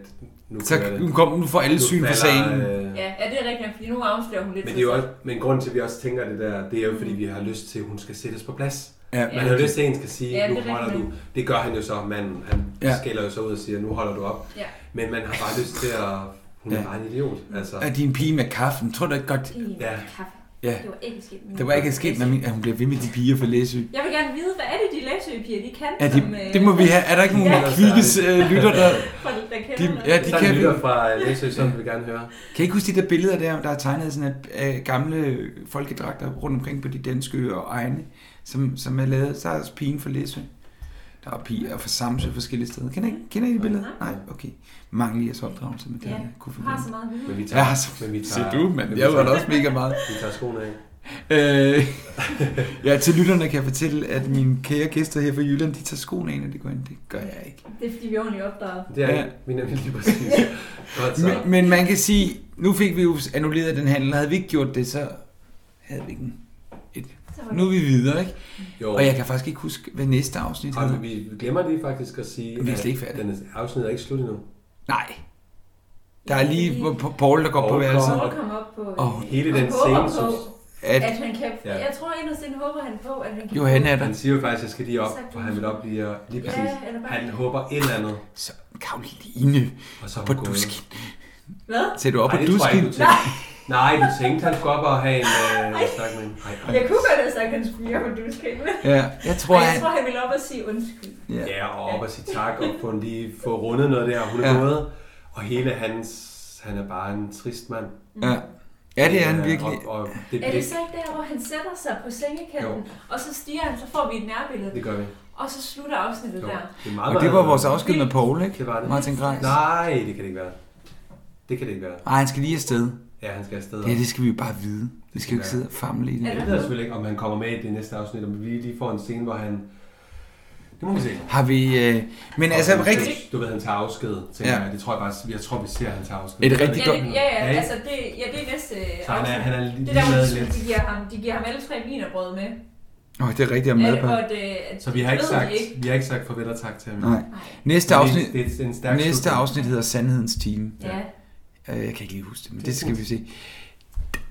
Speaker 2: Nu
Speaker 3: Så
Speaker 2: kører det.
Speaker 3: nu kom- nu får alle syn for
Speaker 2: falder,
Speaker 3: sagen.
Speaker 4: Ja,
Speaker 2: øh,
Speaker 4: ja, det er rigtigt, nok, fordi nu afslører hun lidt
Speaker 2: Men,
Speaker 4: sig
Speaker 2: det er jo
Speaker 4: selv.
Speaker 2: også, men grunden til, at vi også tænker det der, det er jo, fordi vi har lyst til, at hun skal sættes på plads.
Speaker 3: Ja,
Speaker 2: Man har
Speaker 3: men-
Speaker 2: lyst til, at en skal sige,
Speaker 4: Ja,
Speaker 2: ja,
Speaker 4: det
Speaker 2: nu
Speaker 4: er
Speaker 2: holder
Speaker 4: rigtigt.
Speaker 2: du. Det gør han jo så, manden. Han
Speaker 3: Ja.
Speaker 2: ja. skælder jo så ud og siger, nu holder du op.
Speaker 4: Ja.
Speaker 2: Men man har bare lyst til at... Hun ja. er bare en idiot. Altså.
Speaker 3: Er din pige med kaffen? Tror du ikke godt...
Speaker 4: Pige med
Speaker 2: Ja.
Speaker 4: kaffe.
Speaker 3: Ja.
Speaker 4: Det var ikke sket. med
Speaker 3: Det var
Speaker 4: min-
Speaker 3: ikke sket, når min- at hun bliver ved med de piger for Læsø.
Speaker 4: Jeg vil gerne vide, hvad er det, de læsøpiger, de kan?
Speaker 3: Ja, de,
Speaker 4: som, øh,
Speaker 3: det må vi have. Er der ikke nogen ja. kvikkes øh, lytter, der...
Speaker 4: Folk, der kender
Speaker 3: De,
Speaker 4: noget.
Speaker 3: ja,
Speaker 2: Hvis
Speaker 3: de
Speaker 2: der er
Speaker 3: kan
Speaker 2: en lytter
Speaker 3: vi.
Speaker 2: fra Læsø, så vil vi gerne høre.
Speaker 3: Kan I ikke huske de der billeder der, der er tegnet af sådan af, af gamle folkedragter rundt omkring på de danske øer og egne, som, som er lavet. Der er også pigen for Læsø. Der er piger fra Samsø forskellige steder. Kender I, kender I de billeder? Nej, okay. Mangler jeres opdragelse med det,
Speaker 4: Mm. Ja,
Speaker 3: jeg kunne
Speaker 4: har så meget viden. Men vi
Speaker 2: tager-
Speaker 3: ja, så,
Speaker 2: men vi
Speaker 3: Se
Speaker 2: tager-
Speaker 3: du, mand.
Speaker 2: men vi
Speaker 3: Jeg var da
Speaker 2: tager-
Speaker 3: også mega meget.
Speaker 2: Vi tager skoene af.
Speaker 3: Øh, ja, til lytterne kan jeg fortælle, at mine kære gæster her fra Jylland, de tager skoene af, når de går ind. Det gør jeg ikke.
Speaker 4: Det er, fordi vi er ordentligt opdraget.
Speaker 2: Det er
Speaker 3: Ja.
Speaker 2: ja. vi nemlig lige præcis. Godt så.
Speaker 3: Men, men man kan sige, nu fik vi jo annulleret den handel. Havde vi ikke gjort det, så havde vi ikke en et, nu er vi videre, ikke?
Speaker 2: Jo.
Speaker 3: Jo. Og jeg kan faktisk ikke huske, hvad næste afsnit
Speaker 2: Og
Speaker 3: hedder.
Speaker 2: vi glemmer lige faktisk at sige,
Speaker 3: Vi er slet ikke
Speaker 2: at den afsnit er ikke slut endnu.
Speaker 3: Nej. Der er lige hvor- hvor Paul, der går på
Speaker 2: Paul
Speaker 3: værelset.
Speaker 2: kommer-
Speaker 4: Paul kommer op på-
Speaker 3: Og
Speaker 2: Hele den
Speaker 4: Han håber
Speaker 2: scene,
Speaker 4: på,
Speaker 2: synes-
Speaker 4: at,
Speaker 3: Altså- At-
Speaker 4: at han kan...
Speaker 2: Ja.
Speaker 4: Ja. Jeg tror endnu siden håber han på, at han kan...
Speaker 2: Han siger jo faktisk, at jeg skal lige op, for han vil op lige, og- lige
Speaker 4: Ja,
Speaker 2: præcis.
Speaker 4: eller bare-
Speaker 2: han håber et eller andet.
Speaker 3: Så Karoline
Speaker 2: og så
Speaker 3: på dusken.
Speaker 4: Hvad?
Speaker 3: Ser du op
Speaker 2: Ej,
Speaker 3: på
Speaker 2: det tror jeg
Speaker 3: dusken?
Speaker 2: ikke, du tænkte. Nej, du tænkte, han skulle op og have en øh, snak med en. Ej, ej.
Speaker 4: Jeg kunne godt have sagt, at han skulle hjemme, du skal ikke
Speaker 3: Ja, jeg tror,
Speaker 4: Ej, jeg
Speaker 3: han-
Speaker 4: tror, han ville op og sige undskyld.
Speaker 3: Ja.
Speaker 2: ja, og op og sige tak, og få, lige få rundet noget der, hun er
Speaker 3: Ja.
Speaker 2: gået. Og hele hans, han er bare en trist mand.
Speaker 3: Mm. Ja. Ja, det er han
Speaker 2: Øh,
Speaker 3: virkelig.
Speaker 2: Og, og det,
Speaker 4: Er det
Speaker 2: blik,
Speaker 4: så ikke der, hvor han sætter sig på sengekanten, og så stiger han, så får vi et nærbillede?
Speaker 2: det gør vi.
Speaker 4: Og så slutter afsnittet der.
Speaker 2: Det er meget,
Speaker 3: Og det
Speaker 2: meget-
Speaker 3: var vores afsked med Paul, ikke?
Speaker 2: Det var det.
Speaker 3: Martin Greis.
Speaker 2: Nej, det kan det ikke være. Det kan det ikke være.
Speaker 3: Nej, han skal lige afsted.
Speaker 2: Ja, han skal afsted.
Speaker 3: Ja, det skal vi jo bare vide. Vi skal jo ikke sidde og famle i det.
Speaker 2: Jeg ved selvfølgelig ikke, om han kommer med i det næste afsnit, om vi lige får en scene, hvor han... Det må vi se.
Speaker 3: Har vi... Øh... Men
Speaker 2: Og
Speaker 3: altså,
Speaker 2: han-
Speaker 3: rigtig...
Speaker 2: Du ved, han tager afsked, tænker
Speaker 3: Ja.
Speaker 2: ja. jeg. Det tror jeg bare, jeg tror, vi ser, at han tager afsked.
Speaker 3: Et rigtig
Speaker 4: Ja, det, ja, ja, altså det, ja, det er næste
Speaker 2: Så han er- han er
Speaker 4: afsnit. Det
Speaker 2: lige
Speaker 4: der,
Speaker 2: med
Speaker 4: hvor de,
Speaker 2: lidt.
Speaker 4: de, giver ham, de giver ham alle tre vinerbrød med.
Speaker 3: Åh, oh, det er rigtigt, jeg er med på.
Speaker 4: og det, at,
Speaker 2: Så vi har ikke
Speaker 4: ved
Speaker 2: sagt,
Speaker 4: de ikke.
Speaker 2: vi har ikke sagt farvel og tak til ham.
Speaker 3: Nej. Næste
Speaker 2: Men
Speaker 3: afsnit,
Speaker 2: Det, er- det er en stærk
Speaker 3: næste
Speaker 2: slutning.
Speaker 3: afsnit hedder Sandhedens Time.
Speaker 4: Ja.
Speaker 3: Øh, Jeg kan ikke lige huske det, men det skal vi se.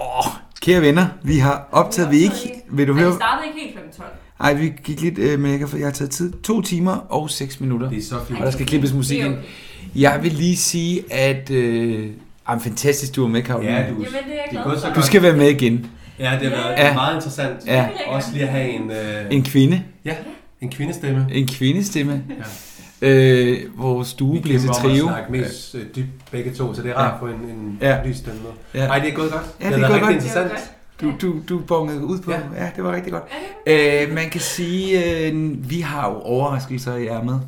Speaker 3: Åh, kære venner, vi har optaget, vi ikke... Vil du
Speaker 4: Ej,
Speaker 3: høre?
Speaker 4: Det startede ikke helt kl. 12.
Speaker 3: Nej, vi gik lidt, øh, men jeg, kan, jeg har taget tid. To timer og seks minutter. Det
Speaker 2: er så fint.
Speaker 3: Og der skal klippes musik
Speaker 4: Det er
Speaker 3: ind.
Speaker 4: okay.
Speaker 3: Jeg vil lige sige, at... Øh, ej, men fantastisk, du var med, Karoline.
Speaker 2: Ja, du- Jamen, det er jeg det er glad gået for. så
Speaker 3: Du
Speaker 2: godt.
Speaker 3: skal være med igen.
Speaker 2: Ja, det har været
Speaker 3: Ja.
Speaker 2: meget interessant.
Speaker 3: Ja.
Speaker 2: Også lige at have en... Øh,
Speaker 3: En kvinde.
Speaker 2: Ja, en kvindestemme.
Speaker 3: En kvindestemme. Ja. Øh, vores stue bliver til
Speaker 2: Vi
Speaker 3: trio.
Speaker 2: snakke mest øh, dybt begge to, så det er rart
Speaker 3: Ja.
Speaker 2: at få en, en
Speaker 3: Ja.
Speaker 2: ja. ny stemme med.
Speaker 3: Ja.
Speaker 2: Ja. Ej, det er gået godt.
Speaker 3: Ja, det,
Speaker 2: har
Speaker 3: det er
Speaker 2: været
Speaker 3: gået godt.
Speaker 2: rigtig interessant.
Speaker 3: Du, du, du bongede ud på ja. ja, det var rigtig godt. Øh, man kan sige, øh, vi har jo overraskelser i ærmet.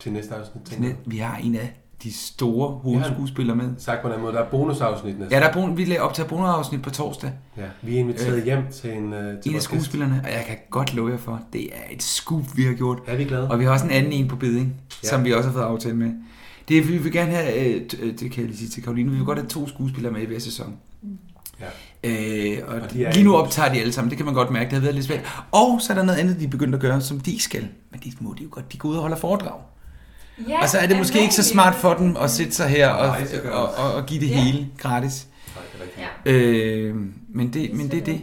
Speaker 2: Til næste afsnit.
Speaker 3: Til næ- Vi har en af de store hovedskuespillere med.
Speaker 2: Sagt på en anden måde, der er bonusafsnit næste.
Speaker 3: Ja, der er bon- vi laver- optager bonusafsnit på torsdag.
Speaker 2: Ja, vi er inviteret
Speaker 3: Øh,
Speaker 2: hjem til en... Øh, til
Speaker 3: En af
Speaker 2: vores gæst.
Speaker 3: skuespillerne, og jeg kan godt love jer for, det er et scoop, vi har gjort.
Speaker 2: Er vi glade?
Speaker 3: Og vi har også en anden en på beding, ja.
Speaker 2: Ja.
Speaker 3: som vi også har fået aftale med. Det er, vi vil gerne have, øh, t- øh, det kan jeg lige sige til Karoline, vi vil godt have to skuespillere med i hver sæson.
Speaker 2: Ja.
Speaker 3: Øh, og, og
Speaker 2: de er
Speaker 3: lige nu
Speaker 2: i-
Speaker 3: optager de alle sammen, det kan man godt mærke, det havde været lidt svært. Og så er der noget andet, de er begyndt at gøre, som de ikke skal. Men det må de jo godt, de går ud og holder foredrag.
Speaker 4: Ja,
Speaker 3: og så Altså, er det måske ikke så smart for dem at sætte sig her og, og, og, og give det
Speaker 4: Ja.
Speaker 3: hele gratis. Øh, men, det, men det er det.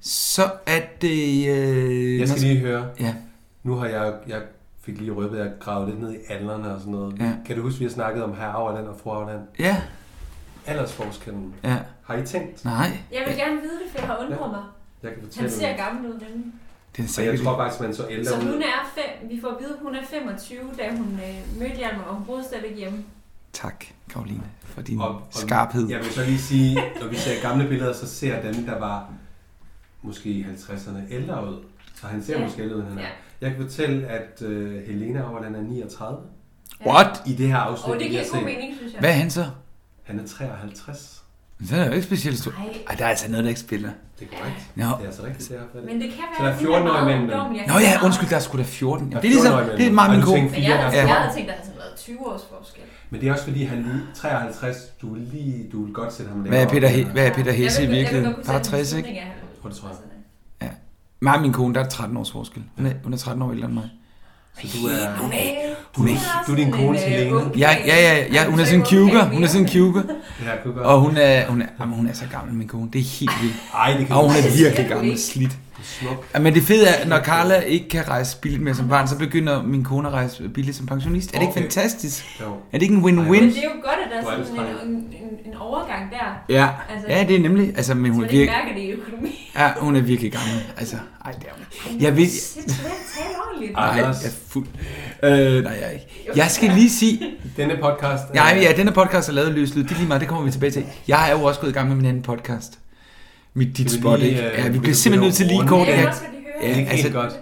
Speaker 3: Så er det... Øh,
Speaker 2: Jeg skal
Speaker 3: når-
Speaker 2: lige høre.
Speaker 3: Ja.
Speaker 2: Nu har jeg, jeg fik lige røbet, at jeg gravede lidt ned i alderne og sådan noget.
Speaker 3: Ja.
Speaker 2: Kan du huske, vi har snakket om herre Auerland og fru Auerland?
Speaker 3: Ja.
Speaker 2: Aldersforskellen.
Speaker 3: Ja.
Speaker 2: Har I tænkt?
Speaker 3: Nej.
Speaker 4: Jeg vil gerne vide det, for jeg har undret mig.
Speaker 2: Jeg kan fortælle
Speaker 4: Han ser
Speaker 2: dig.
Speaker 4: gammel ud nemlig.
Speaker 3: Den
Speaker 2: Og jeg tror faktisk, man så ældre
Speaker 4: Så hun
Speaker 2: ud.
Speaker 4: er fem, vi får at vide, at hun er 25, da hun øh, mødte Hjalmar, og hun boede stadigvæk hjemme.
Speaker 3: Tak, Karoline, for din
Speaker 2: Og- og
Speaker 3: skarphed.
Speaker 2: Jeg vil så lige sige, når vi ser gamle billeder, så ser dem, der var måske i 50'erne ældre ud. Så han ser
Speaker 4: Ja.
Speaker 2: ja. måske ældre ud, end han er.
Speaker 4: Ja.
Speaker 2: Jeg kan fortælle, at uh, Helena Auerland er 39.
Speaker 3: What?
Speaker 2: I det her afsnit.
Speaker 4: Åh, det
Speaker 2: vi
Speaker 4: giver
Speaker 2: har
Speaker 4: god
Speaker 2: set.
Speaker 4: mening, synes jeg.
Speaker 3: Hvad er han så?
Speaker 2: Han er 53.
Speaker 3: Men Den er jo ikke specielt stor.
Speaker 4: Nej.
Speaker 3: Ej, der er altså noget, der ikke spiller.
Speaker 2: Det er korrekt.
Speaker 3: Nå.
Speaker 2: Det er altså rigtigt, det er i hvert fald.
Speaker 4: Men det kan være,
Speaker 2: Så der er
Speaker 4: at hun
Speaker 2: 14 år
Speaker 4: meget
Speaker 2: imellem dem.
Speaker 4: ungdommelig.
Speaker 3: Nå ja, undskyld, der er sgu da 14.
Speaker 2: Der
Speaker 3: Jamen,
Speaker 2: er
Speaker 3: det er ligesom,
Speaker 2: 14 år imellem.
Speaker 3: det er meget
Speaker 2: Ej,
Speaker 3: min
Speaker 2: du
Speaker 3: kone.
Speaker 2: tænkte
Speaker 4: Men jeg havde,
Speaker 2: Ja.
Speaker 4: jeg havde tænkt, at der havde sådan været 20 års forskel.
Speaker 2: Men det er også fordi, han lige 53, du, vil lige, du vil godt sætte ham
Speaker 3: Hvad er Peter,
Speaker 2: op.
Speaker 3: He- hvad er Peter
Speaker 4: Jeg
Speaker 3: Hesse
Speaker 4: vil-
Speaker 3: i
Speaker 4: jeg vil
Speaker 3: virkeligheden?
Speaker 4: godt kunne
Speaker 3: Der er
Speaker 4: sætte
Speaker 3: 60,
Speaker 4: en
Speaker 3: ikke?
Speaker 4: slutning af ham.
Speaker 2: Tror det, tror jeg.
Speaker 3: Ja. Mig og min kone, der er 13 års forskel. Hun er, hun er 13 år ældre end mig.
Speaker 2: Så du er...
Speaker 3: Hun er,
Speaker 2: Du er, du er din
Speaker 4: øh,
Speaker 2: kones Helene.
Speaker 3: Ja, ja, ja, ja, hun er sådan en cougar. Hun er sådan en cougar.
Speaker 2: Ja, cougar.
Speaker 3: Og hun er, hun er, jamen, hun er så gammel, min kone. Det er helt vildt.
Speaker 2: Ej, det kan
Speaker 3: Og
Speaker 2: du
Speaker 3: hun
Speaker 2: ikke.
Speaker 3: er virkelig
Speaker 2: Det kan du
Speaker 3: gammel
Speaker 2: ikke.
Speaker 3: slidt.
Speaker 2: Du er smuk.
Speaker 3: Ja, Men det fede er, når Carla ikke kan rejse billigt mere som barn, så begynder min kone at rejse billigt som pensionist. Er det ikke
Speaker 2: Okay.
Speaker 3: fantastisk?
Speaker 2: Jo.
Speaker 3: Er det ikke en
Speaker 4: Men
Speaker 3: win-win?
Speaker 4: det er jo godt, at der er
Speaker 2: Du er
Speaker 4: sådan en,
Speaker 2: anstrengt.
Speaker 4: en, en, en overgang der.
Speaker 3: Ja. ja, det er nemlig. Altså, men hun
Speaker 4: Hun
Speaker 3: er
Speaker 4: ikke
Speaker 3: virkelig,
Speaker 4: mærker det i økonomi.
Speaker 3: ja, hun er virkelig gammel. Altså, ej, det er hun. Jeg vil...
Speaker 4: Tal ordentligt.
Speaker 3: Nej, jeg er fuld. Øh, nej, jeg er ikke. Jeg skal lige sige...
Speaker 2: Denne podcast... er-
Speaker 3: Nej, ja, denne podcast er lavet af løs lyd. Det er lige meget, det kommer vi tilbage til. Jeg er jo også gået i gang med min anden podcast. Mit dit
Speaker 2: Skal vi
Speaker 3: spot,
Speaker 2: lige,
Speaker 3: ikke?
Speaker 2: øh,
Speaker 3: Ja, vi
Speaker 2: lige
Speaker 3: bliver simpelthen nødt til lige
Speaker 2: runde?
Speaker 3: kort. Altså,
Speaker 2: Ja,
Speaker 3: at-
Speaker 2: også fordi det hører. Det er ikke helt godt.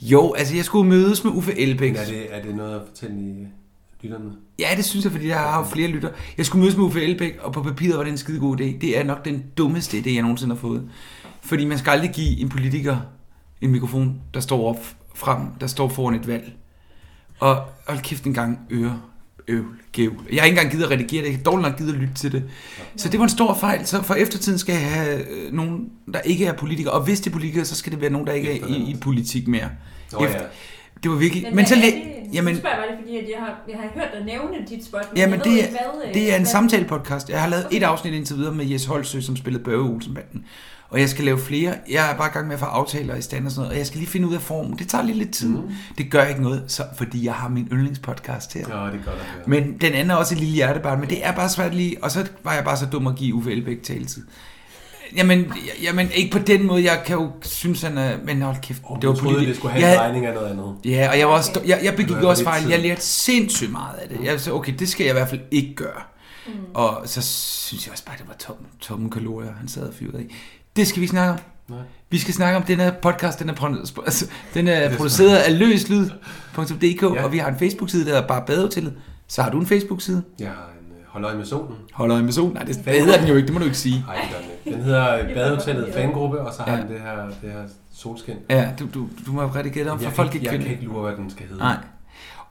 Speaker 3: Jo, altså jeg skulle mødes med Uffe Elbæk.
Speaker 2: Men er det, er det noget at fortælle i øh, lytterne?
Speaker 3: Ja, det synes jeg, fordi jeg har jo flere lytter. Jeg skulle mødes med Uffe Elbæk, og på papiret var det en skide god idé. Det er nok den dummeste idé, jeg nogensinde har fået. Fordi man skal aldrig give en politiker en mikrofon, der står op frem, der står foran et valg. Og hold kæft en gang øre øvl, gævl. Jeg har ikke engang givet at redigere det. Jeg har dårligt nok givet at lytte til det. Så det var en stor fejl. Så for eftertiden skal jeg have øh, nogen, der ikke er politikere. Og hvis det er politikere, så skal det være nogen, der ikke er i, i politik mere.
Speaker 2: Nå ja.
Speaker 3: Det var virkelig... Men,
Speaker 4: hvad
Speaker 3: så...
Speaker 4: er
Speaker 3: læ-
Speaker 4: det?
Speaker 3: Jamen,
Speaker 4: Nu spørger jeg bare lige, fordi at jeg har, jeg har hørt dig nævne dit spot. men
Speaker 3: Jamen,
Speaker 4: jeg ved
Speaker 3: det,
Speaker 4: ikke, hvad,
Speaker 3: er,
Speaker 4: øh,
Speaker 3: det er en
Speaker 4: hvad-
Speaker 3: samtale-podcast. Jeg har lavet et afsnit indtil videre med Jes Holsø, som spillede Børge Olsenbanden. Og jeg skal lave flere. Jeg er bare i gang med at få aftaler i stand og sådan noget. Og jeg skal lige finde ud af formen. Det tager lige lidt tid. Mm. Det gør ikke noget, så, fordi jeg har min yndlingspodcast her.
Speaker 2: Ja, det gør det.
Speaker 3: Men den anden er også et lille hjertebarn. Men det er bare svært lige... Og så var jeg bare så dum at give Uffe Elbæk taletid. Jamen, jamen, ikke på den måde. Jeg kan jo synes, han er... Men hold kæft, oh,
Speaker 2: Det var troede, det skulle have
Speaker 3: jeg,
Speaker 2: en regning af noget andet.
Speaker 3: Ja, og jeg, var også, jeg, jeg
Speaker 2: Det
Speaker 3: begik
Speaker 2: var
Speaker 3: også
Speaker 2: lidt
Speaker 3: fejl.
Speaker 2: tid.
Speaker 3: Jeg lærte sindssygt meget af det. Jeg sagde, okay, det skal jeg i hvert fald ikke gøre. Mm. Og så synes jeg også bare, det var tomme, tomme kalorier, han sad og fyrede i. Det skal vi ikke snakke om.
Speaker 2: Nej.
Speaker 3: Vi skal snakke om den her podcast, den er, pro- altså, den er produceret af løslyd.dk, ja. og vi har en Facebook-side, der hedder bare badehotellet. Så har du en Facebook-side?
Speaker 2: Jeg har en øh, Hold øje med solen.
Speaker 3: Hold øje med solen. Nej, det, det hedder den jo ikke, det må du ikke sige.
Speaker 2: Nej, det gør den ikke. Den hedder øh, Badehotellet Fangruppe, og så har den det her, det her solskin.
Speaker 3: Ja, du, du, du må have redigeret om,
Speaker 2: Jeg
Speaker 3: for
Speaker 2: kan
Speaker 3: folk
Speaker 2: ikke-
Speaker 3: ikke
Speaker 2: jeg
Speaker 3: kender
Speaker 2: kan
Speaker 3: det.
Speaker 2: ikke lure, hvad den skal hedde.
Speaker 3: Nej.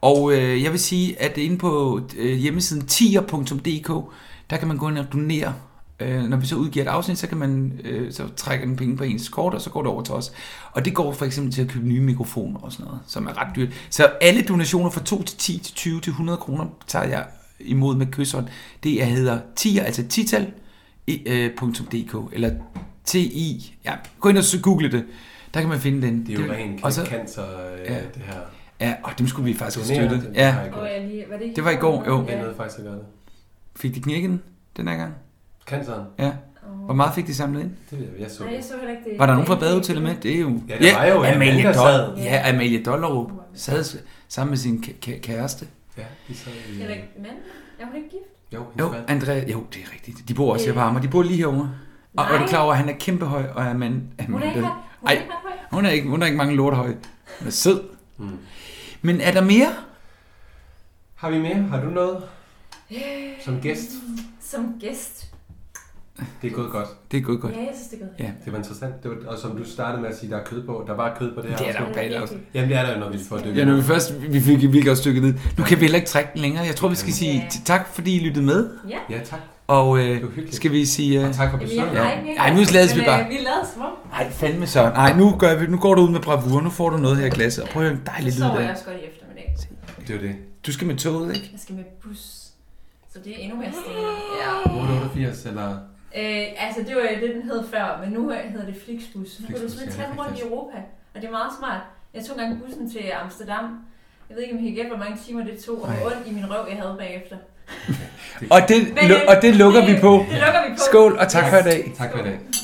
Speaker 3: Og øh, jeg vil sige, at inde på øh, hjemmesiden tier.dk, der kan man gå ind og donere. Øh, når vi så udgiver et afsnit, så, kan man, øh, så trækker den penge på ens kort, og så går det over til os. Og det går for eksempel til at købe nye mikrofoner og sådan noget, som er ret dyrt. Så alle donationer fra 2 til 10 til 20 til 100 kroner tager jeg imod med kysshånd. Det jeg hedder tier, altså tital, i, øh, .dk, eller ti. Ja, gå ind og så google det. Der kan man finde den.
Speaker 2: Det er jo ren
Speaker 3: og så-
Speaker 2: cancer, øh,
Speaker 3: Ja.
Speaker 2: det her.
Speaker 3: Ja, og dem skulle vi faktisk have
Speaker 2: Donere,
Speaker 3: støttet.
Speaker 2: det
Speaker 3: Ja.
Speaker 2: har jeg gjort. Åh, ja, lige- var det i
Speaker 3: det var i går, jo.
Speaker 2: Jeg nåede faktisk at gøre det.
Speaker 3: Fik de knækken den her gang?
Speaker 2: Canceren?
Speaker 3: Ja. Hvor meget fik de samlet ind?
Speaker 2: Det ved jeg, jeg så
Speaker 4: Nej, jeg så heller ikke det.
Speaker 3: Var der nogen fra badehotellet med? Det er jo...
Speaker 2: Ja, det var jo en mand,
Speaker 3: Amalie
Speaker 2: der sad.
Speaker 3: Dol- ja, Amalie Dollerup sad s- sammen med sin kæ- kæ- kæreste.
Speaker 2: Ja, de sad i...
Speaker 4: Eller ikke mand? Er hun ikke gift?
Speaker 2: Jo,
Speaker 3: Jo, Andrea, jo, det er rigtigt. De bor også her på
Speaker 4: Øh.
Speaker 3: Amager. De bor lige herovre. Og er du
Speaker 4: Nej.
Speaker 3: klar over, at han er kæmpe høj, og er mand...
Speaker 4: Hun er ikke ret- hun er
Speaker 3: Ej,
Speaker 4: ikke ret høj.
Speaker 3: hun er ikke, hun er ikke mange lortehøj. Hun er sød. Men er der mere?
Speaker 2: Mm. Har vi mere? Har du noget?
Speaker 4: Øh,
Speaker 2: Som gæst?
Speaker 4: Som gæst?
Speaker 2: Det er gået godt.
Speaker 3: Det er gået
Speaker 4: godt. Ja, jeg synes, det er gået
Speaker 3: Ja.
Speaker 2: Det var interessant. Det var, og som du startede med at sige, der er kød på. Der var kød på det her.
Speaker 3: Det er der
Speaker 2: afsnit.
Speaker 3: jo bag det afsnit.
Speaker 2: Jamen, det er der jo, når vi får dykket.
Speaker 3: Ja, når vi først vi fik virkelig også stykket ned. Nu kan vi heller ikke trække den længere. Jeg tror, vi skal sige t- tak, fordi I lyttede med.
Speaker 4: Ja.
Speaker 2: Ja, tak.
Speaker 3: Og øh, skal vi sige... Øh,
Speaker 2: tak for
Speaker 4: Jamen, jeg har ikke mere
Speaker 3: Nej, nu
Speaker 4: gæst,
Speaker 3: lades vi
Speaker 4: men, øh,
Speaker 3: bare.
Speaker 4: Vi lader som om.
Speaker 3: Nej, fandme så. Nej, nu, gør vi, nu går du ud med bravur. Nu får du noget her i glasset. Og prøv at høre en
Speaker 4: Så
Speaker 3: dejlig lyd
Speaker 4: sover jeg
Speaker 3: der.
Speaker 4: også godt i eftermiddag.
Speaker 2: Det er jo det.
Speaker 3: Du skal med toget, ikke?
Speaker 4: Jeg skal med bus. Så det er endnu mere stedet. Ja.
Speaker 2: 888, eller...
Speaker 4: Øh, altså, det var jo det, den hed før, men nu hedder det Flixbus. Nu kan du
Speaker 2: Flixbus,
Speaker 4: simpelthen
Speaker 2: ja,
Speaker 4: tage den rundt i
Speaker 2: rigtigt.
Speaker 4: Europa, og det er meget smart. Jeg tog engang bussen til Amsterdam. Jeg ved ikke, om I kan gætte, hvor mange timer det tog, og hvor
Speaker 3: Ej.
Speaker 4: ondt i min røv, jeg havde bagefter.
Speaker 3: Og det,
Speaker 4: Men, øh,
Speaker 3: og det lukker vi på.
Speaker 4: det lukker vi på.
Speaker 3: Skål, og tak for i dag.
Speaker 2: Tak for i dag.